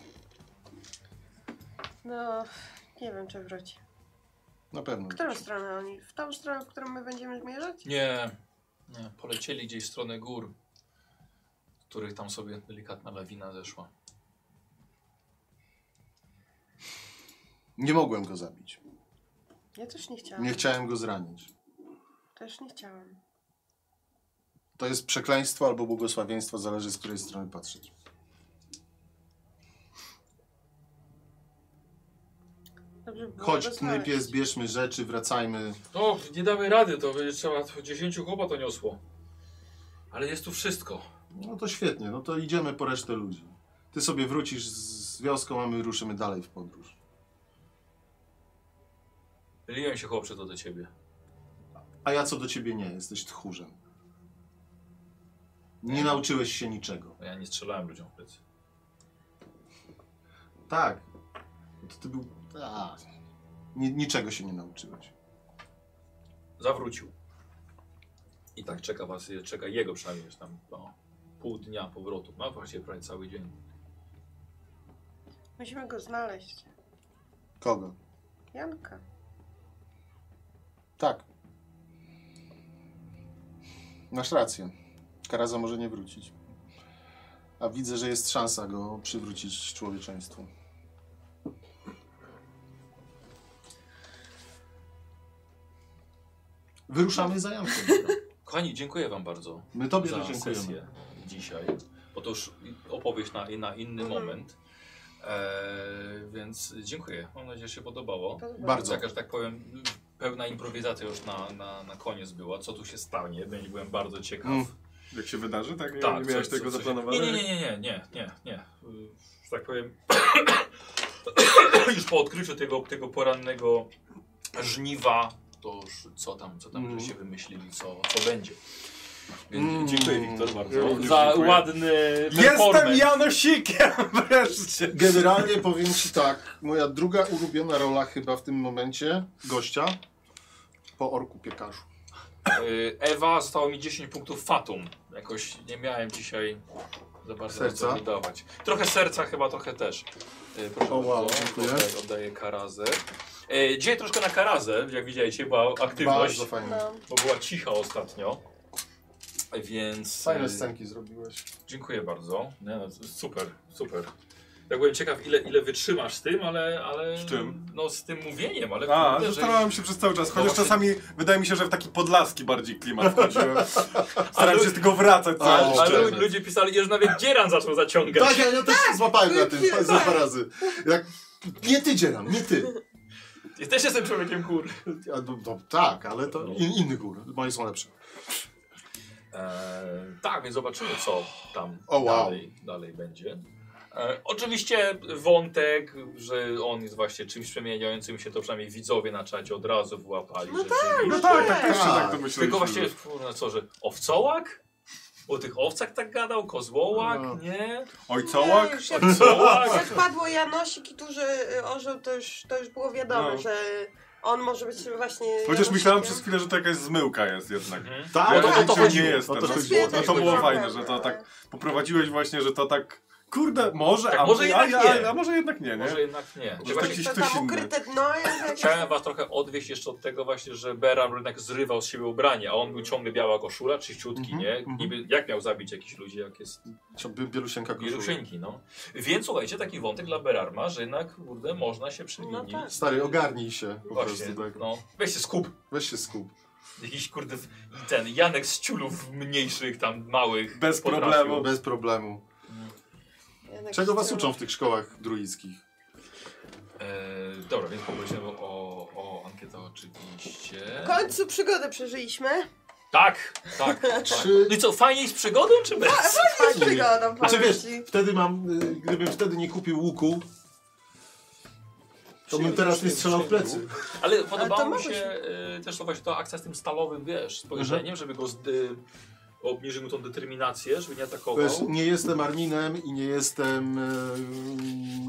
Speaker 3: No, nie wiem, czy wróci.
Speaker 2: Na pewno.
Speaker 3: W którą stronę oni? W tą stronę, w którą my będziemy zmierzać?
Speaker 1: Nie. nie. Polecieli gdzieś w stronę gór, z których tam sobie delikatna lawina zeszła.
Speaker 2: Nie mogłem go zabić.
Speaker 3: Ja też nie chciałam.
Speaker 2: Nie chciałem go zranić.
Speaker 3: Też nie chciałam.
Speaker 2: To jest przekleństwo albo błogosławieństwo, zależy z której strony patrzeć.
Speaker 3: Dobrze, by było
Speaker 2: Chodź,
Speaker 3: rozmawiać.
Speaker 2: knypie, zbierzmy rzeczy, wracajmy.
Speaker 1: No, nie damy rady, to będzie trzeba 10 chłopa to niosło. Ale jest tu wszystko.
Speaker 2: No to świetnie, no to idziemy po resztę ludzi. Ty sobie wrócisz z wioską, a my ruszymy dalej w podróż.
Speaker 1: Myliłem się chłopcze to do ciebie.
Speaker 2: A ja co do ciebie nie, jesteś tchórzem. Nie nauczyłeś się niczego.
Speaker 1: Ja nie strzelałem ludziom w plecy.
Speaker 2: Tak. To ty był... A, ni niczego się nie nauczyłeś.
Speaker 1: Zawrócił. I tak czeka was, czeka jego przynajmniej już tam no, pół dnia powrotu. No właściwie prawie cały dzień.
Speaker 3: Musimy go znaleźć.
Speaker 2: Kogo?
Speaker 3: Janka.
Speaker 2: Tak. Masz rację. Karaza może nie wrócić. A widzę, że jest szansa go przywrócić człowieczeństwu. Wyruszamy za jamką.
Speaker 1: Kochani, dziękuję wam bardzo.
Speaker 2: My tobie
Speaker 1: za
Speaker 2: też dziękujemy.
Speaker 1: sesję dzisiaj. Bo to już opowieść na, na inny moment. Eee, więc dziękuję. Mam nadzieję, że się podobało.
Speaker 2: Bardzo.
Speaker 1: Taka, że tak powiem, pełna improwizacja już na, na, na koniec była. Co tu się stanie? Będzie- Byłem bardzo ciekaw.
Speaker 2: Mm.
Speaker 4: Jak się wydarzy, tak? Nie,
Speaker 1: Tak,
Speaker 4: nie miałeś
Speaker 1: co- co-
Speaker 4: tego
Speaker 1: co się-
Speaker 4: zaplanowanego?
Speaker 1: Nie, nie, nie, nie, nie, nie, nie, nie. Yy, Że tak powiem, już po odkryciu tego, tego porannego żniwa, to już co tam, co tam,
Speaker 4: Mm.
Speaker 1: że się wymyślili, co, co będzie. Więc
Speaker 2: Mm.
Speaker 1: Dziękuję Wiktor bardzo
Speaker 4: Również
Speaker 1: za
Speaker 4: dziękuję.
Speaker 1: ładny
Speaker 21: Jestem
Speaker 1: performance.
Speaker 21: Janosikiem wreszcie.
Speaker 2: Generalnie powiem ci tak. Moja druga ulubiona rola chyba w tym momencie gościa po orku piekarzu.
Speaker 1: Yy, Ewa, zostało mi 10 punktów fatum. Jakoś nie miałem dzisiaj za bardzo
Speaker 2: Serca?
Speaker 1: serca. wydawać. Trochę serca chyba, trochę też. Yy, proszę
Speaker 2: O, wow,
Speaker 1: bardzo,
Speaker 2: dziękuję.
Speaker 1: Oddaję- oddaję karazę. Yy, Dzieje troszkę na karazę, jak widzieliście, była aktywność.
Speaker 2: Bardzo fajne.
Speaker 3: No,
Speaker 1: bo była cicha ostatnio. Więc.
Speaker 2: Fajne
Speaker 1: y,
Speaker 2: scenki zrobiłeś.
Speaker 1: Dziękuję bardzo. Nie, no, super, super. Ja byłem ciekaw, ile, ile wytrzymasz z tym, ale, ale.
Speaker 4: Z czym?
Speaker 1: No, z tym mówieniem, ale.
Speaker 4: A,
Speaker 1: kurde, że-
Speaker 4: zastanawiam się przez cały czas, chociaż
Speaker 1: No właśnie.
Speaker 4: czasami wydaje mi się, że w taki podlaski bardziej klimat wchodziłem. Staram
Speaker 1: Ale-
Speaker 4: się z tego wracać cały
Speaker 2: ale-
Speaker 4: czas. Tak
Speaker 1: Ale
Speaker 2: szczerze.
Speaker 1: ludzie pisali, że nawet dzieran zaczął zaciągać.
Speaker 2: Tak, ja, ja też się tak. złapałem na tym pa- za parę razy. Jak, nie ty dzielam, nie ty.
Speaker 1: Ja też jestem człowiekiem kur.
Speaker 2: Ja, no, no, tak, ale to in, inny gór. Moje są lepsze.
Speaker 1: E, tak, więc zobaczymy, co tam
Speaker 2: O, wow.
Speaker 1: dalej, dalej będzie. E, oczywiście wątek, że on jest właśnie czymś przemieniającym się, to przynajmniej widzowie na czacie od razu wyłapali. No tak,
Speaker 4: No tak, tak, też się
Speaker 2: Tak.
Speaker 4: tak to myślę.
Speaker 1: Tylko właśnie, kurna, co, że owcołak? O tych owcach tak gadał? Kozłołak?
Speaker 2: No.
Speaker 1: Nie?
Speaker 3: Nie,
Speaker 4: Ojcołak?
Speaker 3: już jak,
Speaker 1: Ojcołak?
Speaker 3: jak padło Janosik i duży y, orzeł, to już, to już było wiadomo,
Speaker 4: No.
Speaker 3: że on może być właśnie
Speaker 4: Chociaż
Speaker 3: Janosikiem.
Speaker 4: myślałem przez chwilę, że to jakaś zmyłka jest jednak.
Speaker 1: Mhm.
Speaker 2: Tak,
Speaker 4: Ja
Speaker 2: o to,
Speaker 4: tak
Speaker 2: o to
Speaker 4: się
Speaker 2: chodziło.
Speaker 4: nie
Speaker 2: o
Speaker 4: jestem.
Speaker 2: to
Speaker 4: No
Speaker 2: chodziło.
Speaker 3: Potwierdzam,
Speaker 4: No to
Speaker 3: że
Speaker 4: było
Speaker 3: tak,
Speaker 4: fajne, że to tak poprowadziłeś właśnie, że to tak, kurde, może,
Speaker 1: Tak,
Speaker 4: a
Speaker 1: może
Speaker 4: a,
Speaker 1: jednak
Speaker 4: a,
Speaker 1: nie.
Speaker 4: A, a może jednak nie, nie?
Speaker 1: Może jednak nie.
Speaker 4: Może
Speaker 1: Czy
Speaker 4: tak
Speaker 1: właśnie
Speaker 4: się-
Speaker 3: To
Speaker 4: ktoś
Speaker 3: tam
Speaker 4: inny.
Speaker 3: ukryte dno jest
Speaker 1: Chciałem was trochę odwieść jeszcze od tego właśnie, że Beran jednak zrywał z siebie ubranie, a on był ciągle biała koszula, czyściutki,
Speaker 2: Mhm,
Speaker 1: nie?
Speaker 2: mhm.
Speaker 1: Niby jak miał zabić jakichś ludzi, jak jest
Speaker 2: Czy by- Bielusienka koszulę.
Speaker 1: Wieruszeńki, no. Więc słuchajcie, taki wątek dla Berarma, że jednak, kurde, można się przemienić.
Speaker 3: No tak.
Speaker 2: Stary, ogarnij się po
Speaker 1: Właśnie,
Speaker 2: prostu. Tak.
Speaker 1: no. Weź się skup.
Speaker 2: Weź się skup.
Speaker 1: Jakiś kurde, w- ten Janek z ciulów mniejszych, tam małych.
Speaker 4: Bez
Speaker 1: potrafił.
Speaker 4: problemu.
Speaker 5: Bez problemu.
Speaker 3: Janek
Speaker 5: Czego was
Speaker 3: chciał-
Speaker 5: uczą w tych szkołach druidzkich?
Speaker 1: E, dobra, więc poprosimy o, o ankietę oczywiście.
Speaker 3: W końcu przygodę przeżyliśmy.
Speaker 1: Tak, tak. tak.
Speaker 5: Czy-
Speaker 1: No i co, fajniej z przygodą, czy
Speaker 2: Tak,
Speaker 1: bez?
Speaker 3: Z przygodą,
Speaker 2: Znaczy
Speaker 3: powiem
Speaker 2: wiesz,
Speaker 3: ci.
Speaker 2: wtedy mam, y, gdybym wtedy nie kupił łuku, to bym teraz nie strzelał w plecy.
Speaker 1: Ale podobało mi
Speaker 3: mogłeś-
Speaker 1: się e, też to właśnie ta akcja z tym stalowym, wiesz, spojrzeniem,
Speaker 2: Mhm.
Speaker 1: żeby go z, e, obniżył mu tą determinację, żeby nie atakował.
Speaker 2: Wiesz, nie jestem Arminem i nie jestem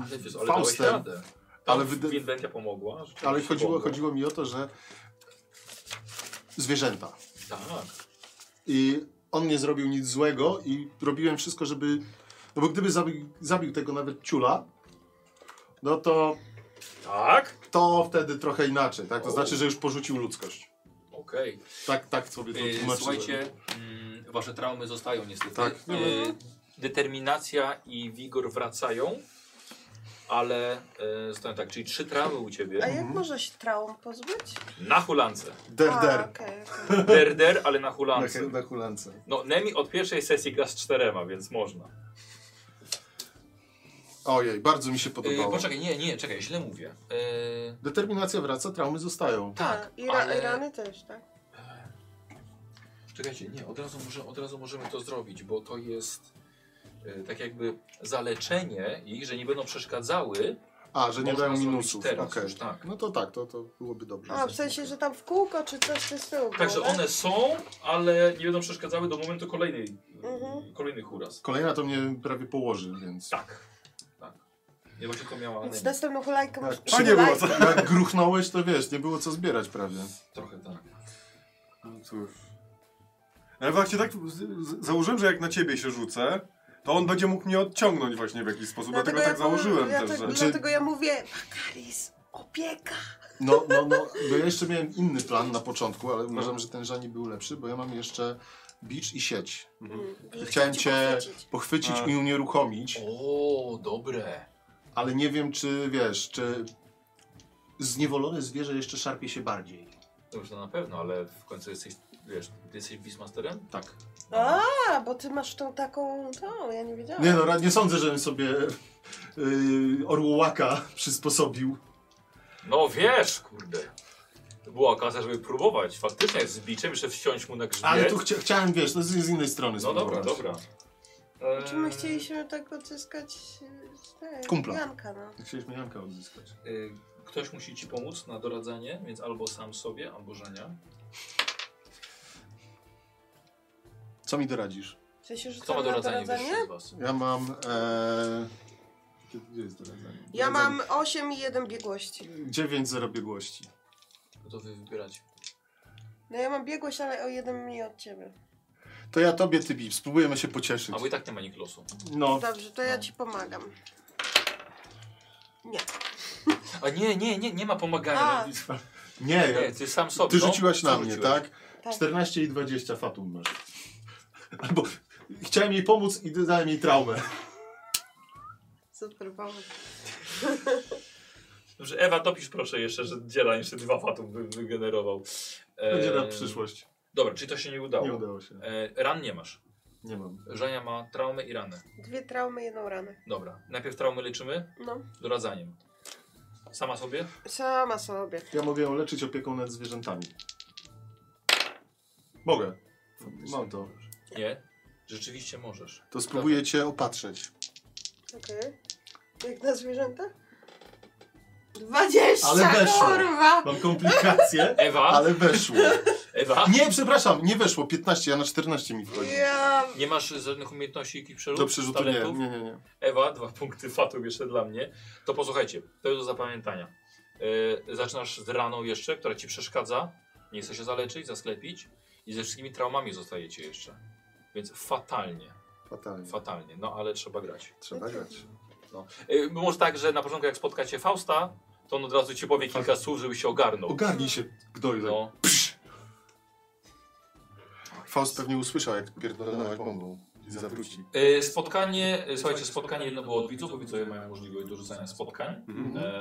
Speaker 1: Ale, wiesz,
Speaker 2: e,
Speaker 1: ale dałeś
Speaker 2: Faustem,
Speaker 1: radę.
Speaker 2: ale
Speaker 1: Ale
Speaker 2: wyda-
Speaker 1: Windentia pomogła. rzeczywiście
Speaker 2: ale chodziło,
Speaker 1: pomogła.
Speaker 2: chodziło mi o to, że zwierzęta.
Speaker 1: Tak.
Speaker 2: I on nie zrobił nic złego i robiłem wszystko, żeby... No bo gdyby zabił, zabił tego nawet ciula, no to,
Speaker 1: Tak?
Speaker 2: to wtedy trochę inaczej, tak? To znaczy, że już porzucił ludzkość.
Speaker 1: Okej.
Speaker 2: Tak, tak sobie to
Speaker 1: Y,
Speaker 6: Yy,
Speaker 2: tłumaczyłem.
Speaker 6: słuchajcie, mm, wasze traumy zostają niestety.
Speaker 2: Tak.
Speaker 6: Yy,
Speaker 1: y, Determinacja i wigor wracają, ale e, zostają tak, czyli trzy trawy u
Speaker 3: A
Speaker 1: ciebie.
Speaker 3: jak można się traum pozbyć?
Speaker 1: Na hulance.
Speaker 2: Der,
Speaker 3: A,
Speaker 2: der.
Speaker 3: okej, okej.
Speaker 1: Der, der, ale na
Speaker 5: Na,
Speaker 1: hulance.
Speaker 5: na hulance.
Speaker 1: No, Nemi od pierwszej sesji gra z czterema, więc można.
Speaker 5: Ojej, bardzo mi
Speaker 1: Y,
Speaker 5: się
Speaker 6: Yy,
Speaker 5: podobało.
Speaker 6: poczekaj, nie, nie, czekaj, źle mówię. Yy,
Speaker 2: Determinacja wraca, traumy zostają.
Speaker 6: tak,
Speaker 3: A, I, ra-
Speaker 6: ale...
Speaker 3: i rany też, tak?
Speaker 1: Czekajcie, nie, od razu, może, od razu możemy to zrobić, bo to jest e, tak jakby zaleczenie ich, że nie będą przeszkadzały.
Speaker 2: A, że nie
Speaker 1: Można
Speaker 2: dają
Speaker 1: zrobić
Speaker 2: minusów.
Speaker 1: teraz
Speaker 2: Okej.
Speaker 1: już, tak.
Speaker 2: No to tak, to, to byłoby dobrze.
Speaker 3: A, w sensie, że tam w kółko czy coś w tym stylu było,
Speaker 1: Także
Speaker 3: tak?
Speaker 1: one są, ale nie będą przeszkadzały do momentu kolejnej,
Speaker 3: Mhm.
Speaker 1: kolejnych uraz.
Speaker 2: Kolejna to mnie prawie położy, więc...
Speaker 1: Tak. Tak. Nie właśnie to miała
Speaker 3: Więc
Speaker 1: Anemia.
Speaker 3: następną
Speaker 22: Tak,
Speaker 3: hulajkę masz
Speaker 4: To nie było
Speaker 3: hulajkę.
Speaker 4: co.
Speaker 2: Jak gruchnąłeś, to wiesz, nie było co zbierać prawie.
Speaker 1: Trochę tak.
Speaker 22: No cóż. Ale właśnie tak z- z- założyłem, że jak na ciebie się rzucę, to on będzie mógł mnie odciągnąć właśnie w jakiś sposób. Dlatego,
Speaker 3: ja
Speaker 22: tak założyłem
Speaker 3: ja
Speaker 22: też,
Speaker 3: tak-
Speaker 22: że...
Speaker 3: Dlatego ja mówię, Makaris, opieka.
Speaker 2: No, no, no, bo ja jeszcze miałem inny plan na początku, ale
Speaker 1: Mhm.
Speaker 2: uważam, że ten Żani był lepszy, bo ja mam jeszcze bicz i sieć.
Speaker 1: Mhm.
Speaker 2: Chciałem Mhm. cię pochwycić
Speaker 22: A.
Speaker 2: i unieruchomić,
Speaker 1: O, dobre.
Speaker 2: ale nie wiem, czy wiesz, czy zniewolone zwierzę jeszcze szarpie się bardziej.
Speaker 1: No już to na pewno, ale w końcu jesteś, wiesz, ty jesteś Beastmasterem?
Speaker 2: Tak.
Speaker 3: A, bo ty masz tą taką, tą, ja nie wiedziałam.
Speaker 2: Nie no, ra- nie sądzę, żebym sobie yy, orłołaka przysposobił.
Speaker 1: No wiesz, kurde. To była okazja, żeby próbować. Faktycznie z biczem jeszcze wsiąść mu na grzbiet.
Speaker 2: Ale tu chcia chciałem, wiesz, no z, z innej strony
Speaker 1: No dobra,
Speaker 2: spróbować.
Speaker 1: dobra.
Speaker 3: Czy my chcieliśmy tak odzyskać e, te,
Speaker 2: Kumpla.
Speaker 3: Janka, no.
Speaker 2: Chcieliśmy Janka odzyskać.
Speaker 1: Y, Ktoś musi ci pomóc na doradzanie, więc albo sam sobie, albo Żenia.
Speaker 2: Co mi doradzisz?
Speaker 3: W sensie, że
Speaker 1: Kto ma
Speaker 3: tam na
Speaker 1: doradzanie
Speaker 3: doradzanie?
Speaker 1: wyższe z was?
Speaker 2: Ja mam. E... gdzie- Gdzie jest doradzanie?
Speaker 3: Ja mam 8 i 1 biegłości.
Speaker 2: 9 zero biegłości.
Speaker 1: No to wy wybieracie.
Speaker 3: No ja mam biegłość, ale o jeden mniej od ciebie.
Speaker 5: To ja tobie, Tybi, spróbujemy się pocieszyć.
Speaker 1: A bo i tak nie ma nikt losu.
Speaker 2: No,
Speaker 3: Dobrze, to ja ci pomagam. Nie.
Speaker 1: A nie, nie, nie, nie ma pomagania.
Speaker 3: A.
Speaker 1: No,
Speaker 2: nie, ja-
Speaker 1: nie, ty sam sobie.
Speaker 5: Ty
Speaker 1: no.
Speaker 5: rzuciłaś na
Speaker 1: Co
Speaker 5: mnie,
Speaker 1: rzuciłeś?
Speaker 5: tak?
Speaker 3: Tak.
Speaker 2: 14 i 20 fatum masz. Albo chciałem jej pomóc i dodałem jej traumę.
Speaker 3: Super, pomóż.
Speaker 1: Dobrze, Ewa, dopisz proszę jeszcze, że Dziela jeszcze dwa fatum wy, wygenerował. E,
Speaker 2: Będzie na przyszłość.
Speaker 1: Dobra, czyli to się nie udało.
Speaker 2: Nie udało się.
Speaker 1: E, ran nie masz.
Speaker 2: Nie mam.
Speaker 1: Żenia ma traumy i rany.
Speaker 3: Dwie traumy, jedną ranę.
Speaker 1: Dobra, najpierw traumy leczymy
Speaker 3: No.
Speaker 1: doradzaniem. Sama sobie?
Speaker 3: Sama sobie.
Speaker 2: Ja mogę ją leczyć opieką nad zwierzętami. Mogę. Mam to.
Speaker 1: Nie. Rzeczywiście możesz.
Speaker 5: To spróbuję cię opatrzeć.
Speaker 3: Okej. Jak na zwierzęta? 20,
Speaker 2: Ale weszło.
Speaker 3: kurwa!
Speaker 2: Mam komplikacje,
Speaker 1: Ewa,
Speaker 5: Ale weszło.
Speaker 1: Ewa,
Speaker 5: Nie, przepraszam, nie weszło. 15, ja na 14 mi wchodzi.
Speaker 3: Ja...
Speaker 1: nie masz żadnych umiejętności i przerzutu?
Speaker 5: Do przerzutu nie,
Speaker 1: talentów?
Speaker 5: nie, nie, nie.
Speaker 1: Ewa, dwa punkty fatum jeszcze dla mnie. To posłuchajcie, to jest do zapamiętania. Yy, zaczynasz z raną jeszcze, która ci przeszkadza. Nie chce się zaleczyć, zasklepić. I ze wszystkimi traumami zostajecie jeszcze. Więc fatalnie,
Speaker 5: Fatalnie.
Speaker 1: fatalnie. No ale trzeba grać.
Speaker 5: Trzeba grać.
Speaker 1: Yy, może tak, że na początku jak spotkacie Fausta, to on od razu ci powie kilka słów, żeby się ogarnął.
Speaker 5: Ogarnij się, Gdojle.
Speaker 1: No,
Speaker 5: Faust pewnie usłyszał, jak pierdolę bombą.
Speaker 2: i zawróci.
Speaker 1: E, Spotkanie, e, słuchajcie, spotkanie jedno było od widzów, bo widzowie mają możliwość dorzucania spotkań.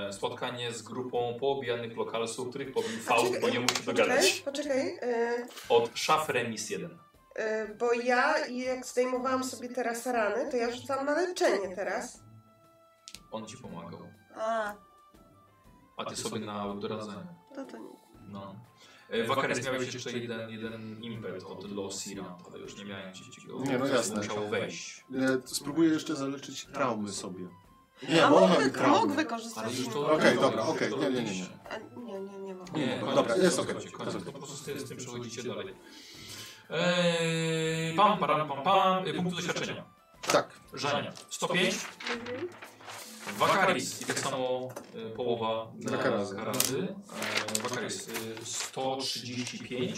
Speaker 1: E, spotkanie z grupą poobijanych lokalsów, których pobił Faust, bo nie mógł się
Speaker 3: Poczekaj,
Speaker 1: dogadać.
Speaker 3: poczekaj. E,
Speaker 1: Od szaf remis 1.
Speaker 3: e, bo ja, jak zdejmowałam sobie teraz rany, to ja rzucam na leczenie teraz.
Speaker 1: On ci pomagał,
Speaker 23: A,
Speaker 1: a ty sobie na doradzanie.
Speaker 23: to to nie.
Speaker 1: No. E, Wakaris miałeś jeszcze jeden, jeden impet od Los Iran, ale już nie miałem ci ciego.
Speaker 2: Nie, no jasne.
Speaker 1: Musiał wejść.
Speaker 2: Ja spróbuję jeszcze zaleczyć traumy sobie. Nie,
Speaker 23: A
Speaker 2: bo
Speaker 23: mógł,
Speaker 2: ona mi
Speaker 23: wy, mógł
Speaker 2: traumy.
Speaker 1: Ale
Speaker 23: wykorzystać.
Speaker 1: już to...
Speaker 2: Okej, dobra, okej,
Speaker 1: to
Speaker 2: nie, nie, nie, nie.
Speaker 1: robiliście.
Speaker 23: A, nie, nie, nie mogę.
Speaker 1: Nie,
Speaker 2: Dobra,
Speaker 1: koniec,
Speaker 2: jest
Speaker 1: koniec,
Speaker 2: okej,
Speaker 1: koniec,
Speaker 2: jest
Speaker 1: To po prostu z tym przechodzicie dalej. Eee, pam, param, pam, pam. e, Punkt doświadczenia.
Speaker 2: Tak.
Speaker 1: Żania. 105.
Speaker 23: Mhm.
Speaker 1: Wakaris. I tak samo e, połowa dla
Speaker 2: Karazy.
Speaker 1: Karazy. E, Wakaris. E, 135.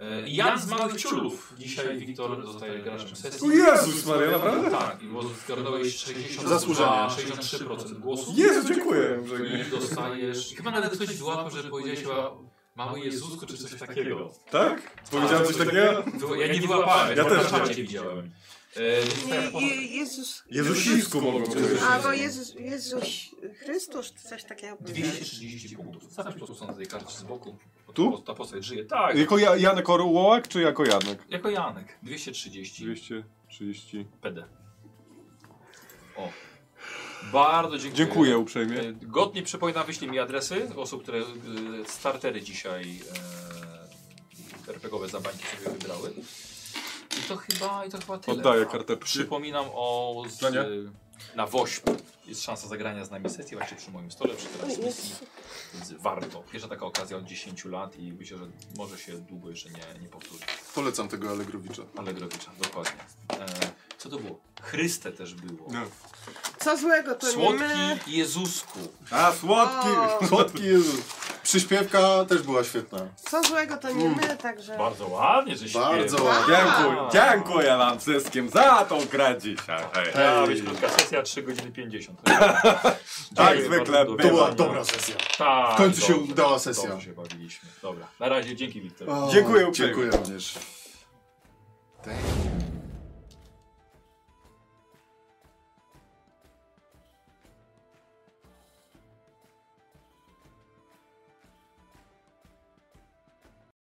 Speaker 1: E, Jan z Małych Ciulów. Dzisiaj Wiktor zostaje graczem sesji.
Speaker 6: O Jezus Maria, naprawdę?
Speaker 1: Tak, i bo zgarnąłeś 60,
Speaker 2: Zasłużenie.
Speaker 1: 63% głosów.
Speaker 6: Jezu, dziękuję. że-
Speaker 1: I dostajesz. Chyba nawet ktoś wyłapał, że powiedziałeś chyba mały Jezusku czy coś takiego.
Speaker 6: Tak? Powiedziałem coś takiego?
Speaker 1: To Ja nie wyłapałem,
Speaker 6: Ja
Speaker 1: ja
Speaker 6: też
Speaker 1: też na
Speaker 6: nie.
Speaker 1: czacie widziałem. E,
Speaker 3: Nie, Je, Jezus.
Speaker 6: Jezusisku mogą powiedzieć.
Speaker 3: A, bo Jezus, Jezus Chrystus, czy coś takiego.
Speaker 1: 230 punktów. Zapisz po prostu na tej kartce z boku.
Speaker 4: Tu?
Speaker 1: Ta postać żyje. Tak,
Speaker 4: Jako ja, Janek Orłołek czy jako Janek?
Speaker 1: jako Janek. 230
Speaker 4: 230.
Speaker 1: PD. O. Bardzo dziękuję.
Speaker 4: Dziękuję uprzejmie.
Speaker 1: E, Godnie przypominam, wyślij mi adresy osób, które e, startery dzisiaj e, RPGowe zabańki sobie wybrały. I to chyba, i to chyba tyle.
Speaker 4: Oddaję karteczki.
Speaker 1: Przypominam o z,
Speaker 6: Zdania?
Speaker 1: na WOŚP. Jest szansa zagrania z nami sesji właśnie przy moim stole, przy teraz Więc warto. Pierwsza taka okazja od 10 lat i myślę, że może się długo jeszcze nie, nie powtórzy.
Speaker 2: Polecam tego Allegrowicza.
Speaker 1: Allegrowicza, dokładnie. E, co to było? Chryste też było.
Speaker 6: No.
Speaker 3: Co złego
Speaker 2: No.
Speaker 3: to nie my.
Speaker 1: Słodki Jezusku.
Speaker 6: A, słodki!
Speaker 3: O.
Speaker 2: Słodki Jezus. Przyśpiewka też była świetna.
Speaker 3: Co złego to nie my, także.
Speaker 1: Bardzo ładnie, że śpiewa.
Speaker 2: Bardzo ładna.
Speaker 4: Dziękuję, dziękuję wam wszystkim za tą grę dzisiaj. Hej.
Speaker 1: Miała
Speaker 2: Hej.
Speaker 1: być krótka sesja, 3 godziny 50.
Speaker 4: Tak
Speaker 1: Dziękuję
Speaker 4: zwykle
Speaker 1: bardzo,
Speaker 2: To
Speaker 4: bywa.
Speaker 2: była dobra sesja.
Speaker 1: Tak,
Speaker 2: W końcu się
Speaker 1: dobrze,
Speaker 2: udała sesja.
Speaker 1: Dobrze się bawiliśmy. Dobra, na razie, dzięki Wiktor.
Speaker 2: O,
Speaker 4: Dziękuję uprzejmie.
Speaker 2: Dziękuję również. Damn.